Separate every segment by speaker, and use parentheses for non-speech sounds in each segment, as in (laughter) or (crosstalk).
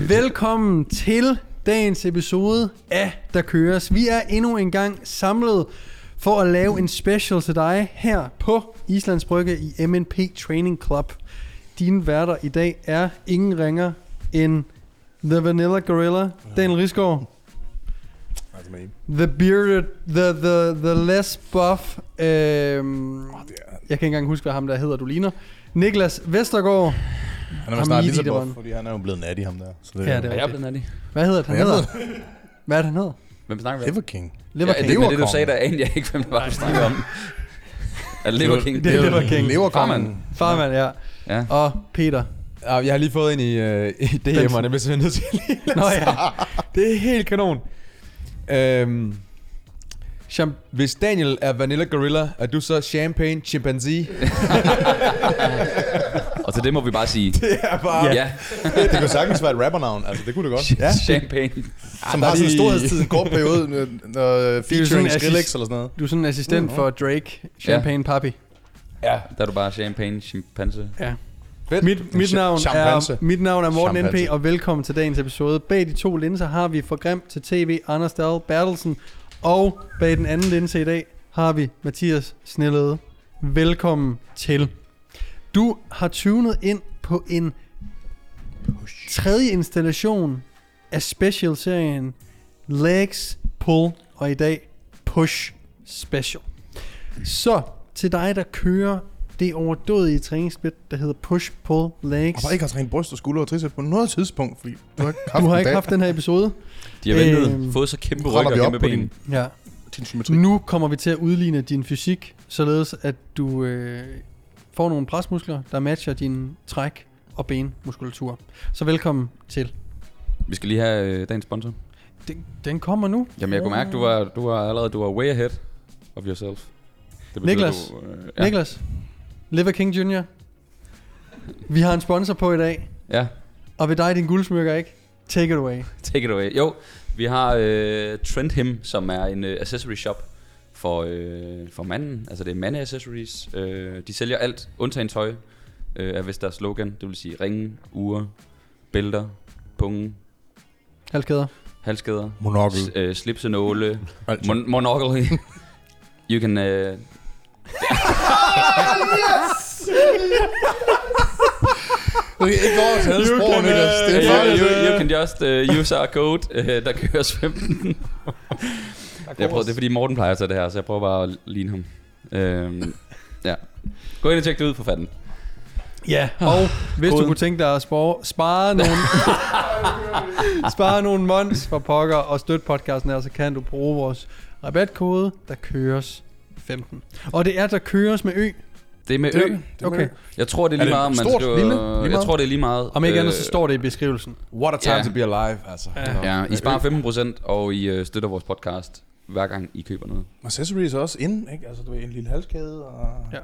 Speaker 1: Velkommen til dagens episode af Der Køres. Vi er endnu en gang samlet for at lave en special til dig her på Islands Brygge i MNP Training Club. Dine værter i dag er ingen ringer end The Vanilla Gorilla, Daniel Risgaard,
Speaker 2: Altså, man.
Speaker 1: The Bearded, The, the, the Less Buff, øhm,
Speaker 2: Det
Speaker 1: jeg
Speaker 2: er,
Speaker 1: kan ikke engang huske, hvad ham der hedder, du ligner, Niklas Vestergaard,
Speaker 2: han er
Speaker 1: Ham
Speaker 2: jo snart
Speaker 1: midt i
Speaker 2: lige så
Speaker 1: det,
Speaker 2: buff,
Speaker 1: mand.
Speaker 2: fordi han er jo blevet nat i ham der. Så det,
Speaker 1: Ja,
Speaker 2: er-
Speaker 1: det
Speaker 3: Hvad
Speaker 1: er
Speaker 3: er jeg
Speaker 1: rigtigt.
Speaker 3: blevet nat i?
Speaker 1: Hvad hedder det, han
Speaker 2: Jeg
Speaker 1: hedder? Hvad er det, han hedder?
Speaker 3: Hvem snakker vi om?
Speaker 2: Liver (laughs) King.
Speaker 3: Ja,
Speaker 1: Lever
Speaker 3: det var det, du
Speaker 2: Leverkongen.
Speaker 3: sagde, der anede jeg ikke, hvem det var, du snakkede om. Er det Liver King?
Speaker 1: det er Liver King.
Speaker 2: Leverkongen.
Speaker 3: Farmand.
Speaker 1: Farmand, ja.
Speaker 3: Ja.
Speaker 1: Og (laughs) Peter.
Speaker 4: Ja, jeg har lige fået en i, øh, i DM'erne, hvis jeg er nødt til lige at
Speaker 1: Nå ja.
Speaker 4: Det er helt kanon. Øhm,
Speaker 1: Champ-
Speaker 4: hvis Daniel er Vanilla Gorilla, er du så Champagne Chimpanzee?
Speaker 3: Og til det må vi bare sige,
Speaker 4: Det er bare...
Speaker 3: ja,
Speaker 2: det kunne sagtens være et rappernavn, altså det kunne det godt.
Speaker 3: ja. champagne.
Speaker 2: Som har
Speaker 4: der er
Speaker 2: sådan en
Speaker 4: de-
Speaker 2: storhedstid, en kort periode, når, når øh, featuring
Speaker 1: sådan,
Speaker 2: Skrillex
Speaker 1: assist-
Speaker 2: eller sådan noget.
Speaker 1: du er sådan en assistent for Drake, Champagne Papi.
Speaker 3: Ja. Der er du bare champagne, chimpanse.
Speaker 1: Ja.
Speaker 4: Fedt.
Speaker 1: Mit, mit,
Speaker 2: Cha-
Speaker 1: navn
Speaker 2: champagne.
Speaker 1: er, mit navn er Morten
Speaker 2: Champagne.
Speaker 1: NP, og velkommen til dagens episode. Bag de to linser har vi fra Grim til TV, Anders Dahl Bertelsen, og bag den anden linse i dag har vi Mathias Snellede. Velkommen til. Du har tunet ind på en tredje installation af special-serien Legs, Pull og i dag Push Special. Så til dig, der kører det overdådige træningssplit, der hedder Push, Pull, Legs.
Speaker 2: Og bare ikke har trænet bryst og skulder og triceps på noget tidspunkt, fordi du har ikke haft,
Speaker 1: Du har
Speaker 2: en
Speaker 1: ikke
Speaker 2: dag.
Speaker 1: haft den her episode.
Speaker 3: De har ventet,
Speaker 1: Øhm,
Speaker 3: fået så kæmpe
Speaker 2: Nu
Speaker 3: ryg
Speaker 2: retter
Speaker 3: og
Speaker 2: vi op
Speaker 3: kæmpe
Speaker 2: på
Speaker 3: ben.
Speaker 2: din,
Speaker 1: Ja.
Speaker 2: din symmetri.
Speaker 1: Nu kommer vi til at udligne din fysik, således at du øh, får nogle presmuskler, der matcher din træk og benmuskulatur. Så velkommen til.
Speaker 3: Vi skal lige have øh, dagens sponsor.
Speaker 1: Den, den kommer nu.
Speaker 3: Jamen, jeg kunne mærke, du var, du var allerede du var way ahead of yourself. Det betyder,
Speaker 1: Niklas.
Speaker 3: Du, øh,
Speaker 1: Ja.
Speaker 3: ja.
Speaker 1: Niklas, Liver King Jr. Vi har en sponsor på i dag,
Speaker 3: ja,
Speaker 1: og ved dig din guldsmykker ikke. Take it away.
Speaker 3: take it away. Jo, vi har øh, Trend Him, som er en øh, accessory shop for, øh, for manden. Altså det er mande-accessories. Øh, de sælger alt, undtagen tøj, øh, er vist deres slogan. Det vil sige ringe, ure, bælter, punge,
Speaker 1: Halskæder.
Speaker 3: halskæder,
Speaker 2: Monokkel.
Speaker 3: s- øh, slipsenåle,
Speaker 2: Alt.
Speaker 3: mon- monocle. you can... Øh,
Speaker 2: Du kan ikke over til alle
Speaker 4: You
Speaker 2: sprog,
Speaker 4: can,
Speaker 2: Niklas. Det er
Speaker 4: øh,
Speaker 3: you,
Speaker 2: farligt.
Speaker 3: you, you can just uh, use our code, uh, der kører 15. jeg prøver, det er fordi Morten plejer at tage det her, så jeg prøver bare at ligne ham. Øhm, ja. Gå ind og tjek det ud for fanden.
Speaker 1: Ja, og hvis du
Speaker 3: koden.
Speaker 1: kunne tænke dig at spare,
Speaker 3: (laughs)
Speaker 1: spare nogle spare nogle months for pokker og støtte podcasten her, så kan du bruge vores rabatkode, der køres 15. Og det er, der køres med ø.
Speaker 3: Det er med
Speaker 1: Det-
Speaker 3: ø.
Speaker 1: Okay.
Speaker 3: Jeg tror, det er
Speaker 2: Er
Speaker 3: lige
Speaker 2: det
Speaker 3: meget, man
Speaker 2: stort?
Speaker 3: skriver...
Speaker 2: Lille? Lige meget?
Speaker 3: Jeg tror, det er lige meget.
Speaker 1: Om ikke
Speaker 3: Øh,
Speaker 1: andet, så står det i beskrivelsen.
Speaker 4: What a time
Speaker 3: Ja.
Speaker 4: yeah. to be alive, altså.
Speaker 1: Ja.
Speaker 4: Nå.
Speaker 3: Ja, I sparer 15%, og I øh, støtter vores podcast, hver gang I køber noget.
Speaker 2: Accessories er også inde, ikke? Altså, du ved, en lille halskæde og...
Speaker 1: Ja.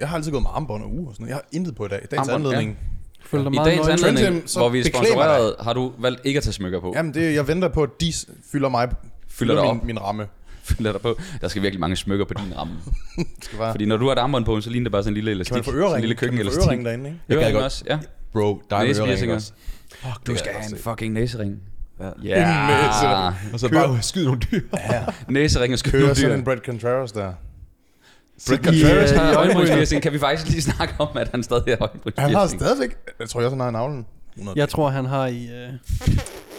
Speaker 2: Jeg har altid gået med armbånd og uger og sådan noget. Jeg har intet på i dag. I dagens
Speaker 3: Armbånd,
Speaker 2: anledning.
Speaker 1: Følger dig
Speaker 3: I
Speaker 1: meget
Speaker 3: dagens
Speaker 1: nøgen.
Speaker 2: Trend
Speaker 3: anledning,
Speaker 2: Him, så
Speaker 3: hvor vi er
Speaker 2: beklæd mig dig.
Speaker 3: sponsoreret, har du valgt ikke at tage smykker på.
Speaker 2: Jamen, det, jeg venter på, at de s- fylder mig...
Speaker 3: Fylder dig
Speaker 2: min,
Speaker 3: op.
Speaker 2: min ramme.
Speaker 3: Fylder dig på. Der skal virkelig mange smykker på din ramme.
Speaker 2: Det skal bare...
Speaker 3: Fordi når du har et armbånd på, så ligner det bare sådan en lille elastik.
Speaker 2: kan man få
Speaker 3: sådan en
Speaker 2: ørering?
Speaker 3: lille køkken
Speaker 2: kan man få
Speaker 3: elastik.
Speaker 2: ørering derinde, ikke?
Speaker 4: Jeg gad
Speaker 3: Ørering
Speaker 4: godt.
Speaker 3: også, ja.
Speaker 4: Bro, dig med
Speaker 3: Næsepiercinger.
Speaker 4: øreringen også.
Speaker 3: Fuck, du skal
Speaker 2: jeg
Speaker 3: have en
Speaker 2: også
Speaker 3: fucking næsering. Ja.
Speaker 2: En næsering.
Speaker 4: Og så bare skyde nogle dyr.
Speaker 3: Næsering og
Speaker 2: Kører sådan en
Speaker 3: skødedyr.
Speaker 2: Brad Contreras der.
Speaker 3: Brad
Speaker 1: Contreras
Speaker 3: Contreras
Speaker 1: har
Speaker 3: har
Speaker 1: øjenbryn.
Speaker 3: øjenbrynsfjærsing. Kan vi faktisk lige snakke om, at han stadig har øjenbrynsfjærsing?
Speaker 2: Han har stadigvæk... Jeg tror jeg også, han har i navlen. 100.
Speaker 1: Jeg tror, han har i... Øh...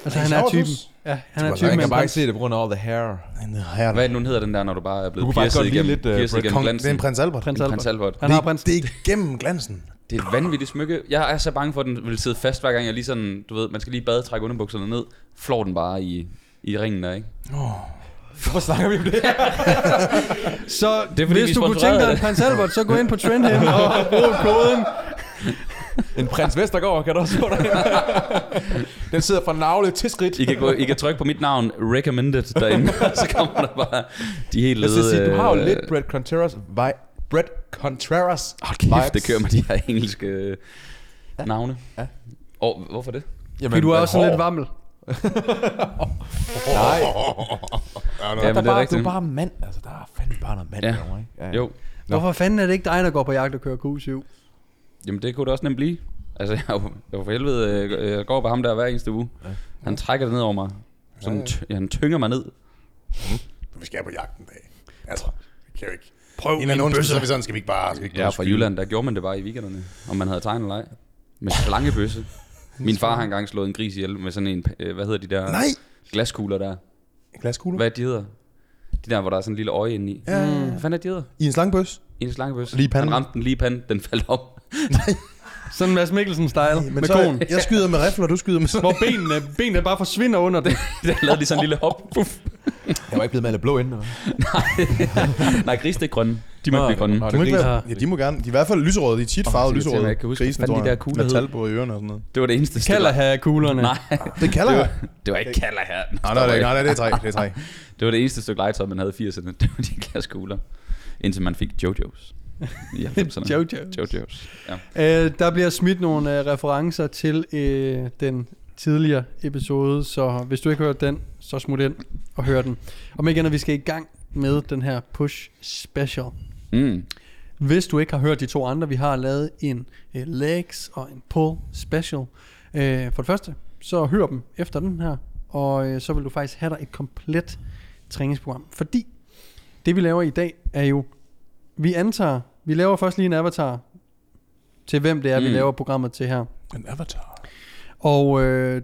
Speaker 1: Altså,
Speaker 2: i
Speaker 1: han er
Speaker 2: shorts?
Speaker 1: typen. Ja, han er typen
Speaker 2: var
Speaker 4: Altså, Jeg
Speaker 1: med
Speaker 4: kan
Speaker 1: en
Speaker 4: bare ikke
Speaker 1: prins.
Speaker 4: se det på grund af all the hair.
Speaker 2: Han har
Speaker 3: Hvad er det nu den hedder den der, når du bare er
Speaker 4: Du
Speaker 3: blevet
Speaker 4: kunne faktisk
Speaker 3: pierced
Speaker 4: godt lide
Speaker 3: igennem,
Speaker 4: lidt, øh,
Speaker 3: pierced
Speaker 4: Brad
Speaker 3: igennem
Speaker 2: Kong, det er
Speaker 3: glansen?
Speaker 2: en prins Albert.
Speaker 1: Prins
Speaker 3: En
Speaker 1: Albert.
Speaker 3: Prins Albert.
Speaker 1: Han har
Speaker 2: det,
Speaker 1: prins.
Speaker 2: det er gennem glansen.
Speaker 3: Det er et vanvittigt smykke. Jeg er så bange for, at den vil sidde fast hver gang jeg lige sådan, du ved, man skal lige bade, trække underbukserne ned, flår den bare i, i ringen der, ikke?
Speaker 4: Hvorfor snakker vi om det?
Speaker 1: Så
Speaker 3: Det er fordi,
Speaker 1: hvis
Speaker 3: vi
Speaker 1: du kunne tænke
Speaker 3: sponsorerede
Speaker 1: dig en
Speaker 3: det.
Speaker 1: prins Albert, så gå ind
Speaker 3: (laughs)
Speaker 1: på Trendham og brug koden.
Speaker 4: En prins Vestergaard, kan du også få
Speaker 3: (laughs)
Speaker 4: dig? Den sidder fra navle til skridt.
Speaker 3: I kan, gå, I kan trykke på mit navn, recommended, derinde,
Speaker 4: (laughs)
Speaker 3: så kommer der bare de helt
Speaker 4: Jeg
Speaker 3: lede...
Speaker 4: skal sige, du har jo
Speaker 3: øh,
Speaker 4: lidt Brad Contreras vibe. Brad Contreras
Speaker 3: Hold kæft, det kører med de her engelske øh, navne.
Speaker 4: Ja.
Speaker 3: Og hvorfor det?
Speaker 4: Jamen,
Speaker 1: Fordi du er
Speaker 4: men
Speaker 1: også sådan
Speaker 4: hår.
Speaker 1: lidt
Speaker 4: (laughs)
Speaker 1: vammel.
Speaker 4: Nej,
Speaker 3: Ja,
Speaker 4: der
Speaker 3: men det
Speaker 4: er
Speaker 3: er
Speaker 4: bare, du
Speaker 3: rigtigt.
Speaker 4: er bare mand. Altså, der er fandme bare noget mand.
Speaker 3: Ja.
Speaker 4: derovre, ikke? Ja.
Speaker 3: Jo,
Speaker 1: Hvorfor fanden er det ikke dig, der går på jagt og kører Q7?
Speaker 3: jamen det kunne det også nemt blive. Altså, (laughs) jeg, er jo- jeg er for helvede øh, jeg går på ham der hver eneste uge.
Speaker 4: Ja.
Speaker 3: Han trækker det ned over mig. Sådan,
Speaker 2: Ja,
Speaker 3: ja, ja. han tynger mig ned.
Speaker 2: (laughs) Vi skal på jagt en dag. Altså, vi kan jo ikke. Prøv en eller anden onsdag, så er vi sådan, skal vi ikke bare... Skal vi ikke
Speaker 3: Jeg er
Speaker 2: bare
Speaker 3: fra
Speaker 2: skyde?
Speaker 3: Jylland, der gjorde man det bare i weekenderne, om man havde tegnet eller ej. Med slangebøsse. Min far har engang slået en gris ihjel med sådan en, øh, hvad hedder de der
Speaker 2: Nej!
Speaker 3: glaskugler der?
Speaker 2: En glaskugler?
Speaker 3: Hvad er de hedder? De der, hvor der er sådan en lille øje inde i.
Speaker 2: Ja, ja, ja.
Speaker 3: Hvad fanden er de hedder?
Speaker 2: I en slangebøs?
Speaker 3: En slangebøsse.
Speaker 2: Lige i panden.
Speaker 3: Han ramte den lige i panden, den faldt om. (laughs)
Speaker 1: Sådan Mads Mikkelsen-style
Speaker 2: Men
Speaker 1: med
Speaker 2: så,
Speaker 1: konen.
Speaker 2: jeg skyder med rifler, du
Speaker 4: (laughs)
Speaker 2: skyder med sådan.
Speaker 1: Hvor benene, benene bare forsvinder under det.
Speaker 3: den lavede lige sådan en lille hop. Puff.
Speaker 4: Jeg var ikke blevet malet blå inden. eller hvad?
Speaker 3: Nej, gris det er grønne. De må ikke blive grønne.
Speaker 4: Nå,
Speaker 2: Du må ikke
Speaker 4: grise.
Speaker 2: være, ja, de må gerne. De er i hvert fald lyserøde. De er tit farvede
Speaker 3: det er irriterende,
Speaker 2: lyserøde.
Speaker 3: jeg ikke kan huske, hvad fanden de der
Speaker 2: Med
Speaker 3: kugler hed.
Speaker 2: talbord i ørerne og sådan noget.
Speaker 3: Det var det eneste sted.
Speaker 1: Kalder have kuglerne.
Speaker 3: Nej,
Speaker 2: Det kalder
Speaker 3: det
Speaker 2: jeg.
Speaker 3: var, det var ikke kalder her.
Speaker 2: Nej, nej, nej, nej, det er træ. Det er træ.
Speaker 3: Det var det eneste stykke legetøj, man havde i 80'erne. (laughs) Det var de glaskugler. Indtil man fik Jojo's.
Speaker 1: (laughs)
Speaker 3: I 90'erne.
Speaker 1: (laughs) Jojo.
Speaker 3: Jojo's. Ja.
Speaker 1: Øh, der bliver smidt nogle øh, referencer til øh, den tidligere episode, så hvis du ikke har hørt den, så smut ind og hør den. Om igen, at vi skal i gang med den her Push Special.
Speaker 3: Mm.
Speaker 1: Hvis du ikke har hørt de to andre, vi har lavet en øh, legs og en pull special. Øh, for det første, så hør dem efter den her, og øh, så vil du faktisk have dig et komplet træningsprogram. Fordi det vi laver i dag er jo, vi antager, vi laver først lige en avatar til hvem det er, mm. vi
Speaker 3: Mm.
Speaker 1: laver programmet til her.
Speaker 2: En avatar.
Speaker 1: Og øh,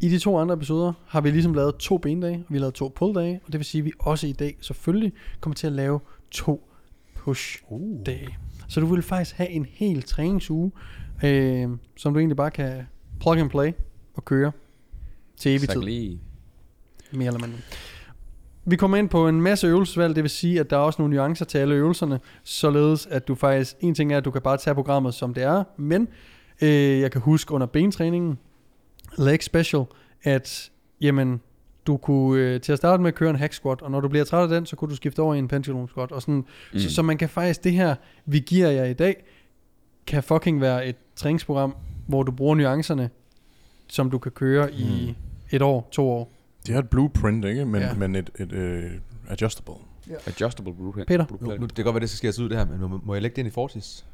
Speaker 1: i de to andre episoder har vi ligesom lavet to bendage, og vi har lavet to pull-dage, og det vil sige, at vi også i dag selvfølgelig kommer til at lave to
Speaker 4: Uh.
Speaker 1: push-dage. Så du vil faktisk have en hel træningsuge, øh, som du egentlig bare kan plug and play og køre til evig
Speaker 3: Tak
Speaker 1: tid,
Speaker 3: lige.
Speaker 1: mere eller mindre. Vi kommer ind på en masse øvelsesvalg, det vil sige, at der er også nogle nuancer til alle øvelserne, således at du faktisk, en ting er, at du kan bare tage programmet, som det er, men øh, jeg kan huske under bentræningen, leg special, at jamen, du kunne øh, til at starte med køre en hack squat, og når du bliver træt af den, så kunne du skifte over i en pendulum squat, og sådan, mm. så, så man kan faktisk, det her, vi giver jer i dag, kan fucking være et træningsprogram, hvor du bruger nuancerne, som du kan køre i et år, to (laughs) år.
Speaker 2: De har et blueprint, ikke? Men,
Speaker 1: Ja.
Speaker 2: men et, et øh, adjustable.
Speaker 3: Adjustable blueprint.
Speaker 1: Peter?
Speaker 4: Nu, nu, det kan godt være, det skal skæres ud det her, men må, må jeg lægge det ind i Fortis?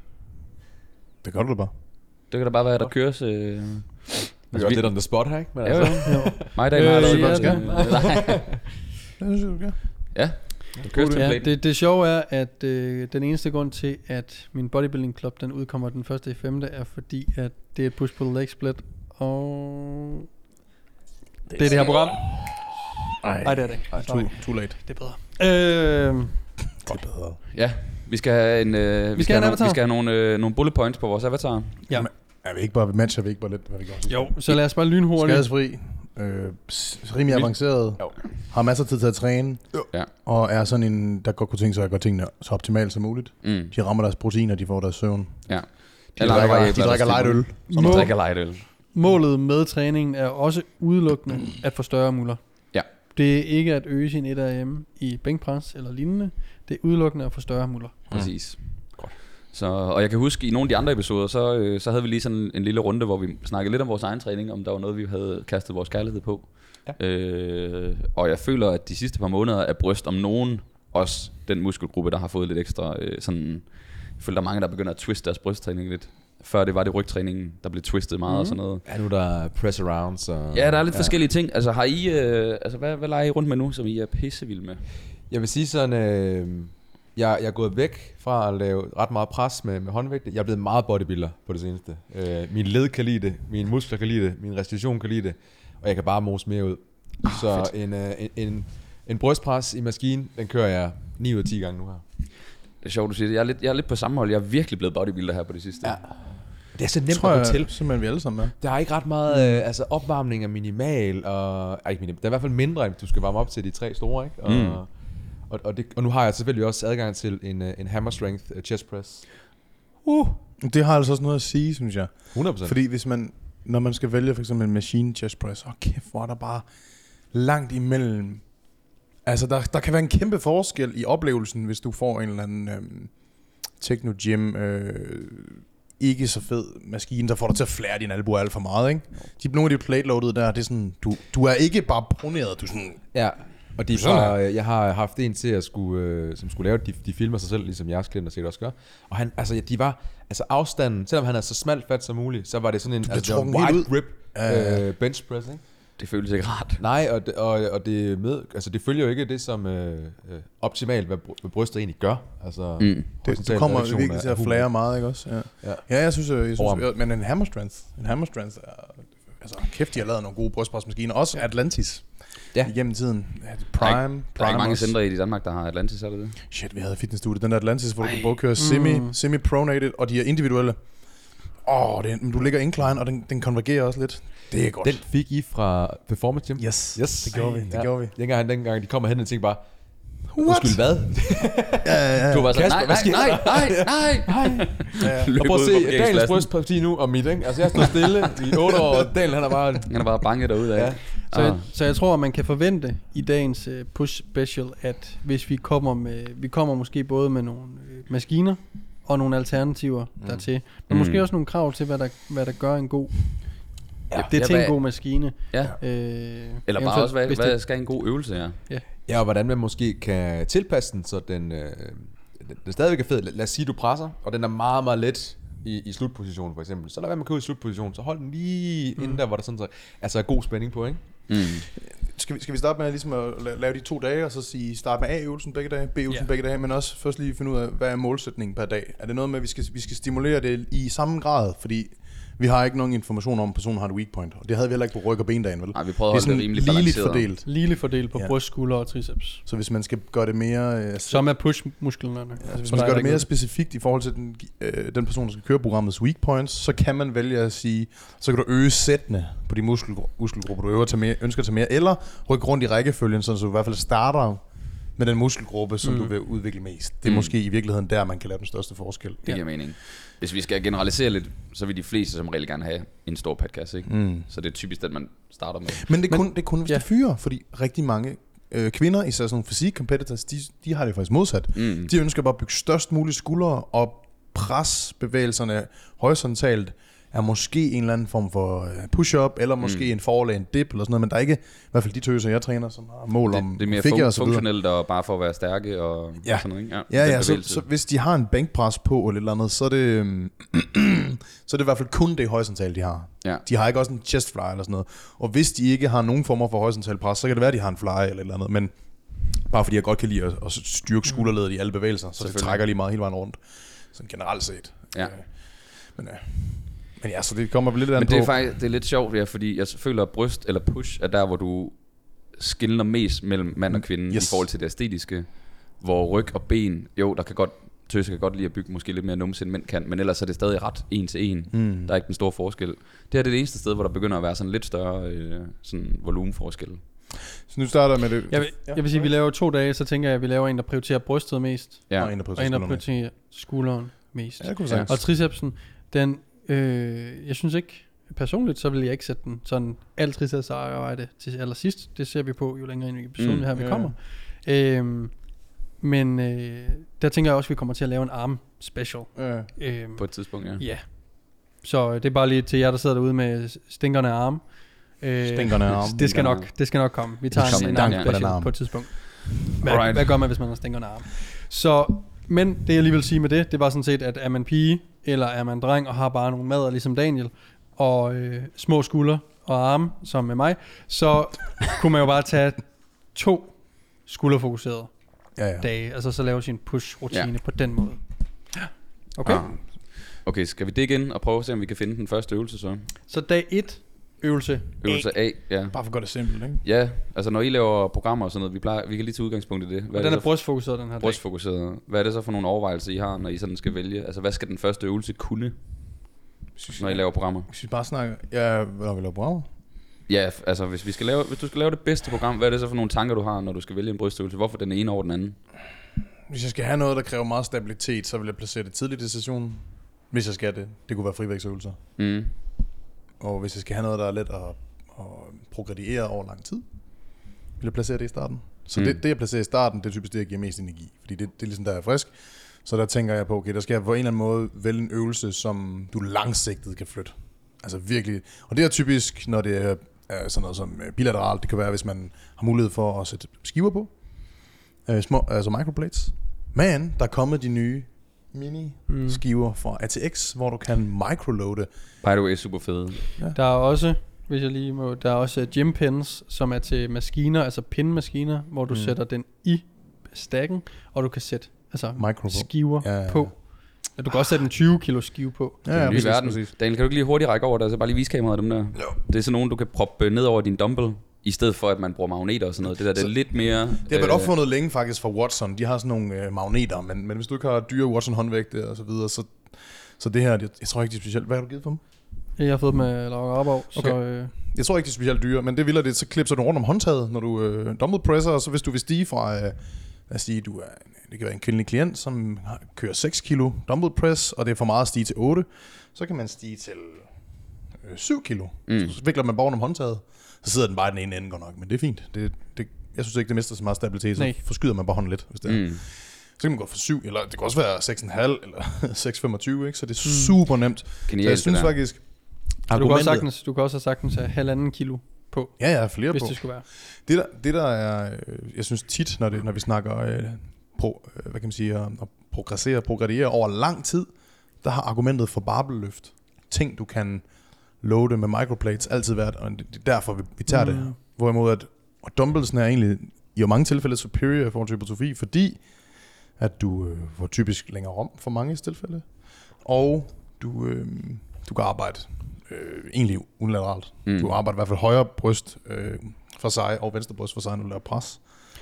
Speaker 2: Det gør du da bare.
Speaker 3: Det kan da bare være, at der køres... Øh...
Speaker 4: Altså, Vi gør lidt on the spot her, ikke? Men
Speaker 3: Ja,
Speaker 4: altså,
Speaker 3: jo. Mig i dag
Speaker 1: Øh,
Speaker 3: har lavet
Speaker 1: ja,
Speaker 3: godt
Speaker 1: ja.
Speaker 3: skal. (laughs) Nej.
Speaker 2: Det synes jeg, du gør.
Speaker 3: Ja. Der køres til
Speaker 1: Ja,
Speaker 3: planen.
Speaker 1: det, det sjove er, at øh, den eneste grund til, at min bodybuilding club den udkommer den første i femte, er fordi, at det er et push pull leg split, og det er det her program. Nej, det er det ikke.
Speaker 2: Ej, too, too late.
Speaker 1: Det er bedre. Øh,
Speaker 2: Det er bedre.
Speaker 3: Ja, vi skal have en, øh, vi,
Speaker 1: skal
Speaker 3: skal
Speaker 1: have en avatar.
Speaker 3: have nogle, vi skal have nogle, øh, nogle bullet points på vores avatar. Mm.
Speaker 1: ja.
Speaker 2: Er vi ikke bare, matcher vi ikke bare lidt, hvad vi gør?
Speaker 1: Jo, så lad os bare lynhurtigt.
Speaker 2: Skadesfri, øh, s- rimelig avanceret,
Speaker 4: Jo.
Speaker 2: har masser af tid til at træne,
Speaker 3: Ja.
Speaker 2: og er sådan en, der godt kunne tænke sig at gøre tingene så optimalt som muligt.
Speaker 3: Mm.
Speaker 2: De rammer deres proteiner, de får deres søvn.
Speaker 3: Ja.
Speaker 2: De drikker, de drikker light øl.
Speaker 3: Som
Speaker 1: Må-
Speaker 3: drikker light øl.
Speaker 1: Målet med træningen er også udelukkende at få større muller.
Speaker 3: Ja.
Speaker 1: Det er ikke at øge sin 1RM i bænkpres eller lignende. Det er udelukkende at få større muller.
Speaker 3: Præcis. Så, og jeg kan huske, i nogle af de andre episoder, så, øh, så havde vi lige sådan en lille runde, hvor vi snakkede lidt om vores egen træning, om der var noget, vi havde kastet vores kærlighed på. Ja. Øh, og jeg føler, at de sidste par måneder er bryst om nogen, også den muskelgruppe, der har fået lidt ekstra øh, sådan... Jeg føler, der er mange, der begynder at twiste deres brysttræning lidt. Før det var det rygtræningen, der blev twistet meget mm. og sådan noget.
Speaker 4: ja, nu er der press arounds og...
Speaker 3: Ja, der er lidt ja. forskellige ting. Altså, har I, øh, altså hvad, hvad leger I rundt med nu, som I er pissevilde med?
Speaker 4: Jeg vil sige sådan, øh, jeg, jeg er gået væk fra at lave ret meget pres med, med håndvægte. Jeg er blevet meget bodybuilder på det seneste. Øh, min led kan lide det, mine muskler kan lide det, min restitution kan lide det, og jeg kan bare mose mere ud. Oh, så en, øh, en, en, en brystpres i maskinen, den kører jeg 9 ud af 10 gange nu her.
Speaker 3: Det er sjovt, du siger det. Jeg er lidt, jeg er lidt på samme hold. Jeg er virkelig blevet bodybuilder her på det sidste.
Speaker 4: Ja. Det er så
Speaker 2: Det
Speaker 4: nemt
Speaker 2: tror
Speaker 4: at gå
Speaker 2: jeg
Speaker 4: til.
Speaker 2: simpelthen, vi alle sammen er.
Speaker 4: Der er ikke ret meget, øh, altså opvarmning er minimal, og, ej, ikke minimal, der er i hvert fald mindre, end du skal varme op til de tre store, ikke? Og,
Speaker 3: Mm.
Speaker 4: og, og, det, og nu har jeg selvfølgelig også adgang til en, øh, en hammer strength øh, chest press. Uh,
Speaker 2: Det har altså også noget at sige, synes jeg.
Speaker 4: 100%.
Speaker 2: Fordi hvis man, når man skal vælge for eksempel en machine chest press, åh kæft, hvor er der bare langt imellem. Altså, der, der kan være en kæmpe forskel i oplevelsen, hvis du får en eller anden øhm, techno gym, øh, ikke så fed maskine, der får dig til at flære din albu alt for meget, ikke? De, nogle af de plateloadede der, det er sådan, du, du er ikke bare proneret, du er sådan,
Speaker 4: Ja, og de er
Speaker 2: Sådan
Speaker 4: fra, jeg har haft øh, en til at skulle, øh, som skulle lave, de, de filmer sig selv, ligesom jeres klienter sikkert også gør. Og han, altså, de var, altså afstanden, selvom han er så smalt fat som muligt, så var det sådan en
Speaker 2: blev
Speaker 4: altså, det var
Speaker 2: trukket helt
Speaker 4: wide grip øh, bench press, ikke?
Speaker 3: Det føles ikke rart.
Speaker 4: Nej, og, det- og, og det, med, altså, det følger jo ikke det, som øh, øh, optimalt, hvad, br- hvad brystet egentlig gør. Altså,
Speaker 3: Mm.
Speaker 2: Det,
Speaker 4: horisontal
Speaker 2: du kommer
Speaker 4: reaktion
Speaker 2: virkelig til
Speaker 4: af
Speaker 2: at
Speaker 4: huden.
Speaker 2: flære meget, ikke også? Ja,
Speaker 4: Ja.
Speaker 2: ja. ja jeg synes, øh, jeg, jeg synes
Speaker 4: Overarm.
Speaker 2: men en hammer strength, en hammer strength er, altså kæft, de har lavet nogle gode brystpresmaskiner. Også Atlantis
Speaker 4: Ja.
Speaker 2: ja. igennem tiden. Ja, det
Speaker 3: Der er
Speaker 2: Prime,
Speaker 3: ikke-
Speaker 2: Prime
Speaker 3: Der er ikke mange
Speaker 2: også.
Speaker 3: centre i Danmark, der har Atlantis, er det det?
Speaker 2: Shit, vi havde i fitnessstudiet, den der Atlantis, hvor du
Speaker 3: Ej.
Speaker 2: kunne både køre semi, semi-pronated, og de er individuelle. Åh, oh, du ligger incline, og den, den konvergerer også lidt. Det er godt.
Speaker 4: Den fik I fra Performance Gym?
Speaker 2: yes.
Speaker 4: Yes.
Speaker 2: det gjorde vi. Det gjorde vi.
Speaker 4: Dengang, han- dengang de kommer hen og tænker bare, undskyld hvad?
Speaker 2: Ja, ja,
Speaker 4: Du
Speaker 2: ja.
Speaker 4: var sådan,
Speaker 3: nej,
Speaker 4: nej, hvad sker
Speaker 3: nej,
Speaker 4: der?
Speaker 2: (laughs)
Speaker 3: nej, nej, nej.
Speaker 4: (laughs)
Speaker 3: Løb
Speaker 4: Og prøv at
Speaker 3: ud på
Speaker 4: se, Daniels
Speaker 3: parkeringspladsen.
Speaker 4: brystparti nu om mit, ikke? Altså jeg stod stille i 8 år, og Daniel han er bare...
Speaker 3: Han er bare banket derude af.
Speaker 4: Ja.
Speaker 3: Ja.
Speaker 1: Så,
Speaker 3: Ah.
Speaker 1: jeg, så jeg tror, at man kan forvente i dagens øh, push special, at hvis vi kommer med, vi kommer måske både med nogle øh, maskiner og nogle alternativer mm. dertil, men
Speaker 3: Mm.
Speaker 1: mm. måske også nogle krav til, hvad der, hvad der gør en god, ja, det
Speaker 3: ja,
Speaker 1: til
Speaker 3: hvad-
Speaker 1: en god maskine.
Speaker 3: ja.
Speaker 1: Øh,
Speaker 3: Eller
Speaker 1: eventuelt,
Speaker 3: bare også, hvad,
Speaker 1: hvis
Speaker 3: hvad
Speaker 1: det,
Speaker 3: skal en god øvelse er?
Speaker 4: Ja, og hvordan man måske kan tilpasse den, så den, øh, den, den stadigvæk er fed. Lad os sige, du presser, og den er meget, meget let i, i slutpositionen for eksempel. Så lad være med at køre ud i slutpositionen, så hold den lige mm. inden der, hvor der sådan så, altså er god spænding på, ikke?
Speaker 3: Mm.
Speaker 2: Skal, vi, skal vi starte med ligesom at la- lave de to dage, og så sige, starte med A-øvelsen begge dage, B-øvelsen
Speaker 1: Ja.
Speaker 2: yeah. begge dage, men også først lige finde ud af, hvad er målsætningen per dag? Er det noget med, at vi skal, vi skal stimulere det i samme grad? Fordi vi har ikke nogen information om, at personen har et weak point, og det havde vi heller ikke på ryg- og bendagen, vel?
Speaker 3: Nej, vi prøvede
Speaker 2: det er
Speaker 3: at
Speaker 2: sådan
Speaker 3: holde det rimelig
Speaker 2: ligeligt
Speaker 3: balanceret.
Speaker 2: fordelt.
Speaker 1: Lille fordel på ja.
Speaker 2: Ja.
Speaker 1: bryst, skulder og triceps,
Speaker 2: Så hvis man skal gøre det mere... Øh,
Speaker 1: som er push-musklerne.
Speaker 2: Altså, hvis man skal gøre det mere specifikt i forhold til den, øh, den person, der skal køre programmets weak points, så kan man vælge at sige, så kan du øge sættene på de muskel, muskelgrupper, du øver til mere, ønsker til mere, eller rykke rundt i rækkefølgen, sådan så du i hvert fald starter med den muskelgruppe, som mm. du vil udvikle mest. Det er
Speaker 3: Mm.
Speaker 2: mm. måske i virkeligheden der, man kan lave den største forskel.
Speaker 3: Det giver mening. Hvis vi skal generalisere lidt, så vil de fleste som regel gerne have en stor padkasse, ikke?
Speaker 2: Mm.
Speaker 3: Så det er typisk den, man starter med.
Speaker 2: Men det er kun, det er kun hvis
Speaker 1: ja.
Speaker 2: ja. det fyrer, fordi rigtig mange øh, kvinder, især sådan nogle physique competitors, de, de har det faktisk modsat.
Speaker 3: Mm.
Speaker 2: De ønsker bare at bygge størst mulige skuldre, og presbevægelserne horisontalt er måske en eller anden form for øh, push-up, eller måske mm. en forlæn dip, eller sådan noget, men der er ikke, i hvert fald de tøser, jeg træner, som har mål om
Speaker 3: Det, det er mere
Speaker 2: figure
Speaker 3: fun-
Speaker 2: og så videre.
Speaker 3: funktionelt og bare for at være stærke og
Speaker 2: Ja.
Speaker 3: sådan noget, ikke?
Speaker 2: Ja,
Speaker 3: Den
Speaker 2: ja, så,
Speaker 3: bevægelse.
Speaker 2: så, hvis de har en bænkpres på eller et eller andet, så er det, øhm, (clears throat) så er det i hvert fald kun det horisontale, de har.
Speaker 3: Ja.
Speaker 2: De har ikke også en chest fly eller sådan noget. Og hvis de ikke har nogen former for horisontal pres, så kan det være, at de har en fly eller et eller andet, men bare fordi jeg godt kan lide at, at styrke skulderledet i alle bevægelser, så det
Speaker 3: Mm. Selvfølgelig.
Speaker 2: trækker lige meget hele vejen rundt, sådan generelt set.
Speaker 3: Ja.
Speaker 2: Øh, Men, øh, men ja, så det kommer lidt an
Speaker 3: Men det er
Speaker 2: på.
Speaker 3: faktisk det er lidt sjovt, ja, fordi jeg føler, at bryst eller push er der, hvor du skiller mest mellem mand og kvinde yes.
Speaker 2: Yes.
Speaker 3: i forhold til det æstetiske. Hvor ryg og ben, jo, der kan godt, tøse kan godt lide at bygge måske lidt mere numse, end mænd kan, men ellers er det stadig ret en til en. Mm. Der er ikke den store forskel. Det her det er det eneste sted, hvor der begynder at være sådan lidt større øh, sådan volumenforskel.
Speaker 2: Så nu starter jeg med det.
Speaker 1: Jeg vil, jeg vil sige, at vi laver to dage, så tænker jeg, at vi laver en, der prioriterer brystet mest,
Speaker 3: Ja.
Speaker 2: Og en, der
Speaker 1: og en, der
Speaker 2: prioriterer skuldrene.
Speaker 1: prioriterer skulderen mest.
Speaker 2: Ja, det kunne vi
Speaker 3: Ja.
Speaker 2: sagtens.
Speaker 1: Og tricepsen, den, øh, jeg synes ikke, personligt, så vil jeg ikke sætte den sådan alt triceps arbejde til allersidst. Det ser vi på, jo længere ind i episoden
Speaker 3: Mm,
Speaker 1: mm, her vi
Speaker 2: ja.
Speaker 1: kommer. Øhm, men øh, der tænker jeg også, at vi kommer til at lave en arm special.
Speaker 2: Ja.
Speaker 1: Øhm,
Speaker 3: På et tidspunkt, ja.
Speaker 1: ja. Så øh, det er bare lige til jer, der sidder derude med stinkerne arme. Øh,
Speaker 2: Stinkerne
Speaker 1: (laughs)
Speaker 2: arm.
Speaker 1: Det skal, nok, det skal nok komme. Vi tager en,
Speaker 3: kommer
Speaker 1: en
Speaker 3: en
Speaker 1: arm
Speaker 3: gang.
Speaker 1: special
Speaker 2: Arm.
Speaker 1: på et tidspunkt. Hvad,
Speaker 3: Alright.
Speaker 1: hvad gør man, hvis man har stinkerne arm? Så, men det jeg lige vil sige med det, det var sådan set, at er man pige, eller er man dreng, og har bare nogle mader, ligesom Daniel, og øh, små skuldre og arme, som med mig, så kunne man jo bare tage to skulderfokuserede
Speaker 2: Ja, ja.
Speaker 1: dage, altså så lave sin push-rutine
Speaker 3: Ja.
Speaker 1: ja. på den måde. Ja. Okay, ah.
Speaker 3: Okay, skal vi det igen og prøve at se, om vi kan finde den første øvelse så?
Speaker 1: så dag 1, øvelse
Speaker 3: Øvelse A, ja.
Speaker 2: Bare for at gøre det simpelt, ikke?
Speaker 3: Ja, altså når I laver programmer og sådan noget, vi, plejer, vi kan lige tage udgangspunkt i det. Hvad
Speaker 1: Og
Speaker 3: det
Speaker 1: den
Speaker 3: så
Speaker 1: er brystfokuseret, den her dag.
Speaker 3: brystfokuseret. Hvad er det så for nogle overvejelser, I har, når I sådan skal vælge? Altså, hvad skal den første øvelse kunne, når I laver programmer?
Speaker 2: Hvis vi bare snakker, ja, når vi laver programmer.
Speaker 3: Ja, f- altså, hvis, vi skal lave, hvis du skal lave det bedste program, hvad er det så for nogle tanker, du har, når du skal vælge en brystøvelse? Hvorfor den ene over den anden?
Speaker 2: Hvis jeg skal have noget, der kræver meget stabilitet, så vil jeg placere det tidligt i sessionen. Hvis jeg skal det. Det kunne være frivægtsøvelser.
Speaker 3: Mm.
Speaker 2: Og hvis jeg skal have noget, der er let at, at progrediere over lang tid, vil jeg placere det i starten. Så
Speaker 3: Mm.
Speaker 2: mm. det, det, jeg placerer i starten, det er typisk det, jeg giver mest energi. Fordi det, det er ligesom, der er jeg frisk. Så der tænker jeg på, okay, der skal jeg på en eller anden måde vælge en øvelse, som du langsigtet kan flytte. Altså virkelig. Og det er typisk, når det er er sådan noget som øh, bilateralt. Det kan være, hvis man har mulighed for at sætte skiver på. Øh, små, altså microplates. Men der er kommet de nye mini
Speaker 1: Mm.
Speaker 2: skiver fra ATX, hvor du kan microloade.
Speaker 3: By the way, super fede.
Speaker 1: Der er også, hvis jeg lige må, der er også uh, gym pins, som er til maskiner, altså pinmaskiner, hvor du
Speaker 2: Mm.
Speaker 1: mm. sætter den i stakken, og du kan sætte altså
Speaker 2: Micro på.
Speaker 1: skiver
Speaker 2: Ja,
Speaker 1: ja,
Speaker 2: ja, ja.
Speaker 1: ja. på. Og Du kan også sætte en 20 kilo skive på.
Speaker 2: Ja,
Speaker 3: Ja,
Speaker 2: ja,
Speaker 3: den nye
Speaker 2: præcis,
Speaker 3: verden.
Speaker 2: præcis.
Speaker 3: Daniel, kan du ikke lige hurtigt række over der, så bare lige vise kameraet dem der? Jo. Det er sådan nogen, du kan proppe øh, ned over din dumbbell, i stedet for at man bruger magneter og sådan noget. Det der, det er
Speaker 2: Så-
Speaker 3: lidt mere... øh,
Speaker 2: Det har været opfundet længe faktisk fra Watson. De har sådan nogle øh, magneter, men, men hvis du ikke har dyre Watson håndvægte og så videre, så, så det her, jeg, jeg tror ikke, det er specielt. Hvad har du givet for dem?
Speaker 1: Jeg har fået øh, med Laura Arbov, så
Speaker 2: Okay.
Speaker 1: øh,
Speaker 2: Jeg tror ikke, det er specielt dyre, men det vildt er det, så klipser du rundt om håndtaget, når du øh, dumbbell presser, og så hvis du vil stige fra, øh, lad os sige, du er, en- det kan være en kvindelig klient, som har, kører 6 kilo dumbbell press, og det er for meget at stige til 8, så kan man stige til øh, 7 kilo.
Speaker 3: Mm.
Speaker 2: Mm. Så vikler man bare rundt om håndtaget, så sidder den bare i den ene ende godt nok, men det er fint. Det, det, jeg synes ikke, det mister så meget stabilitet, så
Speaker 1: Nej.
Speaker 2: forskyder man bare hånden lidt, hvis det er.
Speaker 3: Mm.
Speaker 2: Så kan man gå for 7, eller det kan også være 6,5, eller (laughs) 6,25, ikke? så det er super nemt.
Speaker 3: Hmm. Genialt,
Speaker 2: så jeg synes
Speaker 3: det der.
Speaker 2: faktisk,
Speaker 1: og du, kan også
Speaker 2: argumentet-
Speaker 1: sagtens, du kan også sagtens have halvanden kilo på,
Speaker 2: Ja, ja, flere
Speaker 1: hvis
Speaker 2: på.
Speaker 1: det skulle være.
Speaker 2: Det der, det der er, øh, jeg synes tit, når, det, når vi snakker, øh, pro, øh, hvad kan man sige, om at progressere, progredere over lang tid, der har argumentet for barbelløft, ting du kan loade med microplates, altid været, og det det er derfor, vi, vi tager mm. det her. Hvorimod at, og dumbbellsen er egentlig i mange tilfælde superior i forhold til hypertrofi, fordi at du øh, får typisk længere om for mange tilfælde, og du, øh, du kan arbejde øh, egentlig unilateralt.
Speaker 3: Mm.
Speaker 2: Mm. Du arbejder i hvert fald højre bryst øh, for sig og venstre bryst for sig, når du laver pres.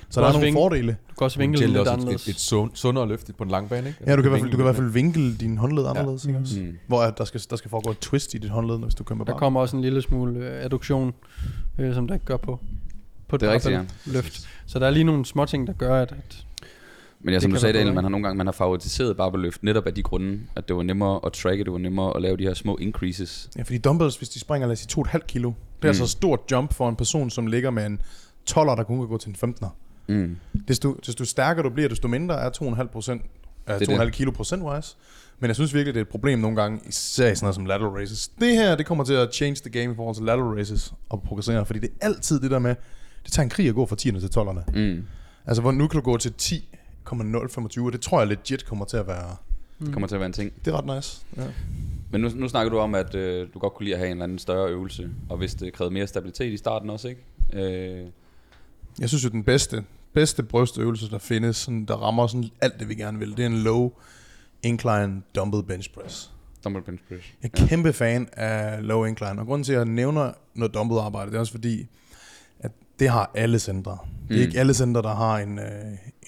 Speaker 2: Så
Speaker 1: Du
Speaker 2: der er
Speaker 1: også
Speaker 2: nogle
Speaker 1: vinkel-
Speaker 2: fordele.
Speaker 1: Du kan også
Speaker 4: Men
Speaker 1: vinkle
Speaker 4: det
Speaker 1: den
Speaker 4: er
Speaker 1: lidt
Speaker 4: også et,
Speaker 1: anderledes.
Speaker 4: et, et sund, sundere løft på den lange bane, ikke? Altså,
Speaker 2: Ja, du kan, i hvert fald, du kan i hvert fald vinkle din håndled anderledes. Ja.
Speaker 3: Mm.
Speaker 2: Hvor at der skal, der skal foregå et twist i dit håndled, hvis du kører med
Speaker 1: Der
Speaker 2: bar.
Speaker 1: kommer også en lille smule øh, adduktion, øh, som der ikke gør på, på
Speaker 3: Det er rigtigt, ja.
Speaker 1: løft. Så der er lige nogle små ting, der gør, at, at
Speaker 3: Men ja, som
Speaker 1: Det
Speaker 3: du
Speaker 1: kan
Speaker 3: sagde,
Speaker 1: være
Speaker 3: Daniel,
Speaker 1: bedre,
Speaker 3: man har nogle gange man har favoriseret barbeløft netop af de grunde, at det var nemmere at tracke, det var nemmere at lave de her små increases.
Speaker 2: Ja, fordi dumbbells, hvis de springer, lad os sige, 2,5 kilo, det er mm. altså et stort jump for en person, som ligger med en 12'er, der kun kan gå til en 15'er.
Speaker 3: Mm.
Speaker 2: Desto, desto stærkere du bliver, desto mindre er 2,5 procent, er
Speaker 3: Det er
Speaker 2: 2,5 kilo procentwise. Men jeg synes virkelig, det er et problem nogle gange, især i sådan noget som lateral races. Det her, det kommer til at change the game i forhold til lateral races og progressere, fordi det er altid det der med, det tager en krig at gå fra 10'erne til 12'erne.
Speaker 3: Mm.
Speaker 2: Altså, hvor nu kan du gå til 10,025, og det tror jeg legit kommer til at være...
Speaker 1: Mm.
Speaker 3: Det kommer til at være en ting.
Speaker 2: Det er ret nice. Ja.
Speaker 3: Men nu, nu snakker du om, at øh, du godt kunne lide at have en eller anden større øvelse, og hvis det krævede mere stabilitet i starten også, ikke? Øh,
Speaker 2: Jeg synes jo, den bedste, bedste brystøvelse, der findes, sådan, der rammer sådan alt det, vi gerne vil, det er en low incline dumbbell bench press.
Speaker 3: dumbbell bench press.
Speaker 2: Jeg er kæmpe fan af low incline, og grunden til, at jeg nævner noget dumbbell arbejde, det er også fordi, at det har alle centre. Det er
Speaker 3: Mm.
Speaker 2: ikke alle centre, der har en, øh,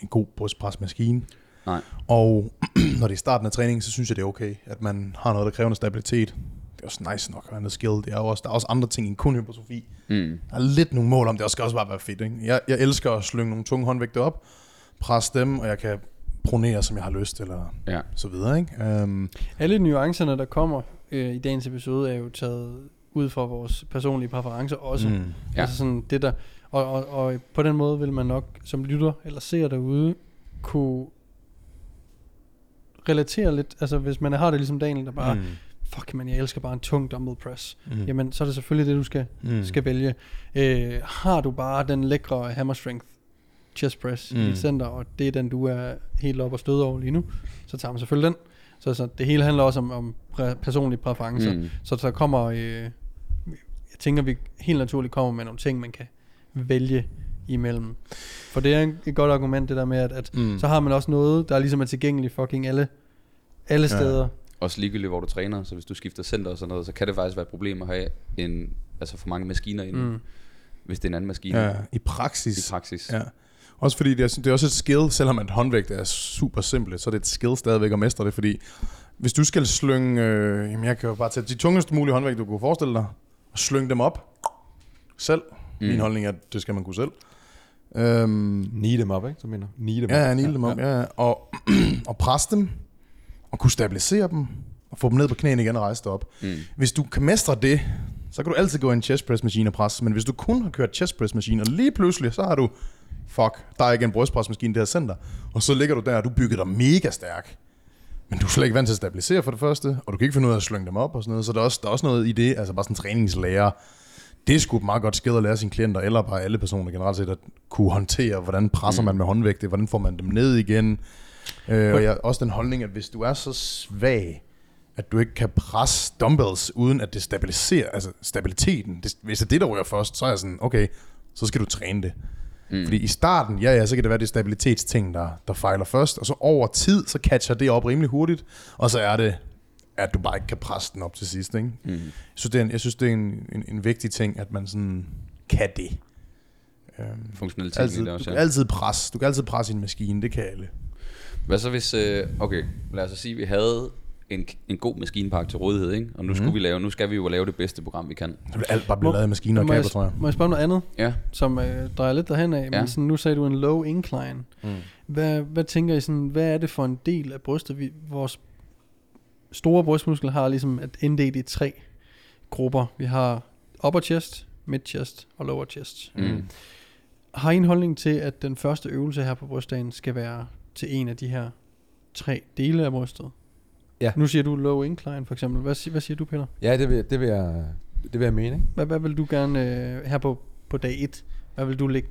Speaker 2: en god brystpresmaskine.
Speaker 3: Nej.
Speaker 2: Og (clears throat) når det er i starten af træningen, så synes jeg, det er okay, at man har noget, der kræver noget stabilitet. Det er også nice nok at have noget skill. Det er jo også, der er også andre ting end kun hypertrofi.
Speaker 3: Mm.
Speaker 2: Der er lidt nogle mål om, det også skal også bare være fedt. Ikke? Jeg, jeg elsker at slynge nogle tunge håndvægte op, presse dem, og jeg kan pronere, som jeg har lyst, eller
Speaker 3: Ja.
Speaker 2: så videre. Ikke? Um,
Speaker 1: Alle nuancerne, der kommer øh, i dagens episode, er jo taget ud fra vores personlige præferencer også. Mm.
Speaker 3: Ja.
Speaker 1: Ja. Altså sådan det der, og, og, og på den måde vil man nok som lytter eller ser derude, kunne relatere lidt, altså hvis man har det ligesom Daniel, der bare, mm. fuck man, jeg elsker bare en tung dumbbell press, mm. jamen så er det selvfølgelig det, du skal, mm. skal vælge. Øh, har du bare den lækre hammer strength chest press mm. i
Speaker 2: Mm.
Speaker 1: dit center, og det er den, du er helt op og støde over lige nu, så tager man selvfølgelig den. Så, så det hele handler også om, om præ- personlige præferencer.
Speaker 3: Mm.
Speaker 1: Mm. Så der kommer, øh, jeg tænker, vi helt naturligt kommer med nogle ting, man kan vælge imellem. For det er en- et godt argument, det der med, at, at
Speaker 2: Mm.
Speaker 1: mm. så har man også noget, der ligesom er tilgængeligt fucking alle, alle
Speaker 2: Ja.
Speaker 1: steder.
Speaker 3: Også ligegyldigt, hvor du træner, så hvis du skifter center og sådan noget, så kan det faktisk være et problem at have en, altså for mange maskiner inde, mm.
Speaker 1: Mm.
Speaker 3: hvis det er en anden maskine
Speaker 2: ja, i
Speaker 3: i
Speaker 2: praksis.
Speaker 3: praksis.
Speaker 2: Ja. Også fordi det er, det er også et skill, selvom at håndvægt er super simpelt, så er det et skill stadigvæk at mestre det, fordi hvis du skal slynge, øh, jamen jeg kan jo bare tage de tungeste mulige håndvægte, du kunne forestille dig, og slynge dem op selv. Mm. Min holdning er, at det skal man kunne selv. Øhm,
Speaker 4: Need dem op, ikke? Så mener. Need dem
Speaker 2: Ja, ja, nille dem om, ja. ja. Og, (clears throat) og presse dem, og kunne stabilisere dem, og få dem ned på knæene igen og rejse dig op. Mm. Hvis du kan mestre det, så kan du altid gå i en chest press maskine og presse, men hvis du kun har kørt chest press maskine, og lige pludselig, så har du, fuck, der er ikke en brystpresmaskine i det her center, og så ligger du der, og du bygger dig mega stærk. Men du er slet ikke vant til at stabilisere for det første, og du kan ikke finde ud af at slynge dem op og sådan noget, så der er også, der er også noget i det, altså bare sådan træningslærer. Det er sgu et meget godt skede at lære sine klienter, eller bare alle personer generelt set, at kunne håndtere, hvordan presser man med håndvægte, hvordan får man dem ned igen. Øh, og jeg, også den holdning, at hvis du er så svag, at du ikke kan presse dumbbells, uden at det stabiliserer, altså stabiliteten, det, hvis det er det, der rører først, så er jeg sådan, okay, så skal du træne det. Mm. Fordi i starten, ja, ja, så kan det være det er stabilitetsting, der, der fejler først, og så over tid, så catcher det op rimelig hurtigt, og så er det, at du bare ikke kan presse den op til sidst. Ikke? Mm. Jeg synes, det er, en, jeg synes, det er en, en, en vigtig ting, at man sådan kan det. Øhm,
Speaker 3: Funktionalitet i
Speaker 2: altid,
Speaker 3: det
Speaker 2: du
Speaker 3: også,
Speaker 2: kan
Speaker 3: ja.
Speaker 2: altid presse, du kan altid presse i en maskine, det kan alle.
Speaker 3: Hvad så hvis, øh, okay, lad os så sige, at vi havde en, en god maskinpark til rådighed, ikke? og nu, mm. skulle vi lave, nu skal vi jo lave det bedste program, vi kan.
Speaker 2: Så vil alt bare blive
Speaker 1: Må-
Speaker 2: lavet af maskiner og
Speaker 1: må,
Speaker 2: kabler, tror jeg.
Speaker 1: jeg, må jeg spørge om noget andet,
Speaker 3: Ja.
Speaker 1: som øh, drejer lidt derhen af? Ja.
Speaker 3: Ja.
Speaker 1: Men sådan, nu sagde du en low incline. Mm. Hvad, hvad tænker I sådan, hvad er det for en del af brystet, vi, vores store brystmuskel har ligesom at inddelt i tre grupper? Vi har upper chest, mid chest og lower chest.
Speaker 3: Mm.
Speaker 1: Har I en holdning til, at den første øvelse her på brystdagen skal være til en af de her tre dele af brystet?
Speaker 4: Ja.
Speaker 1: Nu siger du low incline for eksempel. Hvad, si- hvad siger du, Peter?
Speaker 4: Ja, det vil, det vil jeg, det vil jeg mene. Ikke?
Speaker 1: Hvad, hvad vil du gerne øh, her på, på dag 1? Hvad vil du lægge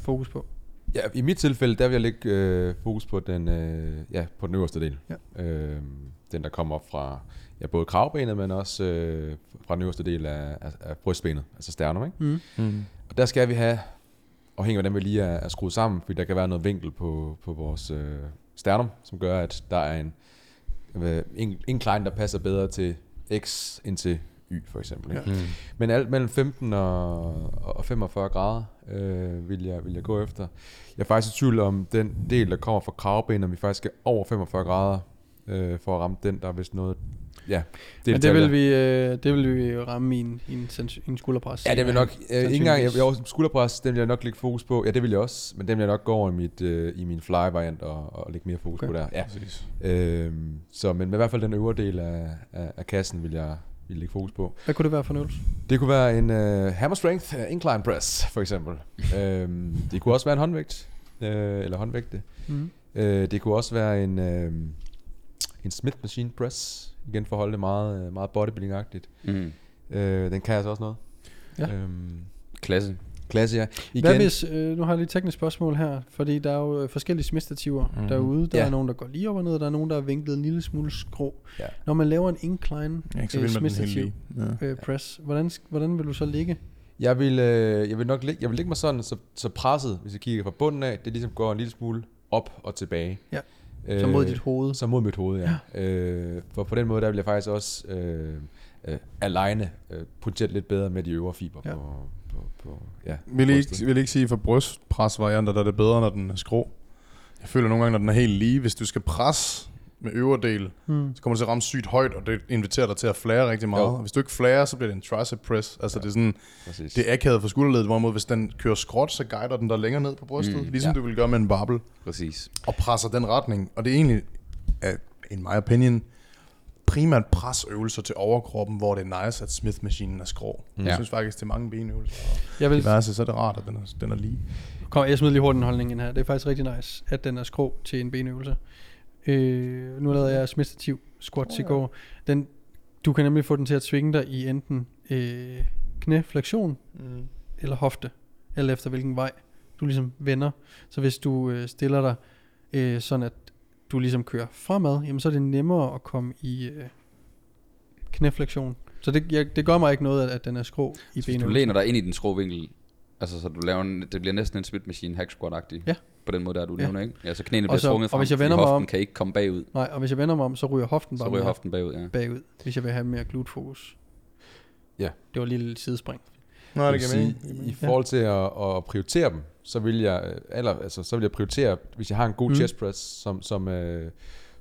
Speaker 1: fokus på?
Speaker 4: Ja, I mit tilfælde, der vil jeg lægge øh, fokus på den, øh, ja, på den øverste del. Ja. Øh, den, der kommer op fra ja, både kravbenet, men også øh, fra den øverste del af, af, af brystbenet, altså sternum. Ikke?
Speaker 1: Mm.
Speaker 2: Mm.
Speaker 4: Og der skal vi have, afhængig af hvordan vi lige er, er skruet sammen, fordi der kan være noget vinkel på, på vores øh, sternum, som gør, at der er en, øh, en, en client, der passer bedre til X end til Y, for eksempel. Ikke? Ja.
Speaker 1: Mm.
Speaker 4: Men alt mellem 15 og, og 45 grader øh, vil, jeg, vil jeg gå efter. Jeg er faktisk i tvivl om den del, der kommer fra kravbenet, om vi faktisk skal over 45 grader øh, for at ramme den, der er vist noget... Ja,
Speaker 1: Det Men det
Speaker 4: detaljer.
Speaker 1: vil, vi, øh, det vil vi ramme i en, i en, sands- i en skulderpres.
Speaker 4: Ja, det vil nok, øh, ikke engang, jeg,
Speaker 1: sandsynligvis.
Speaker 4: jeg, skulderpres, den vil jeg nok lægge fokus på. Ja, det vil jeg også, men den vil jeg nok gå over i, mit, øh, i min fly-variant og, og lægge mere fokus
Speaker 1: Okay.
Speaker 4: okay. på der. Ja.
Speaker 2: Præcis.
Speaker 4: Øhm, så, men i hvert fald den øvre del af, af, af kassen vil jeg vil lægge fokus på.
Speaker 1: Hvad kunne det være for en øvelse?
Speaker 4: Det kunne være en øh, hammer strength øh, incline press, for eksempel. øhm, det kunne også være en håndvægt, øh, eller håndvægte.
Speaker 1: Mm.
Speaker 4: Øh, det kunne også være en, øh, en Smith machine press, igen for at holde det meget, øh, meget bodybuilding-agtigt.
Speaker 3: Mm.
Speaker 4: Øh, den kan altså også noget.
Speaker 1: Ja.
Speaker 4: Øhm,
Speaker 3: Klasse.
Speaker 4: Klasse, ja. Igen,
Speaker 1: Hvad hvis, øh, nu har jeg lige et teknisk spørgsmål her, fordi der er jo øh, forskellige smidstativer mm. derude. Der ja.
Speaker 4: Mhm. Ja.
Speaker 1: er nogen, der går lige op og ned, og der er nogen, der er vinklet en lille smule skrå.
Speaker 4: Ja.
Speaker 1: Når man laver en incline
Speaker 2: Jeg er ikke så
Speaker 1: øh,
Speaker 2: vild med den hele
Speaker 1: smidstativ
Speaker 2: lige. Ja.
Speaker 1: øh, press, hvordan, sk- hvordan vil du så ligge?
Speaker 4: Jeg vil, øh, jeg vil nok ligge, jeg vil ligge mig sådan, så, så presset, hvis jeg kigger fra bunden af, det ligesom går en lille smule op og tilbage.
Speaker 1: Ja. Så
Speaker 4: Øh.
Speaker 1: mod dit hoved.
Speaker 4: Så mod mit hoved, ja. ja. Øh, for på den måde, der vil jeg faktisk også øh, øh, aligne øh, potentielt lidt bedre med de øvre fiber
Speaker 1: Ja.
Speaker 4: ja. på, på, på ja,
Speaker 2: Vil I
Speaker 4: brystet.
Speaker 2: ikke, vil I ikke sige, for brystpresvarianter, der er det bedre, når den er skrå? Jeg føler nogle gange, når den er helt lige, hvis du skal presse med øvre del,
Speaker 1: Mm.
Speaker 2: så kommer det til at ramme sygt højt, og det inviterer dig til at flære rigtig meget.
Speaker 4: Jo.
Speaker 2: Og hvis du ikke flærer, så bliver det en tricep press. Altså ja. det er sådan,
Speaker 4: Præcis.
Speaker 2: det er akavet for skulderledet, hvorimod hvis den kører skråt, så guider den der længere ned på brystet, mm, ligesom ja. du
Speaker 4: ja.
Speaker 2: ville gøre med en barbel,
Speaker 3: Præcis.
Speaker 2: og presser den retning. Og det er egentlig, uh, in my opinion, primært presøvelser til overkroppen, hvor det er nice, at Smith-maskinen er skrå. Ja. Jeg
Speaker 4: Ja.
Speaker 2: synes faktisk, til mange benøvelser og
Speaker 1: Jeg vil,
Speaker 2: diverse, så er det rart, at den er, den er lige.
Speaker 1: Kom, jeg smider lige hurtigt en holdning ind her. Det er faktisk rigtig nice, at den er skrå til en benøvelse. Øh, nu lavede jeg smidstativ squats i går. Den, du kan nemlig få den til at svinge dig i enten øh, knæflektion
Speaker 2: Mm.
Speaker 1: eller hofte, eller efter hvilken vej du ligesom vender. Så hvis du øh, stiller dig øh, sådan, at du ligesom kører fremad, jamen så er det nemmere at komme i øh, knæflektion. Så det, jeg, det gør mig ikke noget, at, at den er skrå i
Speaker 3: Så hvis du
Speaker 1: benøvelsen.
Speaker 3: læner dig ind i den skrå vinkel, altså så du laver en, det bliver næsten en split machine hack squat -agtig.
Speaker 1: Ja.
Speaker 3: På den måde, der du
Speaker 1: Ja.
Speaker 3: nævner, ikke? Ja, så knæene
Speaker 1: Og
Speaker 3: bliver
Speaker 1: så- og
Speaker 3: svunget frem,
Speaker 1: hvis jeg
Speaker 3: fordi
Speaker 1: vender mig
Speaker 3: hoften
Speaker 1: om-
Speaker 3: kan ikke komme bagud.
Speaker 1: Nej, og hvis jeg vender mig om, så ryger hoften
Speaker 3: Så
Speaker 1: bare
Speaker 3: ryger
Speaker 1: mere.
Speaker 3: hoften bagud, ja.
Speaker 1: bagud, hvis jeg vil have mere glutfokus.
Speaker 4: Ja.
Speaker 1: Det var lige et lille sidespring.
Speaker 2: Nej, det
Speaker 4: det
Speaker 2: giver
Speaker 4: sige,
Speaker 2: mening.
Speaker 4: i forhold til at, at prioritere dem, så vil jeg øh, eller, altså, så vil jeg prioritere, hvis jeg har en god
Speaker 1: Mm.
Speaker 4: mm. chest press, som, som, øh,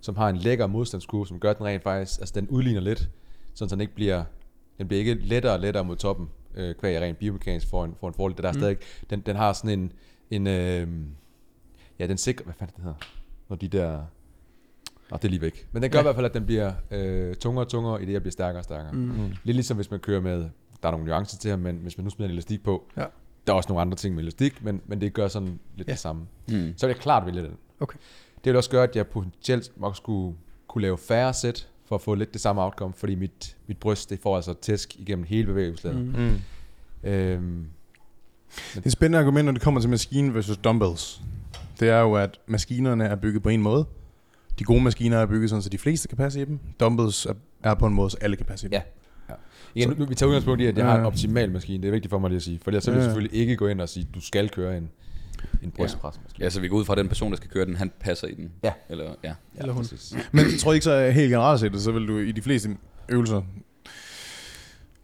Speaker 4: som har en lækker modstandskurve, som gør at den rent faktisk, altså den udligner lidt, sådan så den ikke bliver, den bliver ikke lettere og lettere mod toppen, øh, kvæg jeg rent biomekanisk for en, for en fordel. Der er mm. stadig, den, den har sådan en, en øh, ja, den sikrer, hvad fanden det hedder, når de der, Nå, det er lige væk. Men den gør ja. i hvert fald, at den bliver øh, tungere og tungere, i det jeg bliver stærkere og stærkere. Mm. Lidt ligesom hvis man kører med, der er nogle nuancer til her, men hvis man nu smider en elastik på,
Speaker 1: Ja.
Speaker 4: der er også nogle andre ting med elastik, men, men det gør sådan lidt
Speaker 1: Ja.
Speaker 4: ja. det samme.
Speaker 3: Mm.
Speaker 4: Så vil jeg klart vælge den.
Speaker 1: Okay.
Speaker 4: Det vil også gøre, at jeg potentielt nok skulle kunne lave færre sæt, for at få lidt det samme outcome, fordi mit, mit bryst, det får altså tæsk igennem hele bevægelseslaget.
Speaker 1: Mm.
Speaker 2: Mm.
Speaker 4: Mm. Øhm,
Speaker 2: Det er et spændende argument, når det kommer til maskinen versus dumbbells. Det er jo, at maskinerne er bygget på en måde, De gode maskiner er bygget sådan, så de fleste kan passe i dem. Dumbbells er, er på en måde, så alle kan passe i dem.
Speaker 4: Ja. Igen, nu, vi tager udgangspunkt i, at jeg
Speaker 2: Ja.
Speaker 4: har en optimal maskine. Det er vigtigt for mig lige at sige. For ellers så vil jeg
Speaker 2: Ja.
Speaker 4: selvfølgelig ikke gå ind og sige, at du skal køre en, en brystpresmaskine.
Speaker 3: Ja, så vi går ud fra, at den person, der skal køre den, han passer i den.
Speaker 4: Ja.
Speaker 3: Eller, ja.
Speaker 1: Eller hun.
Speaker 4: præcis.
Speaker 2: Men tror I ikke så at helt generelt set, så vil du i de fleste øvelser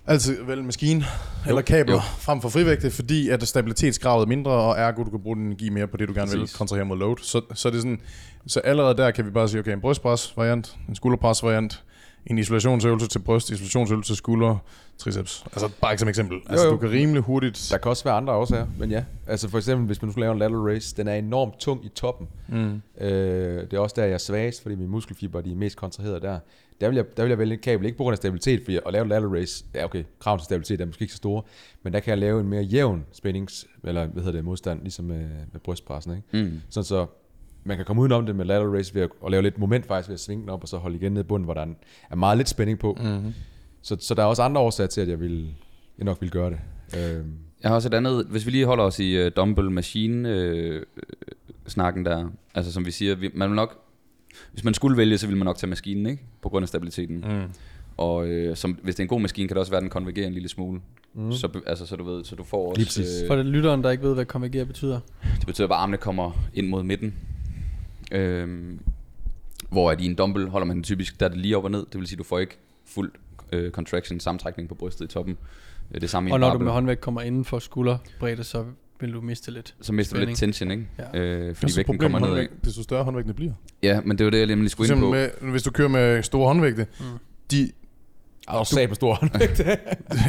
Speaker 2: altid vælge en maskine eller kabler
Speaker 3: jo.
Speaker 2: frem for frivægte, fordi at stabilitetsgravet er mindre, og ergo du kan bruge din energi mere på det, du gerne vil,
Speaker 3: Præcis.
Speaker 2: kontra her mod load. Så, så, er det sådan, så allerede der kan vi bare sige, okay, en brystpres variant, en skulderpres variant, en isolationsøvelse til bryst, isolationsøvelse til skulder, triceps. Altså bare ikke som eksempel. Altså
Speaker 4: jo.
Speaker 2: du kan rimelig hurtigt...
Speaker 4: Der kan også være andre årsager, men ja. Altså for eksempel, hvis man skulle lave en lateral raise, den er enormt tung i toppen.
Speaker 2: Mm.
Speaker 4: Øh, det er også der, jeg er svagest, fordi mine muskelfiber de er mest kontraherede der. Der vil, jeg, der vil jeg vælge et kabel, ikke på grund af stabilitet, fordi at lave en lateral raise, ja okay, kraven til stabilitet er måske ikke så store, men der kan jeg lave en mere jævn spændings, eller hvad hedder det, modstand, ligesom med, med brystpressen, ikke?
Speaker 3: Mm.
Speaker 4: Sådan så man kan komme udenom det med lateral raise ved at, at lave lidt moment faktisk ved at svinge den op, og så holde igen ned i bunden, hvor der er en- er meget lidt spænding på. Mm-hmm. Så, så der er også andre årsager til, at jeg, vil, jeg nok vil gøre det. Øh,
Speaker 3: Jeg har også et andet, hvis vi lige holder os i uh, dumbbell machine øh, øh, snakken der, altså som vi siger, vi, man vil nok, hvis man skulle vælge, så ville man nok tage maskinen, ikke? På grund af stabiliteten.
Speaker 2: Mm.
Speaker 3: Og øh, som, hvis det er en god maskine, kan det også være, at den konvergerer en lille smule. Mm. Så, be- altså, så du ved, så du får
Speaker 4: Lige
Speaker 3: også... øh,
Speaker 4: præcis.
Speaker 1: For det lytteren, der ikke ved, hvad konvergere betyder.
Speaker 3: Det betyder, at armene kommer ind mod midten. Øhm, hvor at i en dumbbell holder man den typisk, der er det lige op og ned. Det vil sige, at du får ikke fuld øh, contraction, sammentrækning på brystet i toppen. Øh, Det samme i
Speaker 1: Og
Speaker 3: en
Speaker 1: når du
Speaker 3: barbell.
Speaker 1: med håndvægt kommer inden for skulderbredde, så vil du miste
Speaker 3: (laughs)
Speaker 1: lidt.
Speaker 3: Så mister du
Speaker 1: spænding.
Speaker 3: lidt tension, ikke?
Speaker 1: Ja. Altså,
Speaker 3: Øh, fordi
Speaker 2: Fordi
Speaker 3: vægten kommer ned.
Speaker 2: håndvægt, desto større håndvægtene bliver.
Speaker 3: Ja, men det var det, jeg
Speaker 2: For
Speaker 3: nemlig skulle ind
Speaker 2: eksempel
Speaker 3: på.
Speaker 2: med, hvis du kører med store håndvægte, mm. de,
Speaker 4: og du sagde på stor hånd.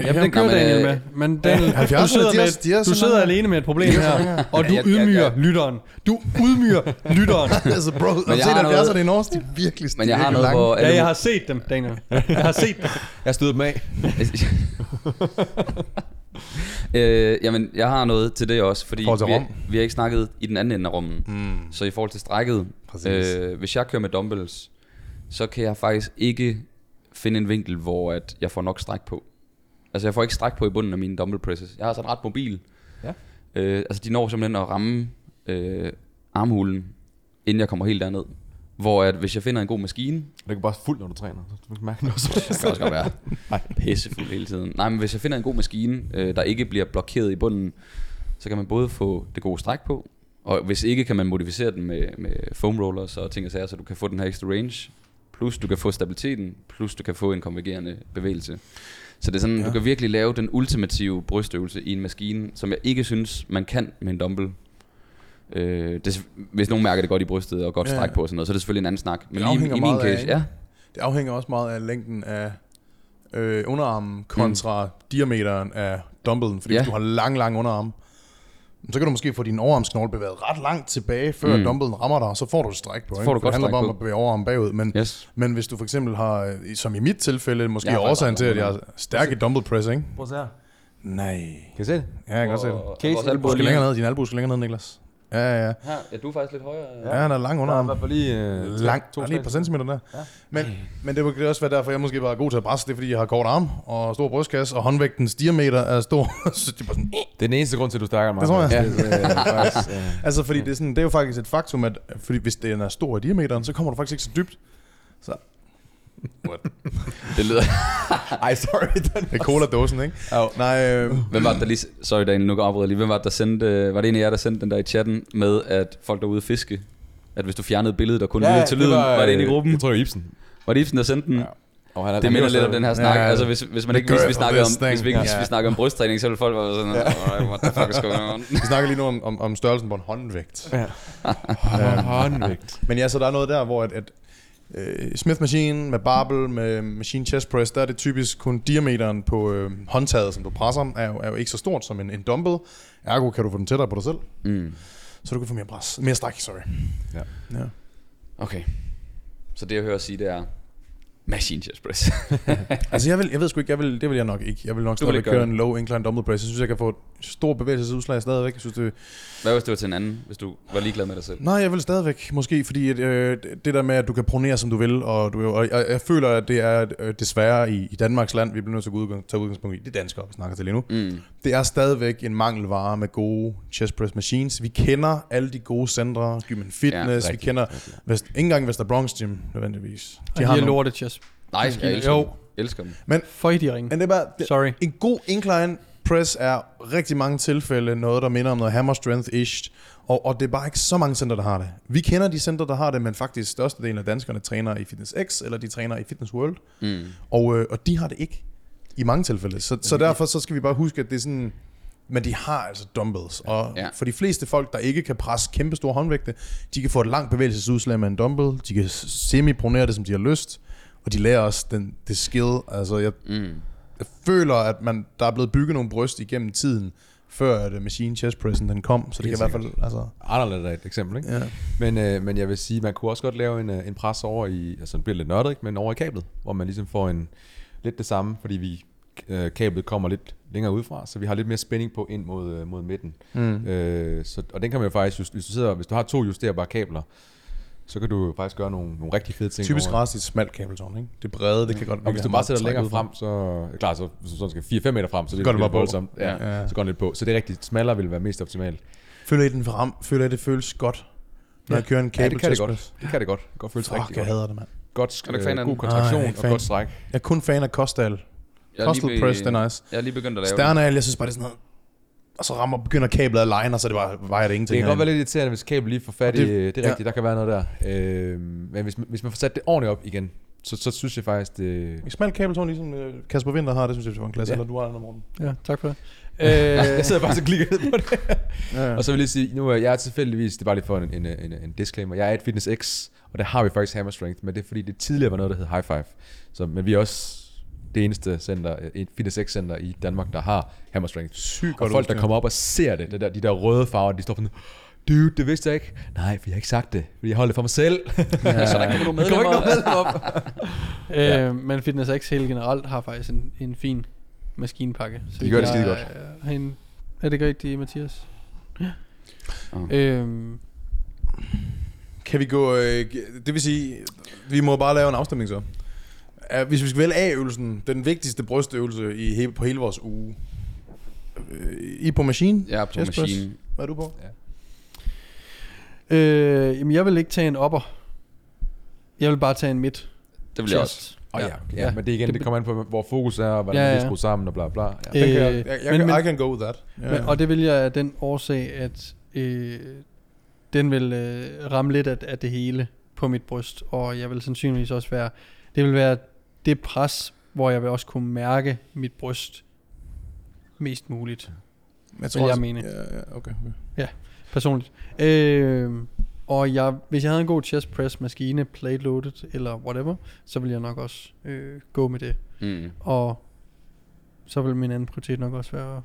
Speaker 1: Ja, den kører
Speaker 3: Nå, men,
Speaker 1: Daniel
Speaker 3: øh,
Speaker 1: med. Men Daniel, du
Speaker 2: 70'erne,
Speaker 1: sidder,
Speaker 2: de er-
Speaker 1: med,
Speaker 2: de er
Speaker 1: du
Speaker 2: sådan
Speaker 1: sidder
Speaker 2: her.
Speaker 1: alene med et problem her, og du
Speaker 3: Ja, jeg- jeg-
Speaker 1: ydmyger
Speaker 3: jeg-
Speaker 1: lytteren. Du ydmyger lytteren.
Speaker 2: (laughs) altså bro, men
Speaker 3: jeg
Speaker 2: jeg set,
Speaker 3: har
Speaker 2: at
Speaker 3: noget-
Speaker 2: 70'erne i Norge, de er virkelig
Speaker 3: Men jeg
Speaker 2: de er
Speaker 3: har
Speaker 2: virkelig
Speaker 3: noget, hvor...
Speaker 1: Ja,
Speaker 3: alle- (laughs)
Speaker 1: jeg har set dem, Daniel. Jeg har set dem.
Speaker 4: (laughs) Jeg stod dem af.
Speaker 3: øh, jamen, jeg har noget til det også, fordi
Speaker 2: Forhold til
Speaker 3: vi,
Speaker 2: Rom.
Speaker 3: vi har ikke snakket i den anden ende af rummen.
Speaker 2: Mm.
Speaker 3: Så i forhold til strækket,
Speaker 2: Præcis.
Speaker 3: øh, hvis jeg kører med dumbbells, så kan jeg faktisk ikke finde en vinkel, hvor at jeg får nok stræk på. Altså jeg får ikke stræk på i bunden af mine dumbbell presses. Jeg har sådan ret mobil.
Speaker 4: Ja.
Speaker 3: Øh, altså de når simpelthen at ramme øh, armhulen, inden jeg kommer helt derned. Hvor at hvis jeg finder en god maskine,
Speaker 4: Det kan bare fuld, når du træner. Så Du kan
Speaker 3: (laughs)
Speaker 4: mærke noget som
Speaker 3: det kan også godt være pissefuld hele tiden. Nej, men hvis jeg finder en god maskine, øh, der ikke bliver blokeret i bunden, så kan man både få det gode stræk på, og hvis ikke, kan man modificere den med, med foam rollers og ting og sager, så du kan få den her ekstra range, plus du kan få stabiliteten, plus du kan få en konvergerende bevægelse. Så det er sådan, ja. du kan virkelig lave den ultimative brystøvelse i en maskine, som jeg ikke synes, man kan med en dumbbell. Øh, det, er s- hvis nogen mærker det godt i brystet og godt
Speaker 2: Ja.
Speaker 3: stræk på og sådan noget, så er det selvfølgelig en anden snak. Men
Speaker 2: Det
Speaker 3: lige i-
Speaker 2: afhænger
Speaker 3: i min
Speaker 2: meget af,
Speaker 3: case,
Speaker 2: ikke?
Speaker 3: ja,
Speaker 2: Det afhænger også meget af længden af øh, underarmen kontra mm. diameteren af dumbbellen. Fordi
Speaker 3: Ja.
Speaker 2: ja. hvis du har lang, lang underarm, så kan du måske få din overarmsknogle bevæget ret langt tilbage, før
Speaker 3: Mm.
Speaker 2: mm. dumbbellen rammer dig, og så får du et stræk på.
Speaker 3: Så
Speaker 2: ikke?
Speaker 3: får du
Speaker 2: For
Speaker 3: godt
Speaker 2: det handler
Speaker 3: stræk
Speaker 2: bare om
Speaker 3: på.
Speaker 2: at bevæge overarmen bagud. Men, ja.
Speaker 3: yes.
Speaker 2: men hvis du for eksempel har, øh, som i mit tilfælde, måske
Speaker 3: Jeg har
Speaker 2: er
Speaker 3: faktisk
Speaker 2: årsagen
Speaker 3: ret
Speaker 2: til, at
Speaker 3: lang
Speaker 2: jeg er stærk i dumbbell press, ikke?
Speaker 4: Prøv at se her.
Speaker 2: Nej.
Speaker 4: Kan I se det?
Speaker 2: Ja, jeg kan godt se det.
Speaker 3: Case vores
Speaker 4: vores
Speaker 2: Du
Speaker 3: albuer
Speaker 2: skal
Speaker 3: lige
Speaker 2: længere ned, din albu skal længere ned, Niklas. Ja, ja, ja.
Speaker 3: Her, ja, du er faktisk lidt højere.
Speaker 2: Ja, han er lang underarm.
Speaker 4: Der er i hvert fald lige... øh,
Speaker 2: Langt, to, lige et par centimeter der. Ja. Men, men det kan også være derfor, jeg måske bare er god til at presse. Det er, fordi jeg har kort arm og stor brystkasse, og håndvægtens diameter er stor. (laughs) så det er bare sådan,
Speaker 4: Det er den eneste grund til, at du snakker
Speaker 2: Det
Speaker 4: meget.
Speaker 2: tror jeg.
Speaker 4: (laughs) faktisk, øh,
Speaker 2: altså, fordi det er, sådan, det er jo faktisk et faktum, at fordi hvis den er stor i diameteren, så kommer du faktisk ikke så dybt.
Speaker 3: Det lyder...
Speaker 4: (laughs) Ej, sorry. Den.
Speaker 2: Det er cola-dåsen, ikke?
Speaker 4: Au.
Speaker 2: Nej, øh,
Speaker 3: (laughs) Hvem var det, der lige... Sorry, Daniel, nu går jeg afbryder jeg lige. Hvem var det, der sendte... øh, Var det en af jer, der sendte den der i chatten med, at folk derude fiske? At hvis du fjernede billedet og kun ja, lyttede til lyden, var, var det en i gruppen?
Speaker 4: Jeg tror, det var Ibsen.
Speaker 3: Var det Ibsen, der sendte den? Ja.
Speaker 4: Ja. Og han er,
Speaker 3: Det minder
Speaker 4: han er
Speaker 3: lidt om den her snak. Ja,
Speaker 2: Ja, ja.
Speaker 3: Altså, hvis, hvis man
Speaker 2: The
Speaker 3: ikke vidste, vi
Speaker 2: girl
Speaker 3: snakkede
Speaker 2: of this
Speaker 3: om, hvis vi ikke
Speaker 2: thing.
Speaker 3: vidste, vi
Speaker 2: Ja.
Speaker 3: snakkede om brysttræning, så ville folk være sådan, "Alright, what the fuck is going (laughs) on?
Speaker 2: vi snakker lige nu om, om, om størrelsen på en håndvægt. Øhm,
Speaker 4: stadig- Håndvægt.
Speaker 2: Men ja, så der er noget der, hvor at, at øh, Smith Machine med barbel, med machine chest press, der er det typisk kun diameteren på øh, håndtaget, som du presser, er jo, er jo ikke så stort som en, en dumbbell. Ergo kan du få den tættere på dig selv,
Speaker 3: Mm.
Speaker 2: så du kan få mere pres. Mere stræk, sorry.
Speaker 4: Ja.
Speaker 2: ja.
Speaker 3: Okay. Så det, jeg hører sige, det er, Machine chest press.
Speaker 2: Altså jeg, vil, jeg ved sgu ikke, jeg vil, det vil jeg nok ikke. Jeg vil nok
Speaker 3: Du vil
Speaker 2: stadigvæk
Speaker 3: ikke gøre
Speaker 2: køre en low incline dumbbell press. Jeg synes, jeg kan få et stort bevægelsesudslag stadigvæk. Jeg synes, det,
Speaker 3: (laughs) Hvad hvis det var til en anden, hvis du var ligeglad med dig selv?
Speaker 2: nej, jeg vil stadigvæk måske, fordi at, øh, det der med, at du kan pronere, som du vil, og, du, og jeg, jeg føler, at det er øh, desværre i, i Danmarks land, vi bliver nødt til at gå udgang, tage udgangspunkt i, det er danskere, vi snakker til lige nu.
Speaker 3: Mm.
Speaker 2: Det er stadigvæk en mangelvare med gode chest press machines. Vi kender alle de gode centre, Gym Fitness, ja, vi
Speaker 4: rigtig,
Speaker 2: kender Vest, ikke engang Vester Bronx Gym, nødvendigvis.
Speaker 1: De har lortet chest.
Speaker 3: Nej, jeg elsker
Speaker 1: Jo.
Speaker 3: dem. Elsker dem.
Speaker 1: Føj de ringe.
Speaker 2: Men det er bare, det,
Speaker 1: Sorry.
Speaker 2: En god incline press er rigtig mange tilfælde noget, der minder om noget hammer strength-ish, og, og det er bare ikke så mange center, der har det. Vi kender de center, der har det, men faktisk størstedelen af danskerne træner i Fitness X, eller de træner i Fitness World,
Speaker 3: Mm.
Speaker 2: og, øh, og de har det ikke i mange tilfælde. Så, så derfor så skal vi bare huske, at det er sådan... Men de har altså dumbbells, og
Speaker 3: Ja.
Speaker 2: ja. for de fleste folk, der ikke kan presse kæmpe store håndvægte, de kan få et langt bevægelsesudslag med en dumbbell, de kan semi-pronere det, som de har lyst, og de lærer også den, det skill. Altså, jeg,
Speaker 3: Mm.
Speaker 2: jeg føler, at man, der er blevet bygget nogle bryst igennem tiden, før at øh, machine chest pressen den kom, så det
Speaker 4: Helt
Speaker 2: kan i hvert fald, altså,
Speaker 4: Anderledes er et eksempel, ikke?
Speaker 2: ja.
Speaker 4: Men, øh, men jeg vil sige, man kunne også godt lave en, øh, en pres over i, altså det bliver lidt nørdet, ikke? men over i kablet, hvor man ligesom får en lidt det samme, fordi vi øh, kablet kommer lidt længere udefra, så vi har lidt mere spænding på ind mod, øh, mod midten.
Speaker 2: Mm.
Speaker 4: Øh, så, og den kan man jo faktisk, just, hvis, du sidder, hvis du har to justerbare kabler, så kan du jo faktisk gøre nogle, nogle rigtig fede ting.
Speaker 2: Typisk
Speaker 4: over.
Speaker 2: ret i et smalt kabeltårn, ikke? Det brede, det kan godt
Speaker 4: Og hvis du bare sætter længere
Speaker 2: udefra.
Speaker 4: frem, så ja, klar, så hvis du sådan skal 4-5 meter frem, så det
Speaker 2: går det
Speaker 4: lidt
Speaker 2: bare på.
Speaker 4: voldsomt. Ja,
Speaker 2: Ja.
Speaker 4: ja. så går den lidt på. Så det er rigtigt, smallere vil være mest optimalt.
Speaker 2: Føler I den frem? Føler I det føles godt? Når
Speaker 1: Ja.
Speaker 2: jeg kører en kabel
Speaker 4: Ja, det kan det godt. Det kan det godt. Det kan godt føles
Speaker 2: Fuck,
Speaker 4: rigtig
Speaker 2: jeg
Speaker 4: godt.
Speaker 2: hader det, mand.
Speaker 4: Godt,
Speaker 3: Er du ikke fan af
Speaker 4: øh, god
Speaker 3: den?
Speaker 4: kontraktion
Speaker 2: Nej, jeg er
Speaker 4: og
Speaker 2: ikke fan.
Speaker 4: godt stræk.
Speaker 2: Jeg er kun fan af Kostal.
Speaker 3: Jeg er,
Speaker 2: Kostal
Speaker 3: lige
Speaker 2: press, det
Speaker 3: be-
Speaker 2: er nice.
Speaker 3: jeg er lige begyndt at lave dem.
Speaker 2: Stjerneal, jeg synes bare, det er sådan noget. Og så rammer, begynder kablet at line, og så er det bare, vejer det
Speaker 4: Det
Speaker 2: ingenting.
Speaker 4: kan godt være
Speaker 2: herinde.
Speaker 4: lidt irriterende, hvis kabel lige får fat
Speaker 2: Og det-
Speaker 4: i, det, det er
Speaker 2: ja.
Speaker 4: rigtigt, ja. der kan være noget der. Øh, men hvis, hvis man får sat det ordentligt op igen, så, så synes jeg faktisk, det...
Speaker 2: Et smalt kabeltårn, ligesom øh, Kasper Winter har, det synes jeg, det var en klasse.
Speaker 4: Ja.
Speaker 2: Eller du har den, Morten.
Speaker 1: Ja, tak for det.
Speaker 4: (laughs) jeg
Speaker 1: Øh,
Speaker 4: sidder bare og klikker ned på det.
Speaker 2: Ja, ja.
Speaker 4: Og så vil jeg lige sige, nu er jeg tilfældigvis, det er bare lige for en, en, en, en disclaimer, jeg er et Fitness X, og der har vi faktisk Hammer Strength, men det er fordi, det tidligere var noget, der hed High Five. Så, men vi er også det eneste center, et Fitness X center i Danmark, der har Hammer Strength.
Speaker 2: Sygt
Speaker 4: Og
Speaker 2: godt
Speaker 4: folk, der
Speaker 2: udstyr.
Speaker 4: kommer op og ser det, det der, de der røde farver, de står sådan, dude, det vidste jeg ikke. Nej, for jeg har ikke sagt det, fordi jeg holder det for mig selv.
Speaker 3: Ja. (laughs) Så der kommer nogle
Speaker 4: Der kommer
Speaker 3: medlemmer.
Speaker 4: ikke noget medlem op.
Speaker 1: øh, men Fitness X helt generelt har faktisk en, en fin maskinpakke. Så
Speaker 4: De gør det
Speaker 1: jeg
Speaker 4: skidegodt.
Speaker 1: Er, en, er det godt, de Mathias? Ja.
Speaker 3: Ah.
Speaker 1: Øhm,
Speaker 2: Kan vi gå... Øh, det vil sige, vi må bare lave en afstemning så. Er- Hvis vi skal vælge A-øvelsen, den vigtigste brystøvelse i he- på hele vores uge. Øh, I på machine?
Speaker 3: Jeg er på
Speaker 2: Chest press.
Speaker 3: maskinen.
Speaker 2: Hvad er du på?
Speaker 1: øh, jamen, jeg vil ikke tage en opper. Jeg vil bare tage en midt.
Speaker 3: Det vil jeg også.
Speaker 1: chest.
Speaker 4: Og ja, ja,
Speaker 1: Ja.
Speaker 4: men det er igen,
Speaker 1: Det
Speaker 4: det,
Speaker 1: be-
Speaker 4: kommer an på, hvor fokus er, og hvordan
Speaker 1: Ja,
Speaker 4: ja, ja. det
Speaker 1: ja.
Speaker 4: er skruet sammen, og bla bla. Ja.
Speaker 2: Den kan
Speaker 1: Øh,
Speaker 2: jeg, jeg, jeg,
Speaker 1: men-
Speaker 2: kan-
Speaker 1: men-
Speaker 2: I can go with that. Ja.
Speaker 1: Men, og det vil jeg af den årsag, at øh, den vil øh, ramme lidt af, af det hele på mit bryst, og jeg vil sandsynligvis også være, det vil være det pres, hvor jeg vil også kunne mærke mit bryst mest muligt,
Speaker 2: jeg
Speaker 1: vil jeg
Speaker 2: også-
Speaker 1: mene.
Speaker 2: Ja, ja, okay. okay.
Speaker 1: personligt. Øh, og jeg, hvis jeg havde en god chest press maskine, plate loaded eller whatever, så ville jeg nok også øh, gå med det.
Speaker 3: Mm.
Speaker 1: Og så vil min anden prioritet nok også være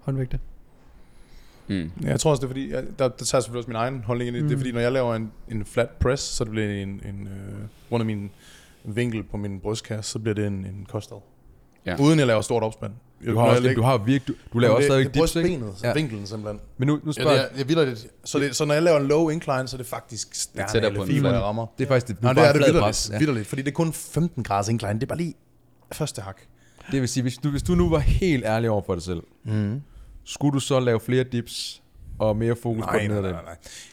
Speaker 1: håndvægte.
Speaker 3: Mm.
Speaker 2: Ja, jeg tror også, det er fordi, jeg, der, der tager selvfølgelig også min egen holdning ind i det. Det
Speaker 1: Mm.
Speaker 2: er fordi, når jeg laver en, en flat press, så det bliver en, en øh, rundt af min vinkel på min brystkasse, så bliver det en, en kostad.
Speaker 3: Ja.
Speaker 2: Ja. Uden jeg laver stort opspand. Jeg-
Speaker 4: Du har,
Speaker 2: når
Speaker 4: også,
Speaker 2: jeg
Speaker 4: du har virk, du, du laver også stadig
Speaker 2: det,
Speaker 4: dips, ikke?
Speaker 2: brystbenet,
Speaker 4: Ja.
Speaker 2: ja. vinkelen simpelthen.
Speaker 4: Men nu, nu
Speaker 2: Ja,
Speaker 4: spørger
Speaker 2: det
Speaker 4: jeg,
Speaker 2: er, jeg vilder det. Så, det, så når jeg laver en low incline, så er det faktisk stærkt,
Speaker 3: tættere på en
Speaker 2: fiber,
Speaker 3: flat.
Speaker 2: jeg rammer.
Speaker 4: det er faktisk det, du
Speaker 2: Nej,
Speaker 4: er
Speaker 2: det
Speaker 4: bare
Speaker 2: er
Speaker 4: en
Speaker 2: det
Speaker 4: flad
Speaker 2: vidderligt,
Speaker 4: pres.
Speaker 2: ja.
Speaker 4: Ja.
Speaker 2: vidderligt, fordi det er kun 15 grader incline. Det er bare lige første hak.
Speaker 4: Det vil sige, hvis du, hvis du nu var helt ærlig over for dig selv,
Speaker 2: Mm.
Speaker 4: skulle du så lave flere dips og mere fokus på
Speaker 2: Nej,
Speaker 4: den
Speaker 2: nej, nej,
Speaker 4: nederdel?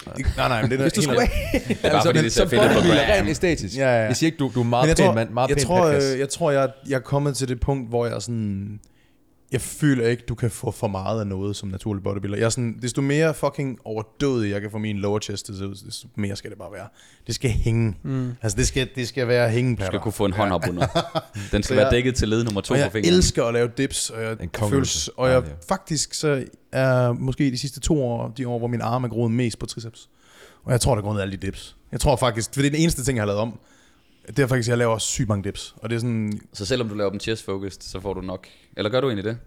Speaker 2: nej. Det- Nej, nej, men det er
Speaker 4: Hvis du
Speaker 2: helt-
Speaker 4: skulle Altså,
Speaker 3: er
Speaker 4: være (laughs)
Speaker 3: bare fordi, det ser fedt ud på
Speaker 4: det
Speaker 3: gram.
Speaker 4: rent æstetisk.
Speaker 2: Ja, ja, ja.
Speaker 4: Jeg siger ikke, du, du er en meget
Speaker 2: Men jeg
Speaker 4: pæn
Speaker 2: tror,
Speaker 4: mand, meget
Speaker 2: jeg,
Speaker 4: pæn
Speaker 2: tror,
Speaker 4: podcast.
Speaker 2: øh, jeg tror, jeg, jeg er kommet til det punkt, hvor jeg er sådan... Jeg føler ikke, du kan få for meget af noget som naturlig bodybuilder. Jeg er sådan, desto mere fucking overdødig jeg kan få min lower chest til at se ud, desto mere skal det bare være. Det skal hænge. Mm. Altså, det skal, det skal være
Speaker 3: Du
Speaker 2: hængeplatter.
Speaker 3: skal kunne få en hånd op
Speaker 2: (laughs)
Speaker 3: under. Den skal
Speaker 2: Så
Speaker 3: være
Speaker 2: jeg-
Speaker 3: dækket til led nummer to
Speaker 2: og
Speaker 3: på
Speaker 2: jeg
Speaker 3: fingeren.
Speaker 2: elsker at lave dips, og jeg,
Speaker 4: En
Speaker 2: føles,
Speaker 4: kongeøvelse.
Speaker 2: og jeg
Speaker 4: Ja, det
Speaker 2: faktisk så er måske de sidste to år, de år, hvor min arm er groet mest på triceps. Og jeg tror, der er grundet af alle de dips. Jeg tror faktisk, for det er den eneste ting, jeg har lavet om. Det er faktisk, at jeg laver sygt mange dips. Og det er sådan,
Speaker 3: Så selvom du laver dem chest focused, så får du nok. Eller gør du egentlig det?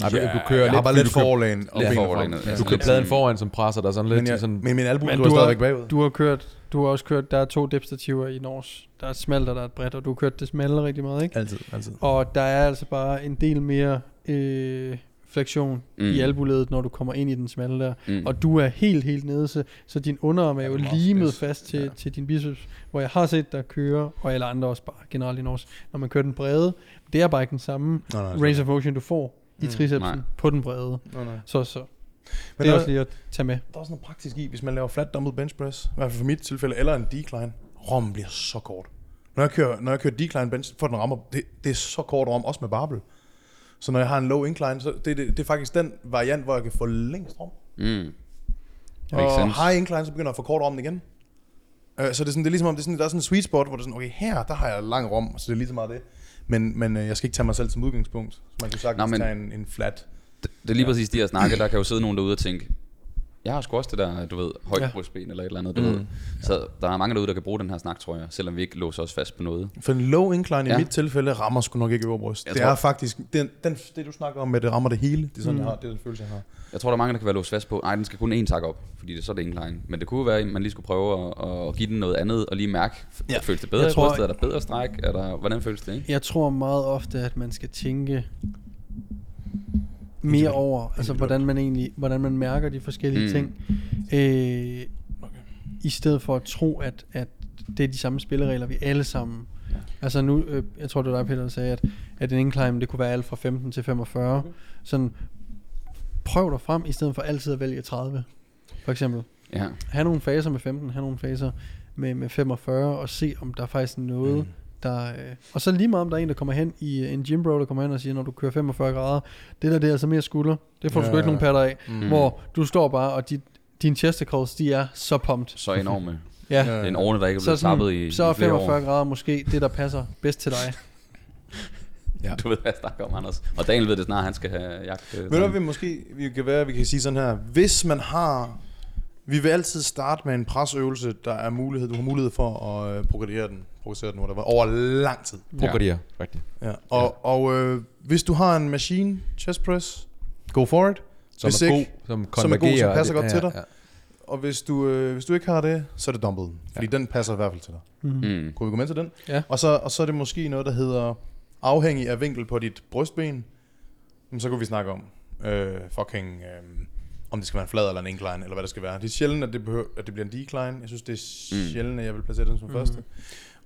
Speaker 4: Nej, du, du
Speaker 2: jeg
Speaker 4: kører
Speaker 2: har
Speaker 4: lidt,
Speaker 2: bare
Speaker 4: fordi
Speaker 2: lidt
Speaker 4: du kører,
Speaker 2: forlæn. og
Speaker 3: lidt
Speaker 2: benene
Speaker 3: forlænet,
Speaker 2: frem.
Speaker 3: ja.
Speaker 4: du kører pladen foran, som presser dig sådan
Speaker 2: Men,
Speaker 4: lidt.
Speaker 2: jeg,
Speaker 4: sådan,
Speaker 2: men min albu
Speaker 1: Men
Speaker 2: går
Speaker 1: du har-
Speaker 2: stadigvæk bagud.
Speaker 1: Du har kørt Du har også kørt, der er to dipstativer i Nors. Der er et smalt, og der er et bredt, og du har kørt det smalle rigtig meget, ikke?
Speaker 2: Altid, altid.
Speaker 1: Og der er altså bare en del mere øh, fleksion mm. i albuledet, når du kommer ind i den smalle der.
Speaker 3: Mm.
Speaker 1: Og du er helt, helt nede, så, så din underarm er
Speaker 2: Ja,
Speaker 1: jo
Speaker 2: det er meget
Speaker 1: limet
Speaker 2: spids.
Speaker 1: fast til,
Speaker 2: Ja.
Speaker 1: ja. til din biceps, hvor jeg har set der køre, og alle andre også bare generelt i Nors, når man kører den brede. Det er bare ikke den samme
Speaker 2: Nå, nej,
Speaker 1: range of motion, du får i
Speaker 2: Mm,
Speaker 1: tricepsen
Speaker 3: nej.
Speaker 1: på den brede.
Speaker 2: Nå, nej.
Speaker 1: Så, så. Men
Speaker 2: Men
Speaker 1: det er
Speaker 2: der,
Speaker 1: også lige at tage med.
Speaker 2: der er også noget praktisk i, hvis man laver flat dumbbell bench press, i hvert fald for mit tilfælde, eller en decline, rommen bliver så kort. Når jeg kører, når jeg kører decline bench, får den rammer, det, det er så kort rom, også med barbel. Så når jeg har en low incline, så det, det, det er faktisk den variant, hvor jeg kan få længst rom.
Speaker 3: Mm. Makes
Speaker 2: Og
Speaker 3: sense.
Speaker 2: high incline, så begynder jeg at få kort rommen igen. Øh, så det er, sådan, det er ligesom om, det er sådan, der er sådan en sweet spot, hvor det er sådan, okay, her, der har jeg lang rom, så det er lige så meget det. Men, men øh, jeg skal ikke tage mig selv som udgangspunkt. Så man kan sagtens
Speaker 3: Nå, men-
Speaker 2: tage en, en flat.
Speaker 3: Det er lige præcis de her snakke, der kan jo sidde nogen derude og tænke, jeg har sgu også det der, du ved, højt
Speaker 1: Ja.
Speaker 3: ja. brystben eller et eller andet, du mm. ved. Så der er mange derude, der kan bruge den her snak, tror jeg, selvom vi ikke låser os fast på noget.
Speaker 2: For en low incline ja.
Speaker 3: Ja.
Speaker 2: i mit tilfælde rammer sgu nok ikke øverbryst.
Speaker 3: Jeg
Speaker 2: Det
Speaker 3: tror-
Speaker 2: er faktisk, den, den, det du snakker om med, det rammer det hele. Det er sådan, mm. jeg har, det er den følelse, jeg har.
Speaker 3: Jeg tror, der er mange, der kan være låst fast på, nej, den skal kun én tak op, fordi det, så er det incline. Men det kunne jo være, at man lige skulle prøve at, at give den noget andet, og lige mærke,
Speaker 2: Ja.
Speaker 3: ja. føles det bedre
Speaker 1: Jeg
Speaker 3: i
Speaker 1: tror-
Speaker 3: brystet, er der bedre stræk, er der, hvordan føles det, ikke?
Speaker 1: Jeg tror meget ofte, at man skal tænke mere over, altså hvordan man egentlig, hvordan man mærker de forskellige
Speaker 3: Mm.
Speaker 1: mm. ting, øh, i stedet for at tro, at, at det er de samme spilleregler, vi alle sammen. Ja. Altså nu, øh, jeg tror det var dig, Peter, der sagde, at, at en incline, det kunne være alt fra 15 til 45.
Speaker 3: Mhm.
Speaker 1: Okay. Sådan, prøv dig frem, i stedet for altid at vælge 30, for eksempel
Speaker 3: Ja.
Speaker 1: have nogle faser med 15, have nogle faser med, med 45, og se om der er faktisk noget, mm. der... Øh, og så lige meget om der er en, der kommer hen i øh, en gym bro, der kommer hen og siger, når du kører 45 grader, det der, det er altså mere skulder. Det får du sgu
Speaker 2: Ja.
Speaker 1: ikke nogen patter af.
Speaker 2: Mm.
Speaker 1: Mm. Hvor du står bare, og dit, din chesticles, de er så pumped.
Speaker 3: Så enorme.
Speaker 1: Ja.
Speaker 2: Ja.
Speaker 1: ja.
Speaker 3: Det er en årene, der ikke er
Speaker 1: Så, er
Speaker 3: blevet tappet
Speaker 1: sådan,
Speaker 3: i,
Speaker 1: så er
Speaker 3: i flere
Speaker 1: 45
Speaker 3: år.
Speaker 1: grader måske det, der passer bedst til
Speaker 3: (laughs)
Speaker 1: dig.
Speaker 3: Du ved, hvad jeg snakker om, Anders. Og Daniel ved det snart, han skal have jagt. øh,
Speaker 2: Ved du,
Speaker 3: sådan.
Speaker 2: hvad vi måske vi kan være, vi kan sige sådan her. Hvis man har... Vi vil altid starte med en presøvelse, der er mulighed, du har mulighed for at øh, progredere den, progressere den whatever, over lang tid.
Speaker 4: Progredier, ja. rigtigt.
Speaker 2: Ja. Og, og øh, hvis du har en machine chest press, go for it.
Speaker 4: Som
Speaker 2: Hvis
Speaker 4: er
Speaker 2: ikke-
Speaker 4: god,
Speaker 2: som
Speaker 4: som konvergerer.
Speaker 2: passer godt
Speaker 4: ja,
Speaker 2: til dig.
Speaker 4: Ja.
Speaker 2: Og hvis du, øh, hvis du ikke har det, så er det dumbbell. Fordi ja. den passer i hvert fald til dig.
Speaker 1: Mhm.
Speaker 3: Mm.
Speaker 2: Kunne vi gå med til den?
Speaker 1: Ja.
Speaker 2: Og, så, og så er det måske noget, der hedder afhængig af vinkel på dit brystben. Men så kunne vi snakke om øh, fucking... Øh, om det skal være en flad eller en incline, eller hvad det skal være. Det er sjældent, at det, behøver, at det bliver en decline. Jeg synes, det er sjældent, at jeg vil placere den som første.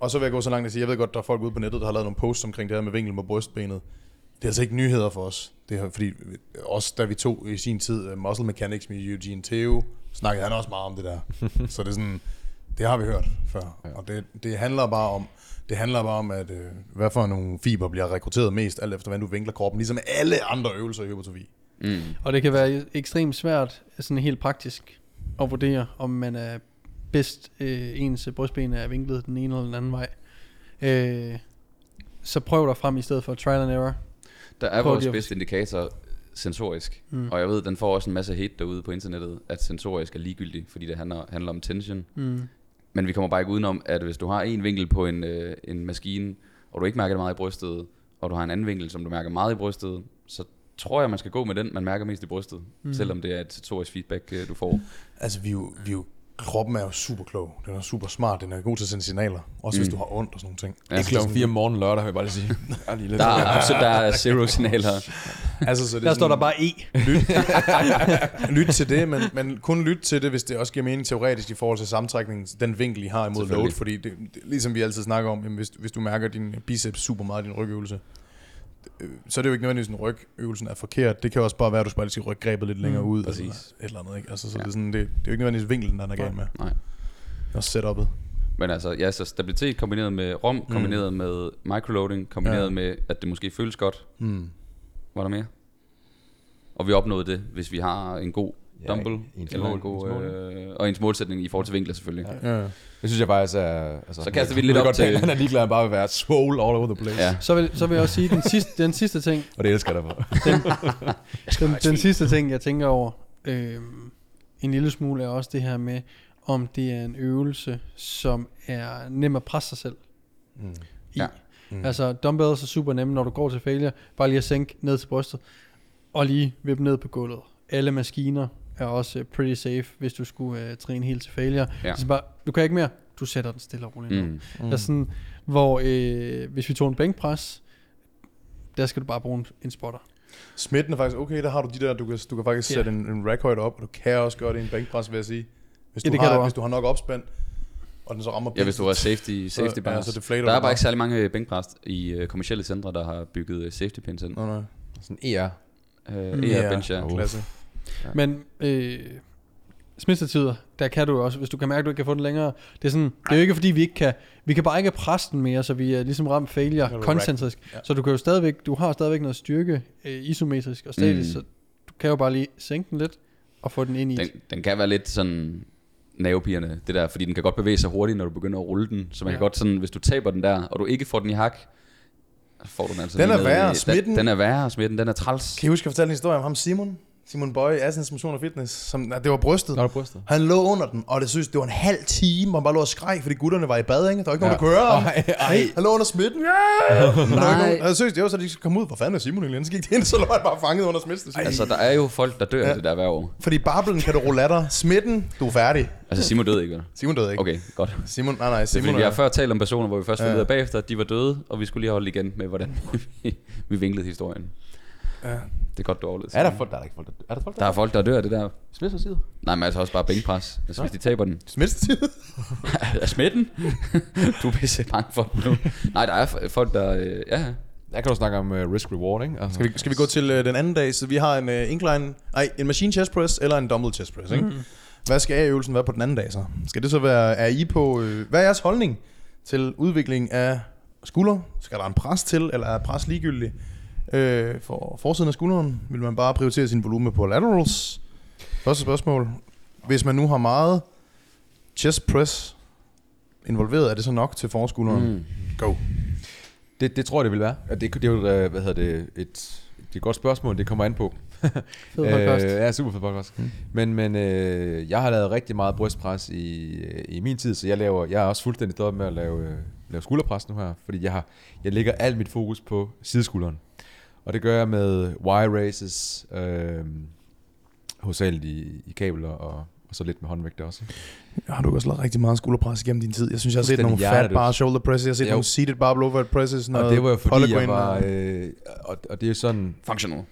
Speaker 2: Og så vil jeg gå så langt at sige, jeg ved godt, der er folk ude på nettet, der har lavet nogle posts omkring det her med vinkel med brystbenet. Det er altså ikke nyheder for os. Det er, fordi også da vi tog i sin tid øh, Muscle Mechanics med Eugene Theo, snakkede han også meget om det der. så det er sådan, det har vi hørt før. Ja. Og det, det, handler bare om, det handler bare om, at øh, hvad for nogle fiber bliver rekrutteret mest, alt efter hvordan du vinkler kroppen, ligesom alle andre øvelser i hypertrofi.
Speaker 3: Mm.
Speaker 1: Og det kan være ekstremt svært, sådan helt praktisk, at vurdere, om man er bedst øh, ens brystben er vinklet den ene eller den anden vej. Øh, så prøv dig frem i stedet for trial and error.
Speaker 3: Der er
Speaker 1: Prøv
Speaker 3: vores
Speaker 1: lige at-
Speaker 3: bedste indikator sensorisk. Mm.
Speaker 1: Mm.
Speaker 3: Og jeg ved, den får også en masse hate derude på internettet, at sensorisk er ligegyldig, fordi det handler, handler om tension.
Speaker 1: Mm.
Speaker 3: Men vi kommer bare ikke udenom, at hvis du har en vinkel på en, øh, en maskine, og du ikke mærker det meget i brystet, og du har en anden vinkel, som du mærker meget i brystet, så tror jeg, man skal gå med den, man mærker mest i brystet. Mm. Selvom det er et sensorisk feedback, øh, du får.
Speaker 2: Altså, vi er jo, vi er jo, kroppen er jo super klog. Den er super smart. Den er god til at sende signaler. Også mm. hvis du har ondt og sådan nogle ting. Altså,
Speaker 3: Ja.
Speaker 4: Ikke klokken 4 om morgenen lørdag, vil jeg bare
Speaker 2: (laughs)
Speaker 4: lige sige. Jeg er lige lidt.
Speaker 3: Der er, absolut, der er zero signaler. (laughs)
Speaker 2: altså, så det er
Speaker 1: Der står
Speaker 2: sådan-
Speaker 1: der bare E.
Speaker 2: (laughs) lytte til det, men, men kun lytte til det, hvis det også giver mening teoretisk i forhold til samtrækningen, den vinkel, I har imod load,
Speaker 3: Selvfølgelig.
Speaker 2: fordi det, det, ligesom vi altid snakker om, jamen, hvis, hvis du mærker din biceps super meget i din rygøvelse, øh, så er det jo ikke nødvendigvis, at rygøvelsen er forkert. Det kan også bare være, at du bare lige skal rykke grebet lidt længere ud.
Speaker 3: Mm, præcis.
Speaker 2: Altså, et eller andet, ikke? Altså, så
Speaker 3: Ja.
Speaker 2: ja. det, er sådan, det, det er jo ikke nødvendigvis vinkelen, der er galt med.
Speaker 3: Nej.
Speaker 2: Og setup'et.
Speaker 3: Men altså, ja, så stabilitet kombineret med rom, kombineret med microloading, kombineret
Speaker 2: Ja.
Speaker 3: Mhm. ja. med, at det måske føles godt,
Speaker 2: Mm.
Speaker 3: Var der mere? Og vi opnåede det, hvis vi har en god
Speaker 4: Ja,
Speaker 3: dumbbell,
Speaker 4: ens
Speaker 3: eller
Speaker 4: mål,
Speaker 3: en god,
Speaker 4: ens mål,
Speaker 3: øh, og ens målsætning i forhold til vinkler selvfølgelig. Ja.
Speaker 2: Ja.
Speaker 4: Det synes jeg faktisk er... Altså,
Speaker 3: Så kaster vi den lidt
Speaker 4: Jeg kan
Speaker 3: op
Speaker 4: godt tænke,
Speaker 3: til-
Speaker 4: (laughs) Han er ligeglad, han bare vil være soul all over the place.
Speaker 3: Ja.
Speaker 1: Så vil, så vil jeg også sige, den sidste, den sidste ting,
Speaker 4: Og det elsker jeg dig for.
Speaker 2: (laughs)
Speaker 1: den, den sidste ting, jeg tænker over øh, en lille smule, er også det her med, om det er en øvelse, som er nem at presse sig selv
Speaker 2: Mm.
Speaker 1: i.
Speaker 3: Ja.
Speaker 1: Ja. Mm. Altså dumbbells er super nemme, når du går til failure, bare lige at sænke ned til brystet, og lige vippe ned på gulvet. Alle maskiner er også øh, pretty safe, hvis du skulle øh, træne helt til failure.
Speaker 3: Ja.
Speaker 1: Ja. Så bare, du kan ikke mere, du sætter den stille og roligt ned.
Speaker 3: Mm.
Speaker 1: Mm. Altså sådan, hvor øh, hvis vi tog en bænkpres, der skal du bare bruge en, en spotter.
Speaker 2: Smitten er faktisk okay, der har du de der, du kan, du kan faktisk
Speaker 1: Ja.
Speaker 2: yeah. sætte en, en rack højde op, og du kan også gøre det i en bænkpres, vil jeg sige. Hvis
Speaker 1: Ja,
Speaker 2: du,
Speaker 1: det kan
Speaker 2: har,
Speaker 1: du også.
Speaker 2: hvis du har nok opspændt, og den så rammer
Speaker 3: Ja, hvis du har safety, safety
Speaker 2: så, ja,
Speaker 3: bars.
Speaker 2: så det flater
Speaker 3: Der er
Speaker 2: du
Speaker 3: bare ikke særlig mange bænkpres i øh, kommersielle centre, der har bygget øh, safety pins ind.
Speaker 2: Nå, nej.
Speaker 4: Sådan E ER.
Speaker 3: Øh,
Speaker 1: Mm.
Speaker 3: mm.
Speaker 2: Ja,
Speaker 3: Ja, bench, ja.
Speaker 4: Uh.
Speaker 2: Klasse.
Speaker 1: Ja. Men øh, smittetider, der kan du også, hvis du kan mærke, at du ikke kan få den længere. Det er, sådan, det er jo ikke fordi, vi ikke kan, vi kan bare ikke presse den mere, så vi er ligesom ramt
Speaker 2: Kan
Speaker 1: failure
Speaker 2: du
Speaker 1: koncentrisk.
Speaker 2: rack den? Ja.
Speaker 1: Så du kan jo stadigvæk, du har stadigvæk noget styrke, øh, isometrisk og statisk,
Speaker 3: Mm.
Speaker 1: mm. så du kan jo bare lige sænke den lidt og få den ind i. Den.
Speaker 3: Den, den kan være lidt sådan nervepirrende, det der, fordi den kan godt bevæge sig hurtigt, når du begynder at rulle den. Så man ja. kan
Speaker 1: Ja.
Speaker 3: godt sådan, hvis du taber den der, og du ikke får den i hak, så får du den altså
Speaker 2: Den
Speaker 3: lige
Speaker 2: er
Speaker 3: ned
Speaker 2: værre,
Speaker 3: i-
Speaker 2: smitten.
Speaker 3: Den, den er værre, smitten, den er træls.
Speaker 2: Kan I huske, at jeg fortalte en historie om ham, Simon? Simon Bøje, Assens Motion og Fitness, som, nej, det var brystet.
Speaker 4: Når du brystet.
Speaker 2: Han lå under den, og det synes, det var en halv time, og han bare lå og skreg, fordi gutterne var i bad, ikke? Der var ikke ja. nogen, der kunne høre ham. Han lå under smitten. Yeah!
Speaker 3: Nej.
Speaker 2: Nej. Jeg synes, det var så, de kom ud. Hvor fanden er Simon egentlig? Så gik de ind, så lå han bare fanget under smitten.
Speaker 3: Altså, der er jo folk, der dør ja. af det der hver år.
Speaker 2: Fordi barblen kan du rulle af dig. Smitten, du er færdig.
Speaker 3: Altså, Simon døde ikke, vel?
Speaker 2: Simon døde ikke.
Speaker 3: Okay, godt.
Speaker 2: Simon, nej, nej,
Speaker 3: Det er,
Speaker 2: Simon
Speaker 3: fordi, vi har
Speaker 2: er-
Speaker 3: før talt om personer, hvor vi først fandt
Speaker 2: Ja.
Speaker 3: ud af bagefter, at de var døde, og vi skulle lige holde igen med, hvordan (laughs) vi, vi vinklede historien.
Speaker 2: Ja.
Speaker 3: Det er godt, du overlevede.
Speaker 4: Er
Speaker 3: Simon.
Speaker 4: der folk, der er der ikke folk, der Er der folk,
Speaker 3: der er folk, der dør af det der.
Speaker 4: Smidt
Speaker 3: Nej, men altså også bare bænkpres. Altså, hvis de taber
Speaker 4: (laughs)
Speaker 3: den.
Speaker 2: Smittetid.
Speaker 3: Er smitten? du er pisse bange for den nu. Nej, der er f- folk, der... Øh, ja, ja.
Speaker 4: Der kan du snakke om uh, risk-reward, ikke? Altså,
Speaker 2: Skal vi, skal vi gå til øh, den anden dag? Så vi har en øh, incline, nej, en machine chest press eller en dumbbell chest press, ikke? Mm. Hvad skal A-øvelsen være på den anden dag så? Skal det så være, er I på, øh, hvad er jeres holdning til udvikling af skulder? Skal der en pres til, eller er pres ligegyldig? Øh, for forsiden af skulderen, vil man bare prioritere sin volumen på laterals? Første spørgsmål. Hvis man nu har meget chest press involveret, er det så nok til forskulderen? Mm. Go.
Speaker 4: Det, det tror jeg, det vil være. Ja, Det, det er jo, øh, hvad hedder det, et, det er et godt spørgsmål, det kommer an på.
Speaker 1: Fed podcast.
Speaker 4: Øh, ja, super fed podcast. Mm. Men, men øh, jeg har lavet rigtig meget brystpres i, øh, i min tid, så jeg, laver, jeg er også fuldstændig stoppet med at lave, øh, lave skulderpres nu her, fordi jeg, har, jeg lægger alt mit fokus på sideskulderen. Og det gør jeg med Y-races, øh, hovedsageligt i, i kabler og, og så lidt med håndvægte også.
Speaker 2: Ja, har du også lavet rigtig meget skulderpres igennem din tid. Jeg synes, jeg har set nogle
Speaker 4: Fuldstændig
Speaker 2: fat
Speaker 4: hjerteløst.
Speaker 2: bar shoulder presses, jeg har set
Speaker 4: Jo.
Speaker 2: nogle seated barbell overhead presses, noget
Speaker 4: Og det var jo fordi,
Speaker 2: polygreen
Speaker 4: jeg var,
Speaker 2: og-
Speaker 4: øh, og, og det er jo sådan,
Speaker 3: Functional.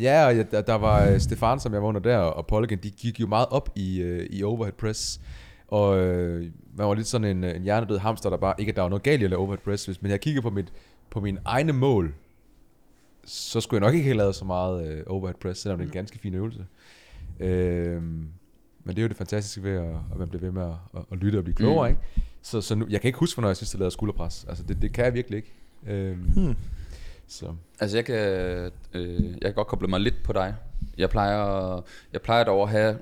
Speaker 4: Ja, og jeg, der, der var øh, Stefan, som jeg var under der, og Polgen, de gik jo meget op i, øh, i overhead press. Og øh, man var lidt sådan en, øh, en hjernedød hamster, der bare, ikke at der var noget galt i at lave overhead press, hvis, men jeg kigger på, mit, på mine egne mål, så skulle jeg nok ikke have lavet så meget øh, overhead press, selvom
Speaker 2: Mm.
Speaker 4: det er en ganske fin øvelse. Øh, men det er jo det fantastiske ved, at, at man bliver ved med at, at, at lytte og blive klogere,
Speaker 3: Mm.
Speaker 4: mm. ikke? Så, så nu, jeg kan ikke huske, hvornår jeg sidst har lavet skulderpres. Altså, det, det kan jeg virkelig ikke. Øh, hmm. Så
Speaker 3: Altså, jeg kan, øh, jeg kan godt koble mig lidt på dig. Jeg plejer, jeg plejer dog at have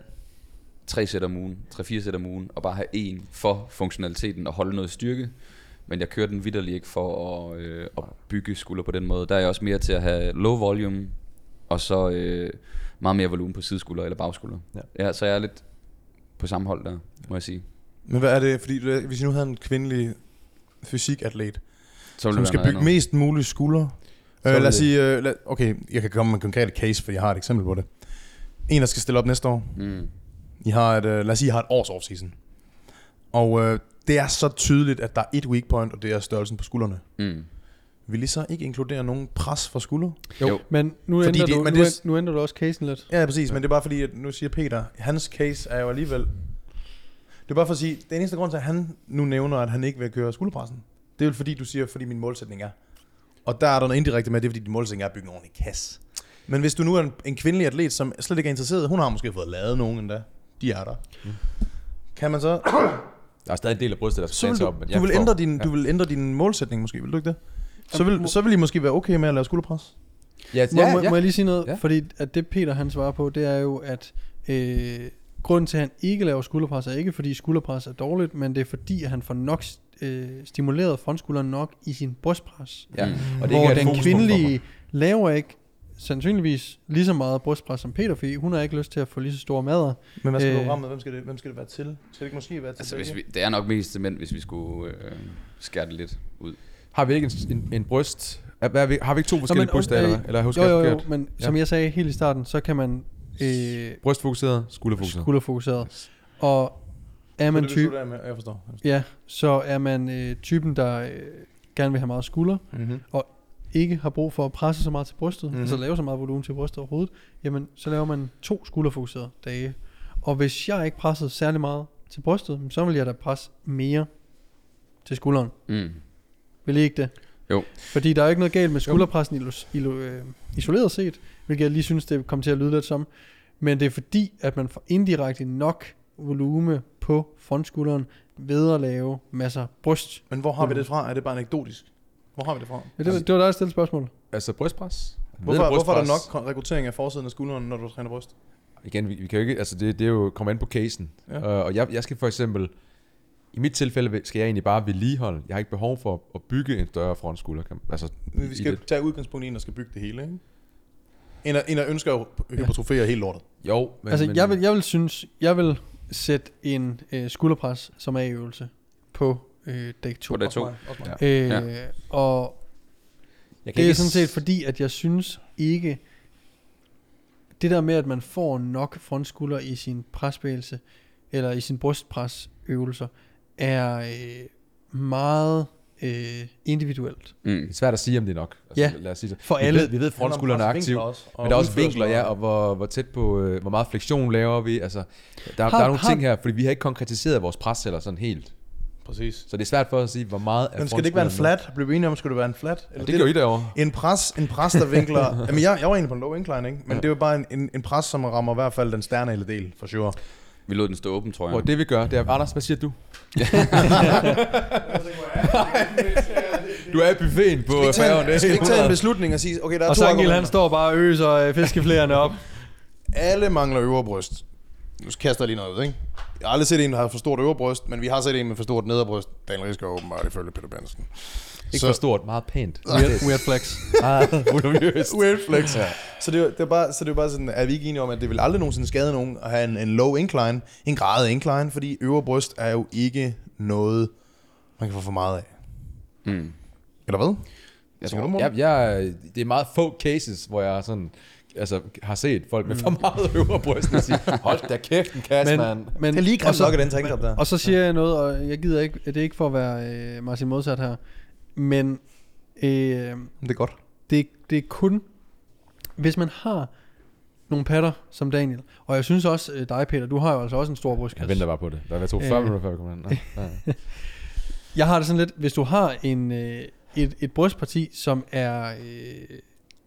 Speaker 3: tre sæt om ugen, tre-fire sæt om ugen, og bare have en for funktionaliteten og holde noget styrke. Men jeg kører den vidderlig ikke for at, øh, at bygge skulder på den måde. Der er jeg også mere til at have low volume, og så øh, meget mere volumen på sideskulder eller bagskulder.
Speaker 4: Ja.
Speaker 3: ja så jeg er lidt på samme hold der, må jeg sige.
Speaker 2: Men hvad er det, fordi du- hvis I nu havde en kvindelig fysikatlet,
Speaker 3: Så vil
Speaker 2: som
Speaker 3: det
Speaker 2: skal
Speaker 3: være noget
Speaker 2: bygge
Speaker 3: andet.
Speaker 2: mest muligt skulder,
Speaker 4: Så
Speaker 2: øh,
Speaker 4: vil
Speaker 2: lad os
Speaker 4: det-
Speaker 2: sige, øh, lad, okay, jeg kan komme med en konkret case, for jeg har et eksempel på det. En, der skal stille op næste år.
Speaker 3: Mm.
Speaker 2: I har et, øh, lad os sige, I har et års offseason. Og øh, det er så tydeligt, at der er et weak point, og det er størrelsen på skuldrene.
Speaker 3: Mm.
Speaker 2: Vil I så ikke inkludere nogen pres fra skulder?
Speaker 3: Jo.
Speaker 1: Men nu
Speaker 2: Fordi
Speaker 1: ændrer,
Speaker 2: det-
Speaker 1: du,
Speaker 2: men
Speaker 1: nu,
Speaker 2: det-
Speaker 1: ænd- nu ændrer du også casen lidt.
Speaker 2: Ja, præcis, men det er bare fordi, at nu siger Peter, hans case er jo alligevel... Det er bare for at sige, den eneste grund til, at han nu nævner, at han ikke vil køre skulderpressen, det er jo fordi, du siger, fordi min målsætning er. Og der er der noget indirekte med, at det er fordi, din målsætning er at bygge en ordentlig kasse. Men hvis du nu er en, en kvindelig atlet, som slet ikke er interesseret, hun har måske fået lavet nogen endda. De er der.
Speaker 4: Mm.
Speaker 2: Kan man så...
Speaker 4: der er stadig en del af brystet, der skal
Speaker 2: så vil
Speaker 4: tages
Speaker 2: du,
Speaker 4: op. men jeg
Speaker 2: du, vil
Speaker 4: forstår.
Speaker 2: ændre din, du vil ændre din målsætning måske, vil du ikke det? Så vil, så vil I måske være okay med at lave skulderpres?
Speaker 4: Ja,
Speaker 1: Må, ja, må, ja. må jeg lige sige noget?
Speaker 4: Ja.
Speaker 1: Ja. Fordi at det Peter han svarer på, det er jo, at øh, grunden til, at han ikke laver skulderpres, er ikke fordi skulderpres er dårligt, men det er fordi, at han får nok øh, stimuleret frontskulderen nok i sin brystpres.
Speaker 4: Ja.
Speaker 3: Mm.
Speaker 4: Og
Speaker 1: Hvor
Speaker 4: et
Speaker 1: den
Speaker 4: fokuspunkt for mig.
Speaker 1: kvindelige laver ikke sandsynligvis lige så meget brystpres som Peter, fordi hun har ikke lyst til at få lige så store mader.
Speaker 2: Men hvad skal
Speaker 1: Øh.
Speaker 2: øh. programmet? Hvem skal, det, hvem skal det være til? Skal det ikke måske være til
Speaker 3: Altså,
Speaker 2: begge?
Speaker 3: hvis vi, det er nok mest til mænd, hvis vi skulle øh, skære det lidt ud.
Speaker 4: Har vi ikke en, en, en bryst? Er, hvad er vi, har vi ikke to forskellige
Speaker 1: men,
Speaker 4: bryster,
Speaker 1: øh,
Speaker 4: eller, hvad? eller husker
Speaker 1: jo,
Speaker 4: jeg
Speaker 1: jo, jo,
Speaker 4: forkert?
Speaker 1: men
Speaker 4: Ja.
Speaker 1: som jeg sagde helt i starten, så kan man øh,
Speaker 4: Brystfokuseret, skulderfokuseret.
Speaker 1: skulderfokuseret. Og er man
Speaker 2: det, du
Speaker 1: typen,
Speaker 2: slutter af med. Jeg forstår. Jeg forstår.
Speaker 1: ja, så er man øh, typen, der øh, gerne vil have meget skulder,
Speaker 2: Mm-hmm.
Speaker 1: ikke har brug for at presse så meget til brystet,
Speaker 2: Mhm.
Speaker 1: mm-hmm. altså lave så meget volumen til brystet overhovedet, jamen så laver man to skulderfokuserede dage. Og hvis jeg ikke pressede særlig meget til brystet, så vil jeg da presse mere til skulderen.
Speaker 3: Mm.
Speaker 1: Vil I ikke det?
Speaker 3: Jo.
Speaker 1: Fordi der er jo ikke noget galt med skulderpressen ilo- ilo- øh, isoleret set, hvilket jeg lige synes, det kom til at lyde lidt som. Men det er fordi, at man får indirekte nok volume på frontskulderen ved at lave masser af bryst.
Speaker 2: Men hvor har vi det fra? Er det bare anekdotisk? Hvor har vi det fra? Altså,
Speaker 1: Ja, det, var- det var dig, der stillede spørgsmål.
Speaker 4: Altså brystpres.
Speaker 2: Hvorfor, hvorfor er der nok kon- rekruttering af forsiden af skulderen, når du træner bryst?
Speaker 4: igen, vi, vi kan jo ikke, altså det, det er jo kommer an på casen.
Speaker 2: Ja.
Speaker 4: Ja. Uh, og jeg, jeg skal for eksempel, i mit tilfælde vil- skal jeg egentlig bare vedligeholde. Jeg har ikke behov for at, at bygge en større frontskulder. kan- Altså,
Speaker 2: Men Vi
Speaker 4: i
Speaker 2: skal
Speaker 4: det.
Speaker 2: tage udgangspunkt i en, der skal bygge det hele, ikke? En, der- en der ønsker at hypertrofere helt lortet.
Speaker 4: Jo, men,
Speaker 1: Men, altså,
Speaker 4: men,
Speaker 1: jeg, vil, jeg vil synes, jeg vil sætte en øh, skulderpres som A-øvelse på øh, dæk 2.
Speaker 3: På dag to.
Speaker 2: Ja.
Speaker 1: Øh, ja. Og
Speaker 4: jeg
Speaker 1: det er
Speaker 4: ikke
Speaker 1: sådan set
Speaker 4: s-
Speaker 1: fordi, at jeg synes ikke, det der med, at man får nok frontskulder i sin presbevægelse, eller i sin brystpresøvelser, er øh, meget øh, individuelt.
Speaker 4: Det
Speaker 3: Mm.
Speaker 4: er svært at sige, om det er nok. Altså,
Speaker 1: Ja,
Speaker 4: lad os sige det.
Speaker 1: for
Speaker 4: vi
Speaker 1: alle.
Speaker 4: Ved, vi ved, at frontskulderen er aktiv. Men der er også vinkler, ja, og hvor, hvor tæt på, øh, hvor meget fleksion laver vi. Altså, der, har, der er nogle
Speaker 1: har-
Speaker 4: ting her, fordi vi har ikke konkretiseret vores presceller sådan helt.
Speaker 2: Præcis.
Speaker 4: Så det er svært for os at sige, hvor meget er
Speaker 2: Men skal det ikke være en
Speaker 4: frontskulderen
Speaker 2: flat? Blev vi enige om, skulle det være en flat?
Speaker 4: nu. Ja, det gør I derovre.
Speaker 2: En pres, en pres, der
Speaker 4: (laughs)
Speaker 2: vinkler... Jamen, jeg, jeg var egentlig på en low incline, ikke? Men det var bare en, en, en pres, som rammer i hvert fald den stjerne eller del, for sure.
Speaker 3: Vi lod den stå åben, tror jeg.
Speaker 4: Hvor det vi gør, det er... Anders, hvad siger du? Du er i buffeten på færgen. det er
Speaker 2: Skal vi ikke tage en
Speaker 4: helt
Speaker 2: beslutning og sige, okay, der er
Speaker 1: Og
Speaker 2: to
Speaker 1: Sangel, han
Speaker 2: argumenter.
Speaker 1: står bare og øser øh, fiskeflærene op.
Speaker 2: Alle mangler øvre bryst. Nu kaster jeg lige noget ud, ikke? Jeg har aldrig set en, der har for stort øvre bryst, men vi har set en med for stort nedre bryst. Daniel Riske er åbenbart ifølge Peter Benson.
Speaker 4: Ikke for stort, meget pænt.
Speaker 1: Weird, weird flex.
Speaker 4: (laughs) Meget voluminøst.
Speaker 2: (laughs) Weird flex. Ja. Så det, er jo- det er bare, så det er bare sådan, er vi ikke enige om, at det vil aldrig nogensinde skade nogen at have en, en low incline, en grad incline, fordi øvre bryst er jo ikke noget, man kan få for meget af.
Speaker 3: Mm.
Speaker 2: Eller hvad?
Speaker 3: Jeg
Speaker 2: Tænker
Speaker 3: tror,
Speaker 2: du, Morten?
Speaker 4: Jeg, jeg, det er meget få cases, hvor jeg sådan, altså, har set folk med for meget øvre bryst og sige, hold da kæft, en kasse, mand.
Speaker 1: men,
Speaker 2: Det er lige
Speaker 1: og
Speaker 2: grimt
Speaker 1: så-
Speaker 2: nok, at den tænker der.
Speaker 1: Og så siger jeg noget, og jeg gider ikke, det er ikke for at være øh, Martin modsat her, men øh,
Speaker 2: Det er godt.
Speaker 1: det, det er kun, hvis man har nogle patter som Daniel, og jeg synes også øh, dig Peter, du har jo altså også en stor brystkasse.
Speaker 4: Jeg venter bare på det. Der var to
Speaker 1: Øh.
Speaker 4: 40 minutter, før vi
Speaker 1: (laughs)
Speaker 4: kom ind. Nå, ja.
Speaker 1: Jeg har det sådan lidt, hvis du har en, øh, et, et brystparti, som er øh,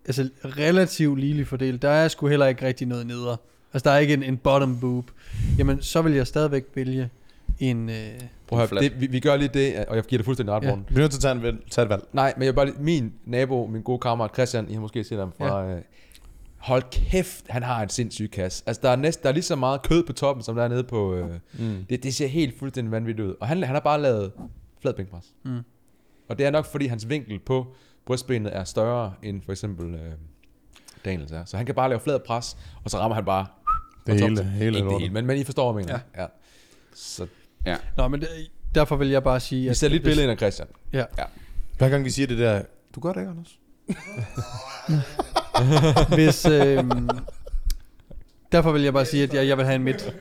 Speaker 1: altså relativt ligeligt fordelt, der er sgu heller ikke rigtig noget neder. Altså der er ikke en, en bottom boob. Jamen, så vil jeg stadigvæk vælge en... Øh,
Speaker 4: Prøv at høre, det, vi, vi gør lige det, og jeg giver det fuldstændig ret,
Speaker 1: Ja.
Speaker 4: Morten.
Speaker 2: Vi er nødt til at tage, en, valg- tage et valg.
Speaker 4: Nej, men jeg vil bare lige, min nabo, min gode kammerat Christian, I har måske set ham fra... Ja. Øh, hold kæft, han har en sindssyg kasse. Altså, der er, næst, der er lige så meget kød på toppen, som der er nede på... Øh, mm. det, det ser helt fuldstændig vanvittigt ud. Og han, han har bare lavet flad bænkpres.
Speaker 1: Mm.
Speaker 4: Og det er nok, fordi hans vinkel på brystbenet er større end for eksempel øh, Daniels er. Så han kan bare lave flad pres, og så rammer han bare...
Speaker 2: Det
Speaker 4: fra
Speaker 2: hele-
Speaker 4: toppen.
Speaker 2: hele
Speaker 4: Ikke det
Speaker 2: lortet.
Speaker 4: hele, men, men I forstår, hvad jeg mener. Ja. ja. Så
Speaker 1: nå, men det, derfor vil jeg bare sige...
Speaker 4: vi
Speaker 1: at-
Speaker 4: ser lige et
Speaker 1: hvis-
Speaker 4: billede ind af Christian.
Speaker 1: Ja.
Speaker 2: Hver gang vi siger det der, du gør det ikke, Anders?
Speaker 1: (laughs) Hvis, øh, derfor vil jeg bare sige, at jeg, jeg vil have en midt,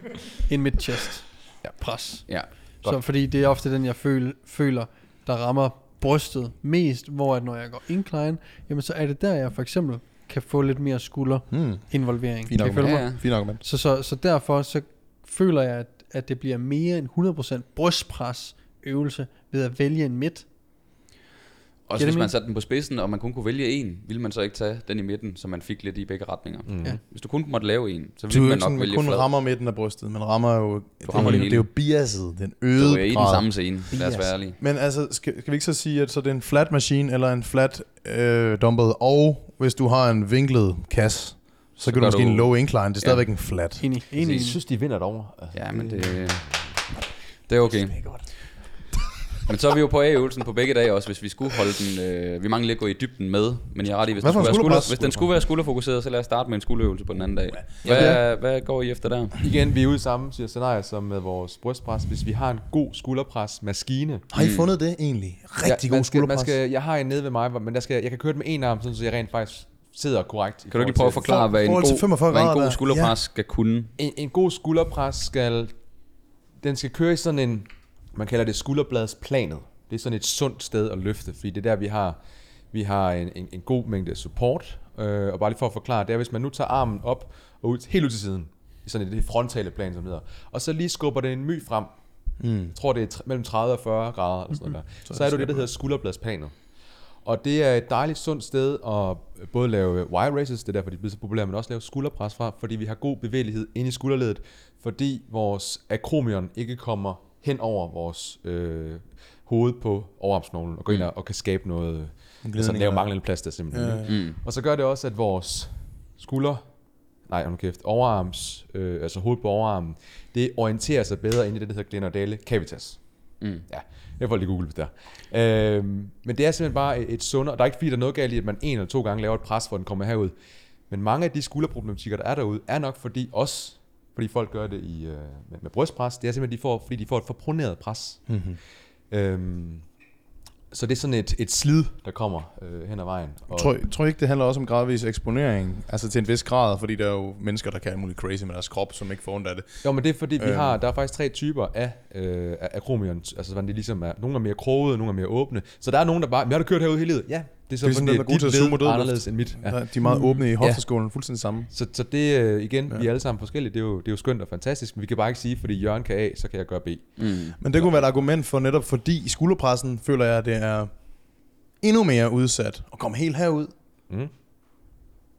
Speaker 1: en midt chest
Speaker 4: Ja.
Speaker 1: pres.
Speaker 3: Ja.
Speaker 1: Så, fordi det er ofte den, jeg føl, føler, der rammer brystet mest, hvor at når jeg går incline, jamen så er det der, jeg for eksempel kan få lidt mere
Speaker 2: Hmm.
Speaker 1: skulderinvolvering.
Speaker 2: Fint
Speaker 1: Kan I følge
Speaker 2: argument.
Speaker 1: mig?
Speaker 3: Ja, ja.
Speaker 2: Fint argument.
Speaker 1: Så, så, så derfor så føler jeg, at, at det bliver mere end 100% brystpres øvelse ved at vælge en midt. Giver
Speaker 3: Og
Speaker 1: det
Speaker 3: hvis man
Speaker 1: mening?
Speaker 3: satte den på spidsen, og man kun kunne vælge en, ville man så ikke tage den i midten, så man fik lidt i begge retninger. Mm.
Speaker 1: Ja.
Speaker 3: Hvis du kun måtte lave en,
Speaker 2: Du
Speaker 3: så
Speaker 2: er
Speaker 3: ville
Speaker 2: jo
Speaker 3: man
Speaker 2: ikke
Speaker 3: nok
Speaker 2: sådan,
Speaker 3: vælge
Speaker 2: kun
Speaker 3: flad.
Speaker 2: rammer midten af brystet. Man rammer jo... det,
Speaker 3: rammer
Speaker 2: er,
Speaker 3: det
Speaker 2: jo-
Speaker 3: hele.
Speaker 2: det er jo biaset, den
Speaker 3: Det
Speaker 2: øde
Speaker 3: var i den
Speaker 2: grad.
Speaker 3: samme scene, lad os være ærlige.
Speaker 2: Men altså, skal, skal vi ikke så sige, at så det er en flat machine eller en flat øh, dumbbell, og hvis du har en vinklet kasse, så, så kan du
Speaker 3: gør
Speaker 2: måske
Speaker 3: du-
Speaker 2: en low incline. Det er stadigvæk en flat.
Speaker 1: Enig, enig.
Speaker 4: Jeg synes, de vinder derovre. Altså,
Speaker 3: Ja, men det, det er okay. Men så er vi jo på A-øvelsen på begge dage også, hvis vi skulle holde den... Øh, vi mangler lidt at gå i dybden med, men jeg er ret i, hvis,
Speaker 2: Hvad
Speaker 3: den
Speaker 2: for en
Speaker 3: skulle, være
Speaker 2: skulderpres?
Speaker 3: skulder, hvis den skulle være skulderfokuseret, så lad os starte med en skulderøvelse på den anden dag. Hvad, hvad går I efter der?
Speaker 4: Igen, vi er ude i samme siger scenarie som med vores brystpres. Hvis vi har en god skulderpresmaskine.
Speaker 2: Har
Speaker 3: Mm.
Speaker 2: I fundet det egentlig? Rigtig
Speaker 4: Ja,
Speaker 2: god
Speaker 4: man skal, man
Speaker 2: skulderpres.
Speaker 4: skal, Jeg har en nede ved mig, hvor- men der skal, jeg kan køre den med en arm, sådan, så jeg rent faktisk sidder korrekt. i
Speaker 3: Kan du ikke lige prøve
Speaker 4: forhold
Speaker 3: at
Speaker 4: til-
Speaker 3: forklare, hvad en
Speaker 2: forhold til
Speaker 3: god,
Speaker 2: 45
Speaker 3: hvad en
Speaker 2: grader
Speaker 3: god
Speaker 2: der.
Speaker 3: skulderpres ja. skal kunne?
Speaker 4: en, en god skulderpres skal, den skal køre i sådan en, man kalder det skulderbladsplanet. Det er sådan et sundt sted at løfte, fordi det er der, vi har, vi har en, en, en god mængde support. Øh, og bare lige for at forklare, det er, hvis man nu tager armen op og ud, helt ud til siden, i sådan et det frontale plan, som det hedder, og så lige skubber den en my frem, mm. jeg tror det er tre- mellem 30 og 40 grader, eller sådan noget der. Mhm. så er du det, der hedder skulderbladsplanet. Og det er et dejligt sundt sted at øh, både lave wire races, det er derfor, de er blevet så populære, men også lave skulderpres fra, fordi vi har god bevægelighed inde i skulderledet, fordi vores akromion ikke kommer hen over vores øh, hoved på overarmsnoglen og går ind og, og kan skabe noget, altså
Speaker 2: glidning
Speaker 4: lave
Speaker 2: eller-
Speaker 4: manglende plads der simpelthen. Ja. Mm. Og så gør det også, at vores skulder, nej, hold nu kæft, overarms, øh, altså hovedet på overarmen, det orienterer sig bedre ind i det, der hedder glenoidale cavitas. Mm. Ja, jeg får lige google det der. Øhm, men det er simpelthen bare et sundere, der er ikke fordi, der er noget galt i, at man en eller to gange laver et pres, hvor den kommer herud. Men mange af de skulderproblematikker, der er derude, er nok fordi os, fordi folk gør det i, øh, med, med brystpres, det er simpelthen, de får, fordi de får et forproneret pres. Mm-hmm. Øhm, så det er sådan et, et slid, der kommer øh, hen ad vejen. Og,
Speaker 2: Tror, tror I ikke, det handler også om gradvis eksponering? Altså til en vis grad, fordi der er jo mennesker, der kan alt muligt crazy med deres krop, som ikke får ondt af det.
Speaker 4: Jo, men det er fordi, vi
Speaker 2: Øhm.
Speaker 4: har, der er faktisk tre typer af, øh, af akromion. Altså, hvordan det ligesom er, nogle er mere krogede, nogle er mere åbne. Så der er nogen, der bare, men har du kørt herude hele livet? Ja, det er så
Speaker 2: Det er ligesom
Speaker 4: det fordi,
Speaker 2: den, der er god
Speaker 4: dit
Speaker 2: til at
Speaker 4: led
Speaker 2: sumo
Speaker 4: er
Speaker 2: dødløft.
Speaker 4: anderledes end mit. Ja.
Speaker 2: Ja. De er
Speaker 3: Mm.
Speaker 2: meget åbne i hofteskolen, fuldstændig samme.
Speaker 4: Så, så det øh, igen, vi er alle sammen forskellige, det er, jo, det er jo skønt og fantastisk, men vi kan bare ikke sige, fordi Jørgen kan A, så kan jeg gøre B.
Speaker 2: Men det kunne være et argument for netop, fordi i skulderpressen føler jeg, at det er endnu mere udsat at komme helt herud.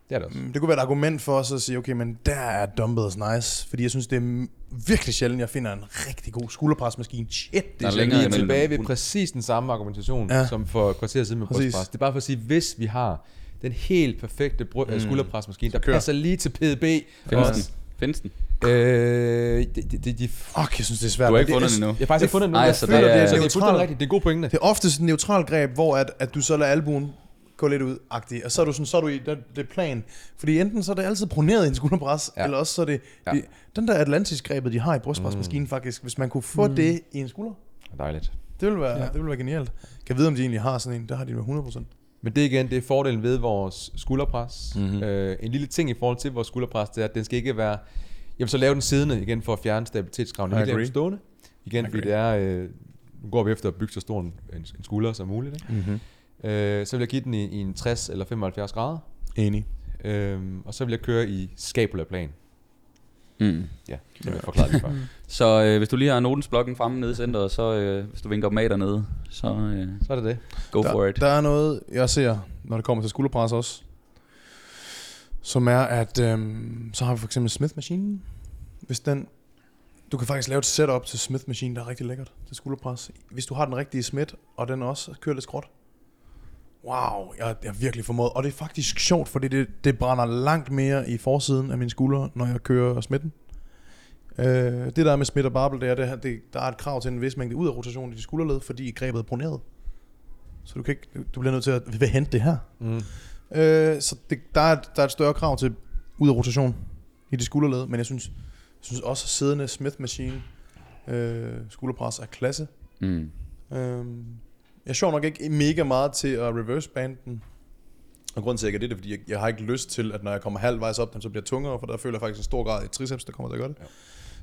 Speaker 4: Det er det også.
Speaker 2: Det kunne være et argument for os at sige, okay, men der er dumbbells nice, fordi jeg synes, det er virkelig sjældent, jeg finder en rigtig god skulderpresmaskine. Shit, det
Speaker 3: Der
Speaker 2: er
Speaker 3: er
Speaker 2: sjældent.
Speaker 3: længere
Speaker 4: Vi er
Speaker 3: imellem.
Speaker 4: tilbage ved præcis den samme argumentation,
Speaker 2: Ja.
Speaker 4: ja. som for et kvarter siden med
Speaker 2: Præcis.
Speaker 4: brystpres. Det er bare for at sige, hvis vi har den helt perfekte bry- mm. skulderpresmaskine, der
Speaker 2: kør.
Speaker 4: passer lige til PDB.
Speaker 3: Findes
Speaker 4: også,
Speaker 3: den? Findes den?
Speaker 4: øh, de, de, de, de,
Speaker 2: Fuck, jeg synes, det er svært.
Speaker 3: Du har ikke
Speaker 2: Det er-
Speaker 3: fundet den endnu.
Speaker 4: Jeg har faktisk ikke fundet nogen,
Speaker 3: Ej,
Speaker 4: der
Speaker 3: så
Speaker 4: føler
Speaker 3: det er-
Speaker 4: Så det er
Speaker 2: neutral.
Speaker 4: fuldstændig rigtigt. Det er en god pointe.
Speaker 2: Det er oftest et neutralt greb, hvor at, at du så lader albuen gå lidt ud -agtig, og så er du, sådan, så er du i det, det plan. Fordi enten så er det altid proneret i en skulderpres, ja.
Speaker 4: Ja.
Speaker 2: eller også så er det, ja.
Speaker 4: Ja.
Speaker 2: det den der atlantisk grebet, de har i brystpresmaskinen mm. faktisk, hvis man kunne få mm. det i en skulder,
Speaker 4: Dejligt.
Speaker 2: det ville være, ja. det ville være genialt. Kan vide, om de egentlig har sådan en, der har de med 100%.
Speaker 4: Men det er igen, det er fordelen ved vores skulderpres. Mm-hmm. Øh, en lille ting i forhold til vores skulderpres, det er, at den skal ikke være... Jeg vil så lave den siddende igen for at fjerne stabilitetskraven.
Speaker 2: I
Speaker 4: Jeg vil lave
Speaker 2: agree.
Speaker 4: den stående. Igen, fordi det er... Øh, nu går vi efter at bygge så stor en, en en skulder som muligt. Ikke? Mm-hmm. Øh, så vil jeg give den i, i en 60 eller 75 grader.
Speaker 2: Enig.
Speaker 4: Øhm, og så vil jeg køre i skabulaplan.
Speaker 3: Mm.
Speaker 4: Ja, det vil jeg forklare lige før.
Speaker 3: Så øh, hvis du lige har notens blokken fremme nede i centret, så øh, hvis du vinker med dernede, så øh,
Speaker 4: Så er det det.
Speaker 3: go
Speaker 2: der,
Speaker 3: for it.
Speaker 2: Der er noget, jeg ser, når det kommer til skulderpres også, som er, at øhm, så har vi for eksempel Smith-maskinen. Hvis den, du kan faktisk lave et setup til Smith-maskinen, der er rigtig lækkert til skulderpres. Hvis du har den rigtige Smith, og den også kører lidt skråt. Wow, jeg, jeg har virkelig formået. Og det er faktisk sjovt, fordi det, det brænder langt mere i forsiden af min skulder, når jeg kører smitten. Øh, det der er med smidt og barbel, det er, det, det, der er et krav til en vis mængde ud af rotation i dit skulderled, fordi grebet er proneret. Så du, kan ikke, du bliver nødt til at vil hente det her.
Speaker 4: Mm.
Speaker 2: Øh, så det, der, er, et- der er et større krav til ud af rotation i det skulderled, men jeg synes, jeg synes også, at siddende Smith Machine øh, skulderpres er klasse.
Speaker 3: Mm.
Speaker 2: Øh, jeg sjov nok ikke mega meget til at reverse bande den. Og grunden til, at jeg ikke er det, det er, fordi jeg, jeg har ikke lyst til, at når jeg kommer halvvejs op, den så bliver tungere, for der føler jeg faktisk en stor grad i triceps, der kommer til at gøre det. Ja.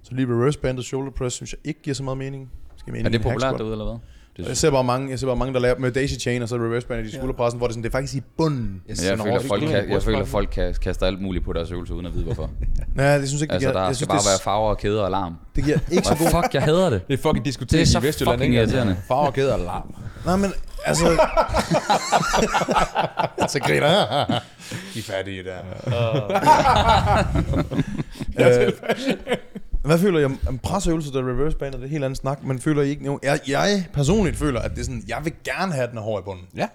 Speaker 2: Så lige reverse bandet shoulder press, synes jeg ikke giver så meget mening. Skal
Speaker 3: Er det populært derude, eller hvad? Det
Speaker 2: jeg
Speaker 3: synes,
Speaker 2: ser, bare mange, jeg ser bare mange, der laver med daisy chain og så reverse band i de skulderpressen, hvor det, sådan, det er faktisk i bunden.
Speaker 3: jeg, jeg,
Speaker 2: den
Speaker 3: føler,
Speaker 2: overfor-
Speaker 3: folk
Speaker 2: ikke
Speaker 3: kan, jeg føler, folk kan kaste alt muligt på deres øvelser, uden at vide hvorfor.
Speaker 2: Nej, jeg synes ikke, (laughs) det
Speaker 3: Altså,
Speaker 2: giver,
Speaker 3: der
Speaker 2: jeg
Speaker 3: skal
Speaker 2: synes,
Speaker 3: bare
Speaker 2: det,
Speaker 3: være farver og kæder og alarm.
Speaker 2: det giver ikke så
Speaker 3: Hvad
Speaker 2: god...
Speaker 3: fuck, jeg hader det.
Speaker 4: Det er fucking diskuteret
Speaker 3: Det er så
Speaker 4: i Vestjylland,
Speaker 3: fucking
Speaker 4: Altså,
Speaker 3: irriterende.
Speaker 4: Farver, kæder og larm.
Speaker 2: Nej, men altså...
Speaker 3: (laughs)
Speaker 2: så griner jeg. (laughs) De er fattige der. (laughs) Øh, Hvad føler jeg om presøvelser, der reverse bander, det er et helt andet snak, men føler I ikke... Jo, jeg, jeg personligt føler, at det er sådan, jeg vil gerne have den er hård i bunden.
Speaker 4: Ja.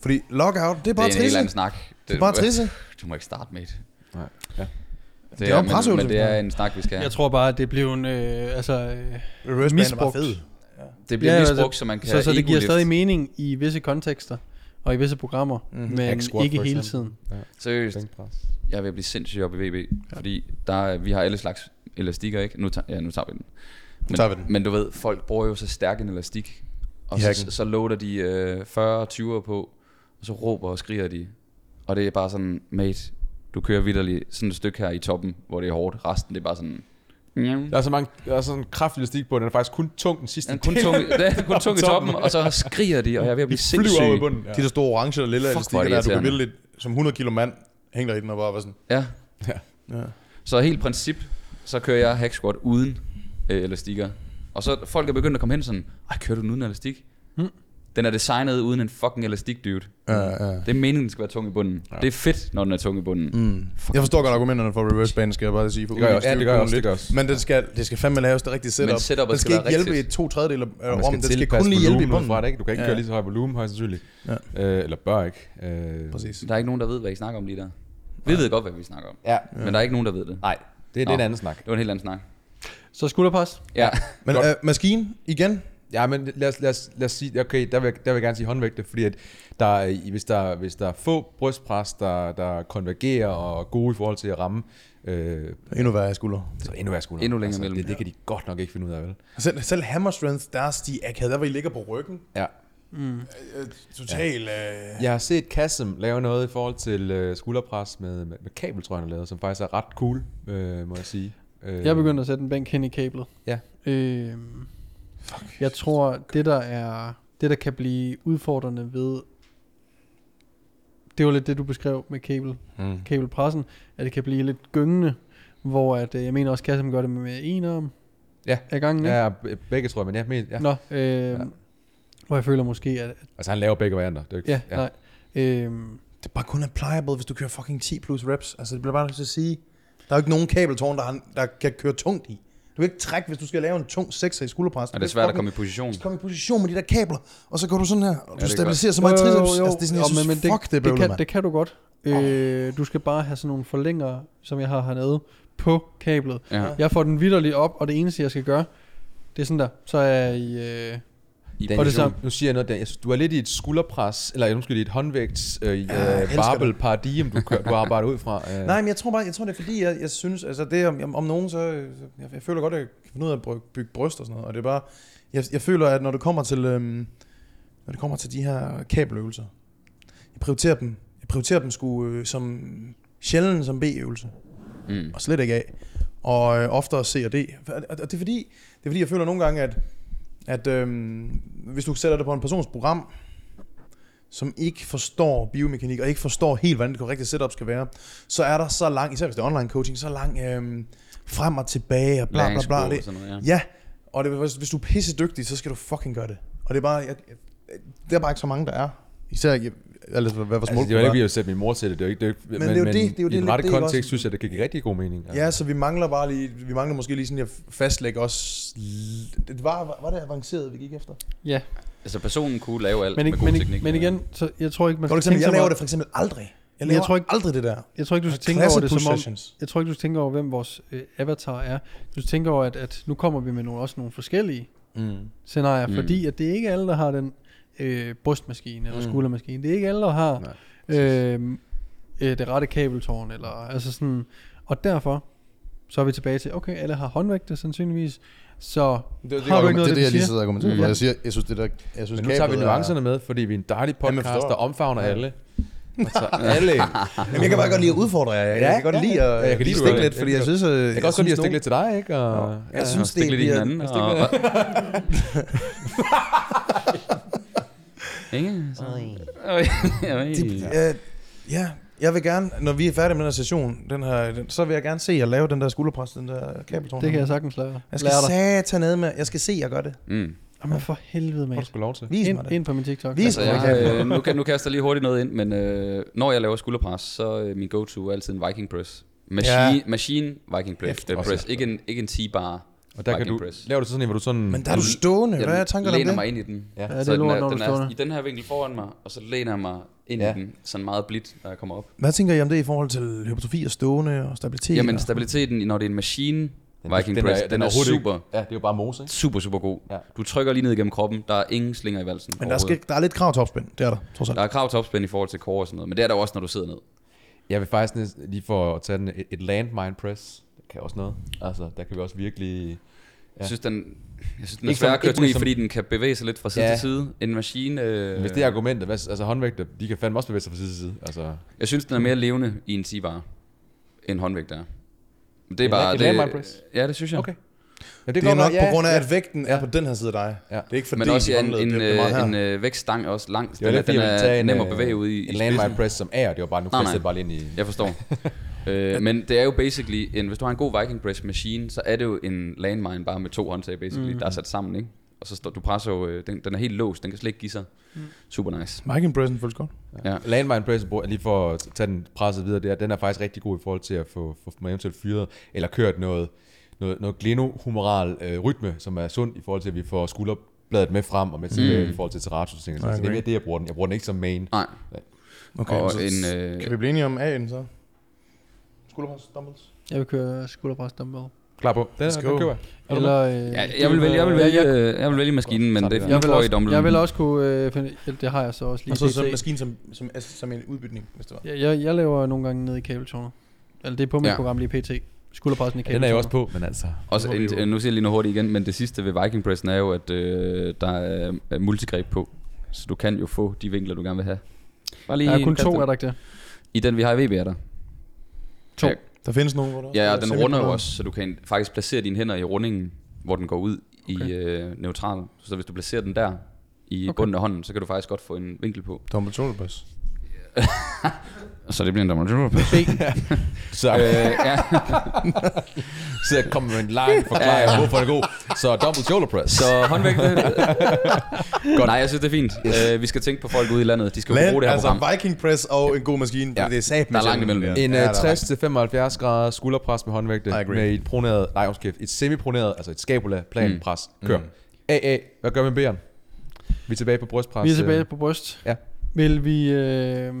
Speaker 2: Fordi lockout, det er
Speaker 3: Det
Speaker 2: bare
Speaker 3: er en helt
Speaker 2: trisse.
Speaker 3: anden snak.
Speaker 2: er bare trisse.
Speaker 3: Du må ikke starte med det.
Speaker 4: Nej. Ja.
Speaker 3: Det
Speaker 2: er jo en
Speaker 3: men,
Speaker 2: presøvelse,
Speaker 3: men det
Speaker 2: vi
Speaker 3: er en snak, vi skal have.
Speaker 1: Jeg tror bare, at det blev en... Øh, altså, øh,
Speaker 2: Reverse bander er bare
Speaker 1: Misbrugt.
Speaker 2: fed.
Speaker 3: Det bliver
Speaker 1: altså,
Speaker 3: misbrugt, så man kan
Speaker 1: så, så det giver
Speaker 3: ego-lift.
Speaker 1: stadig mening i visse kontekster og i visse programmer, mm-hmm. men
Speaker 4: Mhm. Hack squat,
Speaker 1: ikke
Speaker 4: for
Speaker 1: hele
Speaker 4: eksempel.
Speaker 1: tiden.
Speaker 3: Seriøst,
Speaker 4: Bænkpres.
Speaker 3: jeg vil blive sindssyg op i VB, fordi der, er- vi har alle slags elastikker, ikke? Nu tager, ja, nu tager vi den. Men,
Speaker 2: tager vi den.
Speaker 3: men du ved, folk bruger jo så stærk en elastik, og
Speaker 2: I
Speaker 3: så,
Speaker 2: hacken.
Speaker 3: så loader de øh, 40 20'er på, og så råber og skriger de, Og det er bare sådan, mate, du kører vidderligt sådan et stykke her i toppen, hvor det er hårdt. Resten, det er bare sådan...
Speaker 4: Der er så mange, der er sådan en kraftig elastik på, den er faktisk kun tung den sidste.
Speaker 3: Den er kun tung, i- (laughs) den er kun tung i toppen, og så skriger de, og jeg er ved at blive
Speaker 4: flyver ud i
Speaker 3: sindssyg.
Speaker 4: bunden. Ja.
Speaker 2: De der store orange og lille
Speaker 3: Fuck,
Speaker 2: elastikker
Speaker 3: hvor er det
Speaker 2: der, du kan
Speaker 3: irriterende.
Speaker 2: vildt lidt, som 100 kilo mand, hænger i den og bare var sådan,
Speaker 3: Ja,
Speaker 2: ja.
Speaker 3: så helt princip, så kører jeg hack squat uden øh, elastikker. Og så folk er begyndt at komme hen sådan, ej, kører du den uden elastik?
Speaker 1: Mm.
Speaker 3: Den er designet uden en fucking elastik, dude.
Speaker 2: Ja, ja.
Speaker 3: Det er meningen, den skal være tung i bunden. Ja. Det er fedt, når den er tung i bunden.
Speaker 2: Mm. Jeg forstår godt argumenterne for reverse band, skal jeg bare sige. For
Speaker 4: Det gør jeg også. Ja,
Speaker 2: udviklingsstyrke
Speaker 4: det
Speaker 2: kunne lidt.
Speaker 4: gør jeg også. Det gør jeg også.
Speaker 2: Men det skal, det skal fandme laves det rigtige setup.
Speaker 3: Men setupet
Speaker 2: den skal,
Speaker 3: skal
Speaker 2: ikke
Speaker 3: være
Speaker 2: hjælpe i
Speaker 3: rigtigt.
Speaker 2: to tredjedele af øh,
Speaker 4: Man skal
Speaker 2: rummet. Den skal
Speaker 4: tilpasse
Speaker 2: kun lige hjælpe i
Speaker 4: volumen ud
Speaker 2: bunden.
Speaker 4: Fra det, ikke? Du kan ikke
Speaker 2: Ja.
Speaker 4: ja. køre lige så høj volumen, højst sandsynligt.
Speaker 2: Ja.
Speaker 4: Øh, eller bør ikke. Øh,
Speaker 2: Præcis.
Speaker 3: Der er ikke nogen, der ved, hvad I snakker om lige der. Vi ved godt, hvad vi snakker om.
Speaker 4: Ja,
Speaker 3: Ja. Men der er ikke nogen, der ved det.
Speaker 4: nej. Det er
Speaker 3: Nå.
Speaker 4: lidt anden snak.
Speaker 3: Det var en helt anden snak.
Speaker 1: Så skulderpas.
Speaker 3: Ja.
Speaker 2: Men
Speaker 4: Godt.
Speaker 2: øh, maskinen igen.
Speaker 4: Ja, men lad os, lad os, lad os sige, okay, der vil, jeg- der vil jeg gerne sige håndvægte, fordi at der, er- i- hvis, der, hvis der er få brystpres, der, der konvergerer og er gode i forhold til at ramme, øh,
Speaker 2: Endnu værre i skulder.
Speaker 4: så endnu værre skulder.
Speaker 3: Endnu længere mellem.
Speaker 4: det, det kan de godt nok ikke finde ud af, vel?
Speaker 2: Selv, selv hammer strength, deres de akad, der hvor I ligger på ryggen.
Speaker 4: Ja.
Speaker 2: Øh, total... Øh,
Speaker 4: Jeg har set Kassem lave noget i forhold til øh, skulderpres med, med, med kabel, tror jeg, han har lavet, som faktisk er ret cool, øh, må jeg sige. Øh,
Speaker 1: Jeg begyndte at sætte en bænk hen i kablet.
Speaker 4: Ja.
Speaker 1: Øh, jeg tror, det der er, det der kan blive udfordrende ved, det var lidt det, du beskrev med kabel,
Speaker 4: Mm.
Speaker 1: kabelpressen, at det kan blive lidt gyngende, hvor at, øh, jeg mener også, Kassem gør det med en arm
Speaker 4: Ja.
Speaker 1: af gangen. ikke?
Speaker 4: Ja, b- begge tror jeg, men ja, men, ja.
Speaker 1: Nå, øh, ja. Hvor jeg føler måske, at...
Speaker 4: Altså han laver begge varianter. Det er jo ikke,
Speaker 1: Ja, ja. nej. Øh,
Speaker 2: Det er bare kun applicable, hvis du kører fucking 10 plus reps. Altså, det bliver bare nødt til at sige. Der er jo ikke nogen kabeltårn, der, har, der kan køre tungt i. Du kan ikke trække, hvis du skal lave en tung sekser i skulderpres.
Speaker 3: Og det er svært at komme i position.
Speaker 2: Kom i position med de der kabler, og så går du sådan her, og du
Speaker 3: det
Speaker 2: ja,
Speaker 3: er
Speaker 2: stabiliserer så meget
Speaker 1: Jo, jo,
Speaker 2: triceps.
Speaker 1: jo.
Speaker 2: Altså, det er sådan, jeg
Speaker 1: Jo,
Speaker 2: synes,
Speaker 1: det,
Speaker 2: fuck, det er
Speaker 1: det,
Speaker 2: bøvlet,
Speaker 1: kan,
Speaker 2: mand.
Speaker 1: det kan du godt. Øh, du skal bare have sådan nogle forlængere, som jeg har hernede, på kablet.
Speaker 3: Ja.
Speaker 1: Jeg får den vidderligt op, og det eneste, jeg skal gøre, det er sådan der. Så er jeg i... Øh,
Speaker 3: I
Speaker 4: Daniel,
Speaker 1: Og det
Speaker 4: nu-
Speaker 1: samme-
Speaker 4: Nu siger jeg noget, Daniel. Jeg synes, Du er lidt i et skulderpres, eller undskyld, i et håndvægts øh,
Speaker 2: jeg elsker
Speaker 4: øh, barbel paradigm, du, kører, du arbejder ud
Speaker 2: (laughs)
Speaker 4: fra. Øh.
Speaker 2: Nej, men jeg tror bare, jeg tror, det er fordi, jeg, jeg synes, altså det om, om- om nogen, så, øh, så- jeg, jeg føler godt, at jeg kan finde ud af at bry- bygge bryst og sådan noget, og det er bare, jeg, jeg føler, at når det kommer til, øhm, når det kommer til de her kabeløvelser, jeg prioriterer dem, jeg prioriterer dem sgu øh, som sjældent som B-øvelse,
Speaker 3: Mm.
Speaker 2: og slet ikke af, og øh, oftere C og D, og, og det er fordi, det er fordi, jeg føler nogle gange, at, at øhm, hvis du sætter det på en persons program, som ikke forstår biomekanik, og ikke forstår helt, hvordan det korrekte setup skal være, så er der så lang, især hvis det er online coaching, så lang øhm, frem og tilbage, og bla bla bla.
Speaker 3: Læringskurve og
Speaker 2: Det,
Speaker 3: sådan noget, ja.
Speaker 2: ja, og det, hvis, hvis du er pisse dygtig, så skal du fucking gøre det. Og det er bare, jeg, jeg- det er bare ikke så mange, der er. Især ikke, altså, hvad vores
Speaker 4: Altså,
Speaker 2: mål
Speaker 4: det var ikke, vi har sat min mor til det. det, er jo ikke, det er jo ikke,
Speaker 2: Men det er jo det- det er jo
Speaker 4: i
Speaker 2: det
Speaker 4: den
Speaker 2: lidt,
Speaker 4: rette
Speaker 2: det er
Speaker 4: kontekst
Speaker 2: også-
Speaker 4: synes jeg, det kan give rigtig god mening. altså.
Speaker 2: Ja, så vi mangler bare lige, vi mangler måske lige sådan at fastlægge også, l- det var, var det avanceret, vi gik efter?
Speaker 1: ja,
Speaker 3: Altså personen kunne lave alt
Speaker 1: men,
Speaker 3: med
Speaker 1: ikke,
Speaker 3: god
Speaker 1: men,
Speaker 3: teknik.
Speaker 1: ikke, men igen, så jeg tror ikke, man
Speaker 2: Godt
Speaker 1: skal
Speaker 2: eksempel,
Speaker 1: tænke
Speaker 2: jeg
Speaker 1: så
Speaker 2: laver
Speaker 1: meget-
Speaker 2: det for eksempel aldrig. Jeg
Speaker 1: Men
Speaker 2: laver
Speaker 1: jeg tror ikke-
Speaker 2: aldrig det der.
Speaker 1: Jeg tror ikke, du skal tænke
Speaker 2: Klasse
Speaker 1: over det som om...
Speaker 2: positions.
Speaker 1: Jeg tror ikke, du skal tænke over, hvem vores øh, avatar er. Du skal tænke over, at, at nu kommer vi med nogle, også nogle forskellige
Speaker 2: Mm.
Speaker 1: scenarier,
Speaker 3: Mm.
Speaker 1: mm. fordi at det er ikke alle, der har den øh, brystmaskine eller
Speaker 2: Mm.
Speaker 1: skuldermaskine. Det er ikke alle, der har
Speaker 4: Nej.
Speaker 1: øh, øh, det rette kabeltårn. Eller, altså sådan, og derfor så er vi tilbage til, okay, alle har håndvægte sandsynligvis, så det, det, har du ikke noget, det, det, det, det,
Speaker 2: og argumenterer
Speaker 1: for.
Speaker 2: Jeg, siger, jeg synes, det der... Jeg synes,
Speaker 4: Men nu tager vi nuancerne med, fordi vi er en dejlig
Speaker 2: Jamen,
Speaker 4: podcast,
Speaker 2: forstår.
Speaker 4: der omfavner alle. Altså, (laughs) alle.
Speaker 2: Jamen, jeg kan bare godt lide at udfordre jer. Jeg, jeg kan godt lide at
Speaker 4: Ja, jeg kan
Speaker 2: lige
Speaker 4: lide
Speaker 2: stikke
Speaker 4: det.
Speaker 2: lidt, fordi jeg
Speaker 4: Jeg
Speaker 2: synes... øh,
Speaker 4: Jeg kan også godt lide at stikke lidt til dig, ikke? Og,
Speaker 2: nogen-
Speaker 4: ja.
Speaker 2: Jeg
Speaker 3: og
Speaker 2: synes, det
Speaker 3: stik lidt i
Speaker 2: bliver...
Speaker 3: hinanden. Og, og, (laughs) Ikke? Så. Øj. Øj.
Speaker 2: Øh, Ja, jeg vil gerne, når vi er færdige med den her session, den her, den, så vil jeg gerne se jer lave den der skulderpres, den der kabeltårn.
Speaker 1: det kan jeg sagtens lære,
Speaker 2: Jeg skal
Speaker 1: lære dig.
Speaker 2: satan ned med, jeg skal se jer gøre det.
Speaker 3: Mm.
Speaker 1: Jamen for helvede,
Speaker 4: Får du
Speaker 1: mand.
Speaker 4: sgu lov til.
Speaker 2: Vis mig
Speaker 1: Ind,
Speaker 2: det.
Speaker 1: ind på min TikTok.
Speaker 2: Vis
Speaker 3: Altså,
Speaker 2: mig det.
Speaker 3: jeg, øh, nu, kan, nu kaster jeg lige hurtigt noget ind, men øh, når jeg laver skulderpres, så øh, min go-to er altid en Viking Press. Machine,
Speaker 2: Ja.
Speaker 3: ja. machine Viking Press.
Speaker 2: Efter-
Speaker 3: Øh, press. Ikke, en, ikke en T-bar.
Speaker 4: Og der kan
Speaker 3: Viking
Speaker 4: du,
Speaker 3: press.
Speaker 4: laver du så sådan en, hvor du sådan...
Speaker 2: Men der er du stående. Hvad er
Speaker 3: Jeg
Speaker 2: tankerne om
Speaker 3: læner
Speaker 2: det?
Speaker 3: mig ind i den.
Speaker 4: Ja,
Speaker 1: det er
Speaker 3: Så den
Speaker 1: lort, når du
Speaker 3: den
Speaker 1: står der.
Speaker 3: er i den her vinkel foran mig, og så læner jeg mig ind ja.
Speaker 4: Ja.
Speaker 3: i den, sådan meget blidt, når jeg kommer op.
Speaker 2: Hvad tænker I om det i forhold til hypertrofi og stående og stabilitet?
Speaker 3: Jamen
Speaker 2: og-
Speaker 3: stabiliteten, når det er en machine
Speaker 4: Den-
Speaker 3: Viking
Speaker 4: den er-
Speaker 3: Press,
Speaker 4: den
Speaker 3: den,
Speaker 4: er
Speaker 3: er,
Speaker 4: overhovedet ikke-
Speaker 3: super,
Speaker 4: Ja, det er jo bare mose, ikke?
Speaker 3: super, super god.
Speaker 4: Ja.
Speaker 3: Du trykker lige ned igennem kroppen, der er ingen slinger i valsen
Speaker 2: Men der, skal, der er lidt krav til opspænd, det er der, trods alt.
Speaker 3: Der er krav til opspænd i forhold til core og sådan noget, men det er der også, når du sidder ned.
Speaker 4: Jeg vil faktisk næsten- lige for at tage den, et, et landmine press, det kan også noget. Altså, der kan vi også virkelig
Speaker 3: Jeg
Speaker 4: Ja.
Speaker 3: synes, den, jeg synes, den er
Speaker 4: Ikke
Speaker 3: svær
Speaker 4: som-
Speaker 3: at køre
Speaker 4: ikke
Speaker 3: tung i,
Speaker 4: som-
Speaker 3: fordi den kan bevæge sig lidt fra side
Speaker 4: Ja.
Speaker 3: til side. En maskine... Øh,
Speaker 4: Hvis det er argumentet, hvad, altså håndvægter, de kan fandme også bevæge sig fra side til side. Altså,
Speaker 3: Jeg synes, den er mere levende i en T-bar, end håndvægt er. Men Det er
Speaker 4: Et
Speaker 3: bare...
Speaker 4: la- et landmine press?
Speaker 3: Ja, det synes jeg.
Speaker 4: Okay. ja,
Speaker 2: Det er nok på grund af, at vægten er på den her side af dig.
Speaker 4: Ja.
Speaker 2: Det er ikke fordi,
Speaker 3: Men også ja, en,
Speaker 2: håndledet
Speaker 3: en,
Speaker 2: bliver meget
Speaker 3: øh,
Speaker 2: her.
Speaker 3: en øh, vægtstang er også lang.
Speaker 4: Det var
Speaker 3: Den, er,
Speaker 4: derfor,
Speaker 3: den
Speaker 4: jeg ville tage
Speaker 3: er
Speaker 4: en,
Speaker 3: nem at
Speaker 4: øh,
Speaker 3: bevæge ud i,
Speaker 4: En
Speaker 3: i
Speaker 4: landmine
Speaker 3: spidsen.
Speaker 4: press som er, det var bare, nu
Speaker 3: Nej, nej.
Speaker 4: kastede jeg bare lige ind i...
Speaker 3: Jeg forstår. (laughs) øh, men det er jo basically, en, hvis du har en god Viking Press Machine, så er det jo en landmine bare med to håndtag, basically, mm. der er sat sammen, ikke? Og så står, du presser jo, øh, den, den er helt låst, den kan slet ikke give sig. Mm. Super nice.
Speaker 2: Mike Impressen føles godt.
Speaker 3: Ja.
Speaker 4: Landmine press, bruger- lige for at tage den presset videre, det er, den er faktisk rigtig god i forhold til at få, få mig eventuelt fyret, eller kørt noget, noget, noget glenohumeral øh, rytme, som er sundt i forhold til, at vi får skulderbladet med frem og med tilbage i forhold til terrazzo. Så det
Speaker 2: I
Speaker 4: er
Speaker 2: agree.
Speaker 4: mere det, jeg bruger den. Jeg bruger den ikke som main.
Speaker 3: Nej.
Speaker 2: Okay,
Speaker 3: Og
Speaker 2: så
Speaker 3: en, øh,
Speaker 2: kan vi blive enige om A'en så? Skulderpres, dumbbells.
Speaker 1: Jeg vil køre skulderpres dumbbell.
Speaker 4: Klar på. Den,
Speaker 2: Let's
Speaker 4: er,
Speaker 2: go.
Speaker 4: den køber jeg. Er du
Speaker 1: Eller, øh,
Speaker 3: Ja, jeg, vil vælge, jeg, vil vælge, øh, jeg vil vælge maskinen, men det
Speaker 4: Sådan der.
Speaker 3: er
Speaker 1: Jeg
Speaker 3: jeg
Speaker 1: vil,
Speaker 3: får i
Speaker 1: også,
Speaker 3: dumbbellen.
Speaker 1: jeg vil også kunne øh, finde, eller det har jeg så også lige
Speaker 2: Og så som
Speaker 1: pt.
Speaker 2: maskinen som, som, som en udbytning, hvis det var.
Speaker 1: jeg, jeg, jeg laver nogle gange ned i kabeltårner. Eller det er på mit
Speaker 3: Ja.
Speaker 1: ja. program lige pt. Skulderpressen i kabeltårner.
Speaker 4: Den er jeg også på, men altså...
Speaker 3: Også
Speaker 2: Det må vi
Speaker 3: en,
Speaker 2: jo.
Speaker 3: (laughs) øh, nu siger jeg lige noget hurtigt igen, men det sidste ved Viking Pressen er jo, at øh, der er er multigreb på. Så du kan jo få de vinkler, du gerne vil have. Bare
Speaker 1: Der er kun
Speaker 3: kast
Speaker 1: to,
Speaker 3: den.
Speaker 1: er der ikke det?
Speaker 3: I den, vi har i VB, er der.
Speaker 1: To.
Speaker 3: Ja,
Speaker 2: Der findes nogen, hvor der
Speaker 3: Ja,
Speaker 2: også
Speaker 3: ja
Speaker 2: er
Speaker 3: den
Speaker 2: semi-
Speaker 3: runder jo også, så du kan faktisk placere dine hænder i rundingen, hvor den går ud okay. i
Speaker 1: Okay.
Speaker 3: øh, neutral. Så hvis du placerer den der i okay.
Speaker 1: Okay.
Speaker 3: bunden af hånden, så kan du faktisk godt få en vinkel på.
Speaker 2: Dumbbell shoulder press.
Speaker 3: Så det bliver en dommer.
Speaker 1: B.
Speaker 4: Så, øh, ja. så jeg kommer med en lang forklaring, ja. hvorfor den er god. Så double shoulder press. Så,
Speaker 3: Så håndvægt. Godt. Nej, jeg synes, det er fint. Yes. Øh, vi skal tænke på folk ude i landet. De skal jo bruge det her
Speaker 2: altså
Speaker 3: program.
Speaker 2: Viking press og en god maskine,
Speaker 4: Ja.
Speaker 2: ja. det er sat
Speaker 3: Der er langt imellem, ja.
Speaker 4: en øh,
Speaker 2: der
Speaker 4: ja,
Speaker 2: er
Speaker 4: 60-75 grader skulderpres med håndvægte
Speaker 2: I agree.
Speaker 4: med et proneret, nej, undskyld, et semiproneret, altså et scapula plan
Speaker 3: Mm.
Speaker 4: mm. pres. Kør. Mm. AA, hvad gør vi med bæren? Vi er tilbage på brystpres.
Speaker 1: Vi er
Speaker 4: øh,
Speaker 1: tilbage på bryst.
Speaker 4: Ja.
Speaker 1: Vil vi... Øh,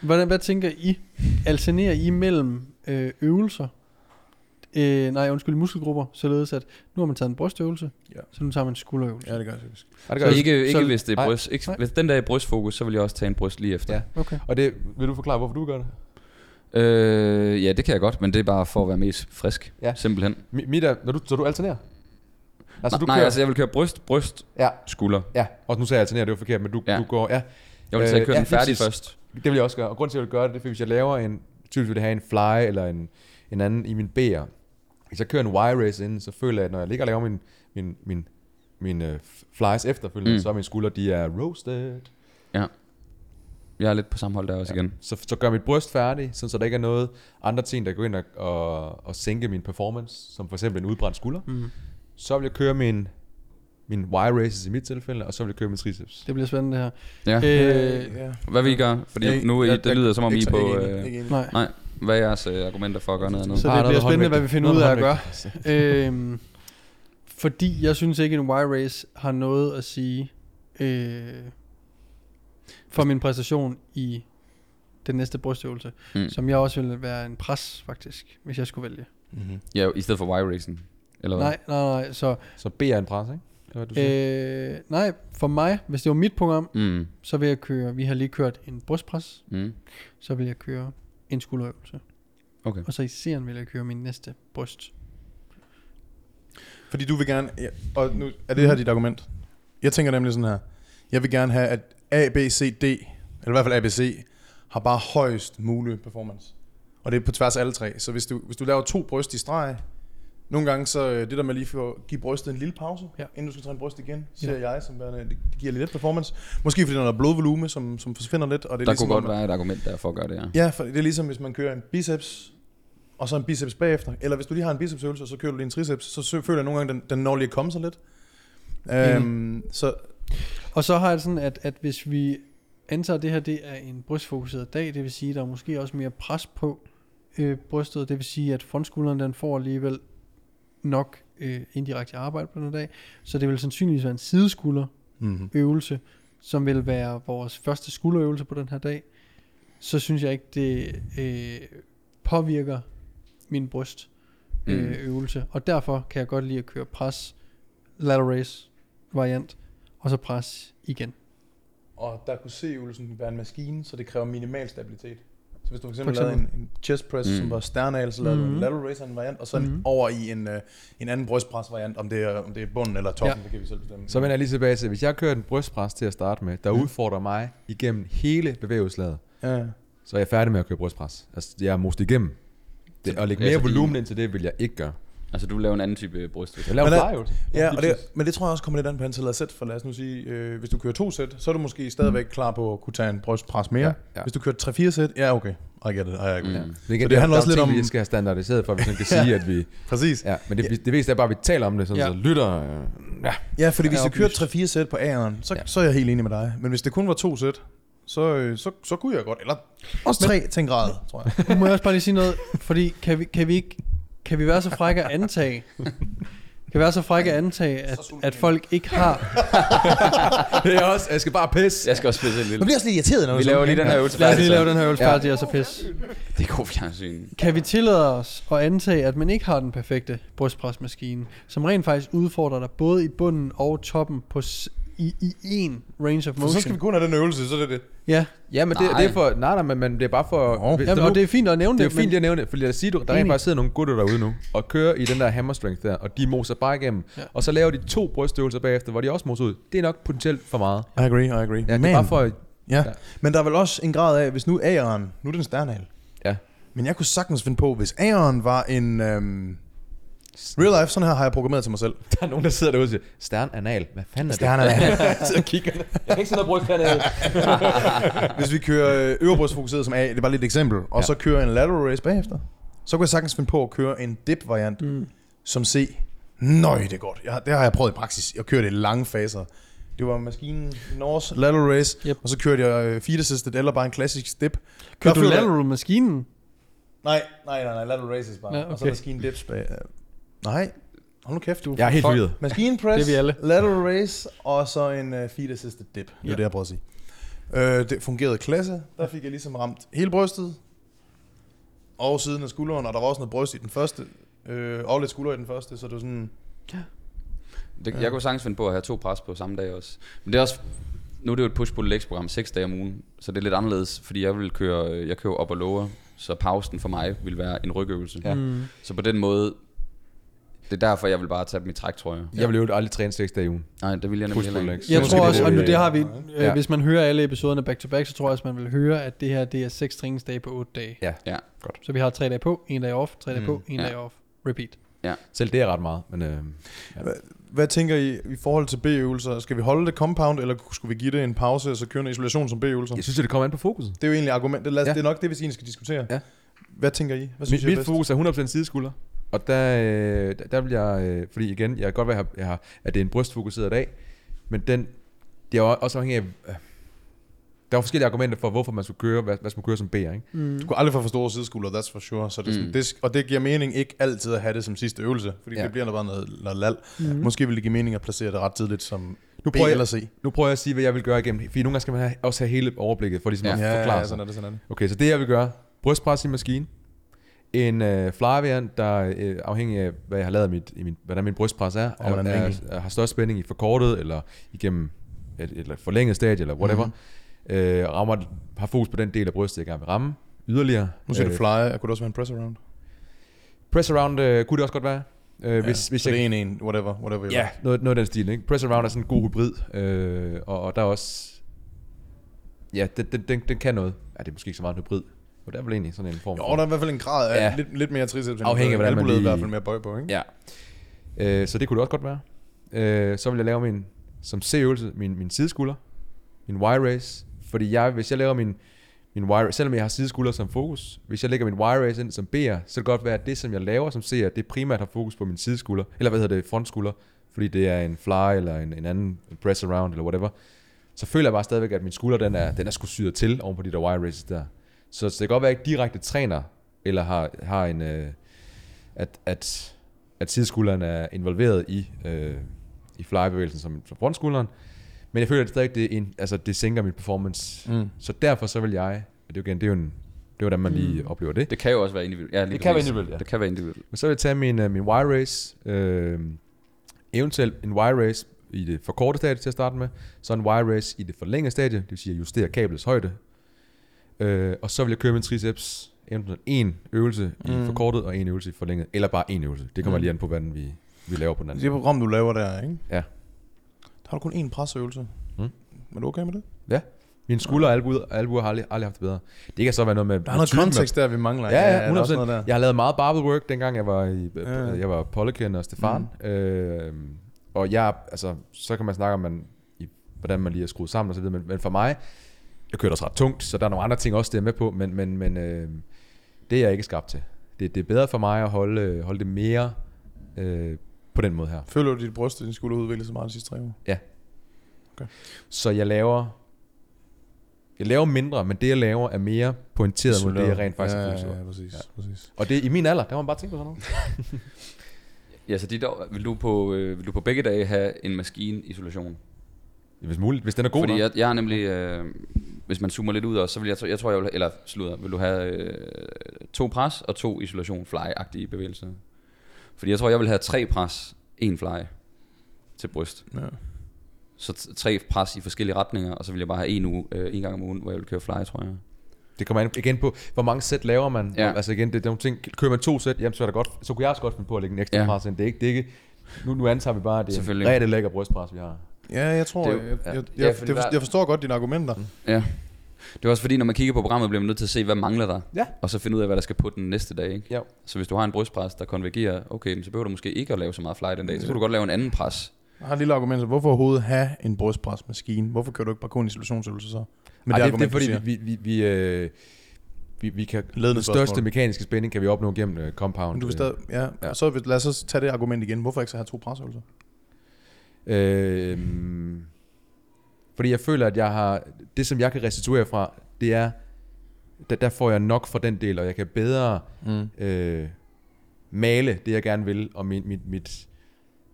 Speaker 1: hvordan, hvad tænker I? Alternerer I mellem øh, øvelser? Øh, nej, undskyld, muskelgrupper, således at nu har man taget en brystøvelse,
Speaker 2: Ja.
Speaker 1: så nu tager man en skulderøvelse.
Speaker 2: Ja, det gør jeg typisk.
Speaker 4: Ja, det
Speaker 3: Så
Speaker 4: gør ikke.
Speaker 3: ikke, ikke
Speaker 1: så-
Speaker 3: hvis det er
Speaker 4: nej,
Speaker 3: bryst. Ikke,
Speaker 1: nej.
Speaker 3: hvis den der er brystfokus, så vil jeg også tage en bryst lige efter.
Speaker 4: Ja.
Speaker 1: Okay.
Speaker 4: Og det, vil du forklare, hvorfor du gør det?
Speaker 3: Ja, øh, ja det kan jeg godt, men det er bare for at være mest frisk. Ja.
Speaker 4: Ja. Altså,
Speaker 3: Simpelthen.
Speaker 4: Mi- Mita, når du, så du alternerer?
Speaker 3: Altså, nej, altså jeg vil køre bryst, bryst,
Speaker 4: Ja,
Speaker 3: skulder.
Speaker 4: ja. Og nu sagde jeg alternerer, det var forkert, men du,
Speaker 3: Ja.
Speaker 4: ja. du går, ja.
Speaker 3: Jeg vil tage
Speaker 4: Øh,
Speaker 3: køre
Speaker 4: ja,
Speaker 3: den
Speaker 4: lige
Speaker 3: færdig
Speaker 4: præcis.
Speaker 3: først.
Speaker 4: Det vil jeg også gøre. Og grunden til, at jeg vil gøre det, det er, fordi hvis jeg laver en, typisk vil det have en fly eller en, en anden i min B'er. Hvis jeg kører en Y-race inden, så føler jeg, at når jeg ligger og laver min, min, min, min uh, flies efterfølgende,
Speaker 3: Mm.
Speaker 4: mm. så er mine skuldre, de er roasted.
Speaker 3: Jeg er lidt på samme hold der også ja. igen.
Speaker 4: Så, så gør mit bryst færdig, sådan, så der ikke er noget andre ting, der går ind og, og, og sænke min performance, som for eksempel en udbrændt skulder.
Speaker 1: Mm.
Speaker 4: Så vil jeg køre min, min Y-races i mit tilfælde, og så vil jeg køre min triceps.
Speaker 1: Det bliver spændende det her.
Speaker 3: Ja.
Speaker 1: Øh,
Speaker 2: ja.
Speaker 3: Hvad vil I gøre? Fordi
Speaker 2: Jeg-
Speaker 3: nu er I,
Speaker 2: jeg-
Speaker 3: det lyder som om I
Speaker 2: ikke så-
Speaker 3: er på...
Speaker 2: ikke enig,
Speaker 3: Øh,
Speaker 2: ikke enig.
Speaker 1: nej.
Speaker 3: nej, hvad er jeres øh, argumenter for at gøre noget andet?
Speaker 1: Så
Speaker 4: Ah,
Speaker 1: det
Speaker 4: noget
Speaker 1: bliver spændende, hvad
Speaker 4: håndvægt.
Speaker 1: vi finder ud
Speaker 4: Noget
Speaker 1: af at gøre.
Speaker 4: håndvægt.
Speaker 1: øhm, fordi jeg synes ikke, en Y-race har noget at sige øh, for min præstation i den næste brystøvelse,
Speaker 3: Mm.
Speaker 1: mm. som jeg også ville være en pres, faktisk, hvis jeg skulle vælge.
Speaker 2: Mm-hmm.
Speaker 3: Ja, i stedet for Y-racing. Eller hvad?
Speaker 1: Nej, nej, nej. Så,
Speaker 4: Så B er en pres, ikke? Det var, du siger.
Speaker 1: øh, nej, for mig, hvis det var mit program,
Speaker 3: Mm.
Speaker 1: så vil jeg køre, vi har lige kørt en brystpres,
Speaker 3: Mm.
Speaker 1: så vil jeg køre en skulderøvelse.
Speaker 3: Okay.
Speaker 1: Og så i serien vil jeg køre min næste bryst.
Speaker 2: Fordi du vil gerne... Ja, og nu er det her dit argument. Jeg tænker nemlig sådan her. Jeg vil gerne have, at A, B, C, D, eller i hvert fald ABC, har bare højst mulig performance. Og det er på tværs af alle tre. Så hvis du, hvis du laver to bryst i streg, nogle gange så øh, det der med lige for at give brystet en lille pause,
Speaker 1: Ja.
Speaker 2: ja. inden du skal træne bryst igen, ser jeg som værende, det, det giver lidt performance. Måske fordi der er noget blodvolume, som, som forsvinder lidt. Og det er
Speaker 3: Der
Speaker 2: ligesom,
Speaker 3: kunne godt
Speaker 2: om, at-
Speaker 3: være et argument der for at gøre det, ja.
Speaker 2: Ja, for det er ligesom hvis man kører en biceps, og så en biceps bagefter. Eller hvis du lige har en bicepsøvelse, og så kører du lige en triceps, så sø- føler jeg nogle gange, den, den når lige at komme sig lidt. Øhm, så
Speaker 1: Og så har jeg det sådan, at, at hvis vi antager, at det her det er en brystfokuseret dag, det vil sige, at der er måske også mere pres på øh, brystet, det vil sige, at frontskulderen den får alligevel nok øh, indirekte arbejde på den dag, så det vil sandsynligvis være en sideskulderøvelse,
Speaker 2: mm-hmm.
Speaker 1: som vil være vores første skulderøvelse på den her dag, så synes jeg ikke, det øh, påvirker min bryst
Speaker 3: Mm.
Speaker 1: øh, øvelse, og derfor kan jeg godt lide at køre pres, lateral raise variant, og så pres igen.
Speaker 2: Og der kunne se øvelsen være en maskine, så det kræver minimal stabilitet. Så hvis du for
Speaker 1: For
Speaker 2: eksempel, lavede en, en chest press, mm.
Speaker 3: Mm.
Speaker 2: som var sternal, så lavede mm. du
Speaker 1: Mhm.
Speaker 2: en lateral raise en variant, og så mm.
Speaker 1: Mhm.
Speaker 2: over i en, øh, en anden brystpres variant, om det, er, om det er bunden eller toppen, ja. det kan vi selv bestemme.
Speaker 4: Så vender jeg lige tilbage til, hvis jeg kører en brystpres til at starte med, der udfordrer mig igennem hele bevægelseslaget,
Speaker 2: ja.
Speaker 4: så er jeg færdig med at køre brystpres. Altså, jeg er most igennem. Det, og lægge
Speaker 3: Ja,
Speaker 4: mere
Speaker 3: fordi-
Speaker 4: volumen ind til det, vil jeg ikke gøre.
Speaker 3: Altså, du laver en anden type øh, bryst.
Speaker 4: Jeg laver
Speaker 2: Men der-
Speaker 4: flyout.
Speaker 2: Ja, og det, men det tror jeg også kommer lidt an på antallet af sæt, for lad os nu sige, øh, hvis du kører to sæt, så er du måske stadigvæk klar på at kunne tage en brystpres mere.
Speaker 4: Ja,
Speaker 2: Mm. Ja,
Speaker 4: ja.
Speaker 2: ja. Hvis du kører 3-4 sæt, ja okay, I get it, I get it. Mm.
Speaker 4: Men igen,
Speaker 2: Så det handler
Speaker 4: der er
Speaker 2: også
Speaker 4: jo
Speaker 2: lidt
Speaker 4: ting,
Speaker 2: om-
Speaker 4: Vi skal have standardiseret, for at vi sådan kan sige, at vi...
Speaker 2: Præcis. Ja,
Speaker 4: Ja, men det, det vigtigste er bare, at vi taler om det, sådan,
Speaker 1: Ja.
Speaker 4: ja. så lytter... Øh, ja.
Speaker 2: ja fordi hvis
Speaker 1: Ja,
Speaker 2: du kører
Speaker 1: oplyst.
Speaker 2: 3-4 sæt på A'eren, så,
Speaker 4: Ja.
Speaker 2: ja. så er jeg helt enig med dig. Men hvis det kun var to sæt, så, øh, så, så kunne jeg godt. Eller også tre til en grad, tror (laughs) jeg.
Speaker 1: Nu må jeg også bare lige sige noget, fordi kan vi, kan vi, ikke, kan vi være så frække at antage, kan vi være så frække at antage, at, at folk ikke har...
Speaker 4: (laughs) Det er også, jeg skal bare pisse.
Speaker 3: Jeg skal også spille lidt
Speaker 2: Man
Speaker 3: lidt.
Speaker 2: bliver også lidt irriteret, når
Speaker 3: Vi laver lige den her øvelse.
Speaker 1: Lad os lige lave den her øvelse,
Speaker 4: Ja.
Speaker 1: ja. og så pis.
Speaker 3: Det er god fjernsyn.
Speaker 1: Kan vi tillade os at antage, at man ikke har den perfekte brystpresmaskine, som rent faktisk udfordrer dig både i bunden og toppen på s- i, i én range of
Speaker 2: For
Speaker 1: motion?
Speaker 2: så skal vi kun have den øvelse, så er det det.
Speaker 1: Ja,
Speaker 4: Ja, men det,
Speaker 3: Nej.
Speaker 4: det er for... Nej, nej, men, men det er bare for...
Speaker 2: Nå.
Speaker 4: hvis-
Speaker 1: ja
Speaker 4: der nu-
Speaker 1: og det er fint at nævne
Speaker 4: det er
Speaker 1: det,
Speaker 4: jo fint,
Speaker 1: men,
Speaker 4: jeg nævner det, fordi jeg siger, du, der rent
Speaker 1: Enig.
Speaker 4: faktisk sidder nogle gutter derude nu, og kører i den der hammer strength der, og de moser bare igennem.
Speaker 1: Ja.
Speaker 4: Ja. Og så laver de to brystøvelser bagefter, hvor de også moser ud. Det er nok potentielt for meget.
Speaker 2: I agree, I agree.
Speaker 4: Ja, det er bare for...
Speaker 2: ja. Men der er vel også en grad af, hvis nu A'eren, nu er den sternal,
Speaker 4: Ja. (laughs)
Speaker 2: Men jeg kunne sagtens finde på, hvis Aaron var en... Øhm, real life, sådan her har jeg programmeret til mig selv.
Speaker 4: Der er nogen, der sidder derude og siger, stern anal, hvad fanden er
Speaker 2: Stjernerne.
Speaker 4: det? Sidder og kigger. Jeg kan ikke se noget bryst hernede.
Speaker 2: (laughs) hvis vi kører øh, øverbrystfokuseret som A, det er bare lidt et eksempel, og
Speaker 4: Ja.
Speaker 2: ja. så kører en lateral raise bagefter, så kunne jeg sagtens finde på at køre en dip-variant mm. som C. Nøj, det er godt. Jeg, har- det har jeg prøvet i praksis. Jeg kørte i lange faser. Det var maskinen Norse lateral raise,
Speaker 1: Yep.
Speaker 2: yep. og så kørte jeg øh, feet assisted eller bare en klassisk dip.
Speaker 1: kører du
Speaker 2: Jeg føler-
Speaker 1: lateral-maskinen?
Speaker 2: Nej, nej, nej, nej, lateral raises bare.
Speaker 1: Ja,
Speaker 2: Ja,
Speaker 1: okay.
Speaker 2: okay. Og så maskinen dips bag. øh, Nej, hold nu kæft du.
Speaker 4: Jeg er helt
Speaker 3: Fuck.
Speaker 4: forvirret.
Speaker 2: Maskine press,
Speaker 1: Det er vi alle.
Speaker 2: lateral raise, og så en uh, feet assisted dip. Det er
Speaker 1: Ja.
Speaker 2: det, jeg prøver at sige. Øh, det fungerede klasse. Der fik jeg ligesom ramt hele brystet, og siden af skulderen, og der var også noget bryst i den første, øh, og lidt skulder i den første, så det var sådan...
Speaker 3: Det, jeg kunne sagtens finde på at have to pres på samme dag også. Men det er også... Nu er det jo et push pull legs program 6 dage om ugen, så det er lidt anderledes, fordi jeg vil køre, øh, jeg kører op og lower, så pausen for mig vil være en rygøvelse.
Speaker 4: Ja.
Speaker 1: Mm.
Speaker 3: Så på den måde, det er derfor, jeg vil bare tage mit træk, tror jeg.
Speaker 4: Jeg vil jo aldrig træne 6 dage i ugen.
Speaker 3: Nej, det vil jeg nemlig
Speaker 4: Push
Speaker 3: heller
Speaker 4: pull
Speaker 3: ikke.
Speaker 4: legs.
Speaker 1: Jeg
Speaker 4: Så
Speaker 1: tror
Speaker 4: skal
Speaker 1: også,
Speaker 4: gå
Speaker 1: og nu
Speaker 4: i-
Speaker 1: det har vi, øh,
Speaker 4: Ja.
Speaker 1: hvis man hører alle episoderne back to back, så tror jeg også, man vil høre, at det her det er seks træningsdage på otte dage.
Speaker 4: Ja. Mm.
Speaker 3: Ja.
Speaker 1: Så vi har tre dage på, en dag off, tre dage på, en
Speaker 3: Ja.
Speaker 1: dag off. Repeat.
Speaker 4: Selv det er ret meget, men øh,
Speaker 2: Hvad tænker I i forhold til B-øvelser? Skal vi holde det compound, eller skulle vi give det en pause, og så køre en isolation som B-øvelser?
Speaker 4: jeg
Speaker 2: Yes.
Speaker 4: synes, det kommer an på fokuset.
Speaker 2: Det er jo egentlig argumentet. Lad os,
Speaker 4: Ja.
Speaker 2: ja. Det er nok det, vi egentlig skal diskutere.
Speaker 4: Ja.
Speaker 2: Hvad tænker I? Hvad synes
Speaker 4: Mit,
Speaker 2: mit, I er
Speaker 4: mit
Speaker 2: bedst?
Speaker 4: fokus er 100% sideskulder. Og der, øh, der, der vil jeg, øh, fordi igen, jeg kan godt være, at, jeg har, at det er en brystfokuseret dag, men den, det er jo også afhængig af, øh, der er forskellige argumenter for, hvorfor man skulle køre, hvad, hvad skal man køre som B'er, ikke?
Speaker 2: Du kan aldrig få for store sideskulder, that's for sure. Så det er sådan,
Speaker 3: Mm.
Speaker 2: mm. det, sk- og det giver mening ikke altid at have det som sidste øvelse, fordi
Speaker 4: Ja.
Speaker 2: ja. det bliver der bare noget, noget lal. Mm. Måske vil det give mening at placere det ret tidligt som
Speaker 4: Nu
Speaker 2: nu
Speaker 4: prøver
Speaker 2: B
Speaker 4: jeg-
Speaker 2: eller C.
Speaker 4: Nu prøver jeg at sige, hvad jeg vil gøre igennem, fordi nogle gange skal man have, også have hele overblikket, for ligesom ja. at forklare ja,
Speaker 2: sådan er det, sådan er det.
Speaker 4: Okay, så det jeg vil gøre, brystpres i maskinen, en øh, flyvariant, der øh, afhængig af, hvad jeg har lavet i mit, i min, hvordan min brystpres er,
Speaker 2: Og hvordan
Speaker 4: er, er,
Speaker 2: vinkel.
Speaker 4: er, har størst spænding i forkortet, eller igennem et, et eller forlænget stadie, eller whatever.
Speaker 2: Mhm.
Speaker 4: Mm-hmm. Øh, rammer, har fokus på den del af brystet, jeg gerne vil ramme. Yderligere. Øh,
Speaker 2: Nu siger du fly, kunne det også være en press around?
Speaker 4: Press around øh, kunne det også godt være. Øh, ja, hvis,
Speaker 2: ja.
Speaker 4: hvis
Speaker 2: så
Speaker 4: jeg
Speaker 2: det er en, en, whatever, whatever.
Speaker 4: Ja, noget, noget af den stil. Ikke? Press around er sådan en god hybrid, øh, og, og der er også... Ja, den, den, den, den kan noget. Ja, det er måske ikke så meget en hybrid. Og der er vel egentlig sådan en form
Speaker 2: Jo, der er i hvert fald en grad af
Speaker 4: Ja.
Speaker 2: ja. lidt, lidt mere triceps. end
Speaker 4: Afhængig af, hvordan man
Speaker 2: albuelet
Speaker 4: lige-
Speaker 2: i hvert fald mere bøj på, ikke?
Speaker 4: Ja. Øh, så det kunne det også godt være. Øh, så vil jeg lave min, som C-øvelse, min, min sideskulder, min Y-race. Fordi jeg, hvis jeg laver min, min Y-race, selvom jeg har sideskulder som fokus, hvis jeg lægger min Y-race ind som B'er, så kan det godt være, at det, som jeg laver som C'er, det primært har fokus på min sideskulder, eller hvad hedder det, frontskulder, fordi det er en fly eller en, en anden press around eller whatever. Så føler jeg bare stadigvæk, at min skulder, den er, den er sgu syret til oven på de der Y-races der. Så, så det kan godt være, at jeg ikke direkte træner, eller har, har en, øh, at, at, at sideskulderen er involveret i, øh, i flybevægelsen som som frontskulderen. Men jeg føler at det stadig, det, er en, altså, det sænker min performance. Mm. Så derfor så vil jeg, og det er jo igen, det er jo en, det er, hvordan man lige
Speaker 2: Mm.
Speaker 4: oplever det.
Speaker 3: Det kan jo også være individuelt. Ja, lige
Speaker 4: Det kan være
Speaker 3: præcis.
Speaker 4: individuelt, ja.
Speaker 3: Det kan være individuelt.
Speaker 4: Men så vil jeg tage min, øh, min Y-race, øh, eventuelt en Y-race i det forkorte stadie til at starte med, så en Y-race i det forlængede stadie, det vil sige at justere kablets højde. Øh, og så vil jeg køre min triceps enten en øvelse i
Speaker 2: Mm.
Speaker 4: mm. forkortet og en øvelse i forlænget, eller bare en øvelse. Det kommer
Speaker 2: Mm.
Speaker 4: mm. lige an på, hvordan vi, vi laver på den
Speaker 2: Det er
Speaker 4: anden.
Speaker 2: program, du laver der, ikke?
Speaker 4: Ja.
Speaker 2: Der har du kun én presøvelse.
Speaker 4: Mm.
Speaker 2: Er du okay med det?
Speaker 4: Min skulder og albuer, albuer har aldrig, aldrig haft det bedre. Det kan så være noget med...
Speaker 2: Der er noget
Speaker 4: med typen af-
Speaker 2: kontekst der, vi mangler.
Speaker 4: Ja, ja,
Speaker 2: der er også
Speaker 4: 100%.
Speaker 2: noget der.
Speaker 4: Jeg har lavet meget barbell work, dengang jeg var, i, øh,
Speaker 2: Ja.
Speaker 4: jeg var Pollekin og Stefan. Mm. Øh, og jeg, altså, så kan man snakke om, man, i, hvordan man lige er skruet sammen og så videre. Men, men for mig, jeg kørte også ret tungt, så der er nogle andre ting også, det er med på. Men, men, men øh, det er jeg ikke skabt til. Det, det er bedre for mig at holde, holde det mere øh, på den måde her.
Speaker 2: Føler du, at dit bryst og din skulder udviklet sig meget de sidste tre år?
Speaker 4: Så jeg laver... Jeg laver mindre, men det jeg laver er mere pointeret mod det, jeg rent faktisk
Speaker 2: ja,
Speaker 4: har
Speaker 2: ja,
Speaker 4: følelse for.
Speaker 2: ja, præcis, ja. præcis.
Speaker 4: Og det er i min alder, der må man bare tænke på sådan noget.
Speaker 3: Ja, så dit år, vil, du på, øh, vil du på begge dage have en maskinisolation?
Speaker 4: Hvis muligt, hvis den er god
Speaker 3: Fordi
Speaker 4: nok.
Speaker 3: jeg, jeg er nemlig, øh, hvis man zoomer lidt ud også, så vil jeg, jeg tror jeg vil, eller slutter, vil du have øh, to pres og to isolation fly-agtige bevægelser? Fordi jeg tror jeg vil have tre pres, en fly til bryst.
Speaker 2: Ja.
Speaker 3: Så t- tre pres i forskellige retninger, og så vil jeg bare have en uge, øh, en gang om ugen, hvor jeg vil køre fly, tror jeg.
Speaker 4: Det kommer an igen på, hvor mange sæt laver man.
Speaker 3: Ja.
Speaker 4: Ja. Altså igen, det, det er nogle ting. Kører man to sæt, jamen, så, er det godt, så kunne jeg også godt finde på at lægge en ekstra
Speaker 3: Ja.
Speaker 4: ja. pres ind. Det er ikke, det er ikke, nu, nu antager vi bare, at det er en
Speaker 3: Selvfølgelig.
Speaker 4: rigtig lækker brystpres, vi har.
Speaker 2: ja, jeg tror,
Speaker 3: Det
Speaker 2: det,
Speaker 3: er jo-
Speaker 2: jeg, jeg,
Speaker 3: ja.
Speaker 2: jeg,
Speaker 3: Ja,
Speaker 2: jeg,
Speaker 3: fordi
Speaker 2: jeg,
Speaker 3: der-
Speaker 2: jeg forstår godt dine argumenter.
Speaker 3: Ja. Det er også fordi, når man kigger på programmet, bliver man nødt til at se, hvad mangler der.
Speaker 4: Ja.
Speaker 3: Og så finde ud af, hvad der skal på den næste dag. Ikke?
Speaker 4: Ja.
Speaker 3: Så hvis du har en brystpres, der konvergerer, okay, men så behøver du måske ikke at lave så meget fly den dag. Så kan du godt lave en anden pres.
Speaker 2: Jeg har et lille argument, så hvorfor overhovedet have en brystpresmaskine? Hvorfor kører du ikke bare kun en isolationsøvelse så? Men
Speaker 4: Ej, det, det, det er fordi, vi, vi, vi, øh, vi, vi kan,
Speaker 2: Ledende
Speaker 4: den
Speaker 2: spørgsmål.
Speaker 4: største mekaniske spænding kan vi opnå gennem øh, compound.
Speaker 2: Men du vil stadig, ja. ja.
Speaker 4: Ja.
Speaker 2: Så vil- lad os så tage det argument igen. Hvorfor ikke så have to presøvelser?
Speaker 4: Øh, mm, fordi jeg føler, at jeg har, det som jeg kan restituere fra, det er, der, der får jeg nok for den del, og jeg kan bedre
Speaker 2: Mm.
Speaker 4: øh, male det, jeg gerne vil, og min, mit, mit,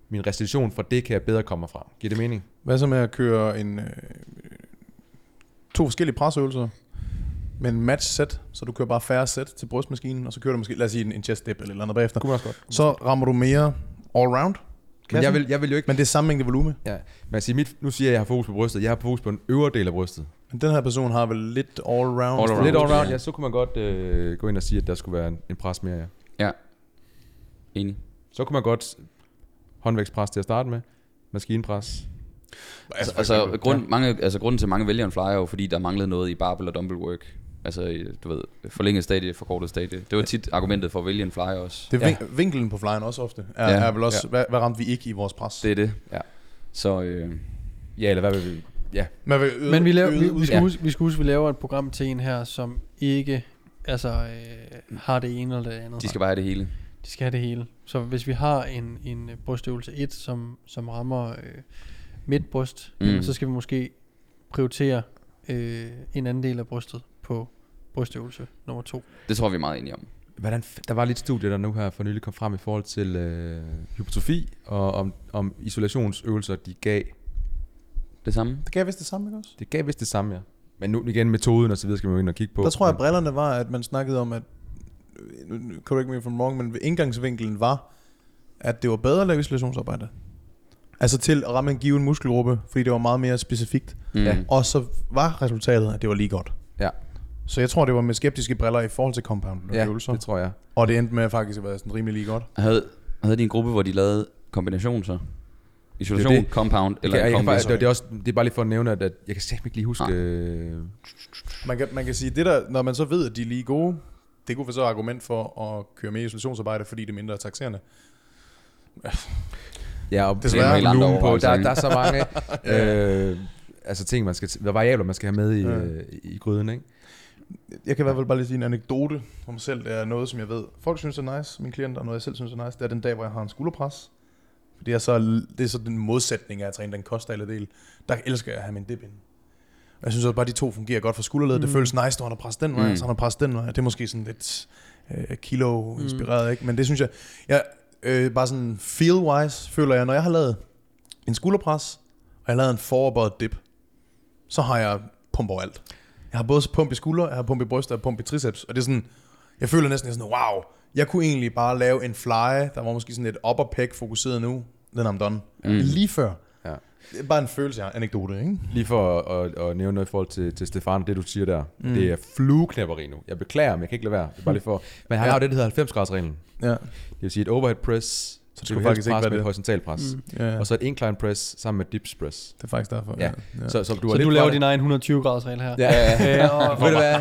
Speaker 4: min restitution fra det kan jeg bedre komme fra. Giver det mening?
Speaker 2: Hvad så med at køre en, øh, to forskellige presøvelser, men match set, så du kører bare færre sæt til brystmaskinen, og så kører du måske, lad os sige, en, en chest dip eller et eller andet bagefter.
Speaker 4: Det kunne man også godt.
Speaker 2: Så rammer du mere all round.
Speaker 4: Men jeg vil, jeg vil jo ikke...
Speaker 2: men det er samme mængde volume.
Speaker 4: Ja, men jeg siger, mit, nu siger jeg, at jeg har fokus på brystet. Jeg har fokus på den øvre del af brystet.
Speaker 2: Men den her person har vel lidt all round.
Speaker 3: All
Speaker 4: All
Speaker 3: round,
Speaker 4: Lidt all round,
Speaker 3: ja.
Speaker 4: ja. Så kunne man godt øh, gå ind og sige, at der skulle være en, en pres mere, ja.
Speaker 3: Enig.
Speaker 4: Så kunne man godt håndvægtspres til at starte med. Maskinpres.
Speaker 3: Altså, altså, grund, mange, altså grunden til, at mange vælger en flyer er jo, fordi der manglede noget i barbell og dumbbell work. Altså, i, du ved, forlænget stadie, forkortet stadie. Det var tit argumentet for at vælge en flyer også.
Speaker 2: Det er vin- vinkelen på flyen også ofte. Er, ja,
Speaker 3: Ja,
Speaker 2: er vel også, ja. hvad, hvad, ramte vi ikke i vores pres?
Speaker 3: Det er det.
Speaker 4: Ja.
Speaker 3: Så øh,
Speaker 4: Ja, eller hvad vil vi? Ja.
Speaker 2: Man vil øde,
Speaker 1: Men vi, laver,
Speaker 2: øde
Speaker 1: vi, vi,
Speaker 2: udslag.
Speaker 1: skal huske, vi skal huske, vi laver et program til en her, som ikke altså, øh, har det ene eller det andet.
Speaker 3: de skal bare have det hele.
Speaker 1: de skal have det hele. Så hvis vi har en, en øh, brystøvelse 1, som, som rammer øh, midtbryst,
Speaker 3: Mm.
Speaker 1: mm. så skal vi måske prioritere øh, en anden del af brystet på brystøvelse nummer 2.
Speaker 3: Det tror vi er meget enige om.
Speaker 4: Hvordan, f- der var lidt studie, der nu her for nylig kom frem i forhold til øh, hypotrofi, og om, om isolationsøvelser, de gav
Speaker 3: Det samme?
Speaker 2: Det gav vist det samme, ikke også?
Speaker 4: Det gav vist det samme, ja. Men nu igen, metoden og så videre skal man jo ind og kigge på.
Speaker 2: Der tror jeg, at
Speaker 4: Men
Speaker 2: brillerne var, at man snakkede om, at nu- nu- correct me if I'm wrong, men indgangsvinkelen var, at det var bedre at lave isolationsarbejde. Altså til at ramme en given muskelgruppe, fordi det var meget mere specifikt.
Speaker 3: Mm.
Speaker 4: Ja.
Speaker 2: Og så var resultatet, at det var lige godt.
Speaker 4: Ja.
Speaker 2: Så jeg tror, det var med skeptiske briller i forhold til compound
Speaker 4: ja,
Speaker 2: øvelser.
Speaker 4: det tror jeg.
Speaker 2: Og det endte med at faktisk at være sådan rimelig lige godt.
Speaker 3: Havde, havde de en gruppe, hvor de lavede kombination så? Isolation,
Speaker 4: Det er det.
Speaker 3: compound
Speaker 4: Eller
Speaker 3: eller
Speaker 4: jeg, jeg kan
Speaker 3: combi?
Speaker 4: faktisk, det, det, er også, det er bare lige for at nævne, at, at jeg kan simpelthen ikke lige huske...
Speaker 3: Nej.
Speaker 4: Øh,
Speaker 2: Man kan, man kan sige, det der, når man så ved, at de er lige gode, det kunne være så et argument for at køre mere isolationsarbejde, fordi det er mindre taxerende.
Speaker 4: ja, og
Speaker 2: Desværre
Speaker 4: det er
Speaker 2: en
Speaker 3: lugen
Speaker 4: en lugen på.
Speaker 3: overvejelse,
Speaker 4: Der,
Speaker 3: ikke?
Speaker 4: der er så (laughs) mange øh, altså ting, man skal, der er variabler, man skal have med i,
Speaker 2: Ja.
Speaker 4: øh, i gryden, ikke?
Speaker 2: Jeg kan i hvert fald bare lige sige en anekdote om mig selv. Det er noget, som jeg ved, folk synes er nice, mine klienter, og noget, jeg selv synes er nice, det er den dag, hvor jeg har en skulderpres. For det er så, det er så den modsætning af at træne den kostale del. Der elsker jeg at have min dip ind. Og jeg synes også bare, at de to fungerer godt for skulderled. Mm. Det
Speaker 1: Mm.
Speaker 2: føles nice, når han har presset den vej,
Speaker 3: Mm.
Speaker 2: mm. så han har presset den vej. Det er måske sådan lidt øh, kilo-inspireret, mm. ikke? Men det synes jeg, jeg øh, bare sådan feel-wise, føler jeg, når jeg har lavet en skulderpres, og jeg har lavet en foroverbøjet dip, så har jeg pump alt. Jeg har både pump i skulder, jeg har pump i bryst, og jeg har pump i triceps. Og det er sådan, jeg føler næsten, jeg er sådan, wow, jeg kunne egentlig bare lave en fly, der var måske sådan lidt upper pec fokuseret nu, then I'm done.
Speaker 3: Mm.
Speaker 2: Lige før.
Speaker 4: Ja.
Speaker 2: Det er bare en følelse af anekdote, ikke?
Speaker 4: Lige for at, at, at nævne noget i forhold til, til Stefan, det du siger der,
Speaker 2: Mm.
Speaker 4: mm. det er flueknæpperi nu. Jeg beklager, men jeg kan ikke lade være. Det er bare lige for, (laughs) men han
Speaker 2: Ja.
Speaker 4: har jo det, der hedder 90 graders reglen.
Speaker 2: Ja.
Speaker 4: Det vil sige et overhead press, så
Speaker 2: det
Speaker 4: det
Speaker 2: skulle
Speaker 4: skal
Speaker 2: faktisk
Speaker 4: faktisk
Speaker 2: ikke
Speaker 4: pres
Speaker 2: være
Speaker 4: med
Speaker 2: det.
Speaker 4: et horizontalt pres. Mm.
Speaker 1: Mm.
Speaker 2: ja.
Speaker 4: Og så et incline press sammen med dips press.
Speaker 2: det er faktisk derfor.
Speaker 4: Ja.
Speaker 2: ja.
Speaker 4: Så, så du,
Speaker 1: Du
Speaker 4: er
Speaker 1: så
Speaker 4: lidt
Speaker 1: du
Speaker 4: fra
Speaker 1: laver
Speaker 4: det.
Speaker 1: din egen 120 graders regel her.
Speaker 4: Ja, (laughs) ja,
Speaker 1: (laughs)
Speaker 4: ja.
Speaker 1: Øh, og-
Speaker 4: Ved du hvad?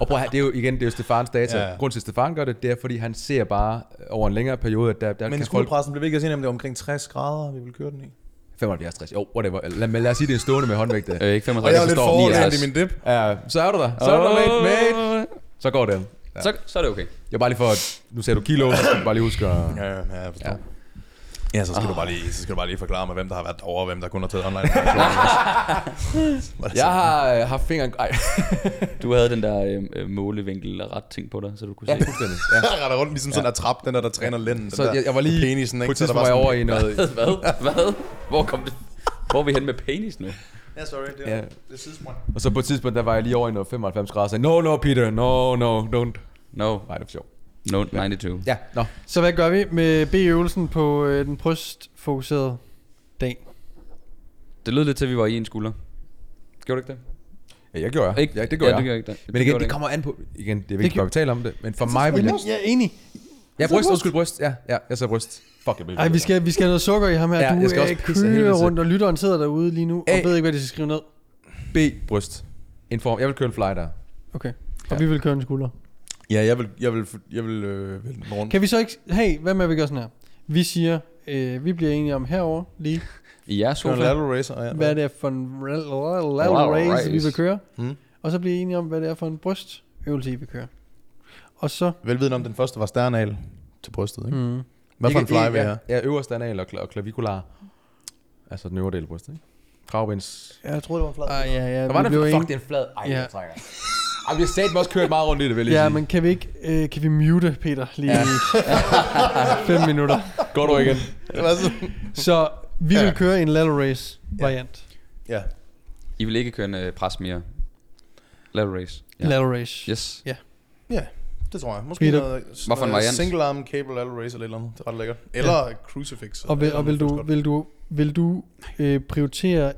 Speaker 4: Og prøv at, høre, det er jo igen, det er jo Stefans data.
Speaker 2: Ja, ja.
Speaker 4: Ja. Grunden til, at Stefan gør det, det er, fordi han ser bare øh, over en længere periode, at der, der
Speaker 2: Men
Speaker 4: kan folk
Speaker 2: skulderpressen blev vi ikke også enige om, det var omkring 60 grader, vi ville køre den i.
Speaker 4: 75, 60. Jo, whatever. Lad, men lad os sige, det er en stående med håndvægte.
Speaker 3: Øh, ikke
Speaker 2: Og
Speaker 3: 35,
Speaker 2: jeg var lidt
Speaker 3: forstår
Speaker 2: forlænt
Speaker 3: 69.
Speaker 2: i min dip.
Speaker 4: Ja, så er du der. Så er du der, mate. mate. Så går den.
Speaker 3: Så, så er det okay.
Speaker 4: Jeg er bare lige for, at- nu ser du kilo, så skal du bare lige huske at...
Speaker 2: Ja, ja, ja, jeg forstår. Ja.
Speaker 4: Ja.
Speaker 2: Ja, så skal, oh. du bare lige, så skal du bare lige forklare mig, hvem der har været over, og hvem der kun har taget online. (laughs)
Speaker 4: Jeg har øh, haft fingeren... Ej,
Speaker 3: Du havde den der øh, øh, målevinkel og ret ting på dig, så du kunne
Speaker 4: ja,
Speaker 3: se.
Speaker 4: fuldstændig.
Speaker 2: (laughs)
Speaker 4: Ja.
Speaker 2: Jeg retter rundt, ligesom sådan en trap, den der, der træner lænden.
Speaker 4: Så
Speaker 2: den der,
Speaker 4: jeg, jeg var lige...
Speaker 2: penisen, ikke?
Speaker 4: På et
Speaker 2: Så der
Speaker 4: tidspunkt var jeg
Speaker 2: sådan-
Speaker 4: over i noget...
Speaker 3: (laughs) Hvad? Hvad? Hvor kom det? Hvor er vi hen med penis nu?
Speaker 2: Ja, sorry, det
Speaker 4: Ja.
Speaker 2: det er sidespring.
Speaker 4: Og så på et tidspunkt, der var jeg lige over i noget 95 grader, og sagde, no, no, Peter, no, no, don't.
Speaker 3: No,
Speaker 4: Nej, det var sjovt.
Speaker 3: no 92.
Speaker 4: Ja, nå.
Speaker 1: Så hvad gør vi med B-øvelsen på øh, den brystfokuserede dag?
Speaker 3: Det lød lidt til, at vi var i en skulder. Gjorde det ikke det?
Speaker 4: Ja, jeg gjorde jeg.
Speaker 3: Ikke?
Speaker 4: Ja, det gjorde
Speaker 3: ja,
Speaker 4: jeg.
Speaker 3: Det gjorde ikke det.
Speaker 4: Men igen,
Speaker 3: gjorde
Speaker 4: det
Speaker 3: ikke.
Speaker 4: kommer an på... Igen, det er vigtigt,
Speaker 1: gjorde-
Speaker 4: at vi taler om det. Men
Speaker 1: Altså,
Speaker 4: for mig vil jeg...
Speaker 1: Jeg er enig.
Speaker 4: Ja, bryst, undskyld, bryst. Ja, ja, jeg sagde bryst. Fuck, jeg blev
Speaker 1: Ej, vi skal, vi skal have noget sukker i ham her.
Speaker 4: Ja,
Speaker 1: du
Speaker 4: jeg skal
Speaker 1: øh,
Speaker 4: også pisse af helvede
Speaker 1: kører
Speaker 4: til.
Speaker 1: rundt, og lytteren sidder derude lige nu, og
Speaker 4: A.
Speaker 1: ved ikke, hvad de skal skrive ned.
Speaker 4: B, bryst. En form. Jeg vil køre en fly der.
Speaker 1: Okay. Og vi vil køre en skulder.
Speaker 2: Ja, jeg vil, jeg vil, jeg vil øh, vælge den rundt.
Speaker 1: Kan vi så ikke... Hey, hvad med, at vi gør sådan her? Vi siger, øh, vi bliver enige om herover lige,
Speaker 3: I jeres
Speaker 2: Køre en
Speaker 3: sofa?
Speaker 2: lateral racer, ja.
Speaker 1: hvad det er for en rel- rel- rel- race, vi vil køre.
Speaker 2: Mm.
Speaker 1: Og så bliver enige om, hvad det er for en brystøvelse, I vil køre. Og så...
Speaker 2: Velviden om, den første var sternal til brystet, ikke? Mm.
Speaker 1: Mm,
Speaker 2: Hvad for en
Speaker 4: Ikke-
Speaker 2: fly
Speaker 4: ikke-
Speaker 2: vil jeg (laughs) have?
Speaker 4: Ja, ja øverste anal og, kla- og klavikular. Altså den øvre del af brystet, ikke? Kravbens...
Speaker 2: Jeg troede, det var en flad.
Speaker 1: ah, ja, ja,
Speaker 4: Der var
Speaker 1: vi
Speaker 4: den,
Speaker 1: blev
Speaker 4: fuck,
Speaker 1: enige.
Speaker 4: det er en flad. Ej,
Speaker 1: Ja.
Speaker 4: ja. jeg trækker. Ej, vi har satme også kørt meget rundt i det, vil jeg
Speaker 1: Ja,
Speaker 4: sige.
Speaker 1: men kan vi ikke... Øh, kan vi mute Peter lige i fem minutter?
Speaker 4: Går du igen?
Speaker 2: Det var sådan.
Speaker 1: Så vi
Speaker 2: Ja.
Speaker 1: vil køre en lateral race variant.
Speaker 2: Ja.
Speaker 3: I vil ikke køre en øh, pres mere. Lateral race.
Speaker 1: Ja. Lateral race.
Speaker 3: Yes.
Speaker 2: Ja, det tror jeg. Måske
Speaker 1: Peter.
Speaker 2: noget,
Speaker 3: Hvad for en variant?
Speaker 2: single arm cable lateral racer eller et eller andet. Det er ret lækkert. Eller ja. crucifix.
Speaker 1: Og, vil, og vil, du,
Speaker 2: Vil...
Speaker 1: vil du, vil du øh, prioritere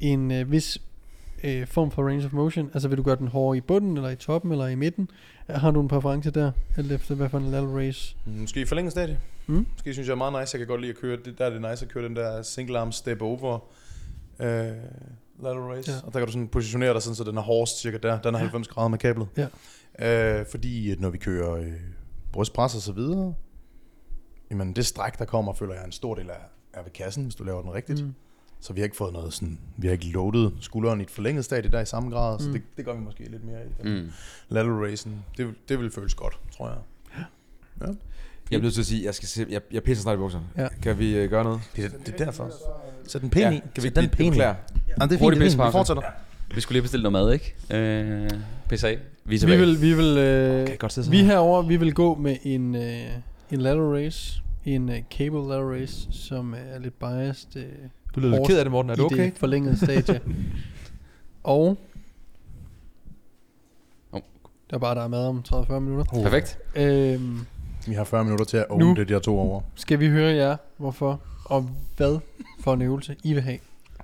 Speaker 1: en øh, vis øh, form for range of motion? Altså vil du gøre den hårdere i bunden, eller i toppen, eller i midten? Har du en præference der, alt efter hvad for en lateral race?
Speaker 2: Måske i forlænget stadie. Mm.
Speaker 1: Mm.
Speaker 2: Måske synes jeg er meget nice. Jeg kan godt lide at køre. Det, der er det nice at køre den der single arm step over øh, lateral race. Ja.
Speaker 1: Ja.
Speaker 2: Og der kan du sådan positionere dig sådan, så den er hårdest cirka der. Den er 90 grader med kablet.
Speaker 1: Ja.
Speaker 2: Øh, fordi at når vi kører øh, brystpres og så videre, jamen det stræk, der kommer, føler jeg er en stor del af, er ved kassen, hvis du laver den rigtigt. Mm.
Speaker 1: Mm.
Speaker 2: Så vi har ikke fået noget sådan, vi har ikke loadet skulderen i et forlænget stadie der i samme grad, mm. så det, det gør vi måske lidt mere i den
Speaker 3: Mm.
Speaker 2: lateral racen. Det, det vil føles godt, tror jeg.
Speaker 4: Jeg er nødt til at sige, jeg, skal se, jeg, jeg pisser snart i bukserne.
Speaker 1: Ja.
Speaker 4: Kan vi øh, gøre noget?
Speaker 2: Det, det er derfor. Sæt den pæn i.
Speaker 4: Kan vi
Speaker 2: Sæt den
Speaker 4: vi- vi
Speaker 2: pæn i.
Speaker 4: beklager.
Speaker 2: Ja, det er fint,
Speaker 3: Hurtig
Speaker 2: det er fint. Vi
Speaker 3: pissepause.
Speaker 2: fortsætter.
Speaker 3: Vi skulle lige bestille noget mad, ikke? Øh, PSA. Vi er
Speaker 1: Vi
Speaker 3: tilbage.
Speaker 1: vil, vi vil, øh,
Speaker 4: Kan I godt sidde
Speaker 1: vi
Speaker 4: sådan her?
Speaker 1: herover, vi vil gå med en, øh, en lateral race, en øh, cable lateral race, som er lidt biased. Øh,
Speaker 4: Du lyder lidt
Speaker 1: hårdt
Speaker 4: ked af det, Morten. Er du
Speaker 1: i
Speaker 4: okay?
Speaker 1: det forlængede
Speaker 4: (laughs)
Speaker 1: stadie. og...
Speaker 3: Hov.
Speaker 1: Der er bare, der er mad om 30-40 minutter.
Speaker 4: Oh.
Speaker 3: Perfekt.
Speaker 1: Øhm,
Speaker 2: Vi har 40 minutter til at
Speaker 1: Nu.
Speaker 2: own det, de her to over.
Speaker 1: skal vi høre jer, hvorfor og hvad for en øvelse I vil have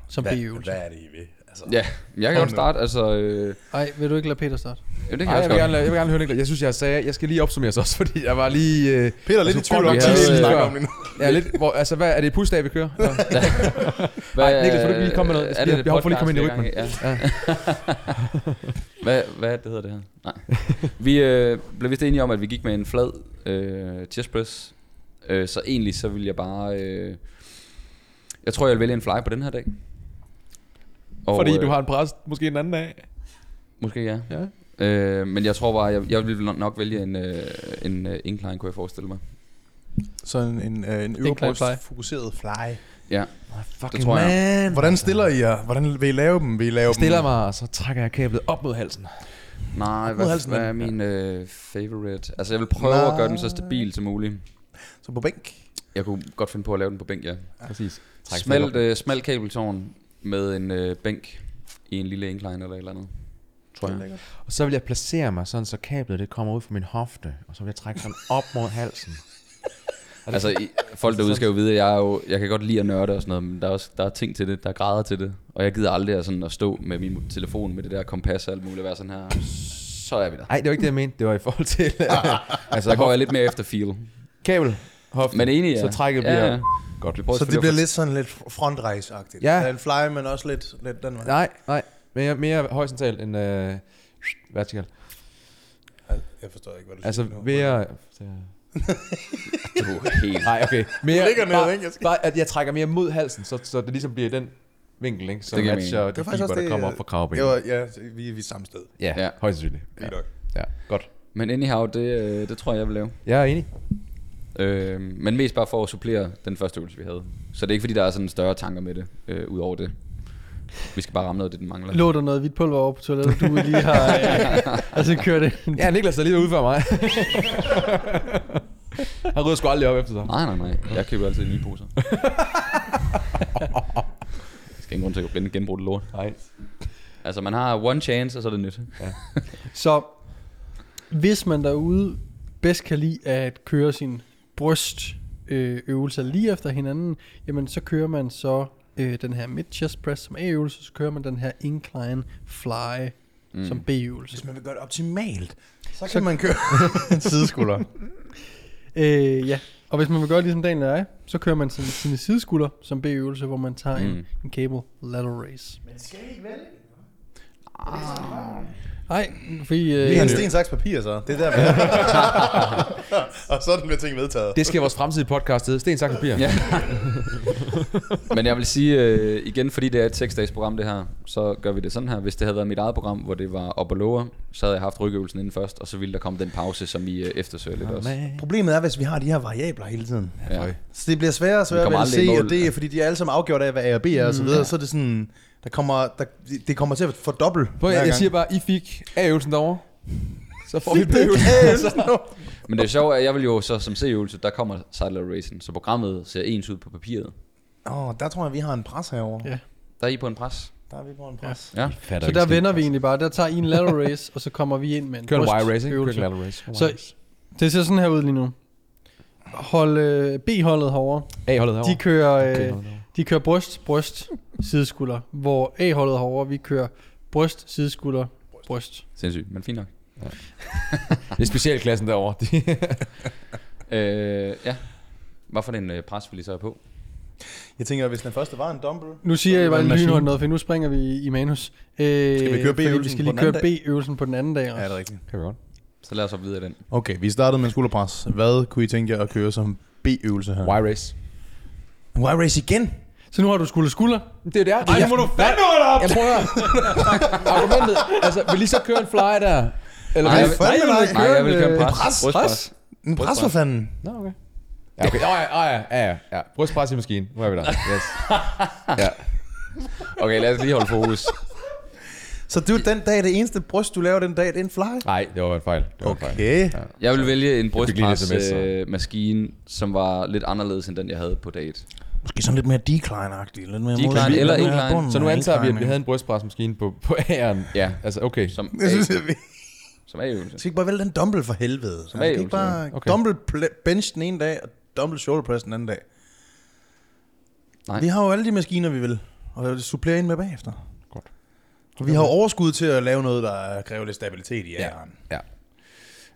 Speaker 1: som
Speaker 2: E
Speaker 1: B-øvelse.
Speaker 2: hvad er det, I vil? Altså,
Speaker 3: Ja, jeg kan
Speaker 2: Hold
Speaker 3: godt
Speaker 2: nu.
Speaker 3: starte. Altså, øh,
Speaker 1: Nej, vil du ikke lade Peter starte?
Speaker 3: jo, det kan
Speaker 4: Ej,
Speaker 3: jeg
Speaker 4: jeg,
Speaker 3: også
Speaker 4: vil
Speaker 3: godt.
Speaker 4: gerne, jeg vil gerne høre Niklas. Jeg synes, jeg sagde, jeg skal lige opsummere så også, (laughs) fordi jeg var lige... Øh,
Speaker 2: Peter er lidt i
Speaker 4: Altså,
Speaker 2: tvivl om,
Speaker 4: godt,
Speaker 3: vi
Speaker 2: hvad
Speaker 3: havde-
Speaker 2: vi snakker
Speaker 4: øh,
Speaker 2: om lige nu.
Speaker 4: ja, lidt, hvor, altså, hvad, er det push vi kører? (laughs) Ja.
Speaker 3: Hvad,
Speaker 4: Ej, Niklas, vil du ikke lige komme med noget?
Speaker 3: øh,
Speaker 4: Vi har-
Speaker 3: et
Speaker 4: vi har for
Speaker 3: podcast,
Speaker 4: lige kommet
Speaker 3: vi
Speaker 4: ind i
Speaker 3: er gang Ja. hvad, hvad er det, hedder det her? Nej. Vi øh, blev vist enige om, at vi gik med en flad øh, chest press. Øh, så egentlig så ville jeg bare... Øh, jeg tror, jeg vil vælge en fly på den her dag. Og,
Speaker 4: Fordi du
Speaker 3: øh,
Speaker 4: har en præst måske en anden dag.
Speaker 3: Måske ja.
Speaker 4: Ja.
Speaker 3: Øh, men jeg tror bare, jeg, jeg ville nok vælge en, øh, en øh, incline, kunne jeg forestille mig.
Speaker 2: Så en, en, øh, en
Speaker 1: Incline fly.
Speaker 2: fokuseret fly.
Speaker 3: Ja,
Speaker 4: Fucking
Speaker 3: det tror jeg.
Speaker 2: Hvordan stiller I jer? Hvordan vil I lave dem? Vil I lave
Speaker 4: Jeg stiller
Speaker 2: dem?
Speaker 4: mig, og så trækker jeg kablet op mod halsen.
Speaker 3: Nej,
Speaker 2: Mod
Speaker 3: hvad,
Speaker 2: halsen,
Speaker 3: hvad
Speaker 2: mand.
Speaker 3: er min øh, favorite? Altså, jeg vil prøve Nej. at gøre den så stabil som muligt.
Speaker 2: Så på bænk.
Speaker 3: Jeg kunne godt finde på at lave den på bænk, ja.
Speaker 4: Præcis. Træk
Speaker 3: Smalt,
Speaker 4: stikket
Speaker 3: øh, smalt kabeltårn med en øh, bænk i en lille incline eller et eller andet. Tror jeg.
Speaker 4: op. Og så vil jeg placere mig sådan, så kablet det kommer ud fra min hofte, og så vil jeg trække sådan op mod halsen.
Speaker 3: Altså, i- folk derude skal jo vide, at jeg, er jo, jeg kan godt lide at nørde og sådan noget, men der er, også, der er ting til det, der er grader til det. Og jeg gider aldrig at, sådan, at stå med min telefon med det der kompas og alt muligt, og være sådan her, så er vi
Speaker 4: (laughs)
Speaker 3: der.
Speaker 4: Nej, det var ikke det, jeg mente. Det var i forhold til...
Speaker 3: Altså, der går jeg lidt mere efter feel.
Speaker 4: kabel, hoften,
Speaker 3: Men enig, ja.
Speaker 4: så trækket
Speaker 3: Ja,
Speaker 4: bliver...
Speaker 3: ja.
Speaker 4: Godt.
Speaker 3: Vi prøver
Speaker 2: Så det
Speaker 3: selvfølgelig
Speaker 2: bliver
Speaker 3: at få-
Speaker 2: lidt sådan lidt frontrejsagtigt.
Speaker 4: Ja.
Speaker 2: Den fly, men også lidt, lidt den vej.
Speaker 4: Nej, nej. Mere, mere horisontalt end øh, vertikalt.
Speaker 2: Jeg forstår ikke, hvad du
Speaker 4: Altså
Speaker 2: siger. nu.
Speaker 4: ved at...
Speaker 3: Du er helt...
Speaker 4: Nej, okay.
Speaker 2: (laughs)
Speaker 4: Mere,
Speaker 2: Du ligger ned,
Speaker 4: bare,
Speaker 2: ikke? Jeg skal-
Speaker 4: bare, at jeg trækker mere mod halsen, så, så det ligesom bliver i den vinkel, ikke? Så
Speaker 3: Det
Speaker 4: det
Speaker 3: giver mening.
Speaker 4: matcher
Speaker 2: Det var
Speaker 4: de
Speaker 2: faktisk
Speaker 4: fiber,
Speaker 2: også
Speaker 4: der
Speaker 2: det,
Speaker 4: kommer
Speaker 2: øh,
Speaker 4: op fra kravbenet.
Speaker 2: Det var, ja, vi, vi er samme sted.
Speaker 4: Ja,
Speaker 3: Ja.
Speaker 4: ja, højst sandsynligt. Ja.
Speaker 2: nok.
Speaker 4: ja, godt.
Speaker 3: Men anyhow, det, øh, det tror jeg, jeg vil lave.
Speaker 4: Jeg er enig.
Speaker 3: Øh, men mest bare for at supplere den første øvelse, vi havde. Så det er ikke, fordi der er sådan større tanker med det, øh, ud over det. Vi skal bare ramme noget af det, den mangler.
Speaker 1: Lå der noget hvidt pulver over på toilettet, du lige har... Øh, altså kørt det.
Speaker 4: Ja, Niklas er lige ude for mig. (laughs) Han rydder sgu aldrig op efter sig.
Speaker 3: Nej, nej, nej. Jeg køber altid nye (laughs) poser. Jeg skal ingen grund til at blinde genbruge det lort.
Speaker 4: Nej.
Speaker 3: Altså, man har one chance, og så er det nyt.
Speaker 1: Så hvis man derude bedst kan lide at køre sin bryst øh, øvelser lige efter hinanden, jamen så kører man så øh, den her mid chest press som A-øvelse, så kører man den her incline fly mm. som B-øvelse.
Speaker 2: Hvis man vil gøre det optimalt, så kan
Speaker 1: Så-
Speaker 2: så... man køre (laughs) en sideskulder.
Speaker 1: Øh, ja, og hvis man vil gøre ligesom Daniel og jeg, så kører man sine, sine sideskulder som B-øvelse, hvor man tager mm.
Speaker 3: Mm.
Speaker 1: en, en cable lateral raise. Men skal I ikke vælge? Nej, fordi...
Speaker 2: Det er en
Speaker 1: Øh,
Speaker 2: sten, saks, papir, så. Det er (laughs) der, vi (laughs) Og sådan bliver ting vedtaget.
Speaker 4: Det skal vores fremtidige podcast hedde. Sten, sagt, papir.
Speaker 3: Ja. Men jeg vil sige øh, igen, fordi det er et 6-dages program det her, så gør vi det sådan her. Hvis det havde været mit eget program, hvor det var op og lower, så havde jeg haft rygøvelsen inden først, og så ville der komme den pause, som I øh, eftersøger lidt også.
Speaker 2: Problemet er, hvis vi har de her variabler hele tiden.
Speaker 3: Ja.
Speaker 2: Så det bliver sværere og
Speaker 3: Vi
Speaker 2: sværere
Speaker 3: kommer
Speaker 2: ved at
Speaker 3: aldrig i
Speaker 2: se,
Speaker 3: mål.
Speaker 2: og det er, fordi de er alle sammen afgjort af, hvad A og B er, og så videre. Så er det sådan, der kommer, der, det kommer til at fordoble
Speaker 4: Prøv,
Speaker 2: hver
Speaker 4: jeg, jeg
Speaker 2: gang.
Speaker 4: siger bare, I fik A-øvelsen derovre. (laughs) Så får
Speaker 2: (laughs)
Speaker 4: vi
Speaker 2: Det er
Speaker 4: B-øvelsen.
Speaker 3: Men det er sjovt, at jeg vil jo så som C-øvelse, der kommer Sidler Racing, så programmet ser ens ud på papiret.
Speaker 2: Åh, oh, der tror jeg, vi har en pres herovre.
Speaker 1: Ja.
Speaker 3: Der er I på en pres.
Speaker 2: Der er vi på en pres.
Speaker 3: Ja.
Speaker 1: så der vender vi egentlig bare. Der tager I en lateral raise, og så kommer vi ind med en
Speaker 4: Kør en wire
Speaker 1: brystøvelse.
Speaker 4: race, ikke? Kør en lateral race. Kør en
Speaker 1: Så-
Speaker 4: wire race.
Speaker 1: Det ser sådan her ud lige nu. Hold øh, B-holdet herovre.
Speaker 4: A-holdet
Speaker 1: De
Speaker 4: herovre.
Speaker 1: kører, øh,
Speaker 4: Okay.
Speaker 1: de kører bryst, bryst, sideskulder. Hvor A-holdet herovre, vi kører bryst, sideskulder, bryst.
Speaker 3: Sindssygt, men fint nok.
Speaker 4: Det er specialklassen derovre. De
Speaker 3: Øh, ja. Hvad for en øh, pres vil I så have på?
Speaker 2: Jeg tænker, hvis den første var en dumbbell...
Speaker 1: Nu siger
Speaker 2: så
Speaker 1: jeg
Speaker 2: var
Speaker 1: bare
Speaker 2: det en
Speaker 1: lynhurtigt
Speaker 2: machine.
Speaker 1: noget, for nu springer vi i manus. Øh,
Speaker 2: Skal vi køre
Speaker 1: fordi Vi
Speaker 2: B-øvelsen
Speaker 1: skal
Speaker 2: på
Speaker 1: lige
Speaker 2: den
Speaker 1: køre
Speaker 2: anden dag?
Speaker 1: B-øvelsen på den anden dag også.
Speaker 2: Ja, det er rigtigt.
Speaker 4: (laughs) kan vi godt.
Speaker 3: Så lad os op videre den.
Speaker 2: Okay, vi startede med en skulderpres. Hvad kunne I tænke jer at køre som B-øvelse her?
Speaker 4: Wire race.
Speaker 2: Wire race igen?
Speaker 1: Så nu har du skulder skulder.
Speaker 4: Det er der. Ej, nu må du fandme holde op! Jeg (laughs) prøver. Argumentet, altså, vil I så køre en fly der?
Speaker 3: Nej,
Speaker 4: Eller vil-
Speaker 3: jeg vil-
Speaker 2: fandme
Speaker 4: I vil
Speaker 2: nej.
Speaker 3: Nej,
Speaker 4: køre
Speaker 3: jeg vil
Speaker 4: en,
Speaker 3: køre en
Speaker 4: øh,
Speaker 3: pres.
Speaker 2: pres?
Speaker 3: Brystpres.
Speaker 2: En pres for fanden.
Speaker 4: Nå, okay. Ja, okay. Oh, ja, oh, ja, ja, ja, ja. Brystpres i maskinen. Nu er vi der. Yes. Ja.
Speaker 3: Okay, lad os lige holde fokus.
Speaker 2: Så du, den dag, det eneste bryst, du laver den dag, det er en fly?
Speaker 4: Nej, det var en fejl. Det var en fejl.
Speaker 2: Okay.
Speaker 4: Ja.
Speaker 3: Jeg vil vælge en
Speaker 4: fik lige en sms, så.
Speaker 3: brystpres-maskine, som var lidt anderledes end den, jeg havde på date.
Speaker 2: Måske sådan lidt mere decline-agtig. Lidt mere
Speaker 3: Decline
Speaker 2: mod- lidt
Speaker 3: eller
Speaker 2: mere
Speaker 3: incline.
Speaker 2: bunden
Speaker 4: Så nu
Speaker 2: af
Speaker 4: antager vi, at vi
Speaker 2: incline.
Speaker 4: havde en brystpresmaskine på, på A'eren.
Speaker 3: Ja,
Speaker 4: Altså, okay.
Speaker 3: som
Speaker 2: Jeg synes,
Speaker 3: A,
Speaker 2: at vi...
Speaker 3: som A-øvelse.
Speaker 2: Skal ikke bare vælge den dumbbell for helvede? Som
Speaker 3: A-øvelse,
Speaker 2: ikke bare
Speaker 4: okay.
Speaker 2: okay. dumbbell pl- bench den ene dag, og dumbbell shoulder press den anden dag.
Speaker 3: Nej.
Speaker 2: Nej. Vi har jo alle de maskiner, vi vil, og supplere ind med bagefter.
Speaker 4: Godt.
Speaker 2: Og vi har jo overskud til at lave noget, der kræver lidt stabilitet i æren.
Speaker 4: Ja.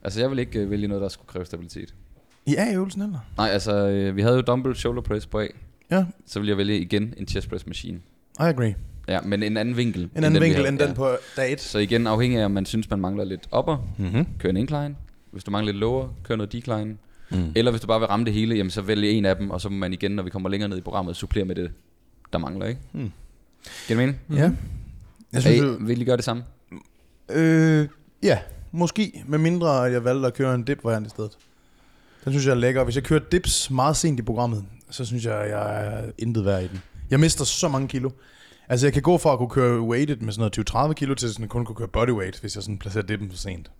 Speaker 3: Altså, jeg vil ikke øh, vælge noget, der skulle kræve stabilitet.
Speaker 2: I A-øvelsen, eller?
Speaker 3: Nej, altså, øh, vi havde jo dumbbell shoulder press på A.
Speaker 2: Ja,
Speaker 3: Så vil jeg vælge igen en chest press machine.
Speaker 2: I agree.
Speaker 3: Ja, men en anden vinkel.
Speaker 2: En anden
Speaker 3: vi
Speaker 2: vinkel
Speaker 3: havde.
Speaker 2: end den på dag 1.
Speaker 3: Så igen, afhængig af, om man synes, man mangler lidt upper,
Speaker 2: Mm-hmm.
Speaker 3: kør en incline. Hvis du mangler lidt lower, kør noget decline. Mm.
Speaker 2: Mm.
Speaker 3: Eller hvis du bare vil ramme det hele, jamen, så vælg en af dem, og så må man igen, når vi kommer længere ned i programmet, supplere med det, der mangler, ikke? Mm. Kan du mene?
Speaker 2: Ja. Jeg synes,
Speaker 3: Hey,
Speaker 2: jo-
Speaker 3: vil I gøre det samme?
Speaker 2: øh, ja, måske. Med mindre, at jeg valgte at køre en dip variant i stedet. Den synes jeg er lækker. Hvis jeg kører dips meget sent i programmet, så synes jeg, at jeg er intet værd i den. Jeg mister så mange kilo. Altså, jeg kan gå fra at kunne køre weighted med sådan noget 20-30 kilo, til sådan at kun kunne køre bodyweight, hvis jeg sådan placerer dippen for sent.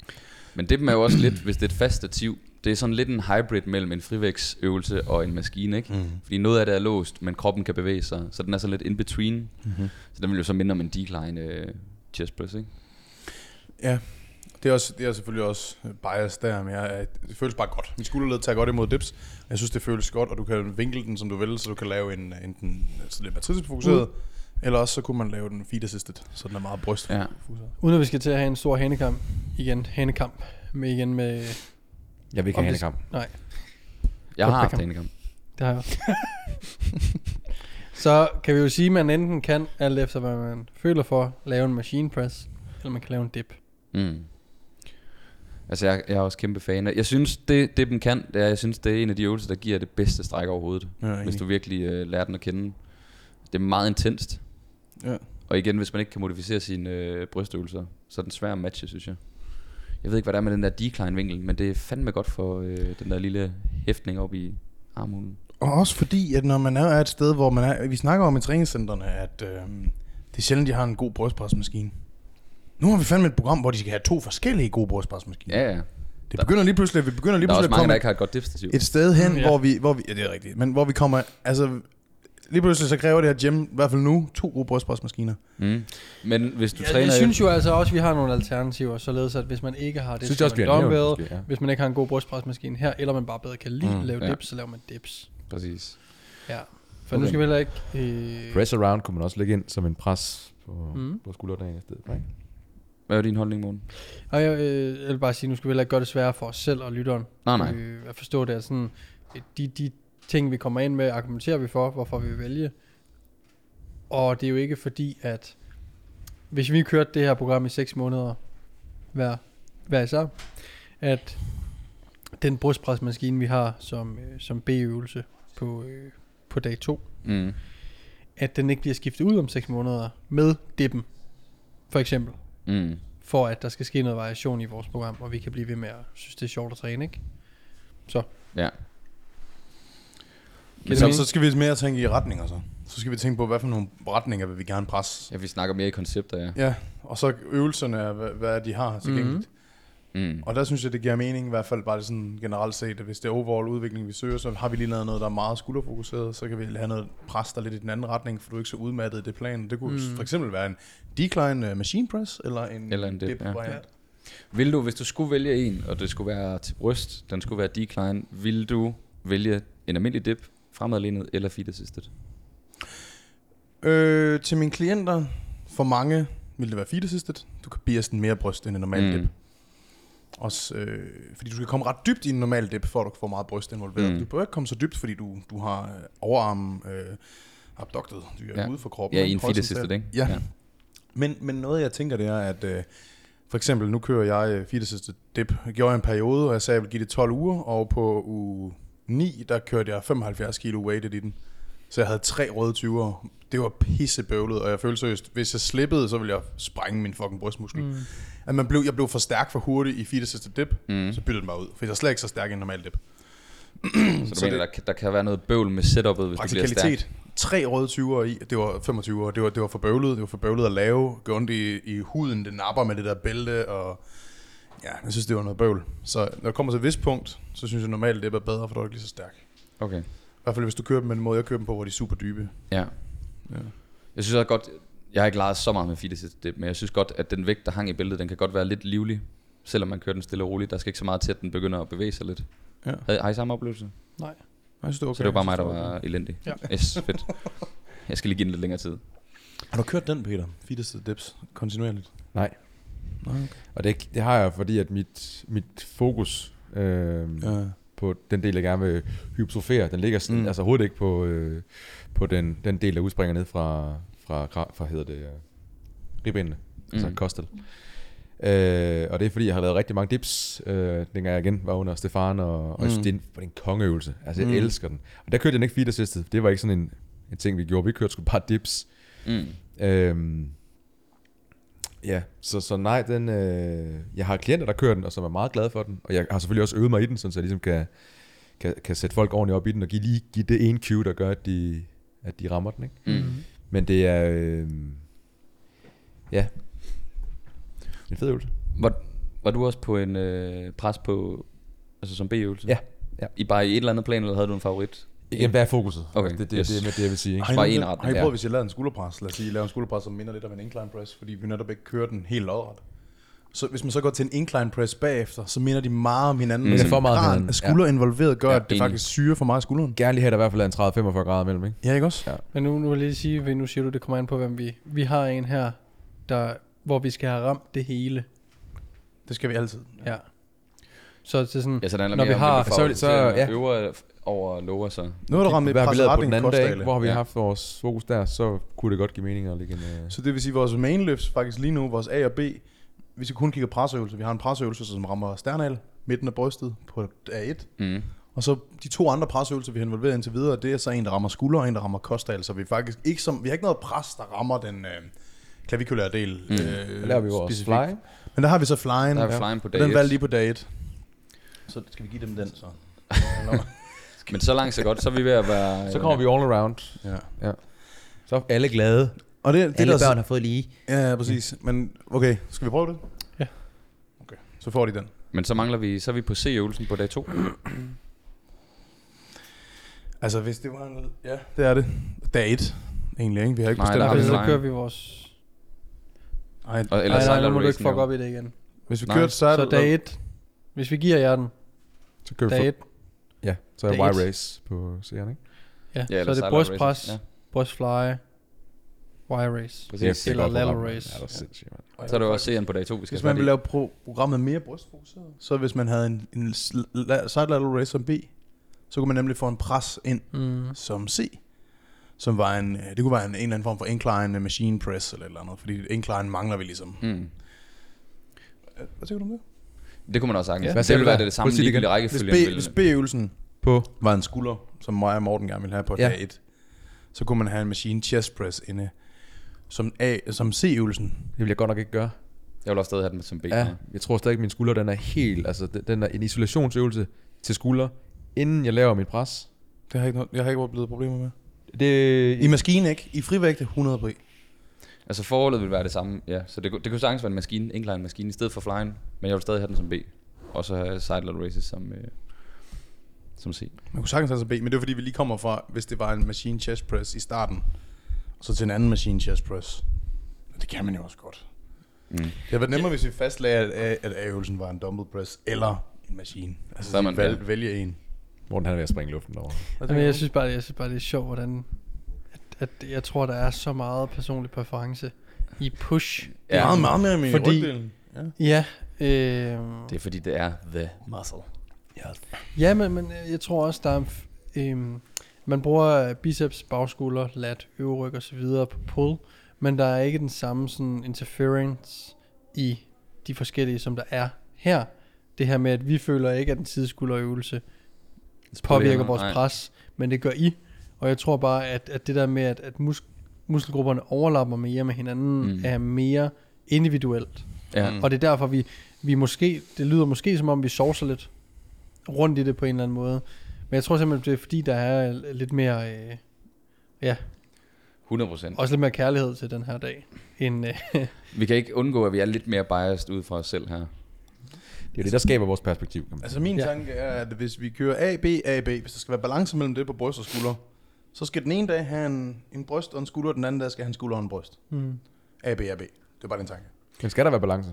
Speaker 3: Men det er jo også lidt, hvis det er et fast stativ, det er sådan lidt en hybrid mellem en frivægtsøvelse og en maskine, ikke? Mm. Fordi noget af det er låst, men kroppen kan bevæge sig, så den er sådan lidt in between. Mm-hmm. Så den vil jo så minde om en decline øh, chest press, ikke?
Speaker 2: Ja. Det er, også, det er selvfølgelig også bias der, men jeg, det føles bare godt. Min skulderled tager godt imod dips. Jeg synes, det føles godt, og du kan vinkle den, som du vil, så du kan lave en enten så lidt matricefokuseret, mm. eller også så kunne man lave den feed assisted, så den er meget bryst.
Speaker 3: Ja.
Speaker 1: Uden at vi skal til at have en stor hanekamp. Igen, hanekamp. Med igen med...
Speaker 4: Jeg vil ikke
Speaker 1: Om
Speaker 4: have
Speaker 1: det-
Speaker 4: kamp.
Speaker 1: Nej,
Speaker 3: Jeg
Speaker 1: Godt,
Speaker 3: har
Speaker 1: det
Speaker 3: haft
Speaker 1: kan-
Speaker 3: en kamp.
Speaker 1: det har jeg
Speaker 2: (laughs)
Speaker 1: også. Så kan vi jo sige, at man enten kan, alt efter hvad man føler for, lave en machine press, eller man kan lave en dip.
Speaker 3: Mm. Altså, jeg, jeg er også kæmpe fan af. Jeg synes, det, det den kan, det er, jeg synes, det er en af de øvelser, der giver det bedste stræk overhovedet.
Speaker 2: Ja,
Speaker 3: Hvis
Speaker 2: enig.
Speaker 3: du virkelig øh, lærer den at kende. Det er meget intenst.
Speaker 2: Ja.
Speaker 3: Og igen, hvis man ikke kan modificere sine øh, brystøvelser, så er den svær at matche, synes jeg. Jeg ved ikke, hvad der er med den der decline-vinkel, men det er fandme godt for øh, den der lille hæftning op i armhulen.
Speaker 2: Og også fordi, at når man er et sted, hvor man er... Vi snakker om i træningscentrene, at øh, det er sjældent, de har en god brystpresmaskine. Nu har vi fandme et program, hvor de skal have to forskellige gode brystpresmaskiner.
Speaker 3: Ja, ja.
Speaker 2: Det begynder lige pludselig, vi begynder lige
Speaker 3: Der er
Speaker 2: pludselig
Speaker 3: også
Speaker 2: at
Speaker 3: mange,
Speaker 2: komme
Speaker 3: der ikke har et godt dipstativ.
Speaker 2: et sted hen,
Speaker 1: Mm,
Speaker 2: mm,
Speaker 1: ja.
Speaker 2: ja. hvor vi, hvor vi, ja, det er rigtigt, men hvor vi kommer, altså, lige pludselig så kræver det her gym, i hvert fald nu, to gode brystbrystmaskiner.
Speaker 3: Mm. Men hvis du
Speaker 1: Du
Speaker 3: ja,
Speaker 1: ja,
Speaker 3: træner...
Speaker 1: jeg synes jo altså også, at vi har nogle alternativer, således at hvis man ikke har det,
Speaker 4: Synes jeg
Speaker 1: så
Speaker 4: også,
Speaker 1: man
Speaker 4: vi har nævnt,
Speaker 1: dumbbell,
Speaker 4: måske, ja.
Speaker 1: hvis man ikke har en god brystpresmaskine her, eller man bare bedre kan lide
Speaker 4: Mm,
Speaker 1: at lave
Speaker 3: ja.
Speaker 1: dips, så laver man dips.
Speaker 3: Præcis.
Speaker 1: Ja. For okay. nu
Speaker 4: Okay.
Speaker 1: skal vi heller ikke... Øh,
Speaker 4: Press around kunne man også lægge ind som en pres på,
Speaker 1: Mm.
Speaker 4: mm. på skulderdagen i stedet. for, Ikke?
Speaker 3: Hvad er din holdning, Morten?
Speaker 1: Og jeg, øh, jeg vil bare sige, nu skal vi heller ikke gøre det sværere for os selv og lytteren.
Speaker 3: Nej, nej.
Speaker 1: Øh, at forstå det er sådan, øh, de, de ting, vi kommer ind med, argumenterer vi for, hvorfor vi vil vælge. Og det er jo ikke fordi, at hvis vi kørte det her program i 6 måneder hver, hver især, at den brystpresmaskine, vi har som, øh, som B-øvelse på, øh, på dag 2,
Speaker 3: Mm.
Speaker 1: at den ikke bliver skiftet ud om 6 måneder med dippen, for eksempel
Speaker 3: Mm.
Speaker 1: for at der skal ske noget variation i vores program, og vi kan blive ved med at synes, det er sjovt at træne, ikke? Så.
Speaker 3: Ja.
Speaker 1: Giver det
Speaker 2: Så,
Speaker 1: mening?
Speaker 2: så skal vi mere tænke i retninger så. Så skal vi tænke på, hvad for nogle retninger vil vi gerne presse.
Speaker 3: Ja, vi snakker mere i koncepter, ja.
Speaker 2: Ja, og så øvelserne, er, hvad, hvad de har tilgængeligt. Mm-hmm.
Speaker 3: Mm.
Speaker 2: Og der synes jeg, det giver mening, i hvert fald bare sådan generelt set, at hvis det er overall udvikling, vi søger, så har vi lige lavet noget, der er meget skulderfokuseret, så kan vi have noget pres, der er lidt i den anden retning, for du er ikke så udmattet i det plan. Det kunne
Speaker 1: Mm.
Speaker 2: mm. for eksempel være en decline øh, machine press, eller en,
Speaker 3: Eller en dip, ja.
Speaker 2: variant.
Speaker 1: Ja.
Speaker 3: Vil du, hvis du skulle vælge en, og det skulle være til bryst, den skulle være decline, vil du vælge en almindelig dip, fremadlænet eller feet assisted?
Speaker 2: Øh, til mine klienter, for mange vil det være feet assisted. Du kan bias den mere bryst end en normal mm. dip. Også, øh, fordi du skal komme ret dybt i en normal dip, for at du kan få meget bryst involveret.
Speaker 3: Mm.
Speaker 2: Mm. Du behøver ikke komme så dybt, fordi du, du har øh, overarmen øh, abductet. Du er
Speaker 3: Ja.
Speaker 2: ja. ude for kroppen.
Speaker 3: Ja, i
Speaker 2: ikke?
Speaker 3: en feet
Speaker 2: Horisontal.
Speaker 3: assisted, ikke?
Speaker 2: Ja. ja. Men, men noget, jeg tænker, det er, at øh, for eksempel, nu kører jeg øh, feet assisted dip. Jeg gjorde en periode, og jeg sagde, at jeg ville give det 12 uger, og på uge 9, der kørte jeg 75 kilo weighted i den. Så jeg havde tre røde 20'ere. Det var pissebøvlet, og jeg følte seriøst, hvis jeg slippede, så ville jeg sprænge min fucking brystmuskel. Mm. At man blev, jeg blev for stærk for hurtigt i feet assisted dip,
Speaker 3: Mm.
Speaker 2: mm. så byttede den mig ud, for jeg er slet ikke så stærk i en normal dip.
Speaker 3: Så du så mener, det... der, kan- der kan være noget bøvl med setup'et, hvis du bliver stærk?
Speaker 2: Praktikalitet. Tre røde 20'ere i, det var 25'ere, det var, det var for bøvlet, det var for bøvlet at lave, gå ondt i, i huden, det napper med det der bælte, og ja, jeg synes, det var noget bøvl. Så når det kommer til et vist punkt, så synes jeg normalt, det er bedre, for du er ikke lige så stærk.
Speaker 3: Okay,
Speaker 2: I hvert fald, hvis du kører dem med den måde, jeg kører dem på, hvor de er super dybe.
Speaker 3: ja.
Speaker 2: Ja.
Speaker 3: Jeg synes også godt, jeg har ikke leget så meget med feet assisted dip, men jeg synes godt, at den vægt, der hang i bæltet, den kan godt være lidt livlig, selvom man kører den stille og roligt. Der skal ikke så meget til, at den begynder at bevæge sig lidt.
Speaker 2: Ja.
Speaker 3: Har, har I samme oplevelse?
Speaker 1: Nej.
Speaker 2: Jeg synes, det var okay.
Speaker 3: Så det var bare
Speaker 2: Jeg
Speaker 3: mig,
Speaker 2: synes,
Speaker 3: der
Speaker 2: okay.
Speaker 3: var elendig.
Speaker 1: Ja.
Speaker 3: Ja. Yes, fedt. Jeg skal lige give den lidt længere tid.
Speaker 2: Har du kørt den, Peter? Fitteste dips, kontinuerligt?
Speaker 4: Nej.
Speaker 2: Nej, okay.
Speaker 4: Og det, det har jeg, fordi at mit, mit fokus øh, ja.
Speaker 2: Ja.
Speaker 4: på den del, jeg gerne vil hypotrofere, den ligger sådan, mm.
Speaker 2: Mm.
Speaker 4: altså overhovedet ikke på, øh, på den, den del, der udspringer ned fra, fra, gra- fra hedder det, øh, ribbenene, mm. altså
Speaker 3: Mm.
Speaker 4: kostel. Øh, og det er fordi, jeg har lavet rigtig mange dips, øh, dengang jeg igen var under Stefan, og, og mm.
Speaker 2: Mm.
Speaker 4: det er en, det er en kongeøvelse. Altså, jeg mm.
Speaker 2: Mm.
Speaker 4: elsker den. Og der kørte jeg den ikke feet assisted. Det var ikke sådan en, en ting, vi gjorde. Vi kørte sgu bare dips.
Speaker 3: Mm.
Speaker 4: Øhm, ja, så, så nej, den, øh, jeg har klienter, der kører den, og som er meget glade for den. Og jeg har selvfølgelig også øvet mig i den, sådan, så jeg ligesom kan, kan, kan sætte folk ordentligt op i den, og give, lige, give det ene cue, der gør, at de, at de rammer den. Ikke?
Speaker 3: Mm.
Speaker 4: Men det er... Øh, ja. En fed øvelse.
Speaker 3: Var, var du også på en øh, pres på, altså som B-øvelse?
Speaker 4: Ja, ja.
Speaker 3: I bare i et eller andet plan, eller havde du en favorit?
Speaker 4: Igen, hvad er fokuset? Altså,
Speaker 3: Okay,
Speaker 4: det, det,
Speaker 3: yes.
Speaker 4: yes. det er med det, jeg vil sige. Ikke?
Speaker 2: Har I,
Speaker 3: Bare
Speaker 2: nogensinde-
Speaker 3: en retning,
Speaker 2: har I
Speaker 4: ja.
Speaker 2: prøvet, hvis jeg lavede en skulderpres? Lad os sige, I laver en skulderpres, som minder lidt om en incline press, fordi vi netop ikke kører den helt lodret. Så hvis man så går til en incline press bagefter, så minder de meget om hinanden.
Speaker 3: Mm.
Speaker 2: Mm.
Speaker 3: Det er
Speaker 4: for meget om
Speaker 2: Graden
Speaker 4: hinanden,
Speaker 2: af skulder ja. involveret gør,
Speaker 3: Ja,
Speaker 2: ja, at det
Speaker 3: enig.
Speaker 2: faktisk syrer for meget af skulderen.
Speaker 4: Gerne lige have, der i hvert fald er en 30-45 grader mellem, ikke?
Speaker 2: Ja, ikke også?
Speaker 1: Men nu, nu vil jeg lige sige, ved- nu siger du, det kommer an på, hvem vi... Vi har en her, der, hvor vi skal have ramt det hele.
Speaker 2: Det skal vi altid.
Speaker 1: Ja. Så det er sådan...
Speaker 3: Ja, så det handler
Speaker 1: Når
Speaker 3: mere
Speaker 1: vi
Speaker 3: om,
Speaker 1: har-
Speaker 3: hvem du får
Speaker 4: så-
Speaker 3: til
Speaker 4: så-
Speaker 3: at
Speaker 4: ja.
Speaker 3: øvre over lover, så
Speaker 2: Nu har du ramt
Speaker 4: Hvad
Speaker 2: et
Speaker 4: vi
Speaker 2: presset
Speaker 4: lavede på
Speaker 2: retning
Speaker 4: den anden dag, ikke? hvor har vi
Speaker 3: Ja.
Speaker 4: haft vores fokus der, så kunne det godt give mening at lægge en... Øh...
Speaker 2: Så det vil sige, at vores main løfts faktisk lige nu, vores A og B, hvis vi kun kigger presøvelser, vi har en presøvelse, som rammer sternal, midten af brystet på A1,
Speaker 3: mm.
Speaker 2: og så de to andre presøvelser, vi har involveret indtil videre, det er så en, der rammer skulder, og en, der rammer kostal, så vi er faktisk ikke som, vi har ikke noget pres, der rammer den øh, klavikulære del øh,
Speaker 3: Mm.
Speaker 4: Der laver vi vores
Speaker 2: specifikt.
Speaker 4: fly.
Speaker 2: Men der har vi så flyen,
Speaker 3: der er
Speaker 2: ja.
Speaker 3: flyen på
Speaker 2: den valgte
Speaker 3: dag
Speaker 2: lige på dag 1. Så skal vi give dem den, så.
Speaker 3: Men så langt så godt, så er vi ved at være...
Speaker 4: Så kommer vi all around.
Speaker 2: (laughs) ja.
Speaker 4: Så er alle glade.
Speaker 2: Og det, det der,
Speaker 4: har fået lige. Mm.
Speaker 2: Ja, ja, præcis. Men okay, skal vi prøve det?
Speaker 1: Ja.
Speaker 2: Okay, så får de den.
Speaker 3: Men så mangler vi... Så er vi på C-øvelsen på dag 2.
Speaker 2: Altså, hvis det var en... Ja, det er det. Dag 1, egentlig, ikke? Vi har ikke
Speaker 3: Nej,
Speaker 2: bestemt.
Speaker 3: der
Speaker 2: Nej,
Speaker 3: har
Speaker 1: Okay,
Speaker 3: vi
Speaker 2: hvis,
Speaker 1: så
Speaker 3: Nej.
Speaker 1: kører vi vores...
Speaker 2: nej,
Speaker 3: Og
Speaker 1: Eller
Speaker 3: ellers
Speaker 1: nej, nej,
Speaker 3: sejler
Speaker 1: nu må du ikke
Speaker 3: racen
Speaker 1: fuck
Speaker 3: jo.
Speaker 1: op i det igen.
Speaker 2: hvis vi
Speaker 3: Nej.
Speaker 2: kører et sejt...
Speaker 1: Så dag 1. Hvis vi giver jer den,
Speaker 4: Så kører
Speaker 1: dag
Speaker 4: vi
Speaker 1: 1,
Speaker 4: for- Ja, så er
Speaker 1: Dag et.
Speaker 4: Y-Race på seeren, ikke?
Speaker 1: ja,
Speaker 3: Ja,
Speaker 1: ja så er
Speaker 3: ellers
Speaker 1: det
Speaker 3: sejler racen.
Speaker 1: brystpres,
Speaker 3: Ja,
Speaker 1: brystfly, wire race.
Speaker 3: præcis.
Speaker 4: Kæft, det er
Speaker 1: Eller
Speaker 4: godt for
Speaker 1: lateral
Speaker 4: rammen.
Speaker 1: race.
Speaker 4: Ja, det er sindssygt, mand.
Speaker 3: Så er det jo også C'en på dag 2, vi skal
Speaker 2: Hvis
Speaker 3: have
Speaker 2: man
Speaker 3: fat
Speaker 2: ville
Speaker 3: i.
Speaker 2: lave pro- programmet mere brystfokuseret, så hvis man havde en, en sl- la- side lateral race som B, så kunne man nemlig få en pres ind
Speaker 1: Mm.
Speaker 2: som C, som var en, øh, det kunne være en, en eller anden form for incline øh, machine press eller et eller andet, fordi incline mangler vi ligesom. Øh,
Speaker 3: Mm.
Speaker 2: Hvad tænker du om det?
Speaker 3: Det kunne man også sagtens.
Speaker 1: Ja.
Speaker 3: Ja.
Speaker 4: Hvad siger
Speaker 3: Det ville
Speaker 4: du
Speaker 3: være
Speaker 4: der?
Speaker 3: det samme
Speaker 4: Prøv at sige det
Speaker 3: ligegyldige
Speaker 2: Hvis,
Speaker 3: rækkefølge.
Speaker 2: B, hvis
Speaker 3: ville-
Speaker 2: B-øvelsen
Speaker 4: På
Speaker 2: var en skulder, som mig og Morten gerne ville have på
Speaker 4: Ja.
Speaker 2: ja. dag 1, så kunne man have en machine chest press inde. Som, A, som C-øvelsen.
Speaker 4: Det vil jeg godt nok ikke gøre.
Speaker 3: Jeg vil også stadig have den som B.
Speaker 4: Ja, jeg tror stadig, at min skulder den er helt... Altså, den den er en isolationsøvelse til skulder, inden jeg laver mit pres.
Speaker 2: Det har jeg ikke, noget- jeg har ikke oplevet problemer med.
Speaker 4: Det,
Speaker 2: I maskinen ikke. I frivægte 100 på I.
Speaker 3: Altså forholdet ville være det samme, ja. Så det, kunne- det kunne sagtens være en maskine, incline maskine, i stedet for flyen. Men jeg vil stadig have den som B. Og så have sideload races som, øh, som C.
Speaker 2: Man kunne sagtens have så B, men det er fordi, vi lige kommer fra, hvis det var en machine chest press i starten, og så til en anden machine chest press. Og Det kan man jo også godt.
Speaker 3: Mm.
Speaker 2: Det havde været nemmere, hvis vi fastlagde, at, A- at A-øvelsen var en dumbbell press eller en maskine. Altså,
Speaker 3: Så er
Speaker 2: så man
Speaker 3: man-
Speaker 2: valg,
Speaker 3: ja.
Speaker 2: vælge en.
Speaker 4: Morten, han er ved at springe i luften over.
Speaker 1: Jamen, jeg, synes bare, jeg synes bare, det er sjovt, hvordan... At, at jeg tror, der er så meget personlig præference i push.
Speaker 2: ja, meget, meget mere med
Speaker 1: Fordi-
Speaker 2: fordi... rygdelen. Ja.
Speaker 1: Ja, øh,
Speaker 3: Det er fordi, det er the muscle.
Speaker 1: Ja, men, men øh, jeg tror også, der er... Øhm, man bruger øh, biceps, bagskulder, lat, øvryg og så videre på pull, men der er ikke den samme sådan interference i de forskellige, som der er her. Det her med, at vi føler ikke, at den sideskulderøvelse påvirker vores
Speaker 3: Nej.
Speaker 1: pres, men det gør I. Og jeg tror bare, at, at det der med, at, at mus, muskelgrupperne overlapper mere med hinanden,
Speaker 3: Mm.
Speaker 1: mm. er mere individuelt.
Speaker 3: Ja.
Speaker 1: Mm. Og det er derfor, vi, vi måske, det lyder måske som om, vi sovser lidt rundt i det på en eller anden måde. Men jeg tror simpelthen, det er fordi, der er lidt mere, øh,
Speaker 3: 100 procent.
Speaker 1: også lidt mere kærlighed til den her dag. End, øh,
Speaker 3: Vi kan ikke undgå, at vi er lidt mere biased ud fra os selv her.
Speaker 4: Det er jo det, der skaber vores perspektiv. kan man sige.
Speaker 2: Altså min
Speaker 1: Ja.
Speaker 2: ja. tanke er, at hvis vi kører A, B, A, B, hvis der skal være balance mellem det på bryst og skulder, så skal den ene dag have en, en bryst og en skulder, og den anden dag skal have en skulder og en bryst.
Speaker 1: mm.
Speaker 2: A, B, A, B. Det er bare den tanke.
Speaker 4: Men skal der være balance?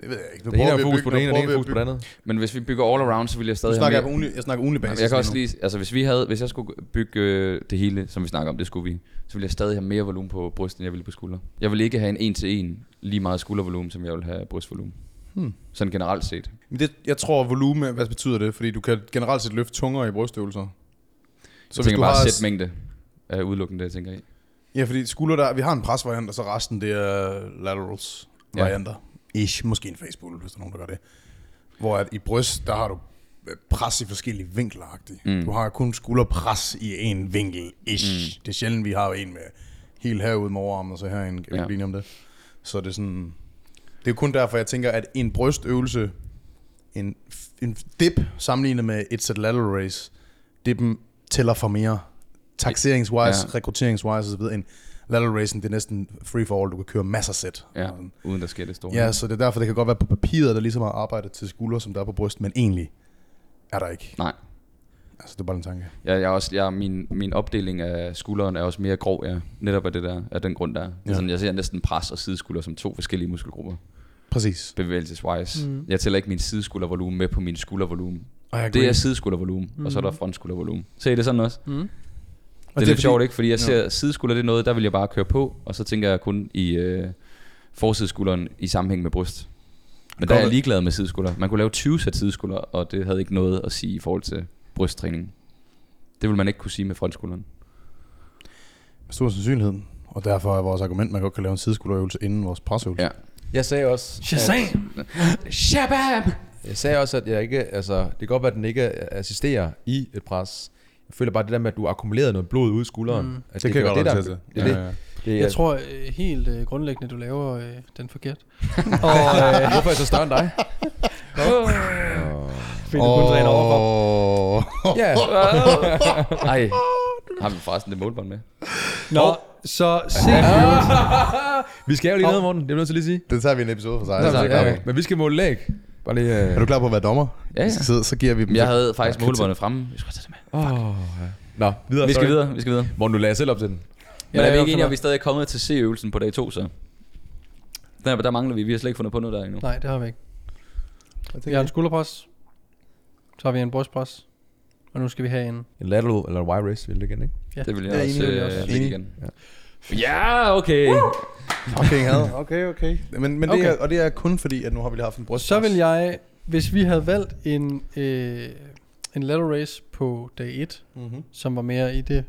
Speaker 2: Det ved jeg ikke. Nu
Speaker 4: Det ene
Speaker 2: prøver
Speaker 4: er
Speaker 2: vi at
Speaker 4: fokus
Speaker 2: bygge
Speaker 4: på det ene, og det
Speaker 2: noget,
Speaker 4: ene er fokus på det
Speaker 2: prøver vi at
Speaker 4: andet.
Speaker 3: Men hvis vi bygger all around, så ville
Speaker 2: bygge-
Speaker 3: jeg
Speaker 2: Nu
Speaker 3: stadig
Speaker 2: snakker jeg
Speaker 3: have
Speaker 2: på
Speaker 3: mere...
Speaker 2: ugenlig, jeg snakker ugenlig basis.
Speaker 3: Jeg kan også
Speaker 2: lige...
Speaker 3: lige, altså hvis vi havde, hvis jeg skulle bygge øh, det hele, som vi snakker om, det skulle vi, så ville jeg stadig have mere volumen på bryst, end jeg ville på skulder. Jeg ville ikke have en en til en lige meget skuldervolumen, som jeg ville have brystvolumen.
Speaker 2: Hmm.
Speaker 3: Sådan generelt set.
Speaker 2: Men det, jeg tror, volumen, hvad betyder det? Fordi du kan generelt set løfte tungere i brystøvelser.
Speaker 3: Så jeg tænker bare
Speaker 2: har-
Speaker 3: sæt mængde er udelukkende det, jeg tænker i.
Speaker 2: Ja, fordi skulder der, vi har en presvariant, og så resten det er laterals
Speaker 3: Ja.
Speaker 2: varianter. Ja. Ish, måske en facepull, hvis der er nogen, der gør det. Hvor at i bryst, der har du øh, pres i forskellige vinkler
Speaker 3: Mm.
Speaker 2: mm. Du har kun skulderpres i en vinkel, ish. Mm. Det er sjældent, vi har en med helt herude med overarmen, og så her en
Speaker 3: Ja.
Speaker 2: ja. linje om det. Så det er sådan... Det er kun derfor, jeg tænker, at en brystøvelse, en, f- en dip sammenlignet med et set lateral race, dippen tæller for mere taxeringswise,
Speaker 3: Ja.
Speaker 2: ja. rekrutteringswise osv. end lateral racing, det er næsten free for all, du kan køre masser af sæt.
Speaker 3: Ja, uden der sker det store.
Speaker 2: ja, så det er derfor, det kan godt være på papiret, der ligesom har arbejdet til skulder, som der er på bryst, men egentlig er der ikke.
Speaker 3: Nej.
Speaker 2: Altså, det er bare en tanke.
Speaker 3: Jeg, jeg er også, jeg, er- min, min opdeling af skulderen er også mere grov, ja. netop af, det der, af den grund, der er. Ja.
Speaker 2: Ja.
Speaker 3: Sådan, jeg ser næsten pres og sideskulder som to forskellige muskelgrupper.
Speaker 2: Præcis.
Speaker 3: bevægelseswise.
Speaker 1: Mm.
Speaker 3: Mm. Jeg tæller ikke min sideskuldervolumen med på min skuldervolumen.
Speaker 2: Og jeg
Speaker 3: Det
Speaker 2: griner.
Speaker 3: er sideskuldervolumen, mm. og så er der frontskuldervolumen. Se det sådan også?
Speaker 1: Mm.
Speaker 3: Og det, det er lidt
Speaker 2: fordi-
Speaker 3: sjovt, ikke? Fordi jeg
Speaker 2: Nå.
Speaker 3: ser sideskulder, det er noget, der vil jeg bare køre på, og så tænker jeg kun i øh, forsideskulderen i sammenhæng med bryst. Men der er
Speaker 2: Godt.
Speaker 3: jeg ligeglad med sideskulder. Man kunne lave 20 sæt sideskulder, og det havde ikke noget at sige i forhold til brysttræning. Det vil man ikke kunne sige med frontskulderen.
Speaker 2: Med stor sandsynlighed. Og derfor er vores argument, at man godt kan lave en sideskulderøvelse inden vores presøvelse.
Speaker 3: Ja.
Speaker 4: Jeg sagde også... At,
Speaker 1: Shazam!
Speaker 3: Shabam!
Speaker 4: jeg sagde også, at jeg ikke... Altså, det kan godt være, at den ikke assisterer i et pres. Jeg føler bare det der med, at du akkumulerer noget blod ud i skulderen.
Speaker 1: Mm.
Speaker 4: Mm. At
Speaker 2: Det, det kan jeg
Speaker 4: være
Speaker 2: godt
Speaker 4: der-
Speaker 2: det, til.
Speaker 4: Det, er det,
Speaker 2: Ja, ja.
Speaker 4: det, er-
Speaker 1: Jeg tror øh, helt øh, grundlæggende, du laver øh, den forkert. og øh,
Speaker 4: Hvorfor er jeg så større end dig?
Speaker 1: finder du kun træner overfor.
Speaker 4: Ja,
Speaker 3: Ej, har vi forresten det målbånd med?
Speaker 1: Nå, så se ah. (laughs)
Speaker 4: vi skal jo lige ned, morgen. Det er vi nødt til lige at sige.
Speaker 2: Det tager vi en episode for sig.
Speaker 4: Nå,
Speaker 2: Det
Speaker 4: men
Speaker 2: er,
Speaker 4: så-
Speaker 2: vi klar
Speaker 4: ja,
Speaker 2: på.
Speaker 4: okay. Men vi skal måle læg. Bare lige... Øh.
Speaker 2: er du klar på at være dommer?
Speaker 3: Ja, ja.
Speaker 2: Så, så giver vi dem
Speaker 3: Jeg havde faktisk
Speaker 2: Ja,
Speaker 3: målbåndet fremme. Vi skal tage det med.
Speaker 4: Åh, ja. Nå, videre.
Speaker 3: Vi skal
Speaker 4: sorry.
Speaker 3: videre, vi skal videre.
Speaker 4: Morten, du lagde selv op til den.
Speaker 3: Men
Speaker 1: Ja,
Speaker 3: er vi
Speaker 1: jeg
Speaker 3: ikke enige,
Speaker 1: opfatter-
Speaker 3: at vi stadig er kommet til C-øvelsen på dag 2, så? Der, der mangler vi, vi har slet ikke fundet på noget der endnu.
Speaker 1: Nej, det har vi ikke. Vi har en skulderpres. Så har vi en brystpres. Og nu skal vi have en...
Speaker 4: En lateral eller en Y-race, vil det igen, ikke?
Speaker 1: Ja,
Speaker 3: Det vil jeg
Speaker 1: er
Speaker 3: også
Speaker 1: enig, det er jeg
Speaker 3: øh,
Speaker 1: også.
Speaker 3: lægge
Speaker 2: Enig.
Speaker 3: igen. Ja, okay.
Speaker 2: fucking
Speaker 1: (laughs)
Speaker 2: had. Okay, okay. Men, men okay. Det
Speaker 1: Okay.
Speaker 2: er, og det er kun fordi, at nu har vi lige haft en bryst.
Speaker 1: Så vil jeg, hvis vi havde valgt en, øh, en lateral race på dag 1,
Speaker 2: Mm-hmm.
Speaker 1: som var mere i det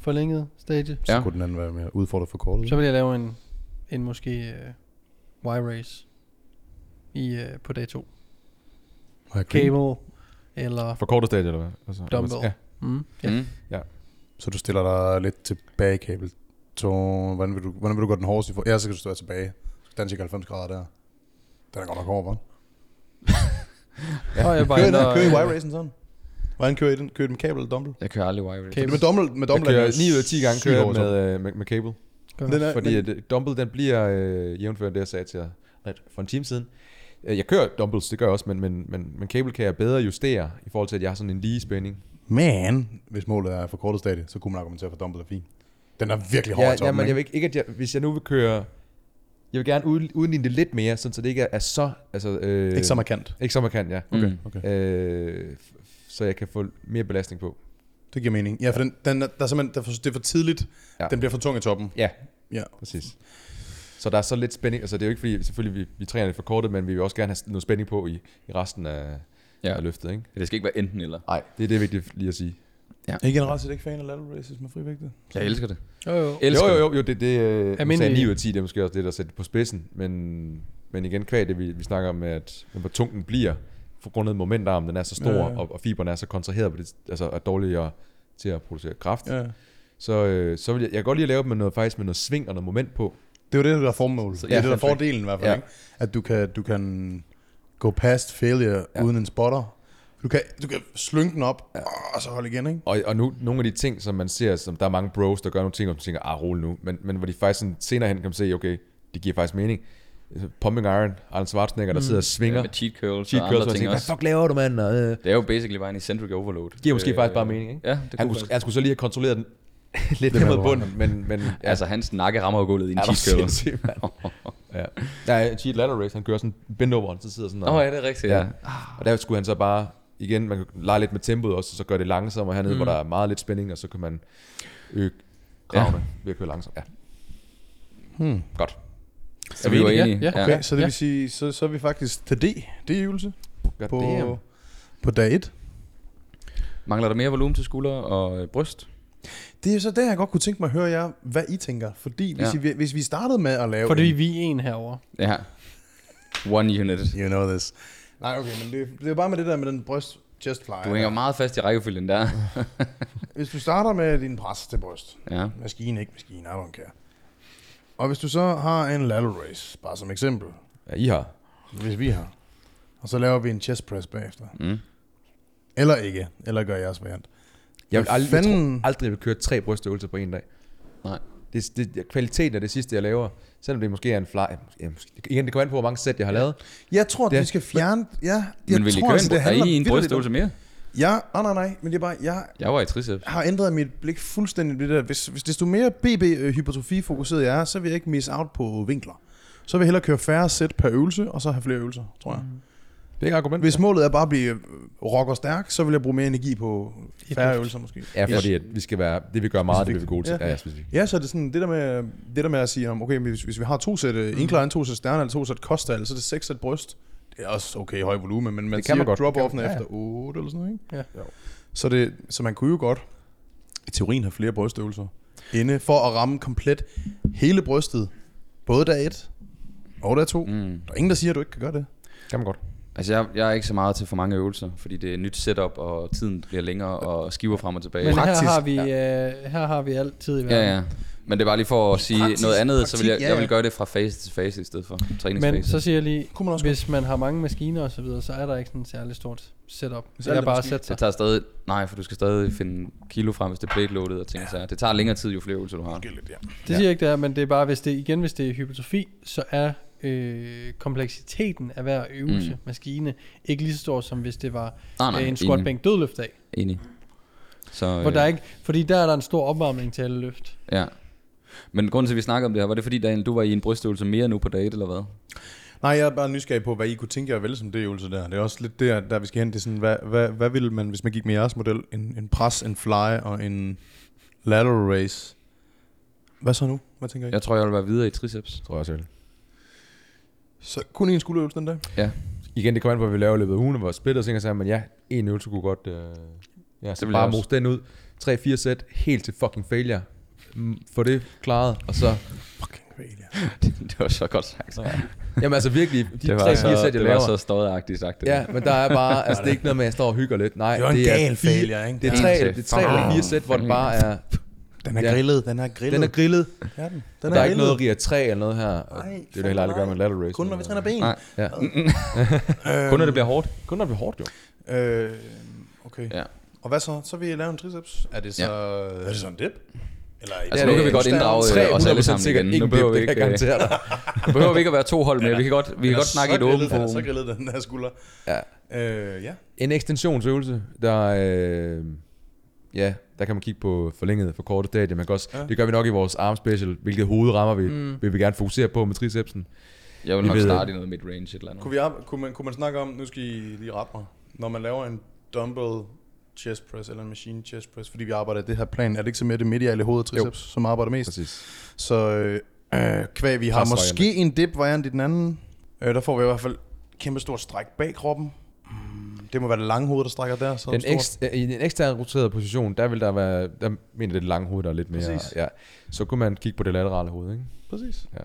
Speaker 1: forlængede stadie,
Speaker 2: Så
Speaker 3: Ja.
Speaker 2: kunne den anden være mere udfordret for kortet.
Speaker 1: så ville jeg lave en, en måske øh, Y-race i, øh, på dag 2. Cable eller...
Speaker 4: For kortet stadie, eller hvad? Altså,
Speaker 1: Dumbbell.
Speaker 4: Ja.
Speaker 1: Mm, ja.
Speaker 3: Mm.
Speaker 2: Så du stiller dig lidt tilbage, Kabel. Så, hvordan, vil du, hvordan vil du gå den hårdeste i for? Ja, så kan du stå tilbage. Dans ikke 90 grader der. Den er godt nok hård, hva'?
Speaker 1: Og jeg bare
Speaker 2: Kører I,
Speaker 1: ændrer-
Speaker 2: kører I Y-Racen sådan? Hvordan kører I den? Kører I den med kabel eller dumbbell? Altså,
Speaker 3: Jeg kører aldrig wire race.
Speaker 1: Cable.
Speaker 2: Med dumbbell, med
Speaker 4: Jeg
Speaker 2: dumbbell
Speaker 4: kører
Speaker 2: er det
Speaker 4: 9 ud af 10 gange
Speaker 2: sygt
Speaker 4: kører jeg
Speaker 2: hårdt,
Speaker 4: med, øh, med, med cable.
Speaker 1: Gør.
Speaker 2: Den er,
Speaker 4: Fordi
Speaker 2: men-
Speaker 4: at øh, dumbbell, den bliver øh, jævnført det, jeg sagde til jer lidt for en time siden. Øh, Jeg kører dumbbells, det gør jeg også, men, men, men, men cable kan jeg bedre justere i forhold til, at jeg har sådan en lige spænding.
Speaker 2: Men hvis målet er for kortet stadie, så kunne man argumentere for dumbbell er fint. Den er virkelig hård i
Speaker 4: Ja, ja,
Speaker 2: toppen,
Speaker 4: men jeg
Speaker 2: ikke?
Speaker 4: vil ikke, ikke, at jeg, hvis jeg nu vil køre... Jeg vil gerne ud- udligne det lidt mere, sådan, så det ikke er, er så... Altså, øh,
Speaker 2: Ikke så markant.
Speaker 4: Ikke så markant, ja.
Speaker 3: Okay. Mm.
Speaker 2: Okay.
Speaker 4: Øh, f- f- så jeg kan få mere belastning på.
Speaker 2: Det giver mening. Ja, for den, den er, der er simpelthen, der er for, det er for tidligt. Ja.
Speaker 4: Ja.
Speaker 2: Den bliver for tung i toppen.
Speaker 4: Ja,
Speaker 2: Ja.
Speaker 4: præcis. Så der er så lidt spænding, altså det er jo ikke fordi, selvfølgelig vi, vi træner det for kortet, men vi vil også gerne have noget spænding på i, i resten af, ja.
Speaker 3: Ja.
Speaker 4: af løftet, ikke?
Speaker 3: Det skal ikke være enten eller.
Speaker 4: Nej, det er det vigtigt lige at sige.
Speaker 2: Er I generelt set ikke fan af lateral races med frivægte?
Speaker 3: Jeg elsker det.
Speaker 1: Jo, jo.
Speaker 3: Elsker
Speaker 4: jo,
Speaker 3: det.
Speaker 4: jo, jo, jo, det, det øh, nu sagde
Speaker 1: Almindelig-
Speaker 4: jeg 9 ud af 10, det er måske også det, der sætter på spidsen, men, men igen, kvæg det, vi, vi snakker om, at hvor tung den bliver, for grundet momentarmen, den er så stor,
Speaker 2: Ja,
Speaker 4: ja,
Speaker 2: ja, ja.
Speaker 4: Og, og fiberne er så kontraheret, på det, altså er dårligere til at producere kraft, ja.
Speaker 2: Ja.
Speaker 4: så, øh, så vil jeg, jeg kan godt lige at lave dem med noget, faktisk med noget sving og noget moment på.
Speaker 2: Det er jo det, der er formålet.
Speaker 3: Så-
Speaker 2: det er
Speaker 3: ja,
Speaker 2: det, der er
Speaker 3: fandme.
Speaker 2: fordelen i hvert fald. Ja.
Speaker 4: Ja.
Speaker 2: Ikke? At du kan, du kan gå past failure ja.
Speaker 4: Ja.
Speaker 2: uden en spotter. Du kan, du kan slynge den op, ja. og så holde igen, ikke?
Speaker 4: Og, og nu, nogle af de ting, som man ser, som der er mange bros, der gør nogle ting, og som tænker, ah, rolig nu. Men, men hvor de faktisk sådan, senere hen kan man se, okay, det giver faktisk mening. Altså, Pumping Iron, Arnold Schwarzenegger, der sidder og svinger.
Speaker 3: Ja, med cheat curls
Speaker 4: cheat
Speaker 3: og
Speaker 4: curls,
Speaker 3: andre
Speaker 4: og
Speaker 3: ting
Speaker 4: tænker, hvad
Speaker 3: også.
Speaker 4: fuck laver du, mand? Og, øh,
Speaker 3: Det er jo basically bare en eccentric overload. Øh,
Speaker 4: giver måske faktisk bare mening, ikke?
Speaker 3: Ja, det
Speaker 4: han,
Speaker 3: kunne
Speaker 4: kunne,
Speaker 3: faktisk.
Speaker 4: han skulle så lige have kontrolleret den (laughs) lidt
Speaker 2: Det
Speaker 4: ned mod
Speaker 2: var-
Speaker 4: bunden, men... men ja.
Speaker 3: Altså, hans nakke rammer jo gulvet i en
Speaker 4: er du
Speaker 3: cheat curl.
Speaker 4: sindssyg, (laughs) mand? ja. ja, en cheat ladder race, han kører sådan en bend over, så sidder sådan...
Speaker 3: Nå, ja, det er rigtigt. Ja.
Speaker 4: Ja. Og der skulle han så bare, igen, man kan lege lidt med tempoet også, og så gør det langsommere hernede, mm. hvor der er meget lidt spænding, og så kan man øge kravene ja. ved at køre langsomt. Ja.
Speaker 2: Hmm.
Speaker 4: Godt.
Speaker 3: Så vi er jo
Speaker 1: Ja,
Speaker 3: enige.
Speaker 1: ja.
Speaker 2: Okay, ja.
Speaker 3: Ja.
Speaker 2: så det
Speaker 1: Ja.
Speaker 2: vil sige, så, så er vi faktisk til D. D-øvelse
Speaker 4: God
Speaker 2: på,
Speaker 4: damn.
Speaker 2: på dag 1.
Speaker 3: Mangler der mere volumen til skuldre og øh, bryst?
Speaker 2: Det er jo så der, jeg godt kunne tænke mig at høre jer, hvad I tænker. Fordi hvis, ja.
Speaker 3: Ja.
Speaker 2: I, hvis vi startede med at lave...
Speaker 1: Fordi
Speaker 2: en-
Speaker 1: vi er en herover.
Speaker 3: Ja. One unit.
Speaker 2: You know this. Nej, okay, men det, det er jo bare med det der med den bryst chest fly.
Speaker 3: Du hænger meget fast i rækkefølgen der.
Speaker 2: Hvis du starter med din pres til bryst,
Speaker 3: Ja.
Speaker 2: maskine ikke maskine, I don't care. Og hvis du så har en lateral race, bare som eksempel,
Speaker 4: Ja, I har.
Speaker 2: hvis vi har, og så laver vi en chest press bagefter.
Speaker 3: Mm.
Speaker 2: Eller ikke, eller gør jeres variant.
Speaker 4: Jeg vil
Speaker 2: Hvad
Speaker 4: aldrig, jeg
Speaker 2: fanden-
Speaker 4: tror, aldrig, jeg vil køre tre brystøvelser på en dag.
Speaker 3: Nej.
Speaker 4: Det, det, kvaliteten af det sidste, jeg laver, selvom det måske er en fly... Ja, måske, igen, det kommer an på, hvor mange sæt, jeg har lavet.
Speaker 2: Jeg tror,
Speaker 4: Det
Speaker 2: det,
Speaker 4: er-
Speaker 2: vi skal fjerne... Ja, jeg
Speaker 3: Men vil I
Speaker 2: tror,
Speaker 3: køre
Speaker 2: altså,
Speaker 3: en, er I i en
Speaker 2: vitterligt om-
Speaker 3: brystøvelse mere?
Speaker 2: Ja, nej, nej, nej, men det er bare, jeg
Speaker 3: Jeg var i triceps.
Speaker 2: har ændret mit blik øh, fuldstændig på det der. Hvis, hvis desto mere BB-hypertrofi-fokuseret jeg er, så vil jeg ikke miss out på vinkler. så vil jeg hellere køre færre sæt per øvelse, og så have flere øvelser, tror jeg.
Speaker 4: Det er ikke et argument.
Speaker 2: Hvis målet er bare at blive øh, rock og stærk, så vil jeg bruge mere energi på færre
Speaker 1: løft.
Speaker 2: øvelser måske.
Speaker 4: Ja, fordi at vi skal være, det vi gør meget, det bliver vi gode til.
Speaker 2: Ja.
Speaker 4: Ja, ja, specifikt.
Speaker 2: Ja, så er det sådan, det der med, det der med at sige, om, okay, hvis, hvis vi har to sæt øh,
Speaker 4: Mm.
Speaker 2: incline, to sæt sterne, eller to sæt kostal, så er det seks sæt bryst. Det er også okay høj volumen, men man
Speaker 4: Det
Speaker 2: siger
Speaker 4: kan man godt.
Speaker 2: drop
Speaker 4: Det kan
Speaker 2: offen
Speaker 4: man-
Speaker 2: ja,
Speaker 4: ja, ja.
Speaker 2: efter 8 eller sådan noget, ikke?
Speaker 1: Ja.
Speaker 4: Jo.
Speaker 2: Så, det, så man kunne jo godt i teorien have flere brystøvelser inde, for at ramme komplet hele brystet, både dag 1 og dag 2. Mm.
Speaker 3: Mm.
Speaker 2: Der er ingen, der siger, at du ikke kan gøre det.
Speaker 4: Kan man godt.
Speaker 3: Altså, jeg, jeg er ikke så meget til for mange øvelser, fordi det er nyt setup, og tiden bliver længere, og skiver frem og tilbage.
Speaker 1: Men
Speaker 2: Praktisk.
Speaker 1: her har vi, øh, her har vi altid i verden.
Speaker 3: ja, ja. Men det er bare lige for at sige
Speaker 2: Praktisk-
Speaker 3: noget andet, så vil jeg,
Speaker 2: praktik, ja,
Speaker 3: jeg
Speaker 2: ja.
Speaker 3: vil gøre det fra fase til fase i stedet for træningsfase.
Speaker 1: Men så siger jeg lige,
Speaker 2: Kunne man også
Speaker 1: hvis man har mange maskiner og så videre, så er der ikke sådan et særlig stort setup. Det
Speaker 2: alle
Speaker 1: er bare at
Speaker 2: maskiner-
Speaker 1: sætte sig.
Speaker 3: Det tager stadig... Nej, for du skal stadig finde kilo frem, hvis det er plate loaded og ting ja. så. Det tager længere tid, jo flere øvelser du har.
Speaker 2: Måske lidt, ja.
Speaker 1: Det siger jeg ikke, det er, men det er bare, hvis det, igen, hvis det er hypertrofi, så er øh, kompleksiteten af hver øvelse,
Speaker 3: Mm.
Speaker 1: mm. maskine, ikke lige så stor, som hvis det var
Speaker 3: Nej,
Speaker 1: øh,
Speaker 3: nej,
Speaker 1: en squat bænk dødløft af.
Speaker 3: Enig. Så, øh,
Speaker 1: Hvor der er ikke, fordi der er der en stor opvarmning til alle løft.
Speaker 3: Ja. Men grunden til, at vi snakker om det her, var det fordi, Daniel, du var i en brystøvelse mere nu på date, eller hvad?
Speaker 2: Nej, jeg er bare nysgerrig på, hvad I kunne tænke jer at vælge som det øvelse der. Det er også lidt der, der vi skal hen. Det er sådan, hvad, hvad, hvad ville man, hvis man gik med jeres model? En, en pres, en fly og en lateral race. Hvad så nu? Hvad tænker I? Ja.
Speaker 3: Jeg tror, jeg vil være videre i triceps. (laughs)
Speaker 4: Tror jeg også, jeg vil.
Speaker 2: Så kun en skulderøvelse den dag?
Speaker 4: Igen, det kommer an på, hvad vi laver i løbet af ugen, og hvor splittet og ting og sager, men ja, en øvelse kunne godt... Øh, ja, så
Speaker 3: vil
Speaker 4: bare
Speaker 3: jeg også.
Speaker 4: mos den ud. 3-4 sæt, helt til fucking failure. Mm, Få det klaret, og så...
Speaker 2: Fucking fail, ja.
Speaker 3: det var så godt sagt.
Speaker 4: Jamen altså virkelig, de
Speaker 3: det
Speaker 4: 3-4
Speaker 3: var, så,
Speaker 4: sæt, jeg
Speaker 3: det var
Speaker 4: laver...
Speaker 3: så stødagtigt sagt. Det.
Speaker 4: Ja, men der er bare... Altså, det er ikke noget med, at jeg står og hygger lidt. Nej,
Speaker 2: Det var en gal
Speaker 4: fire-
Speaker 2: failure, ikke?
Speaker 4: Det er
Speaker 3: Ja.
Speaker 4: tre,
Speaker 3: En til
Speaker 4: det er tre eller fire sæt, hvor den bare er...
Speaker 2: Den er
Speaker 4: Ja.
Speaker 2: grillet, den er grillet.
Speaker 4: Den er grillet.
Speaker 2: ja, den.
Speaker 4: Der
Speaker 2: den
Speaker 4: er ikke noget RIA 3 eller noget her. og
Speaker 2: Nej,
Speaker 4: det er jo det
Speaker 2: fandme
Speaker 4: heller aldrig gør
Speaker 2: nej.
Speaker 4: med lateral race.
Speaker 2: Kun når vi træner ben. Øh,
Speaker 3: Nej.
Speaker 4: Ja.
Speaker 2: Øhm,
Speaker 4: Kun når det bliver hårdt. Kun når det bliver hårdt, jo.
Speaker 2: Øh, okay.
Speaker 3: Ja.
Speaker 2: Og hvad så? Så vil jeg lave en triceps. Er det så... Er det så en dip? Eller
Speaker 3: Altså, nu kan vi godt inddrage øh, os alle
Speaker 4: 300%
Speaker 3: sammen
Speaker 4: sikkert
Speaker 3: igen.
Speaker 4: ikke
Speaker 3: Nu
Speaker 4: en
Speaker 3: behøver
Speaker 4: dip,
Speaker 3: vi
Speaker 4: det
Speaker 3: ikke,
Speaker 4: kan jeg
Speaker 3: øh,
Speaker 4: garantere dig.
Speaker 3: nu behøver vi ikke at være to hold med. Vi kan godt, vi kan godt snakke i et åbent
Speaker 2: forum. Så
Speaker 3: forum.
Speaker 2: grillet den der skulder.
Speaker 4: Ja.
Speaker 2: Øh, ja.
Speaker 4: En ekstensionsøvelse, der øh, ja, der kan man kigge på forlænget for korte dage. Man kan også,
Speaker 2: Ja.
Speaker 4: ja. Det gør vi nok i vores arm special. Hvilke hovedrammer vi, mm. vil vi gerne fokusere på med tricepsen.
Speaker 3: Jeg vil
Speaker 4: Vi
Speaker 3: nok
Speaker 4: ved
Speaker 3: starte i noget mid-range et eller andet.
Speaker 2: Kunne, vi, ar- kunne, man, kunne man snakke om, nu skal I lige rette mig, når man laver en dumbbell chest press eller en machine chest press, fordi vi arbejder i det her plan, er det ikke så mere det mediale hoved og triceps, jo. som arbejder mest?
Speaker 4: Præcis.
Speaker 2: Så øh, øh, kvæg, vi har
Speaker 4: Pres
Speaker 2: måske en dip variant i den anden, øh, der får vi i hvert fald kæmpe stort stræk bag kroppen. Mm, Det må være det lange hoved, der strækker der. Så
Speaker 4: Den
Speaker 2: stort.
Speaker 4: ekst, øh, I den ekstern roteret position, der vil der være, der mener det lange hoved, der er lidt mere.
Speaker 2: Præcis.
Speaker 4: Ja. Så kunne man kigge på det laterale hoved, ikke?
Speaker 2: Præcis.
Speaker 4: Ja.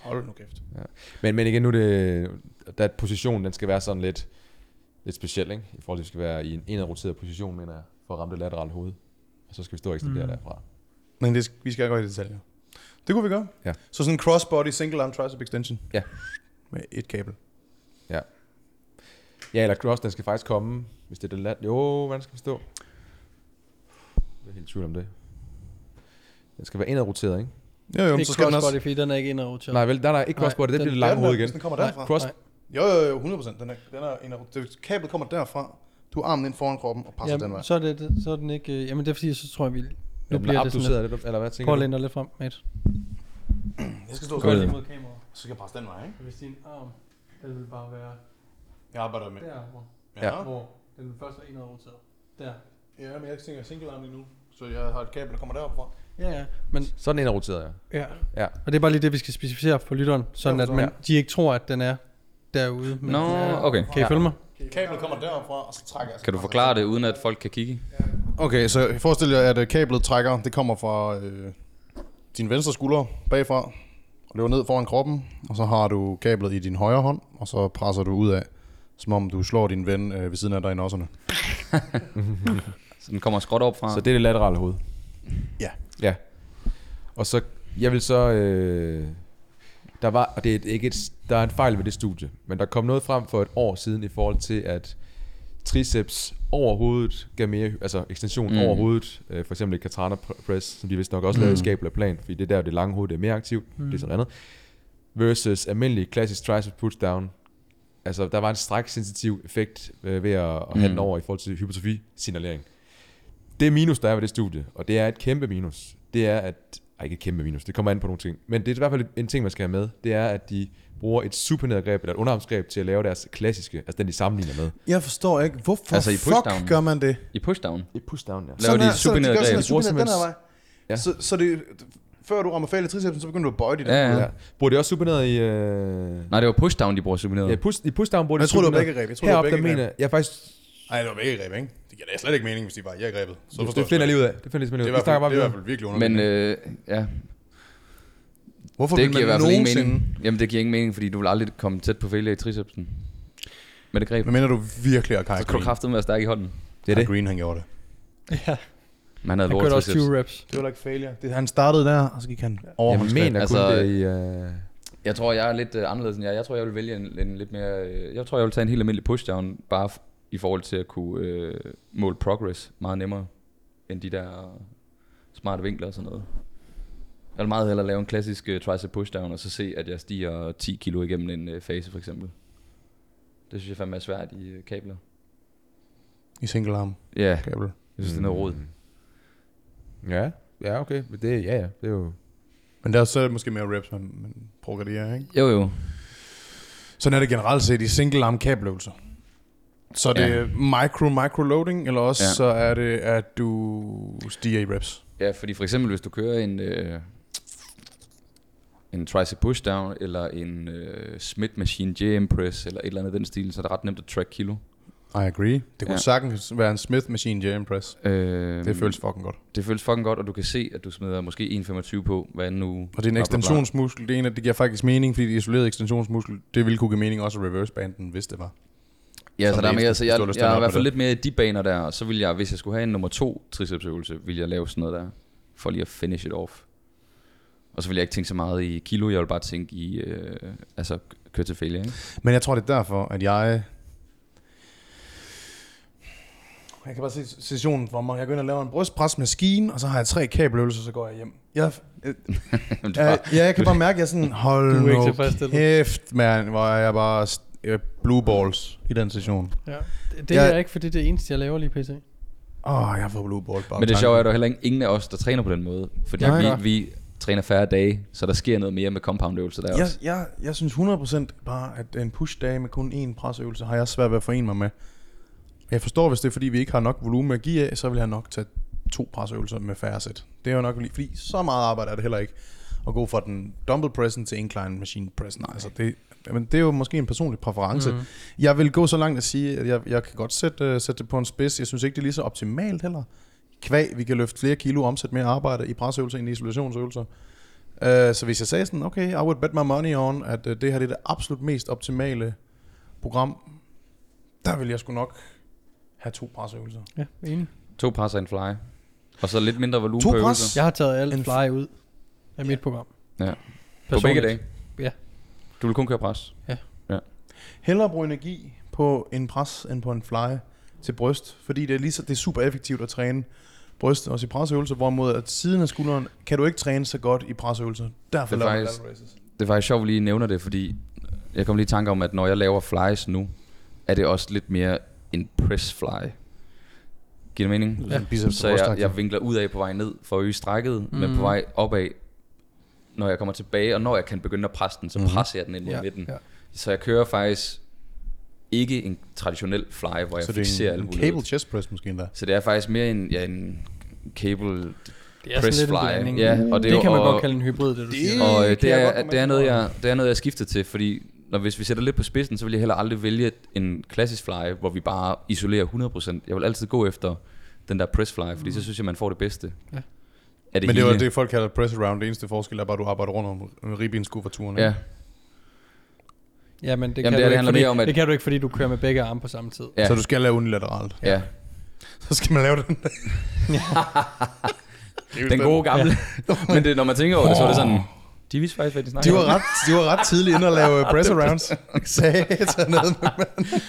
Speaker 2: Hold nu kæft.
Speaker 4: Men, men igen, nu er det, der positionen, den skal være sådan lidt, lidt speciel, ikke? I forhold til, at vi skal være i en indadroteret position, mener jeg, for at ramme det laterale hoved. Og så skal vi stå og ekstendere mm. derfra.
Speaker 2: Men det, vi skal ikke gå i detaljer. Det kunne vi gøre.
Speaker 4: Ja.
Speaker 2: Så sådan en crossbody single arm tricep extension.
Speaker 4: Ja.
Speaker 2: Med et kabel.
Speaker 4: Ja, eller cross, den skal faktisk komme, hvis det er det lat. Jo, hvordan skal den stå? Jeg er helt i tvivl om det. Den skal være indadroteret, ikke?
Speaker 2: Jo, jo, men
Speaker 1: Ikke
Speaker 2: så skal den også...
Speaker 1: crossbody, fordi den er ikke indroteret.
Speaker 4: Nej, vel, nej, nej, ikke
Speaker 1: Nej,
Speaker 4: crossbody, det
Speaker 1: den-
Speaker 4: bliver det
Speaker 2: Ja,
Speaker 4: lange
Speaker 2: den
Speaker 4: hoved
Speaker 2: der,
Speaker 4: igen.
Speaker 2: hvis Den kommer
Speaker 1: Nej,
Speaker 2: derfra.
Speaker 4: Cross,
Speaker 1: Nej.
Speaker 2: Jo, jo, jo, 100%. Den er, den er en, det, kablet kommer derfra. Du har armen ind foran kroppen og passer
Speaker 1: Jamen,
Speaker 2: den vej.
Speaker 1: så, er det, så er den ikke... øh, Jamen det er fordi, så tror jeg, vi... Nu
Speaker 4: nu
Speaker 1: bliver det sådan lidt...
Speaker 4: lidt, eller hvad tænker
Speaker 1: Prøv at
Speaker 4: du?
Speaker 1: læne dig lidt frem, mate.
Speaker 2: Jeg skal stå
Speaker 1: Gå lige
Speaker 2: så
Speaker 1: mod kameraet.
Speaker 2: skal jeg passe den vej, ikke?
Speaker 1: Hvis din arm, den vil bare være
Speaker 2: Jeg arbejder med.
Speaker 1: der, hvor,
Speaker 2: Ja.
Speaker 1: hvor den vil først være indroteret. Der.
Speaker 2: Ja, men jeg tænker single arm lige nu. Så jeg har et kabel, der kommer derfra.
Speaker 1: Ja, ja. Men
Speaker 4: Sådan indadroteret, ja.
Speaker 1: Ja.
Speaker 4: Ja.
Speaker 1: Og det er bare lige det, vi skal specificere for lytteren, sådan
Speaker 2: Ja,
Speaker 1: at man, de ikke tror, at den er derude. Men
Speaker 3: Nå,
Speaker 1: den er,
Speaker 3: okay.
Speaker 1: Kan I følge mig?
Speaker 2: Kablet kommer derfra, og så trækker jeg.
Speaker 3: Kan du forklare det, uden at folk kan kigge?
Speaker 2: Okay, så forestil jer, at øh, kablet trækker, det kommer fra øh, din venstre skulder bagfra, og løber ned foran kroppen, og så har du kablet i din højre hånd, og så presser du ud af, som om du slår din ven øh, ved siden af dig i nosserne.
Speaker 3: Så den kommer skråt op fra.
Speaker 4: Så det er det laterale hoved.
Speaker 2: Ja.
Speaker 4: Ja. Og så, jeg vil så, øh, der var, og det er et- ikke et, der er en fejl ved det studie, men der kom noget frem for et år siden i forhold til, at triceps over hovedet gav mere, altså ekstension
Speaker 3: Mm.
Speaker 4: mm. over hovedet, øh, for eksempel et katana press, som de vist nok også mm. lavede i skabel af plan, fordi det er der, det lange hoved det er mere aktivt, mm. det er sådan andet, versus almindelig klassisk tricep pushdown, altså der var en stræksensitiv effekt øh, ved at, at have
Speaker 3: Mm.
Speaker 4: mm. den over i forhold til hypertrofi-signalering. Det minus, der er ved det studie, og det er et kæmpe minus, det er, at er ikke et kæmpe minus. Det kommer an på nogle ting. Men det er i hvert fald en ting, man skal have med. Det er, at de bruger et supernedergreb eller et underarmsgreb til at lave deres klassiske, altså den, de sammenligner med.
Speaker 2: Jeg forstår ikke, hvorfor
Speaker 3: Altså
Speaker 2: altså
Speaker 3: i pushdown.
Speaker 2: fuck gør man det?
Speaker 3: I pushdown.
Speaker 4: I pushdown, ja.
Speaker 3: Laver de
Speaker 2: her,
Speaker 3: et
Speaker 2: så de gør
Speaker 3: supineret
Speaker 2: sådan
Speaker 3: greb.
Speaker 2: en supineret den her vej.
Speaker 4: Ja.
Speaker 2: Ja. Så, så det, før du rammer fejl i tricepsen, så begynder du at bøje dit.
Speaker 3: Ja, ja.
Speaker 4: ja. Bruger de også superneder i... Øh...
Speaker 3: Nej, det var pushdown, de bruger supineret.
Speaker 4: Ja, push, i pushdown bruger de
Speaker 2: Jeg tror, det var
Speaker 4: superneder.
Speaker 2: begge greb. Jeg tror, det var
Speaker 4: Heroppe, der
Speaker 2: begge greb.
Speaker 4: mener... Jeg er faktisk
Speaker 2: Nej, det var begge greb, ikke? Det giver da slet ikke mening, hvis de bare jeg grebet. Så forstår
Speaker 4: Så det
Speaker 2: jeg slet
Speaker 4: finder jeg
Speaker 2: ikke.
Speaker 4: lige ud af. Det finder jeg
Speaker 2: Det er, i
Speaker 4: simpelthen ud af. Vi
Speaker 2: hvert fald,
Speaker 4: snakker bare
Speaker 2: det er i hvert
Speaker 4: videre.
Speaker 2: fald virkelig underligt.
Speaker 3: Men øh, ja,
Speaker 2: hvorfor
Speaker 3: det giver i hvert fald ingen
Speaker 2: nogensinde-
Speaker 3: mening. Jamen, det giver ingen mening, fordi du vil aldrig komme tæt på failure i tricepsen. Med det greb.
Speaker 2: Hvad mener du virkelig at Kai
Speaker 3: Så kan du kraftedeme være stærk i hånden.
Speaker 4: Det er det.
Speaker 2: Green, han gjorde det.
Speaker 1: Ja,
Speaker 3: Men han havde
Speaker 1: han
Speaker 3: lort
Speaker 1: kørte også
Speaker 3: triceps.
Speaker 1: 20 reps.
Speaker 2: Det var ikke failure. Det, han startede der, og så gik han over.
Speaker 4: Jeg mener
Speaker 3: altså,
Speaker 4: kun det i... Øh...
Speaker 3: Jeg tror, jeg er lidt øh, anderledes end jer. Jeg tror, jeg vil vælge en, en lidt mere... Øh, jeg tror, jeg vil tage en helt almindelig pushdown, bare f- i forhold til at kunne øh, måle progress meget nemmere, end de der smarte vinkler og sådan noget. Jeg vil meget hellere lave en klassisk øh, tricep pushdown, og så se, at jeg stiger 10 kilo igennem en øh, fase, for eksempel. Det synes jeg fandme er svært i øh, kabler.
Speaker 2: I single arm
Speaker 3: Ja, yeah,
Speaker 2: kabel.
Speaker 3: jeg synes, det er noget råd.
Speaker 4: mm. Ja, ja, okay. Men det, ja, ja. Det er jo...
Speaker 2: Men der er så måske mere reps, man, man progrederer, ikke?
Speaker 3: Jo, jo.
Speaker 2: Sådan er det generelt set i single arm kabeløvelser. Så er det
Speaker 3: Ja.
Speaker 2: ja. micro, micro loading, eller også
Speaker 3: Ja.
Speaker 2: ja. så er det, at du stiger i reps.
Speaker 3: Ja, fordi for eksempel, hvis du kører en, øh, en tricep pushdown, eller en øh, Smith Machine JM Press, eller et eller andet af den stil, så er det ret nemt at track kilo.
Speaker 2: I agree. Det kunne
Speaker 3: Ja.
Speaker 2: ja. sagtens være en Smith Machine Jam Press.
Speaker 3: Øh,
Speaker 2: Det føles fucking godt.
Speaker 3: det føles fucking godt, og du kan se, at du smider måske 1,25 på hver anden uge.
Speaker 2: Og det er en
Speaker 3: Bla, bla, bla.
Speaker 2: ekstensionsmuskel. Det, er en, af- det giver faktisk mening, fordi det isolerede ekstensionsmuskel, det ville kunne give mening også at reverse banden, hvis det var.
Speaker 3: Ja, så
Speaker 2: Som
Speaker 3: der er
Speaker 2: det
Speaker 3: mere,
Speaker 2: eneste,
Speaker 3: så
Speaker 2: hvis
Speaker 3: jeg,
Speaker 2: du har lyst
Speaker 3: jeg,
Speaker 2: til at
Speaker 3: er i
Speaker 2: hoppe
Speaker 3: hvert fald
Speaker 2: på
Speaker 3: lidt mere i de baner der, og så vil jeg, hvis jeg skulle have en nummer to tricepsøvelse, ville jeg lave sådan noget der, for lige at finish it off. Og så vil jeg ikke tænke så meget i kilo, jeg vil bare tænke i, øh, altså køre til failure, ikke? (laughs)
Speaker 2: Men jeg tror, det er derfor, at jeg... Jeg kan bare se sessionen for mig. Jeg går ind og laver en brystpresmaskine, og så har jeg tre kabeløvelser, så går jeg hjem. Jeg, jeg,
Speaker 3: Jamen, det er
Speaker 2: jeg,
Speaker 3: bare-
Speaker 2: jeg kan bare mærke, at jeg er
Speaker 3: (laughs)
Speaker 2: sådan, hold
Speaker 1: Du er ikke
Speaker 2: nu
Speaker 1: tilfredsstillet.
Speaker 2: kæft, mand, hvor er jeg bare st- øh, blue balls i den session.
Speaker 1: Ja. Det, det
Speaker 2: Jeg-
Speaker 1: er jeg ikke, fordi det er det eneste, jeg laver lige pt.
Speaker 2: Åh, oh, jeg får blue balls bare.
Speaker 3: Men det
Speaker 2: af
Speaker 3: sjove er, at
Speaker 2: tanken.
Speaker 3: der er heller ikke ingen af os, der træner på den måde. Fordi
Speaker 2: Nej,
Speaker 3: vi,
Speaker 2: nej.
Speaker 3: vi træner færre dage, så der sker noget mere med compoundøvelser der
Speaker 2: Jeg,
Speaker 3: også.
Speaker 2: jeg, jeg synes 100% bare, at en push-dag med kun én presøvelse har jeg svært ved at forene mig med. Jeg forstår, hvis det er, fordi vi ikke har nok volumen at give af, så vil jeg nok tage to presøvelser med færre sæt. Det er jo nok lige, fordi så meget arbejde er det heller ikke at gå fra den dumbbell pressen til incline machine pressen. Altså det, men det er jo måske en personlig præference. Mm. Jeg vil gå så langt at sige, at jeg, jeg kan godt sætte, øh, sætte det på en spids. Jeg synes ikke, det er lige så optimalt heller. Kvæg, vi kan løfte flere kilo, omsætte mere arbejde i presøvelser end i isolationsøvelser. Øh, så hvis jeg sagde sådan, okay, I would bet my money on, at øh, det her det er det absolut mest optimale program, der vil jeg sgu nok have to presøvelser.
Speaker 1: Ja, enig.
Speaker 3: To pres og en fly. Og så lidt mindre volumen
Speaker 2: To
Speaker 3: på
Speaker 2: pres?
Speaker 3: øvelser.
Speaker 1: Jeg har taget alt
Speaker 2: En f-
Speaker 1: fly ud af mit program.
Speaker 3: Ja. På
Speaker 1: Personligt.
Speaker 3: begge dage.
Speaker 1: Ja.
Speaker 3: Du vil kun køre pres.
Speaker 2: Hellere bruge energi på en pres end på en fly til bryst, fordi det er, lige så, det er super effektivt at træne bryst også i presøvelser, hvorimod at siden af skulderen kan du ikke træne så godt i presøvelser. Derfor
Speaker 3: Det er
Speaker 2: laver man
Speaker 3: faktisk-
Speaker 2: lateral raises.
Speaker 3: Det var faktisk sjovt, at vi lige nævner det, fordi jeg kom lige i tanke om, at når jeg laver flies nu, er det også lidt mere en press fly. Giver det mening?
Speaker 1: Ja.
Speaker 2: Biceps
Speaker 3: Så
Speaker 2: og
Speaker 3: jeg,
Speaker 2: brystaktion.
Speaker 3: jeg vinkler ud af på vej ned for at øge strækket, mm. men
Speaker 1: Mhm.
Speaker 3: på vej opad, når jeg kommer tilbage, og når jeg kan begynde at presse den,
Speaker 2: Mhm.
Speaker 3: så presser jeg den ind mod midten.
Speaker 1: ja.
Speaker 3: Så jeg kører faktisk ikke en traditionel fly, hvor jeg
Speaker 2: så
Speaker 3: så
Speaker 2: det
Speaker 3: fixerer
Speaker 2: er en,
Speaker 3: alle
Speaker 2: en
Speaker 3: muligheder.
Speaker 2: cable chest press måske endda.
Speaker 3: Så det er faktisk mere en, ja, en cable
Speaker 1: Det er
Speaker 3: press
Speaker 1: sådan lidt en
Speaker 3: fly.
Speaker 1: blanding.
Speaker 3: Ja, og det
Speaker 1: det,
Speaker 3: er jo-
Speaker 1: kan man
Speaker 3: og-
Speaker 1: godt kalde en hybrid, det du
Speaker 2: Det-
Speaker 1: siger.
Speaker 3: og øh,
Speaker 2: kan
Speaker 3: det,
Speaker 2: jeg godt
Speaker 3: er,
Speaker 2: komme
Speaker 3: det, er
Speaker 2: med
Speaker 3: noget,
Speaker 2: på.
Speaker 3: jeg, det er noget, jeg skifter til, fordi når, hvis vi sætter lidt på spidsen, så vil jeg heller aldrig vælge en klassisk fly, hvor vi bare isolerer 100%. Jeg vil altid gå efter den der press fly,
Speaker 2: Mm.
Speaker 3: fordi så synes jeg, man får det bedste.
Speaker 1: Ja.
Speaker 3: Er det
Speaker 2: Men det var
Speaker 3: hele.
Speaker 2: det, folk kalder press around. Det eneste forskel er bare, at du arbejder rundt om ribbenskuffaturen.
Speaker 3: Ja,
Speaker 1: Ja, men det,
Speaker 3: Jamen,
Speaker 1: kan
Speaker 3: det
Speaker 1: du
Speaker 3: handler
Speaker 1: ikke, fordi,
Speaker 3: mere om, at-
Speaker 1: det kan du ikke, fordi du kører med begge arme på samme tid.
Speaker 3: Ja.
Speaker 2: Ja. Så du skal lave unilateralt. (laughs)
Speaker 3: ja.
Speaker 2: Så skal man lave
Speaker 3: (laughs)
Speaker 2: den.
Speaker 3: Den gode gamle. Men det, når man tænker over det, så er det sådan... Oh. De vidste faktisk, hvad de
Speaker 2: De
Speaker 3: snakker
Speaker 2: var
Speaker 3: om.
Speaker 2: ret, de var ret tidligt inde at lave
Speaker 3: (laughs)
Speaker 2: press arounds. Satan ned med mand.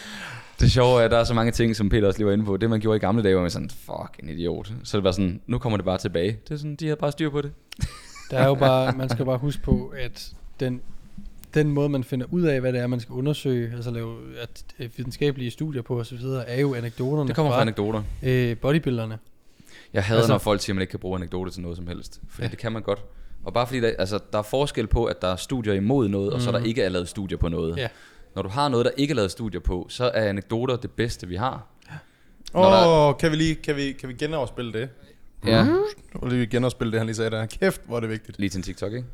Speaker 3: Det sjove er, at der er så mange ting, som Peter også lige var inde på. Det, man gjorde i gamle dage, var man sådan, fuck, en idiot. Så det var sådan, nu kommer det bare tilbage. Det er sådan, de havde bare styr på det.
Speaker 1: Der er jo bare, man skal bare huske på, at den, den måde, man finder ud af, hvad det er, man skal undersøge, altså lave at, øh, videnskabelige studier på osv., er jo anekdoterne
Speaker 3: Det kommer fra anekdoter.
Speaker 1: øh, bodybuilderne.
Speaker 3: Jeg hader, altså,
Speaker 1: Altså-
Speaker 3: når folk siger, at man ikke kan bruge anekdoter til noget som helst. Fordi ja.
Speaker 1: Ja.
Speaker 3: det kan man godt. Og bare fordi der, altså, der er forskel på, at der er studier imod noget, mm. og så der ikke er lavet studier på noget.
Speaker 1: Ja.
Speaker 3: Når du har noget, der ikke er lavet studier på, så er anekdoter det bedste, vi har. Når
Speaker 2: Åh, oh, kan vi lige kan vi, kan vi genafspille det?
Speaker 3: Ja, mm.
Speaker 2: Og lige genafspille det, han lige sagde der. Kæft, hvor er det vigtigt.
Speaker 3: lige til en TikTok, ikke?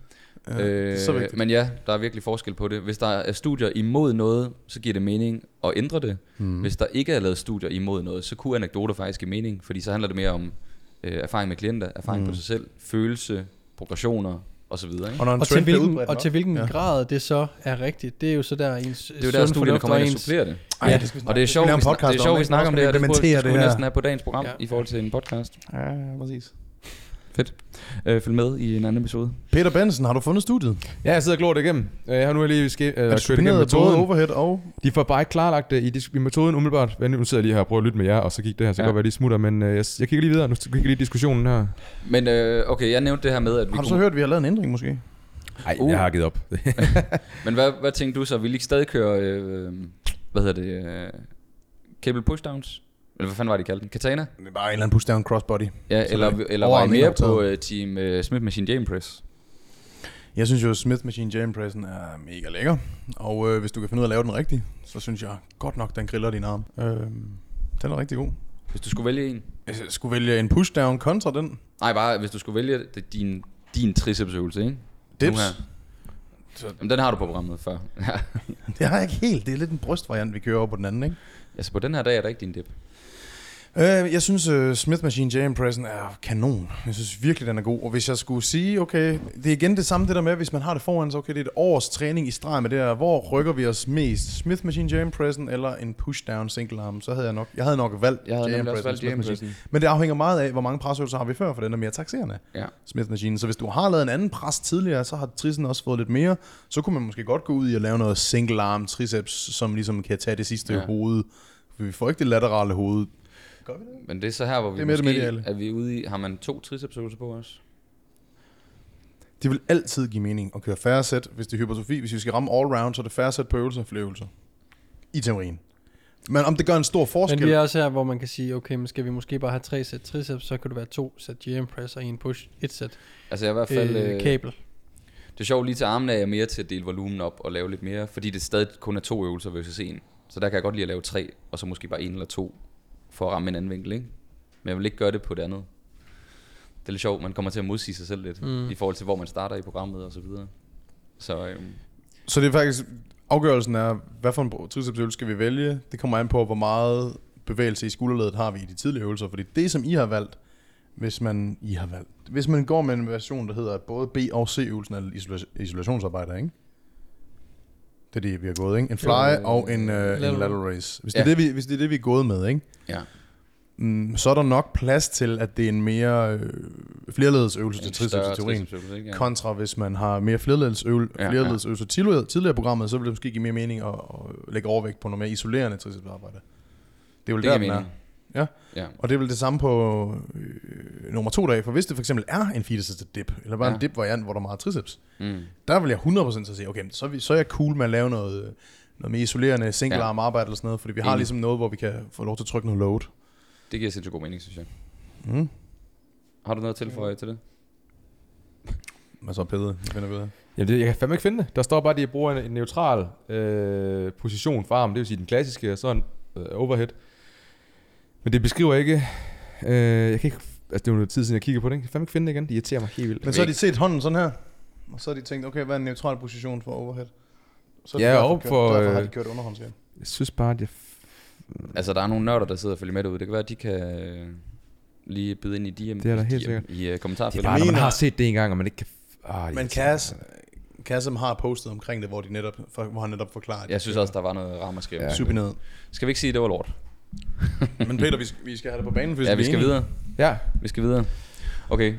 Speaker 2: Ja, det
Speaker 3: Øh,
Speaker 2: er så vigtigt.
Speaker 3: men ja, der er virkelig forskel på det. Hvis der er studier imod noget, så giver det mening at ændre det.
Speaker 2: Mhm.
Speaker 3: Mm. Hvis der ikke er lavet studier imod noget, så kunne anekdoter faktisk give mening, fordi så handler det mere om øh, erfaring med klienter, erfaring
Speaker 2: Mhm.
Speaker 3: mm. på sig selv, følelse, progressioner osv. Ikke?
Speaker 2: Og når en
Speaker 1: Og til
Speaker 2: trend bliver
Speaker 1: hvilken,
Speaker 2: udbredt
Speaker 1: og
Speaker 2: nok-
Speaker 1: til hvilken
Speaker 2: Ja.
Speaker 1: ja. grad det så er rigtigt, det er jo så der ens øh,
Speaker 3: Det er jo der, studierne kommer ind og supplerer det.
Speaker 2: Ej,
Speaker 1: Ja.
Speaker 2: det skal vi
Speaker 3: Og det er sjovt,
Speaker 2: vi
Speaker 3: vi,
Speaker 2: laver en
Speaker 3: snak-
Speaker 2: podcast
Speaker 3: det er sjovt, vi
Speaker 2: hvordan
Speaker 3: snakker om det her. Det,
Speaker 2: man
Speaker 3: burde, det
Speaker 2: implementerer
Speaker 3: skulle vi
Speaker 2: det her.
Speaker 3: næsten have på dagens program
Speaker 1: Ja.
Speaker 3: ja. i forhold til en podcast.
Speaker 2: Ja, præcis.
Speaker 3: Fedt. Øh, følg med i en anden episode.
Speaker 2: Peter Benson, har du fundet studiet?
Speaker 4: Ja, jeg sidder og glor det igennem. Øh, Jeg har nu lige ske, øh,
Speaker 2: Er
Speaker 4: kørt
Speaker 2: du
Speaker 4: igennem
Speaker 2: spineret både
Speaker 4: metoden.
Speaker 2: overhead og...
Speaker 4: De får bare ikke klarlagt det i, dis- i metoden umiddelbart. Vent, Nu sidder jeg lige her og prøver at lytte med jer, og så gik det her. Så kan
Speaker 3: Ja.
Speaker 4: godt være, de smutter, men øh, jeg, jeg kigger lige videre. Nu kigger jeg lige i diskussionen her.
Speaker 3: Men øh, okay, jeg nævnte det her med, at vi
Speaker 2: Har du
Speaker 3: kunne...
Speaker 2: så hørt, at vi har lavet en ændring måske?
Speaker 4: Nej,
Speaker 3: Uh.
Speaker 4: uh. jeg har givet op.
Speaker 3: Men hvad, hvad tænkte du så? Vil I ikke stadig køre, øh, hvad hedder det, øh, cable pushdowns? Eller hvad fanden var det, de kaldte den? Katana?
Speaker 2: Det er bare en eller anden pushdown crossbody.
Speaker 3: Ja,
Speaker 2: Så
Speaker 3: eller,
Speaker 2: det-
Speaker 3: eller var I
Speaker 2: overarmen
Speaker 3: mere
Speaker 2: indoptaget.
Speaker 3: på øh, Team øh, Smith Machine Jam Press?
Speaker 2: Jeg synes jo, at Smith Machine Jam Pressen er mega lækker. Og øh, hvis du kan finde ud af at lave den rigtigt, så synes jeg godt nok, den griller din arm. Øh, den er rigtig god.
Speaker 3: Hvis du skulle vælge en?
Speaker 2: Hvis jeg skulle vælge en pushdown kontra den,
Speaker 3: Nej, bare hvis du skulle vælge det, din, din tricepsøvelse, ikke? Nu
Speaker 2: dips,
Speaker 3: her. Jamen, den har du på programmet før. Ja.
Speaker 2: det har jeg ikke helt. Det er lidt en brystvariant, vi kører over på den anden, ikke?
Speaker 3: altså, på den her dag er der ikke din dip.
Speaker 2: Øh, jeg synes, uh, Smith Machine Jam Pressen er kanon. Jeg synes virkelig, den er god. Og hvis jeg skulle sige, okay, det er igen det samme det der med, hvis man har det foran, så okay, det er et års træning i streg med det der, hvor rykker vi os mest? Smith Machine Jam Pressen eller en pushdown single arm? Så havde jeg nok, jeg havde nok valgt
Speaker 3: Jeg havde
Speaker 2: Jam
Speaker 3: nemlig også valgt
Speaker 2: Pressen, Smith
Speaker 3: Jam
Speaker 2: Machine.
Speaker 3: Pressen.
Speaker 2: Men det afhænger meget af, hvor mange presøvelser har vi før, for den er mere taxerende,
Speaker 3: Ja.
Speaker 2: Smith Machine. Så hvis du har lavet en anden pres tidligere, så har trissen også fået lidt mere. Så kunne man måske godt gå ud i at lave noget single arm triceps, som ligesom kan tage det sidste ja.
Speaker 3: Ja.
Speaker 2: hoved. For vi får ikke det laterale hoved. Gør vi det?
Speaker 3: Men det er så her, hvor vi
Speaker 2: Det er
Speaker 3: det
Speaker 2: mere det
Speaker 3: måske,
Speaker 2: mediale.
Speaker 3: er vi ude i, har man to tricepsøvelser på også?
Speaker 2: Det vil altid give mening at køre færre sæt, hvis det er hypertrofi. Hvis vi skal ramme all round, så er det færre sæt på øvelser og flere øvelser. I teorien. Men om det gør en stor forskel...
Speaker 1: Men vi er også her, hvor man kan sige, okay, men skal vi måske bare have tre sæt triceps, så kan det være to sæt GM press og en push, et sæt
Speaker 3: Altså, jeg er i hvert fald...
Speaker 1: øh, kabel.
Speaker 3: Det er sjovt, lige til armene er jeg mere til at dele volumen op og lave lidt mere, fordi det stadig kun er to øvelser versus en. Så der kan jeg godt lide at lave tre, og så måske bare en eller to, for at ramme en anden vinkel, ikke? Men jeg vil ikke gøre det på det andet. Det er lidt sjovt, man kommer til at modsige sig selv lidt, mm. i forhold til hvor man starter i programmet og så videre. Så øhm,
Speaker 2: Så det er faktisk... Afgørelsen er, hvad for en tricepsøvelse skal vi vælge? Det kommer an på, hvor meget bevægelse i skulderledet har vi i de tidlige øvelser. Fordi det, som I har valgt, hvis man, I har valgt, hvis man går med en version, der hedder at både B og C-øvelsen er isola- isolationsarbejder, ikke? Det er det, vi har gået, ikke? En fly
Speaker 3: Jo,
Speaker 2: og en, øh, en
Speaker 1: lateral.
Speaker 2: lateral raise. Hvis det, er
Speaker 3: Ja.
Speaker 2: det, vi, hvis det er det, vi er gået med, ikke?
Speaker 3: ja.
Speaker 2: Mm, så er der nok plads til, at det er en mere øh, flerledesøvelse til
Speaker 3: En større
Speaker 2: triceps-teorien.
Speaker 3: tricepsøvelse, ikke?
Speaker 2: Ja.
Speaker 3: Ja.
Speaker 2: Kontra hvis man har mere flerledelsøvel,
Speaker 3: Ja,
Speaker 2: ja,
Speaker 3: ja.
Speaker 2: flerledelsøvelser ja. tidligere, tidligere i programmet, så vil det måske give mere mening at, at lægge overvægt på noget mere isolerende tricepsarbejde. Det er vel
Speaker 3: Det
Speaker 2: det der,
Speaker 3: giver
Speaker 2: den er.
Speaker 3: mening.
Speaker 2: Ja.
Speaker 3: Ja.
Speaker 2: Og det er vel det samme på øh, nummer to dag, for hvis det for eksempel er en fetus dip, eller bare ja. en
Speaker 3: Ja.
Speaker 2: dip-variant, hvor der er meget triceps,
Speaker 3: Mm.
Speaker 2: der vil jeg 100% så sige, okay, men så, er vi, så er jeg cool med at lave noget, noget mere isolerende single
Speaker 3: Ja.
Speaker 2: arm arbejde eller sådan noget, fordi vi har
Speaker 3: Enig.
Speaker 2: ligesom noget, hvor vi kan få lov til at trykke noget load.
Speaker 3: Det giver sindssygt god mening, synes jeg.
Speaker 2: Mm.
Speaker 3: Har du noget at tilføje til det?
Speaker 2: Men så er Peder, jeg finder videre.
Speaker 4: Jamen, det, jeg kan fandme ikke finde det. Der står bare, at de bruger en, en neutral øh, position for armen, det vil sige den klassiske, og så en øh, overhead. Men det beskriver ikke... Øh, jeg kan ikke... Altså, det er jo noget tid siden, jeg kiggede på det, ikke? Jeg kan fandme ikke finde det igen. Det irriterer mig helt vildt.
Speaker 2: Men så har de set hånden sådan her, og så har de tænkt, okay, hvad er en neutral position for overhead? Så er det
Speaker 4: Ja,
Speaker 2: derfor
Speaker 4: og
Speaker 2: kørt-
Speaker 4: for,
Speaker 2: Derfor har
Speaker 4: øh,
Speaker 2: de kørt underhåndshjem.
Speaker 4: Jeg synes bare, at jeg...
Speaker 3: Altså, der er nogle nørder, der sidder og følger med derude. Det kan være, at de kan øh, lige bide ind i de
Speaker 4: Det er der helt
Speaker 3: i,
Speaker 4: sikkert.
Speaker 3: i, i uh,
Speaker 4: Det er
Speaker 3: kommentarfeltet.
Speaker 4: bare, når man
Speaker 2: mener-
Speaker 4: har set det engang, og man ikke kan... Ah, det
Speaker 2: Men
Speaker 4: irriterer mig.
Speaker 2: Kas, Kassem har postet omkring det, hvor, de netop, for, hvor han netop forklarer det.
Speaker 3: Jeg synes også, der var noget rammerskæv.
Speaker 4: Ja.
Speaker 3: Ja.
Speaker 2: Supined.
Speaker 3: Skal vi ikke sige, at det var lort?
Speaker 2: Men Peter, vi skal, vi skal have det på banen, hvis
Speaker 3: Ja, vi
Speaker 2: er
Speaker 3: skal
Speaker 2: enige.
Speaker 3: videre.
Speaker 4: Ja,
Speaker 3: Vi skal videre. Okay.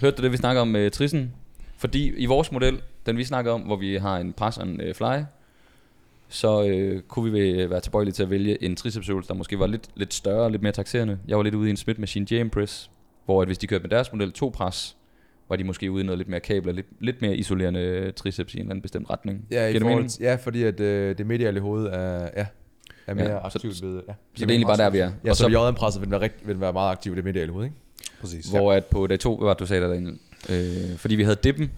Speaker 3: Hørte du det, vi snakker om med Trissen? Fordi i vores model, den vi snakker om, hvor vi har en pres og en øh, fly, så øh, kunne vi øh, være tilbøjelige til at vælge en tricepsøvelse, der måske var lidt, lidt større og lidt mere taxerende. Jeg var lidt ude i en Smith Machine Jam Press, hvor at hvis de kørte med deres model to pres, var de måske ude i noget lidt mere kabel og lidt, lidt mere isolerende øh, triceps i en eller anden bestemt retning.
Speaker 4: ja, i
Speaker 3: Giver det
Speaker 4: forhold
Speaker 3: mening?
Speaker 4: til, ja fordi at, øh, det mediale hoved er, ja, er mere
Speaker 3: Ja, så-
Speaker 4: aktivt ved... Ja.
Speaker 3: Så det er egentlig bare der, vi er.
Speaker 4: Ja,
Speaker 3: Og
Speaker 4: så, så jodden presset vil den være, rigt, vil den være meget aktiv i det mediale hoved, ikke?
Speaker 2: Præcis.
Speaker 3: Hvor at på dag 2, hvad var det, du sagde, der, der
Speaker 5: Øh, fordi vi havde dippen.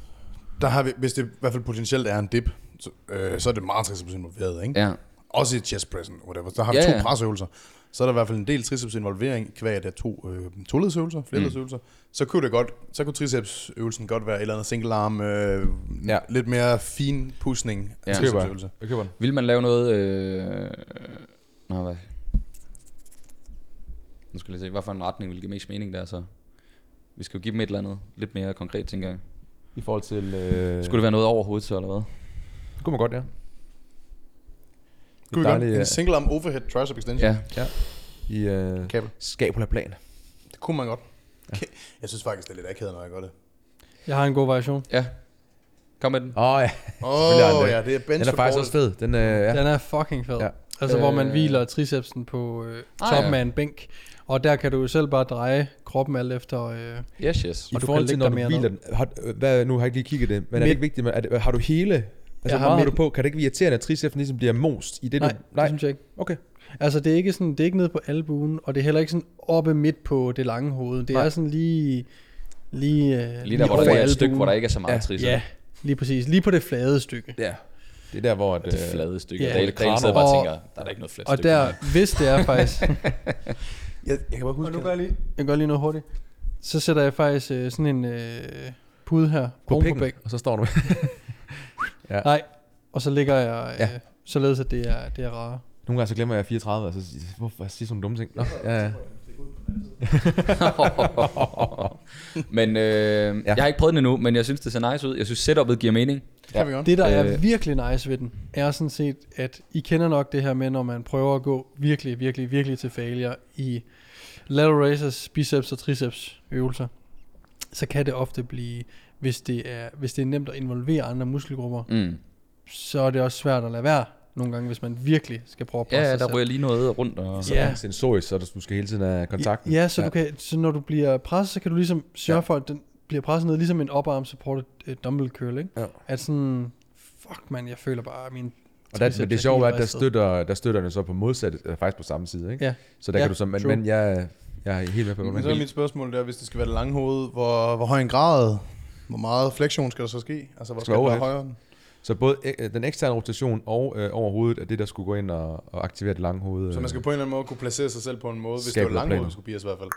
Speaker 2: Der har vi, hvis det i hvert fald potentielt er en dip, så, øh, så er det meget triceps involveret, ikke?
Speaker 5: Ja.
Speaker 2: Også i chest pressen, whatever. Der har vi
Speaker 5: Ja,
Speaker 2: ja, to
Speaker 5: ja.
Speaker 2: ja. presøvelser. Så er der i hvert fald en del triceps involvering, kvad af to øh, toledsøvelser, flerledsøvelser. Mm. Så kunne det godt, så kunne tricepsøvelsen godt være et eller andet single arm, øh,
Speaker 4: Ja.
Speaker 2: ja. lidt mere fin pusning af
Speaker 5: Ja.
Speaker 2: ja. tricepsøvelser.
Speaker 4: Jeg køber den.
Speaker 5: Vil man lave noget... Øh... Nå, hvad? Nu skal jeg lige se, hvad for en retning vil give mest mening der, så... Vi skal jo give dem et eller andet lidt mere konkret, tænker jeg.
Speaker 4: I forhold til... Øh,
Speaker 5: Skulle det være noget over hovedet så, eller hvad?
Speaker 4: det kunne man godt, ja.
Speaker 2: Kunne vi godt?
Speaker 4: dejligt, ja.
Speaker 2: En single arm overhead tricep extension.
Speaker 5: Ja.
Speaker 4: I øh,
Speaker 2: Kabel.
Speaker 4: skabulaplan.
Speaker 2: Det kunne man godt. Ja. Jeg synes faktisk, det er lidt akavet, når jeg gør det.
Speaker 1: Jeg har en god variation.
Speaker 5: Ja. Kom med den.
Speaker 4: Åh oh, ja, (laughs)
Speaker 2: Åh,
Speaker 4: Selvfølgelig er
Speaker 2: oh,
Speaker 4: det.
Speaker 2: ja, det er bench
Speaker 4: den er faktisk også fed. Den, øh, ja.
Speaker 1: Ja. Den er fucking fed.
Speaker 4: Ja.
Speaker 1: Ja. Altså, hvor man
Speaker 5: Øh.
Speaker 1: hviler tricepsen på øh,
Speaker 5: Ah,
Speaker 1: toppen
Speaker 5: ja.
Speaker 1: af en bænk. Og der kan du jo selv bare dreje kroppen alt efter... Øh,
Speaker 5: Yes, yes.
Speaker 4: I
Speaker 1: og du
Speaker 4: forhold
Speaker 1: kan
Speaker 4: til,
Speaker 1: lægge
Speaker 4: når
Speaker 1: dig
Speaker 4: du
Speaker 1: mere
Speaker 4: hviler
Speaker 1: ned.
Speaker 4: den, har, øh, hvad, nu har jeg ikke lige kigget det, men er det
Speaker 1: Midt-
Speaker 4: ikke vigtigt, men er det, har du hele, altså
Speaker 1: Jeg har
Speaker 4: hvor meget har du
Speaker 1: midt-
Speaker 4: på, kan det ikke irriterende, at tricepsen ligesom bliver most i det,
Speaker 1: Nej,
Speaker 4: du,
Speaker 1: det
Speaker 4: nej,
Speaker 1: synes jeg ikke.
Speaker 4: okay.
Speaker 1: Altså, det er ikke, sådan, det er ikke nede på albuen, og det er heller ikke sådan oppe midt på det lange hoved. Det
Speaker 4: Nej.
Speaker 1: er sådan lige... Lige, øh,
Speaker 5: Lige der, hvor der er
Speaker 1: over
Speaker 5: et ligesom. stykke,
Speaker 1: albuen.
Speaker 5: hvor der ikke er så meget ja. trisse.
Speaker 1: Ja, lige præcis. Lige på det flade stykke.
Speaker 4: Ja. Det er der, hvor at,
Speaker 5: Det
Speaker 4: øh,
Speaker 5: flade stykke.
Speaker 1: Ja.
Speaker 5: Yeah. Dale, Dale sidder
Speaker 1: Og-
Speaker 5: bare og tænker, der er da ikke noget fladt
Speaker 1: Og
Speaker 5: stykke.
Speaker 1: der, hvis det er faktisk...
Speaker 2: Jeg, jeg kan bare huske,
Speaker 1: jeg lige. Jeg gør lige noget hurtigt. Så sætter jeg faktisk øh, sådan en øh, pude her
Speaker 4: på
Speaker 1: oven
Speaker 4: pikken,
Speaker 1: på bæk.
Speaker 4: og så står du ja.
Speaker 1: Nej, og så ligger jeg øh,
Speaker 4: Ja.
Speaker 1: ja. således, at det er, det er rare.
Speaker 4: (laughs) Nogle gange så glemmer jeg at jeg er 34, og så siger jeg, hvorfor jeg siger sådan nogle dumme ting. Nå, ja, ja.
Speaker 5: (laughs) men øh,
Speaker 4: Ja.
Speaker 5: ja. jeg har ikke prøvet den endnu, men jeg synes, det ser nice ud. Jeg synes, setupet giver mening.
Speaker 2: Det kan vi godt.
Speaker 1: Det, der er
Speaker 5: Øh.
Speaker 1: virkelig nice ved den, er sådan set, at I kender nok det her med, når man prøver at gå virkelig, virkelig, virkelig til failure i lateral raises, biceps og triceps øvelser, så kan det ofte blive, hvis det er, hvis det er nemt at involvere andre muskelgrupper,
Speaker 5: Mm.
Speaker 1: så er det også svært at lade være nogle gange, hvis man virkelig skal prøve at presse
Speaker 5: Ja,
Speaker 1: sig
Speaker 5: der
Speaker 1: selv.
Speaker 5: ryger lige noget rundt. Og...
Speaker 4: Så
Speaker 1: Ja.
Speaker 4: er den sensorisk, så du skal hele tiden have kontakten.
Speaker 1: Ja, så, Du kan, så når du bliver presset, så kan du ligesom sørge ja.
Speaker 4: Ja.
Speaker 1: for, at den bliver presset ned, ligesom en oparm supported uh, dumbbell curl, ikke?
Speaker 4: Ja.
Speaker 1: At sådan, fuck man, jeg føler bare, at min
Speaker 4: Og der, men
Speaker 1: triceps
Speaker 4: det sjove er,
Speaker 1: helt
Speaker 4: at der
Speaker 1: ristet.
Speaker 4: støtter, der støtter den så på modsatte, øh, faktisk på samme side, ikke?
Speaker 1: Ja.
Speaker 4: Så der
Speaker 1: Ja,
Speaker 4: kan du så, men,
Speaker 1: true.
Speaker 4: men jeg, jeg er helt med på, hvad
Speaker 2: Men
Speaker 4: man
Speaker 2: så er
Speaker 4: vil.
Speaker 2: mit spørgsmål der, hvis det skal være det lange hoved, hvor, hvor høj en grad, hvor meget flektion skal der så ske? Altså, hvor skal den
Speaker 4: Skal
Speaker 2: være
Speaker 4: overhead.
Speaker 2: højere?
Speaker 4: Så både øh, den eksterne rotation og øh, over hovedet er det, der skulle gå ind og, og aktivere det lange hoved.
Speaker 2: Så man skal
Speaker 4: øh.
Speaker 2: på en eller anden måde kunne placere sig selv på en måde, hvis det
Speaker 4: Skabe
Speaker 2: var lange
Speaker 4: planer.
Speaker 2: hoved, skulle bias i hvert fald.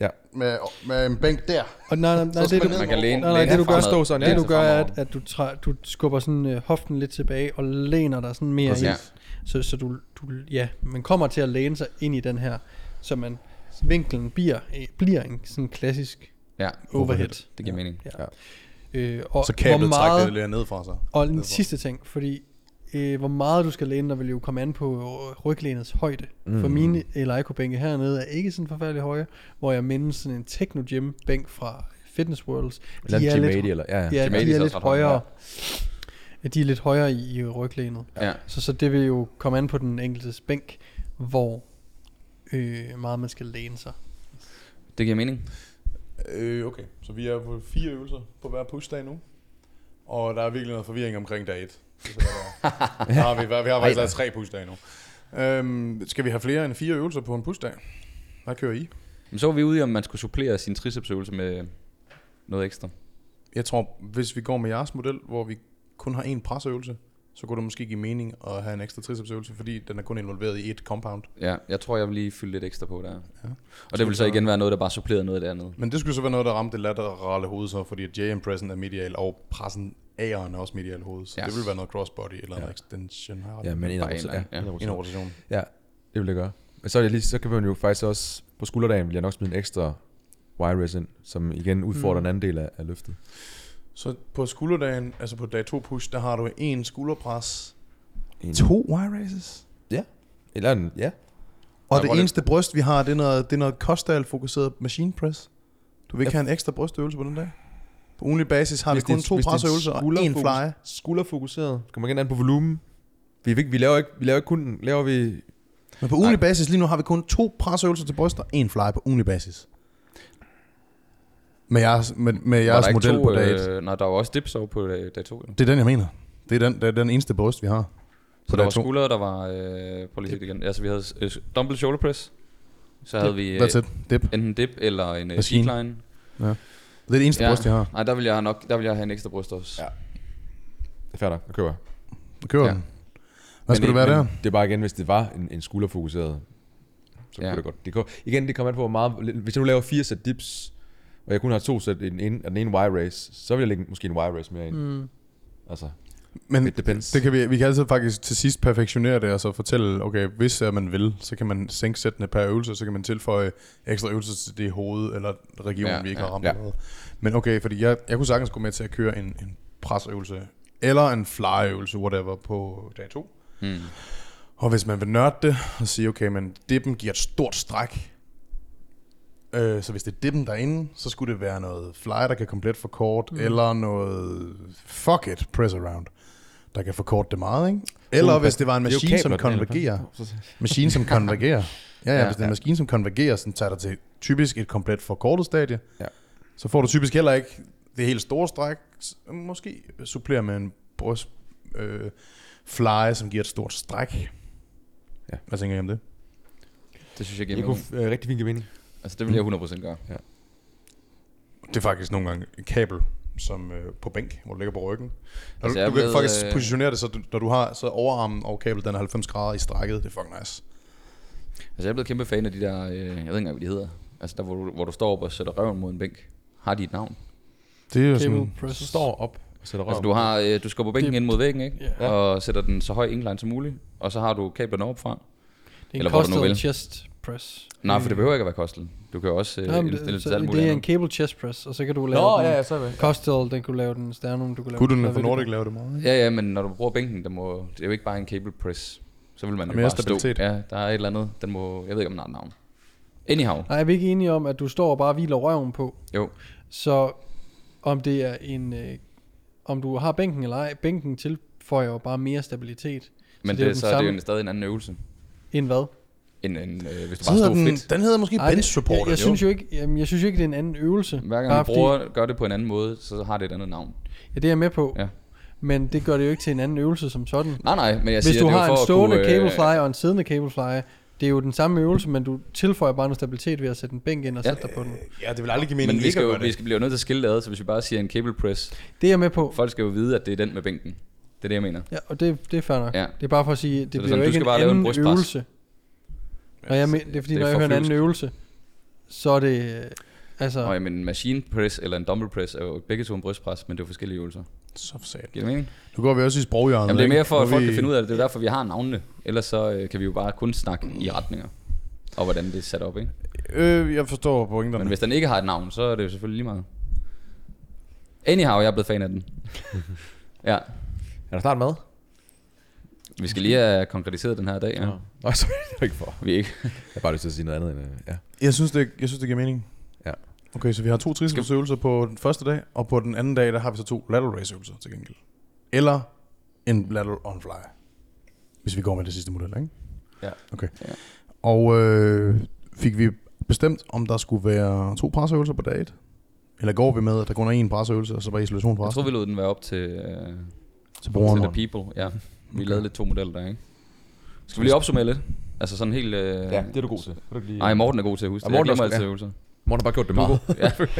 Speaker 4: Ja.
Speaker 2: Med, med en bænk der.
Speaker 1: Og nej, nej, nej,
Speaker 2: Så
Speaker 1: det,
Speaker 2: skal
Speaker 1: du,
Speaker 2: man
Speaker 5: Man
Speaker 1: nej,
Speaker 5: kan læne,
Speaker 1: nej,
Speaker 5: læne
Speaker 1: det du gør,
Speaker 5: fremad.
Speaker 4: stå sådan,
Speaker 1: det du
Speaker 5: så
Speaker 1: gør er,
Speaker 5: fremover.
Speaker 1: at, at du, træ, du skubber sådan øh, hoften lidt tilbage og læner dig sådan mere
Speaker 4: Præcis.
Speaker 1: ind. Så, så du, du, ja, man kommer til at læne sig ind i den her, så man vinklen bliver, øh, bliver en sådan klassisk
Speaker 5: Ja,
Speaker 1: overhead.
Speaker 5: det giver mening.
Speaker 1: Øh, og
Speaker 2: Så
Speaker 1: hvor
Speaker 2: kablet trækker
Speaker 1: meget,
Speaker 2: det lidt ned fra sig.
Speaker 1: Og en
Speaker 2: Derfor.
Speaker 1: sidste ting, fordi øh, hvor meget du skal læne dig, vil jo komme an på øh, ryglænets højde. Mm. For
Speaker 4: Mm.
Speaker 1: mine Eleiko-bænke hernede er ikke sådan forfærdelig høje, hvor jeg mindes sådan en Techno Gym-bænk fra Fitness Worlds.
Speaker 4: Eller en Jim Mady, eller, ja, ja.
Speaker 1: ja,
Speaker 5: Gym
Speaker 1: de
Speaker 5: 80 er
Speaker 1: er
Speaker 5: også
Speaker 1: lidt
Speaker 5: ret høje, ja.
Speaker 1: højere. Ja. De er lidt højere i, i ryglænet.
Speaker 5: Ja.
Speaker 1: Så, så det vil jo komme an på den enkeltes bænk, hvor øh, meget man skal læne sig.
Speaker 5: Det giver mening.
Speaker 2: Øh, okay. Så vi er på fire øvelser på hver pushdag nu. Og der er virkelig noget forvirring omkring dag 1.
Speaker 1: (laughs)
Speaker 2: Der har vi, vi har faktisk lavet tre pushdage nu. Øhm, skal vi have flere end fire øvelser på en pushdag? Hvad kører I?
Speaker 5: Men så var vi ude i, om man skulle supplere sin tricepsøvelse med noget ekstra.
Speaker 2: Jeg tror, hvis vi går med jeres model, hvor vi kun har én presøvelse, så kunne det måske give mening at have en ekstra tricepsøvelse, fordi den er kun involveret i et compound.
Speaker 5: Ja, jeg tror, jeg vil lige fylde lidt ekstra på der. Ja.
Speaker 2: Ja.
Speaker 5: Og det vil så igen være noget, der bare supplerer noget af det andet.
Speaker 2: Men det skulle så være noget, der ramte det laterale hoved, så, fordi at J-impressen er medial, og pressen A'eren er også medial hoved, så
Speaker 5: Ja.
Speaker 2: yes. det ville være noget crossbody eller
Speaker 4: Ja.
Speaker 2: ja. en extension. Har
Speaker 4: Ja, men en
Speaker 5: Bare en
Speaker 4: rotation.
Speaker 5: lang,
Speaker 4: Ja,
Speaker 5: ja.
Speaker 4: en
Speaker 2: en
Speaker 4: rotation.
Speaker 2: rotation.
Speaker 4: Ja, det vil jeg gøre. Men så, er det lige, så kan man jo faktisk også, på skulderdagen vil jeg nok smide en ekstra Y-res ind, som igen udfordrer mm.
Speaker 1: Mm.
Speaker 4: en anden del af, af løftet.
Speaker 2: Så på skulderdagen, altså på dag 2 push, der har du en skulderpres,
Speaker 4: En,
Speaker 2: to Y-raises.
Speaker 4: Eller en, ja.
Speaker 2: Og
Speaker 5: Ja,
Speaker 2: det
Speaker 5: hvor det-
Speaker 2: eneste bryst, vi har, det er noget, det er noget Kostal-fokuseret machine press. Du vil ikke have en ekstra brystøvelse på den dag? På ugenlig basis har
Speaker 4: Hvis
Speaker 2: vi
Speaker 4: det er-
Speaker 2: kun to
Speaker 4: hvis det er
Speaker 2: presøvelser og en
Speaker 4: skulderfokus-
Speaker 2: fly.
Speaker 4: Skulderfokuseret. Kommer igen an på volumen. Vi, vil ikke- vi laver ikke, vi laver ikke kun, laver vi
Speaker 2: Men på ugenlig basis lige nu har vi kun to presøvelser til bryst og en fly på ugenlig basis. Med jeres, med, med
Speaker 5: Var der
Speaker 2: jeres
Speaker 5: ikke
Speaker 2: model
Speaker 5: to,
Speaker 2: på dag et.
Speaker 5: øh, Nej, der var også dips over på øh, dag, dag to. Jo.
Speaker 2: Det er den, jeg mener. Det er den, det er den eneste bryst, vi har.
Speaker 5: Så der
Speaker 2: dag
Speaker 5: var
Speaker 2: to.
Speaker 5: skuldre, der var... Øh, prøv lige at se det igen. Altså, vi havde øh, dumbbell shoulder press. Så havde vi øh,
Speaker 2: That's it. Dip.
Speaker 5: enten dip eller en øh,
Speaker 2: Maskine.
Speaker 5: decline.
Speaker 2: Ja. Det er det eneste ja. bryst, jeg har.
Speaker 3: Nej, der vil jeg have nok, der vil jeg have en ekstra bryst også.
Speaker 4: Ja. Fair nok, det køber jeg.
Speaker 2: Jeg kører
Speaker 3: Ja.
Speaker 2: ja. den. Hvad skulle det
Speaker 4: Men
Speaker 2: være
Speaker 4: ikke-
Speaker 2: der?
Speaker 4: men Det er bare igen, hvis det var en, en skulderfokuseret, så
Speaker 3: Ja.
Speaker 4: kunne det godt. Det kan, igen, det kommer an på, hvor meget... Hvis jeg nu laver fire sæt dips, og jeg kun har to sæt i den ene, og den ene Y-race, så vil jeg lægge måske en Y-race mere ind. Mm. Altså,
Speaker 2: Men
Speaker 4: It depends.
Speaker 2: det kan vi, vi kan altid faktisk til sidst perfektionere det, og så fortælle, okay, hvis øh, man vil, så kan man sænke sættene per øvelse, så kan man tilføje ekstra øvelser til det hoved eller region,
Speaker 3: Ja,
Speaker 2: ja, vi ikke
Speaker 3: ja,
Speaker 2: har ramt.
Speaker 4: ja.
Speaker 2: Ja. Men okay, fordi jeg, jeg kunne sagtens gå med til at køre en, en presøvelse, eller en flyøvelse, whatever, på dag to.
Speaker 3: Hmm.
Speaker 2: Og hvis man vil nørde det og sige, okay, men dippen giver et stort stræk, øh, så hvis det er dippen derinde, så skulle det være noget fly, der kan komplet forkort, mm. eller noget fuck it, press around, der kan forkorte det meget, ikke? Eller hvis det var en
Speaker 4: er jo
Speaker 2: maskine, som
Speaker 4: kabler, den her.
Speaker 2: konvergerer. Maskine, som konvergerer. Ja, ja,
Speaker 3: Ja,
Speaker 2: hvis det er en
Speaker 3: ja.
Speaker 2: maskine, som konvergerer, så tager dig til typisk et komplet forkortet stadie.
Speaker 4: Ja.
Speaker 2: Så får du typisk heller ikke det helt store stræk. S- Måske supplerer med en bryst øh, fly, som giver et stort stræk.
Speaker 4: Ja.
Speaker 2: Hvad tænker I om det?
Speaker 3: Det synes jeg giver
Speaker 4: det
Speaker 3: mening.
Speaker 4: kunne øh, rigtig fint give mening.
Speaker 3: Altså, det vil jeg 100% gøre.
Speaker 2: Det er faktisk nogle gange et kabel som øh, på bænk, hvor du ligger på ryggen. Når
Speaker 3: Altså,
Speaker 2: altså,
Speaker 3: jeg
Speaker 2: du, du kan
Speaker 3: ved,
Speaker 2: faktisk
Speaker 3: øh,
Speaker 2: positionere det, så du, når du har så overarmen og kablet, den er 90 grader i strækket. Det er fucking nice.
Speaker 3: Altså, jeg er blevet kæmpe fan af de der, øh, jeg ved ikke engang, hvad de hedder. Altså, der hvor du, hvor du står op og sætter røven mod en bænk. Har de et navn?
Speaker 2: Det er jo
Speaker 1: Cable
Speaker 2: sådan...
Speaker 1: presses.
Speaker 4: Står op og sætter røven.
Speaker 3: Altså, du, har, øh, du skubber bænken
Speaker 1: Det-
Speaker 3: ind mod væggen, ikke?
Speaker 1: Ja.
Speaker 3: Og sætter den så høj incline som muligt. Og så har du kablerne opfra.
Speaker 1: Det er
Speaker 3: Eller
Speaker 1: en
Speaker 3: hvor du nu
Speaker 1: kostet
Speaker 3: vil.
Speaker 1: chest press.
Speaker 3: Nej, for det behøver ikke at være kostel. Du kan jo også øh,
Speaker 1: Jamen,
Speaker 3: indstille
Speaker 1: det,
Speaker 3: til alt
Speaker 1: så,
Speaker 3: muligt
Speaker 1: det er en
Speaker 3: andet.
Speaker 1: cable chest press, og så kan du lave
Speaker 4: Nå,
Speaker 1: den.
Speaker 4: ja, ja, så er jeg med.
Speaker 1: Costal, den kunne lave den sternum, du kunne lave
Speaker 2: Kunne
Speaker 1: den.
Speaker 2: du for Nordic lave det meget? ikke?
Speaker 3: Ja, ja, men når du bruger bænken, der må, det er jo ikke bare en cable press. Så vil man
Speaker 2: Der
Speaker 3: jo
Speaker 2: er mere
Speaker 3: bare
Speaker 2: stabilitet.
Speaker 3: stå. Ja, der er et eller andet. Den må, jeg ved ikke, om den har et navn. Anyhow.
Speaker 1: Nej, er vi ikke enige om, at du står og bare hviler røven på?
Speaker 3: Jo.
Speaker 1: Så om det er en... Øh, om du har bænken eller ej, bænken tilføjer jo bare mere stabilitet.
Speaker 3: Men
Speaker 1: det er jo
Speaker 3: det, det,
Speaker 1: den
Speaker 3: så er det jo
Speaker 1: samme-
Speaker 3: en, stadig en anden øvelse,
Speaker 1: En hvad?
Speaker 3: end, end øh, hvis du
Speaker 2: Så
Speaker 3: bare
Speaker 2: hedder
Speaker 3: står
Speaker 2: den,
Speaker 3: frit.
Speaker 2: den hedder måske
Speaker 1: det-
Speaker 2: bench supporter.
Speaker 1: jeg, jeg,
Speaker 2: jo.
Speaker 1: synes jo ikke, jamen, jeg synes jo ikke, det er en anden øvelse.
Speaker 3: Hver
Speaker 1: Bare
Speaker 3: gang du bruger, gør det på en anden måde, så har det et andet navn.
Speaker 1: Ja, det er jeg med på.
Speaker 3: Ja.
Speaker 1: Men det gør det jo ikke til en anden øvelse som sådan.
Speaker 3: Nej, nej, men jeg
Speaker 1: Hvis
Speaker 3: siger,
Speaker 1: du
Speaker 3: det er
Speaker 1: har
Speaker 3: jo
Speaker 1: en
Speaker 3: for at
Speaker 1: stående
Speaker 3: kunne, øh,
Speaker 1: cablefly og en siddende cablefly, det er jo den samme øvelse, men du tilføjer bare noget stabilitet ved at sætte en bænk ind og
Speaker 3: Ja.
Speaker 1: sætte dig på den.
Speaker 2: Ja, det vil aldrig give mening,
Speaker 3: Men vi skal, jo,
Speaker 2: gøre
Speaker 3: vi skal blive nødt til at skille det ad, så hvis vi bare siger en cable press,
Speaker 1: Det er jeg med på,
Speaker 3: folk skal jo vide, at det er den med bænken. Det er det, jeg mener.
Speaker 1: ja, og det, det er fair nok.
Speaker 3: Ja.
Speaker 1: Det er bare for at sige, det
Speaker 3: det er
Speaker 1: bliver
Speaker 3: sådan,
Speaker 1: jo
Speaker 3: du
Speaker 1: ikke
Speaker 3: skal
Speaker 1: en
Speaker 3: bare lave en
Speaker 1: anden
Speaker 3: brystpres.
Speaker 1: øvelse. Og jeg men, det er fordi,
Speaker 3: det er
Speaker 1: når jeg hører en anden
Speaker 3: forfjusket.
Speaker 1: øvelse, så er det... øh, Altså,
Speaker 3: Og jamen, en machine press eller en dumbbell press er jo begge to en brystpres, men det er jo forskellige øvelser.
Speaker 2: Så sat.
Speaker 3: Giver det mening?
Speaker 2: Nu går vi også i sproghjørnet.
Speaker 3: Jamen, det er mere for, at folk kan
Speaker 2: vi...
Speaker 3: finde ud af det. Det er derfor, vi har navnene. Ellers så øh, kan vi jo bare kun snakke i retninger og hvordan det er sat op, ikke?
Speaker 2: Øh, jeg forstår pointerne.
Speaker 3: Men hvis den ikke har et navn, så er det jo selvfølgelig lige meget. Anyhow, jeg er blevet fan
Speaker 1: (laughs)
Speaker 3: af den. ja,
Speaker 4: Er der snart mad?
Speaker 3: vi skal lige have konkretiseret den her dag. Ja.
Speaker 4: (laughs) Nej, sorry, det var ikke for.
Speaker 3: Vi er ikke.
Speaker 4: Jeg har bare lyst til at sige noget andet end... øh, Ja.
Speaker 2: Jeg synes, det, jeg synes, det giver mening.
Speaker 4: Ja.
Speaker 2: Okay, så vi har to tricepsøvelser på den første dag, og på den anden dag, der har vi så to lateral raise øvelser til gengæld. Eller en lateral on fly. Hvis vi går med det sidste model, ikke?
Speaker 3: Ja.
Speaker 2: Okay.
Speaker 3: Ja.
Speaker 2: Og øh, fik vi bestemt, om der skulle være to presøvelser på dag 1? Eller går vi med, at der kun er én presøvelse, og så bare isolation på
Speaker 3: Jeg tror,
Speaker 2: resten?
Speaker 3: vi lod den være op til, øh,
Speaker 2: Til
Speaker 3: til
Speaker 2: brugeren.
Speaker 3: the people. Ja. Vi
Speaker 2: Okay.
Speaker 3: okay. lavede lidt to modeller der, ikke? Skal vi lige opsummere lidt? Altså sådan helt... Øh...
Speaker 4: ja, det er du god til. Kan du ikke lige...
Speaker 3: Nej, Morten er god til at huske
Speaker 4: Ja,
Speaker 3: det. Jeg
Speaker 4: Morten er
Speaker 3: glemmer
Speaker 4: også-
Speaker 3: altid øvelser.
Speaker 4: Morten har bare gjort det meget.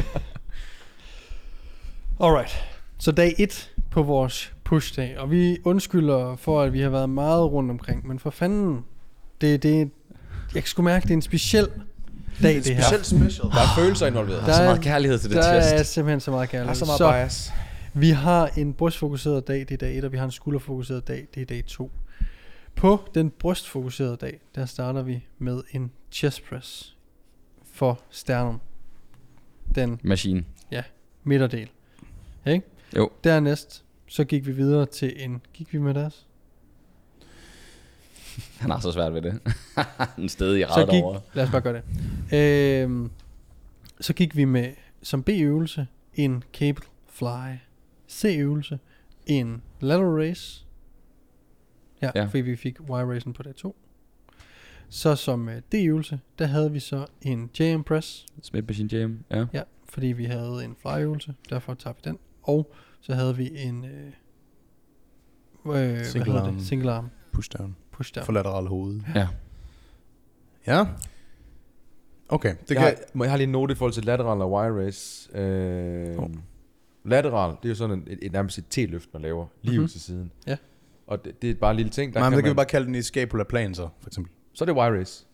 Speaker 1: Alright. Så dag 1 på vores pushdag, og vi undskylder for, at vi har været meget rundt omkring, men for fanden, det, det, jeg kan sgu mærke, det er en speciel dag, det, her.
Speaker 2: Specielt special.
Speaker 4: Der er følelser involveret.
Speaker 1: Der er-
Speaker 3: kærlighed til
Speaker 1: Der er simpelthen så meget
Speaker 4: Der
Speaker 1: kærlighed.
Speaker 4: er så meget
Speaker 1: så
Speaker 4: bias.
Speaker 1: vi har en brystfokuseret dag, det er dag 1, og vi har en skulderfokuseret dag, det er dag 2. På den brystfokuserede dag, der starter vi med en chest press for sternum. Den
Speaker 3: Machine.
Speaker 1: midterdel. Ikke?
Speaker 3: Jo.
Speaker 1: Dernæst, så gik vi videre til en... Gik vi med deres?
Speaker 3: Han har så svært ved
Speaker 5: (laughs)
Speaker 3: det. en sted i
Speaker 1: så
Speaker 3: ret
Speaker 1: gik,
Speaker 3: over.
Speaker 1: lad os bare gøre det. Øhm, så gik vi med, som B-øvelse, en cable fly. C-øvelse, en lateral race. Ja, ja.
Speaker 3: Ja.
Speaker 1: fordi vi fik Y-racen på dag 2. Så som øh, D-øvelse, der havde vi så en JM press.
Speaker 3: Smith Machine Jam. Ja.
Speaker 1: Ja, fordi vi havde en flyøvelse, derfor tager vi den. Og så havde vi en... Øh, øh, hvad
Speaker 2: Single
Speaker 1: hedder
Speaker 2: arm.
Speaker 1: det? Single arm
Speaker 2: Pushdown.
Speaker 1: push down.
Speaker 2: For lateral hoved.
Speaker 3: Ja.
Speaker 2: Ja. Okay, det
Speaker 4: Det
Speaker 2: kan...
Speaker 4: jeg, kan... har, jeg har lige en note i forhold til lateral og wire race. Øh,
Speaker 2: Hov.
Speaker 4: Lateral, det er jo sådan en, et, et nærmest et T-løft, man laver lige
Speaker 1: Mhm.
Speaker 4: ud til siden.
Speaker 1: Ja.
Speaker 4: Og det, det er bare en lille ting. Der
Speaker 2: Nej, men
Speaker 4: kan
Speaker 2: det kan vi
Speaker 4: man,
Speaker 2: bare kalde den i scapula plan så, for eksempel.
Speaker 4: Så er det wire race.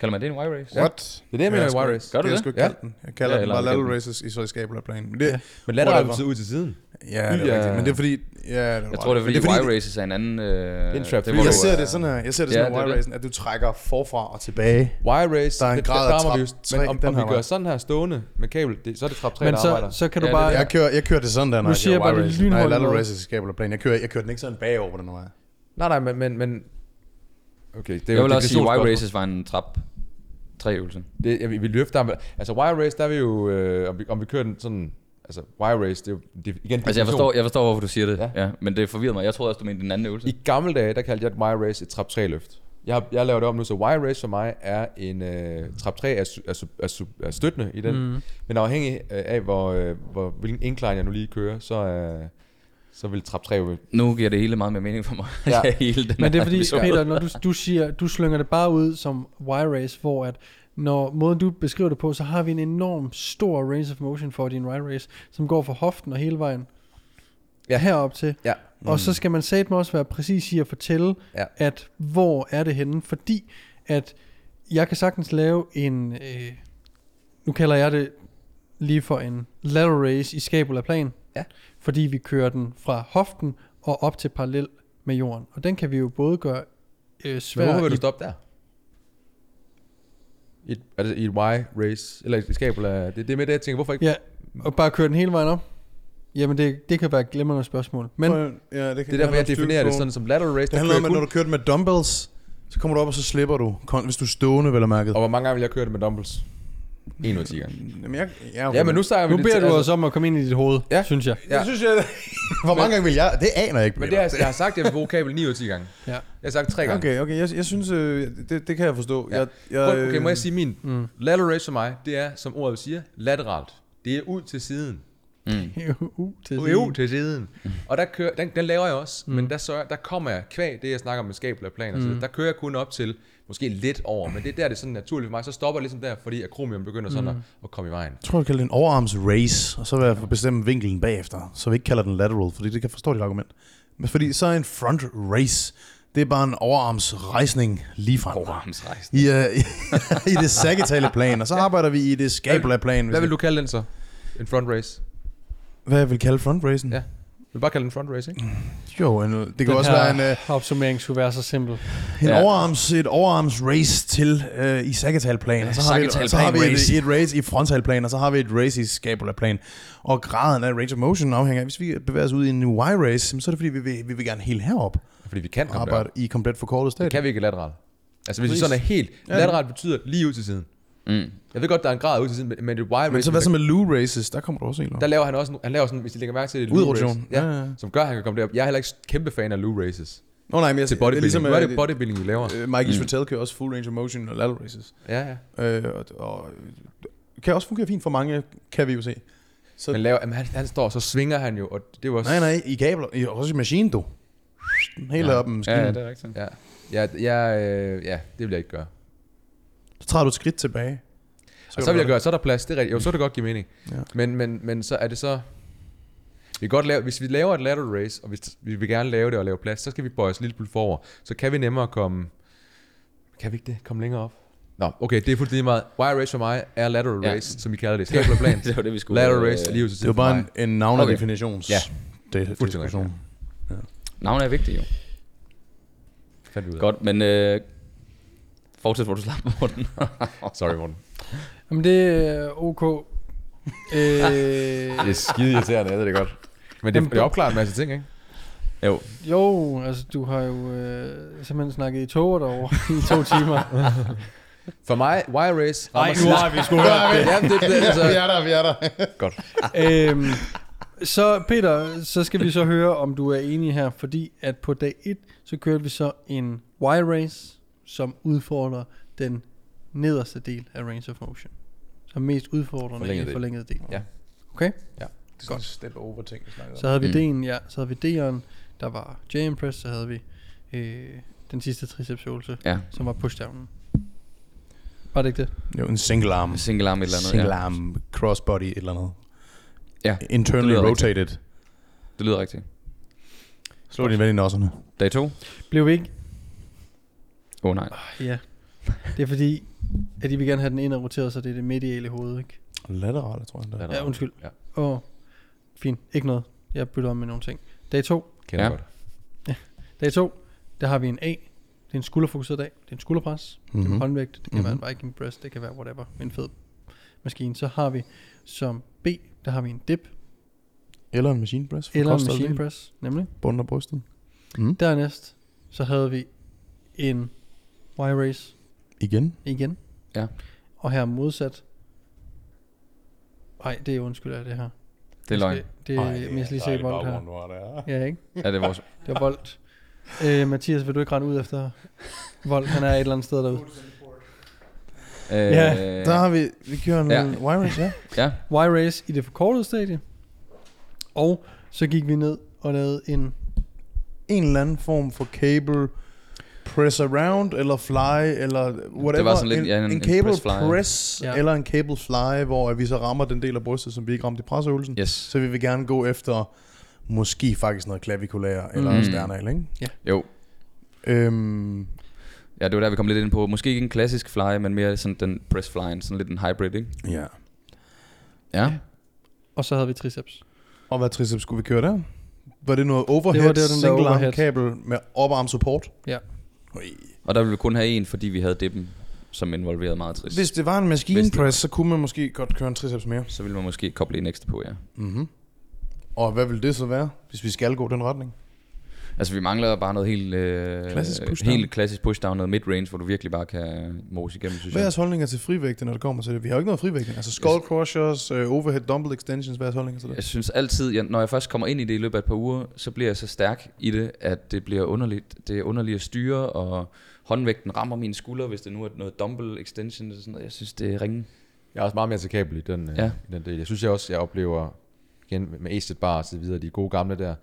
Speaker 5: Kalder man det en Y-race?
Speaker 4: Ja.
Speaker 2: What? Det
Speaker 4: Det er det, jeg mener med wire race.
Speaker 5: Gør du
Speaker 2: det?
Speaker 5: det?
Speaker 2: Jeg sgu ikke
Speaker 4: Ja.
Speaker 2: kalde den. Jeg kalder
Speaker 5: Ja,
Speaker 2: den
Speaker 5: eller
Speaker 2: bare
Speaker 5: man kan-
Speaker 2: lateral races i så i scapula plan. Men det, ja,
Speaker 1: Ja.
Speaker 4: Men lateral
Speaker 2: Whatever.
Speaker 4: betyder ud til siden.
Speaker 2: det er
Speaker 4: Ja.
Speaker 2: rigtigt. Men det er fordi... Ja, det
Speaker 5: Jeg tror, det er fordi,
Speaker 2: men det er
Speaker 5: Y-races er en anden... Øh, det
Speaker 4: er en trap
Speaker 5: det,
Speaker 4: three.
Speaker 5: hvor
Speaker 2: jeg
Speaker 5: du,
Speaker 2: ser
Speaker 5: øh,
Speaker 2: det sådan her, jeg ser det
Speaker 5: Ja,
Speaker 2: sådan
Speaker 5: det er
Speaker 2: her,
Speaker 5: det.
Speaker 2: wire-racen, at du trækker forfra og tilbage.
Speaker 4: Wire race,
Speaker 2: Der er en
Speaker 4: det-
Speaker 2: grad
Speaker 4: det
Speaker 2: af
Speaker 4: rammer vi
Speaker 2: trap
Speaker 4: jo-
Speaker 2: tre
Speaker 4: Men om, om
Speaker 2: den
Speaker 4: vi
Speaker 2: her
Speaker 4: gør
Speaker 2: vej.
Speaker 4: sådan her stående med kabel, det, så er det trap 3,
Speaker 1: Men
Speaker 4: der
Speaker 1: så,
Speaker 4: arbejder.
Speaker 1: så kan du
Speaker 5: Ja, det er
Speaker 1: bare...
Speaker 2: Jeg kører, jeg kører det sådan der, når
Speaker 1: Nu siger jeg
Speaker 2: jeg
Speaker 1: bare
Speaker 2: kører
Speaker 1: lige
Speaker 2: wire-racen. Nej,
Speaker 1: lynhurtigt
Speaker 2: lateral
Speaker 1: noget.
Speaker 2: races i scapula plan. Jeg kører, jeg kører den ikke sådan bagover den her vej.
Speaker 4: Nej, nej, men... men, men okay, det er
Speaker 5: Jeg vil
Speaker 4: det
Speaker 5: også sige,
Speaker 4: er et
Speaker 5: Y-races var en trap tre øvelse.
Speaker 4: Det, ja, vi, vi løfter ham. Altså wire race, der er vi jo, øh, om, vi, om vi kører den sådan, altså wire race, det er jo det, er igen
Speaker 5: Altså, jeg
Speaker 4: definition.
Speaker 5: forstår, jeg forstår, hvorfor du siger det.
Speaker 4: Ja.
Speaker 5: Ja. ja. men det forvirrede mig. Jeg troede også, du mente den anden øvelse.
Speaker 4: I gamle dage, der kaldte jeg et wire race et trap 3 løft. Jeg, har- jeg laver det om nu, så wire race for mig er en øh, trap 3 er, su- er, su- er, su- er støttende i den. Mm. Men afhængig øh, af, hvor, øh, hvor, hvilken incline jeg nu lige kører, så, øh, så vil trap 3 jo...
Speaker 5: Nu giver det hele meget mere mening for mig.
Speaker 4: Ja.
Speaker 5: Ja. (laughs) hele den
Speaker 1: Men det er
Speaker 5: her
Speaker 1: fordi,
Speaker 5: episode.
Speaker 1: Peter, når du, du siger, du slynger det bare ud som Y-race, hvor at når måden du beskriver det på, så har vi en enorm stor range of motion for din Y-race, som går fra hoften og hele vejen
Speaker 4: Ja.
Speaker 1: ja. herop til.
Speaker 4: Ja.
Speaker 1: Mm. Og så skal man satme også være præcis i at fortælle,
Speaker 4: Ja.
Speaker 1: ja. at hvor er det henne, fordi at jeg kan sagtens lave en, øh, nu kalder jeg det lige for en lateral race i scapula plan,
Speaker 4: Ja.
Speaker 1: fordi vi kører den fra hoften og op til parallel med jorden, og den kan vi jo både gøre øh,
Speaker 4: Men hvorfor
Speaker 1: svær
Speaker 4: vil du
Speaker 1: i,
Speaker 4: stoppe der? I et, altså i et wire race, eller et skabel af, det, det er med det, jeg tænker, hvorfor ikke?
Speaker 1: ja, og bare køre den hele vejen op. Jamen det, det kan være et glimrende spørgsmål, men
Speaker 2: ja, det, kan
Speaker 4: Det er derfor, jeg definerer det sådan som lateral race.
Speaker 2: Det
Speaker 4: der
Speaker 2: handler om,
Speaker 4: kører
Speaker 2: at
Speaker 4: jeg
Speaker 2: når du kører den med dumbbells, så kommer du op, og så slipper du, kon- hvis du er stående, vel og mærket.
Speaker 4: kun- Og hvor mange gange vil jeg køre det med dumbbells? En ud af 10 gange.
Speaker 2: Jamen, jeg, ja,
Speaker 4: Ja, men nu snakker vi
Speaker 1: nu
Speaker 4: det
Speaker 1: beder
Speaker 4: til- altså-
Speaker 1: du os om at komme ind i dit hoved,
Speaker 4: Ja.
Speaker 1: ja. synes jeg.
Speaker 4: Ja.
Speaker 2: Jeg synes, jeg... (laughs) Hvor mange gange vil jeg? Det aner jeg ikke.
Speaker 4: Men det
Speaker 2: Peter.
Speaker 4: er, jeg har sagt, at jeg vil bruge kabel 9 ud af 10 gange.
Speaker 1: Ja.
Speaker 4: Jeg har sagt 3 gange.
Speaker 2: Okay, okay. Jeg, jeg synes, øh, det, det kan jeg forstå.
Speaker 4: Ja.
Speaker 2: Jeg,
Speaker 4: Prøv,
Speaker 2: jeg,
Speaker 4: okay, må jeg sige min?
Speaker 1: Mm.
Speaker 4: Lateral race for mig, det er, som ordet siger, lateralt. Det er ud til siden.
Speaker 5: Mm.
Speaker 1: uh, til
Speaker 4: Det er ud til siden. Og der kører, den, den laver jeg også, mm. men der, sørger, der kommer jeg kvæg, det jeg snakker om med skabel og planer, mm. der kører jeg kun op til måske lidt over, men det er der, det er sådan naturligt for mig. Så stopper jeg ligesom der, fordi akromium begynder sådan mm. at, at komme i vejen.
Speaker 2: Jeg tror, jeg kalder det en overarms race, og så vil jeg bestemme vinkelen bagefter, så vi ikke kalder den lateral, fordi det kan forstå dit argument. Men fordi så er en front race, det er bare en overarms rejsning lige frem.
Speaker 5: Overarmsrejsen.
Speaker 2: I, øh, (laughs) I det sagittale plan, og så arbejder vi i det skabula plan.
Speaker 4: Hvad vil du kalde den så? En front race?
Speaker 2: Hvad jeg vil kalde front racen?
Speaker 4: Ja. Vil du bare kalde den front race, ikke?
Speaker 2: Jo, en, det kan også være en, øh,
Speaker 1: opsummering skulle være så simpel.
Speaker 2: en
Speaker 5: Ja.
Speaker 2: overarms, et overarms race til øh, i sagittalplan, og så har vi, et, så har vi et,
Speaker 5: sagittalplan-race.
Speaker 2: et race i frontalplan, og så har vi et race i scapulaplan. Og graden af range of motion afhænger af, hvis vi bevæger os ud i en Y-race, så er det fordi, vi vil, vi vil gerne helt herop
Speaker 4: Fordi vi kan
Speaker 2: og
Speaker 4: komme derop.
Speaker 2: arbejde i komplet forkortet
Speaker 4: Det
Speaker 2: stadie.
Speaker 4: kan vi ikke lateralt. Altså hvis det
Speaker 2: Præcis.
Speaker 4: sådan er helt,
Speaker 2: Ja.
Speaker 4: lateralt betyder lige ud til siden.
Speaker 5: Mm.
Speaker 4: Jeg ved godt, der er en grad ud til siden, men- men det er wide
Speaker 2: Men
Speaker 4: race,
Speaker 2: så hvad så med loo races? Der kommer du også ind.
Speaker 4: der laver han også, en- han laver sådan, hvis I lægger mærke til det, et
Speaker 2: Udrotation.
Speaker 4: loo race. Ja,
Speaker 2: Ja, ja.
Speaker 4: som gør, at han kan komme derop. Jeg er heller ikke kæmpe fan af loo races.
Speaker 2: Nå nej, men jeg
Speaker 4: Til bodybuilding. Ligesom, nu er det
Speaker 2: øh,
Speaker 4: bodybuilding, Mm. vi laver.
Speaker 2: øh, Mike Israel kører også full range of motion og lateral races.
Speaker 4: Ja, ja.
Speaker 2: Øh, og, og, øh, kan også fungere fint for mange, kan vi jo se.
Speaker 4: Men laver, jamen, han, han står, og så svinger han jo, og det er jo også...
Speaker 2: Nej, nej, i kabler. I, også i maskinen, du. Helt
Speaker 4: Ja.
Speaker 2: op med
Speaker 5: Ja,
Speaker 2: maskinen.
Speaker 5: ja, det er rigtigt.
Speaker 4: Ja, ja, ja, øh, ja, det vil jeg ikke gøre.
Speaker 2: Så træder du et skridt tilbage.
Speaker 4: Så, og så vil jeg gøre, så er der plads, det er rigtigt. Jo, så kan det godt give mening. Ja.
Speaker 2: Ja.
Speaker 4: Men, men, men så er det så... Vi kan godt lave, hvis vi laver et lateral race, og hvis vi vil gerne lave det og lave plads, så skal vi bøje os en lille smule forover. Så kan vi nemmere komme... Kan vi ikke det? Komme længere op? Nå, okay, det er fuldstændig meget. Wire race for mig er lateral
Speaker 5: Ja.
Speaker 4: race, som vi kalder (laughs) det. Skabler plan.
Speaker 3: (laughs)
Speaker 5: Det var det, vi skulle...
Speaker 3: øh,
Speaker 4: lateral race, lige ud til
Speaker 2: Det var bare
Speaker 4: siden
Speaker 2: en, en navn- og
Speaker 5: Okay.
Speaker 2: definitions...
Speaker 4: Ja.
Speaker 2: Det, det,
Speaker 4: Fuldstændig
Speaker 2: diskussion.
Speaker 5: Navnet er vigtigt, jo.
Speaker 4: for mig. Fandt vi ud af.
Speaker 5: Godt, men... Øh, fortsæt, hvor du slap, Morten.
Speaker 4: (laughs) Sorry, Morten.
Speaker 1: Jamen det er ok. Øh,
Speaker 4: Det er skide irriterende, jeg ved det godt. Men det,
Speaker 1: Jamen,
Speaker 4: det opklarer en masse ting, ikke?
Speaker 5: jo.
Speaker 1: Jo, altså du har jo øh, simpelthen snakket i toget over i to timer.
Speaker 4: For mig, wire race rammer
Speaker 1: har vi sgu
Speaker 4: (laughs)
Speaker 1: hørt
Speaker 4: Jamen, det, det, altså,
Speaker 2: Vi er der, vi er der.
Speaker 4: Godt.
Speaker 1: øhm, Så Peter, så skal vi så høre, om du er enig her, fordi at på dag 1, så kørte vi så en Y-race, som udfordrer den nederste del af range of motion. Som mest udfordrende
Speaker 4: Forlænget
Speaker 1: forlænget
Speaker 4: del.
Speaker 1: i forlænget del.
Speaker 4: Ja.
Speaker 1: Okay?
Speaker 2: Det er en step over ting, vi snakker
Speaker 1: Så havde vi
Speaker 5: Mm.
Speaker 1: D'en, ja, så havde vi D'eren, der var J-Impress, så havde vi øh, den sidste tricepsøvelse,
Speaker 5: Ja.
Speaker 1: som var pushdownen. Var det ikke det?
Speaker 2: Jo, en single arm.
Speaker 3: Single arm et eller andet.
Speaker 2: Single
Speaker 3: ja.
Speaker 2: arm, crossbody, et eller andet.
Speaker 3: Ja,
Speaker 2: Internally
Speaker 3: det lyder rigtigt.
Speaker 2: rotated.
Speaker 3: Det lyder rigtigt.
Speaker 2: Slå din ven i nosserne.
Speaker 3: Dag to? Åh
Speaker 1: Blev vi ikke?
Speaker 3: oh, nej.
Speaker 1: Ja. Det er fordi, at de vil gerne have den ind og roteret, så det er det mediale hoved, ikke?
Speaker 2: Laterale, tror jeg. endda.
Speaker 1: Ja, undskyld.
Speaker 6: Ja.
Speaker 1: Åh, fint. Ikke noget. Jeg bytter om med nogle ting. Dag 2.
Speaker 4: Kender
Speaker 3: Ja.
Speaker 4: ja. godt.
Speaker 1: Dag 2, der har vi en A. Det er en skulderfokuseret dag. Det er en skulderpres. Mm-hmm. Det er
Speaker 2: Mhm.
Speaker 1: en håndvægt. Det kan
Speaker 2: Mhm.
Speaker 1: mm-hmm. være en Viking press. Det kan være whatever. En fed maskine. Så har vi som B, der har vi en dip.
Speaker 2: Eller en machine press. for
Speaker 1: Eller en
Speaker 2: kost og
Speaker 1: machine
Speaker 2: del,
Speaker 1: press, nemlig.
Speaker 2: Bunden og brystet.
Speaker 1: Dernæst, så havde vi en Y-race
Speaker 2: Igen.
Speaker 1: igen.
Speaker 3: Ja.
Speaker 1: Og her modsat. Nej, det er undskyld af det her.
Speaker 3: Det er løgn.
Speaker 1: Det er mest lige se bold her. Ja, ikke?
Speaker 3: Ja, det er (laughs) vores...
Speaker 1: Det var voldt. Øh, Mathias, vil du ikke rende ud efter vold? Han er et eller andet sted derude.
Speaker 3: Øh,
Speaker 1: Ja,
Speaker 2: Der har vi, vi kører en
Speaker 3: Ja.
Speaker 2: ja. wireless, ja.
Speaker 3: ja.
Speaker 1: Y-Race i det forkortede stadie. Og så gik vi ned og lavede en...
Speaker 2: En eller anden form for cable press around, eller fly, eller whatever.
Speaker 3: Det var sådan lidt,
Speaker 2: en,
Speaker 3: ja, en-
Speaker 2: en,
Speaker 3: en
Speaker 2: cable
Speaker 3: press fly.
Speaker 2: press
Speaker 1: Ja.
Speaker 2: ja. eller en cable fly, hvor vi så rammer den del af brystet, som vi ikke ramte i presseøvelsen.
Speaker 3: Yes.
Speaker 2: Så vi vil gerne gå efter måske faktisk noget klavikulær eller
Speaker 3: Mm.
Speaker 2: mm. sternal, ikke?
Speaker 3: Jo.
Speaker 2: Øhm,
Speaker 3: Ja, det var der, vi kom lidt ind på. Måske ikke en klassisk fly, men mere sådan den press flyen. Sådan lidt en hybrid, ikke?
Speaker 2: ja.
Speaker 3: Ja.
Speaker 1: Og så havde vi triceps.
Speaker 2: Og hvad triceps skulle vi køre der? Var det noget overhead,
Speaker 1: Det var- det var den der
Speaker 2: single arm
Speaker 1: overhead.
Speaker 2: kabel med oparm support?
Speaker 1: Ja.
Speaker 2: Ui.
Speaker 3: Og der ville vi kun have en, fordi vi havde dippen, som involverede meget trist.
Speaker 2: Hvis det var en maskine
Speaker 3: Hvis det-
Speaker 2: press, så kunne man måske godt køre en triceps mere.
Speaker 3: Så ville man måske koble en ekstra på, ja.
Speaker 2: Mm-hmm. Og hvad vil det så være, hvis vi skal gå den retning?
Speaker 3: Altså, vi mangler bare noget helt... Øh,
Speaker 2: Klassisk pushdown.
Speaker 3: Helt klassisk pushdown, noget midrange, hvor du virkelig bare kan mose igennem, synes
Speaker 2: Hvad er
Speaker 3: jeg.
Speaker 2: jeres holdninger til frivægte, når det kommer til det? Vi har jo ikke noget frivægte. Altså skull crushers, øh, overhead dumbbell extensions, hvad er jeres holdninger til
Speaker 3: Jeg
Speaker 2: det?
Speaker 3: synes altid, jeg, når jeg først kommer ind i det i løbet af et par uger, så bliver jeg så stærk i det, at det bliver underligt. Det er underligt at styre, og håndvægten rammer mine skuldre, hvis det nu er noget dumbbell extension eller sådan noget. Jeg synes, det er ringe.
Speaker 4: Jeg er også meget mere takabel i den,
Speaker 3: Ja.
Speaker 4: ja. i den del. Jeg synes jeg også, jeg oplever igen med Acet Bar og så videre, de gode gamle der.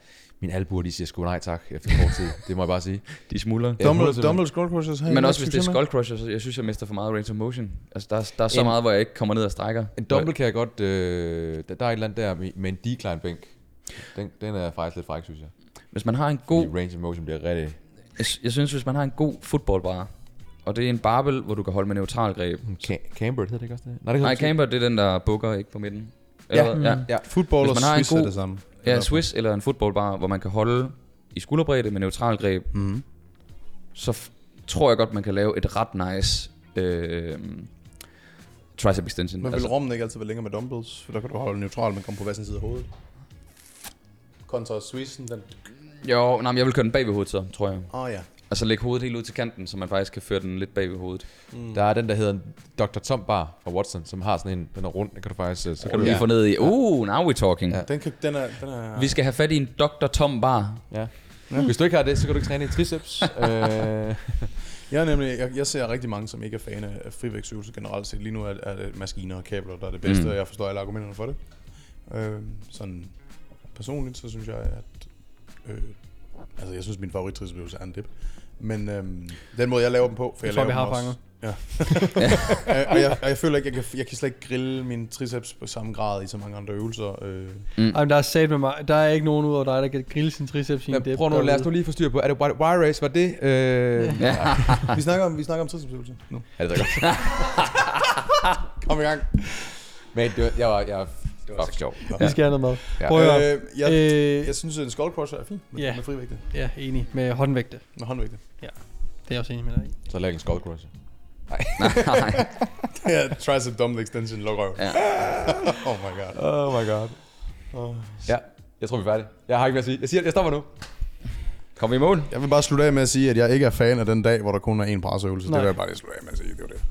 Speaker 4: Mine albuer, de siger sgu nej tak efter kort tid. det må jeg bare sige.
Speaker 3: De smuldrer.
Speaker 4: Ja,
Speaker 2: Dumbbell,
Speaker 4: 100%.
Speaker 2: dumbbell skull crushers har I
Speaker 3: Men
Speaker 2: ikke
Speaker 3: også hvis det er
Speaker 2: succes med?
Speaker 3: skull crusher, så jeg synes, jeg mister for meget range of motion. Altså, der, er- der er så
Speaker 4: En-
Speaker 3: meget, hvor jeg ikke kommer ned og strækker.
Speaker 4: (laughs) En dumbbell kan jeg godt... Øh, der, der er et eller andet der med, med en decline bænk. Den, den er faktisk lidt fræk, synes jeg.
Speaker 3: Hvis man har en god
Speaker 4: God. range of motion bliver rigtig...
Speaker 3: Jeg, sy- jeg synes, hvis man har en god fodboldbar, og det er en barbel, hvor du kan holde med neutral greb.
Speaker 4: Ca- Camber hedder det ikke også det? Nej, det
Speaker 3: Nej, camber, det er den, der bukker ikke på midten.
Speaker 2: Ja.
Speaker 3: Eller, ja.
Speaker 4: Ja.
Speaker 2: Football
Speaker 3: Hvis
Speaker 2: og
Speaker 3: man har en
Speaker 2: Swiss er
Speaker 3: god-
Speaker 2: det samme.
Speaker 3: ja, Swiss eller en fodboldbar, hvor man kan holde i skulderbredde med neutral greb,
Speaker 2: Mm.
Speaker 3: så f- tror jeg godt, man kan lave et ret nice øh, tricep extension. Altså,
Speaker 2: Men vil rummet ikke altid være længere med dumbbells? For der kan du holde neutral, men komme på hver sin side af hovedet. Kontra Swissen, den...
Speaker 3: jo, nej, men jeg vil køre den bag ved hovedet så, tror jeg.
Speaker 2: Åh oh, ja.
Speaker 3: Altså lægge hovedet helt ud til kanten, så man faktisk kan føre den lidt bag ved hovedet.
Speaker 4: Der er den, der hedder en Dr. Tom Bar fra Watson, som har sådan en, den er rund, den kan du faktisk... øh, Så
Speaker 3: Kan du lige få ned i, uh, now we're talking.
Speaker 4: Ja.
Speaker 3: Ja.
Speaker 2: Den, kan, den er... Den er...
Speaker 3: Vi skal have fat i en Dr. Tom bar.
Speaker 4: Ja. ja. Hvis du ikke har det, så kan du ikke træne i triceps. øh,
Speaker 2: Jeg, er nemlig, jeg, jeg ser rigtig mange, som ikke er fan af frivægtsøvelser generelt set. Lige nu er, er det maskiner og kabler, der er det bedste,
Speaker 3: Mm.
Speaker 2: mm. og jeg forstår alle argumenterne for det. Øh, sådan personligt, så synes jeg, at... Øh, altså, jeg synes, min favorit tricepsøvelse er en dip. Men øh, den måde, jeg laver dem på... For
Speaker 1: Jeg
Speaker 2: jeg,
Speaker 1: tror, vi
Speaker 2: laver
Speaker 1: har
Speaker 2: dem også-
Speaker 1: fanget.
Speaker 2: Øh, (laughs) og, jeg, og jeg føler ikke, jeg kan, jeg kan slet ikke grille mine triceps på samme grad i så mange andre øvelser. Øh,
Speaker 1: Ej, men der er sat med mig. Der er ikke nogen ud over dig, der kan grille sin triceps i en
Speaker 4: men
Speaker 1: dip.
Speaker 4: prøv nu, lad os nu lige få styr på, er det wire wire race, var det? Øh, ja.
Speaker 2: vi snakker om, vi snakker om tricepsøvelser nu.
Speaker 4: Er det da godt?
Speaker 2: Kom i gang.
Speaker 4: Men det var, jeg var, jeg var, det var sjovt.
Speaker 1: Vi skal have noget mad.
Speaker 4: Ja.
Speaker 1: Prøv at høre.
Speaker 2: Øh, jeg,
Speaker 1: Øh,
Speaker 2: jeg synes, at en skull crusher er fint med,
Speaker 1: Ja.
Speaker 2: yeah. med frivægte.
Speaker 1: ja, enig. Med håndvægte.
Speaker 2: Med håndvægte.
Speaker 1: Det er jeg også enig med dig i.
Speaker 4: Så lag en skull crusher.
Speaker 2: ja, tricep dumbbell extension lukrøv.
Speaker 3: Ja.
Speaker 2: (laughs) oh my god.
Speaker 4: Oh my god. Oh. Ja, jeg tror, vi er færdige. Jeg har ikke mere at sige. Jeg, siger, jeg stopper nu.
Speaker 3: Kom i mål.
Speaker 2: Jeg vil bare slutte af med at sige, at jeg ikke er fan af den dag, hvor der kun er én presseøvelse.
Speaker 1: Nej.
Speaker 2: Det vil jeg bare lige slutte af med at sige. Det (laughs) var det.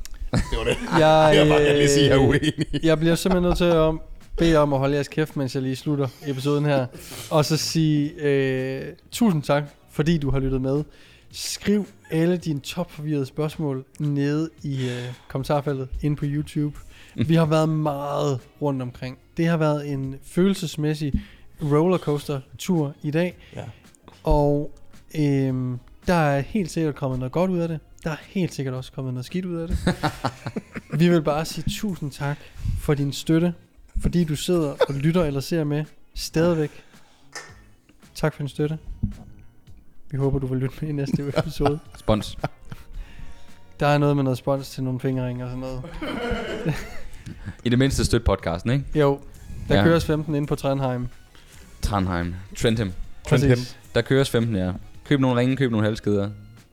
Speaker 2: Det var (laughs)
Speaker 1: (laughs)
Speaker 2: det.
Speaker 1: Jeg,
Speaker 2: Jeg vil bare gerne lige sige, at jeg er
Speaker 1: øh,
Speaker 2: uenig.
Speaker 1: jeg bliver simpelthen nødt til at om, bede jer om at holde jeres kæft, mens jeg lige slutter episoden her. Og så sige øh, tusind tak, fordi du har lyttet med. Skriv alle dine topforvirrede spørgsmål nede i øh, kommentarfeltet inde på YouTube. Vi har været meget rundt omkring. Det har været en følelsesmæssig rollercoaster-tur i dag.
Speaker 2: Ja.
Speaker 1: Og øh, øhm, der er helt sikkert kommet noget godt ud af det. Der er helt sikkert også kommet noget skidt ud af det. Vi vil bare sige tusind tak for din støtte, fordi du sidder og lytter eller ser med stadigvæk. Tak for din støtte. Vi håber, du vil lytte med i næste
Speaker 2: (laughs)
Speaker 1: episode.
Speaker 3: (laughs) Spons.
Speaker 1: Der er noget med noget spons til nogle fingering og sådan noget.
Speaker 3: I det mindste støt podcasten, ikke?
Speaker 1: Jo, der ja.
Speaker 3: Ja.
Speaker 1: køres 15 ind på Trondheim.
Speaker 3: Trondheim. Trentham.
Speaker 1: Præcis.
Speaker 3: Der køres 15, ja. Køb nogle ringe, køb nogle halskeder.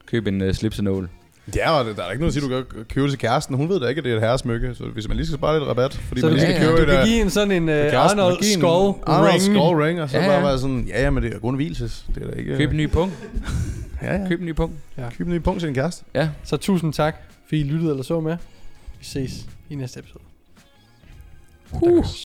Speaker 3: Køb en uh, slipsenål.
Speaker 2: Ja, og der er ikke noget at sige, du kan købe til kæresten. Hun ved da ikke, at det er et herresmykke, så hvis man lige skal spare lidt rabat, fordi
Speaker 1: Så
Speaker 2: man
Speaker 1: du,
Speaker 2: lige skal
Speaker 1: ja,
Speaker 3: ja,
Speaker 2: købe
Speaker 1: ja. du
Speaker 2: et... øh,
Speaker 1: kan give en sådan en uh,
Speaker 2: kæresten,
Speaker 1: Arnold
Speaker 2: og give en
Speaker 1: Skoll
Speaker 2: Arnold
Speaker 1: ring.
Speaker 2: Skull Ring, og så
Speaker 3: Ja,
Speaker 2: bare
Speaker 3: ja.
Speaker 2: være sådan, ja, ja, men det er kun hvilses. Det er da ikke...
Speaker 3: Køb en ny punkt.
Speaker 2: Ja, ja.
Speaker 3: Køb en ny punkt.
Speaker 2: Køb en ny punkt til din kæreste.
Speaker 3: Ja.
Speaker 1: Så tusind tak, fordi I lyttede eller så med. Vi ses i næste episode.
Speaker 3: Hus.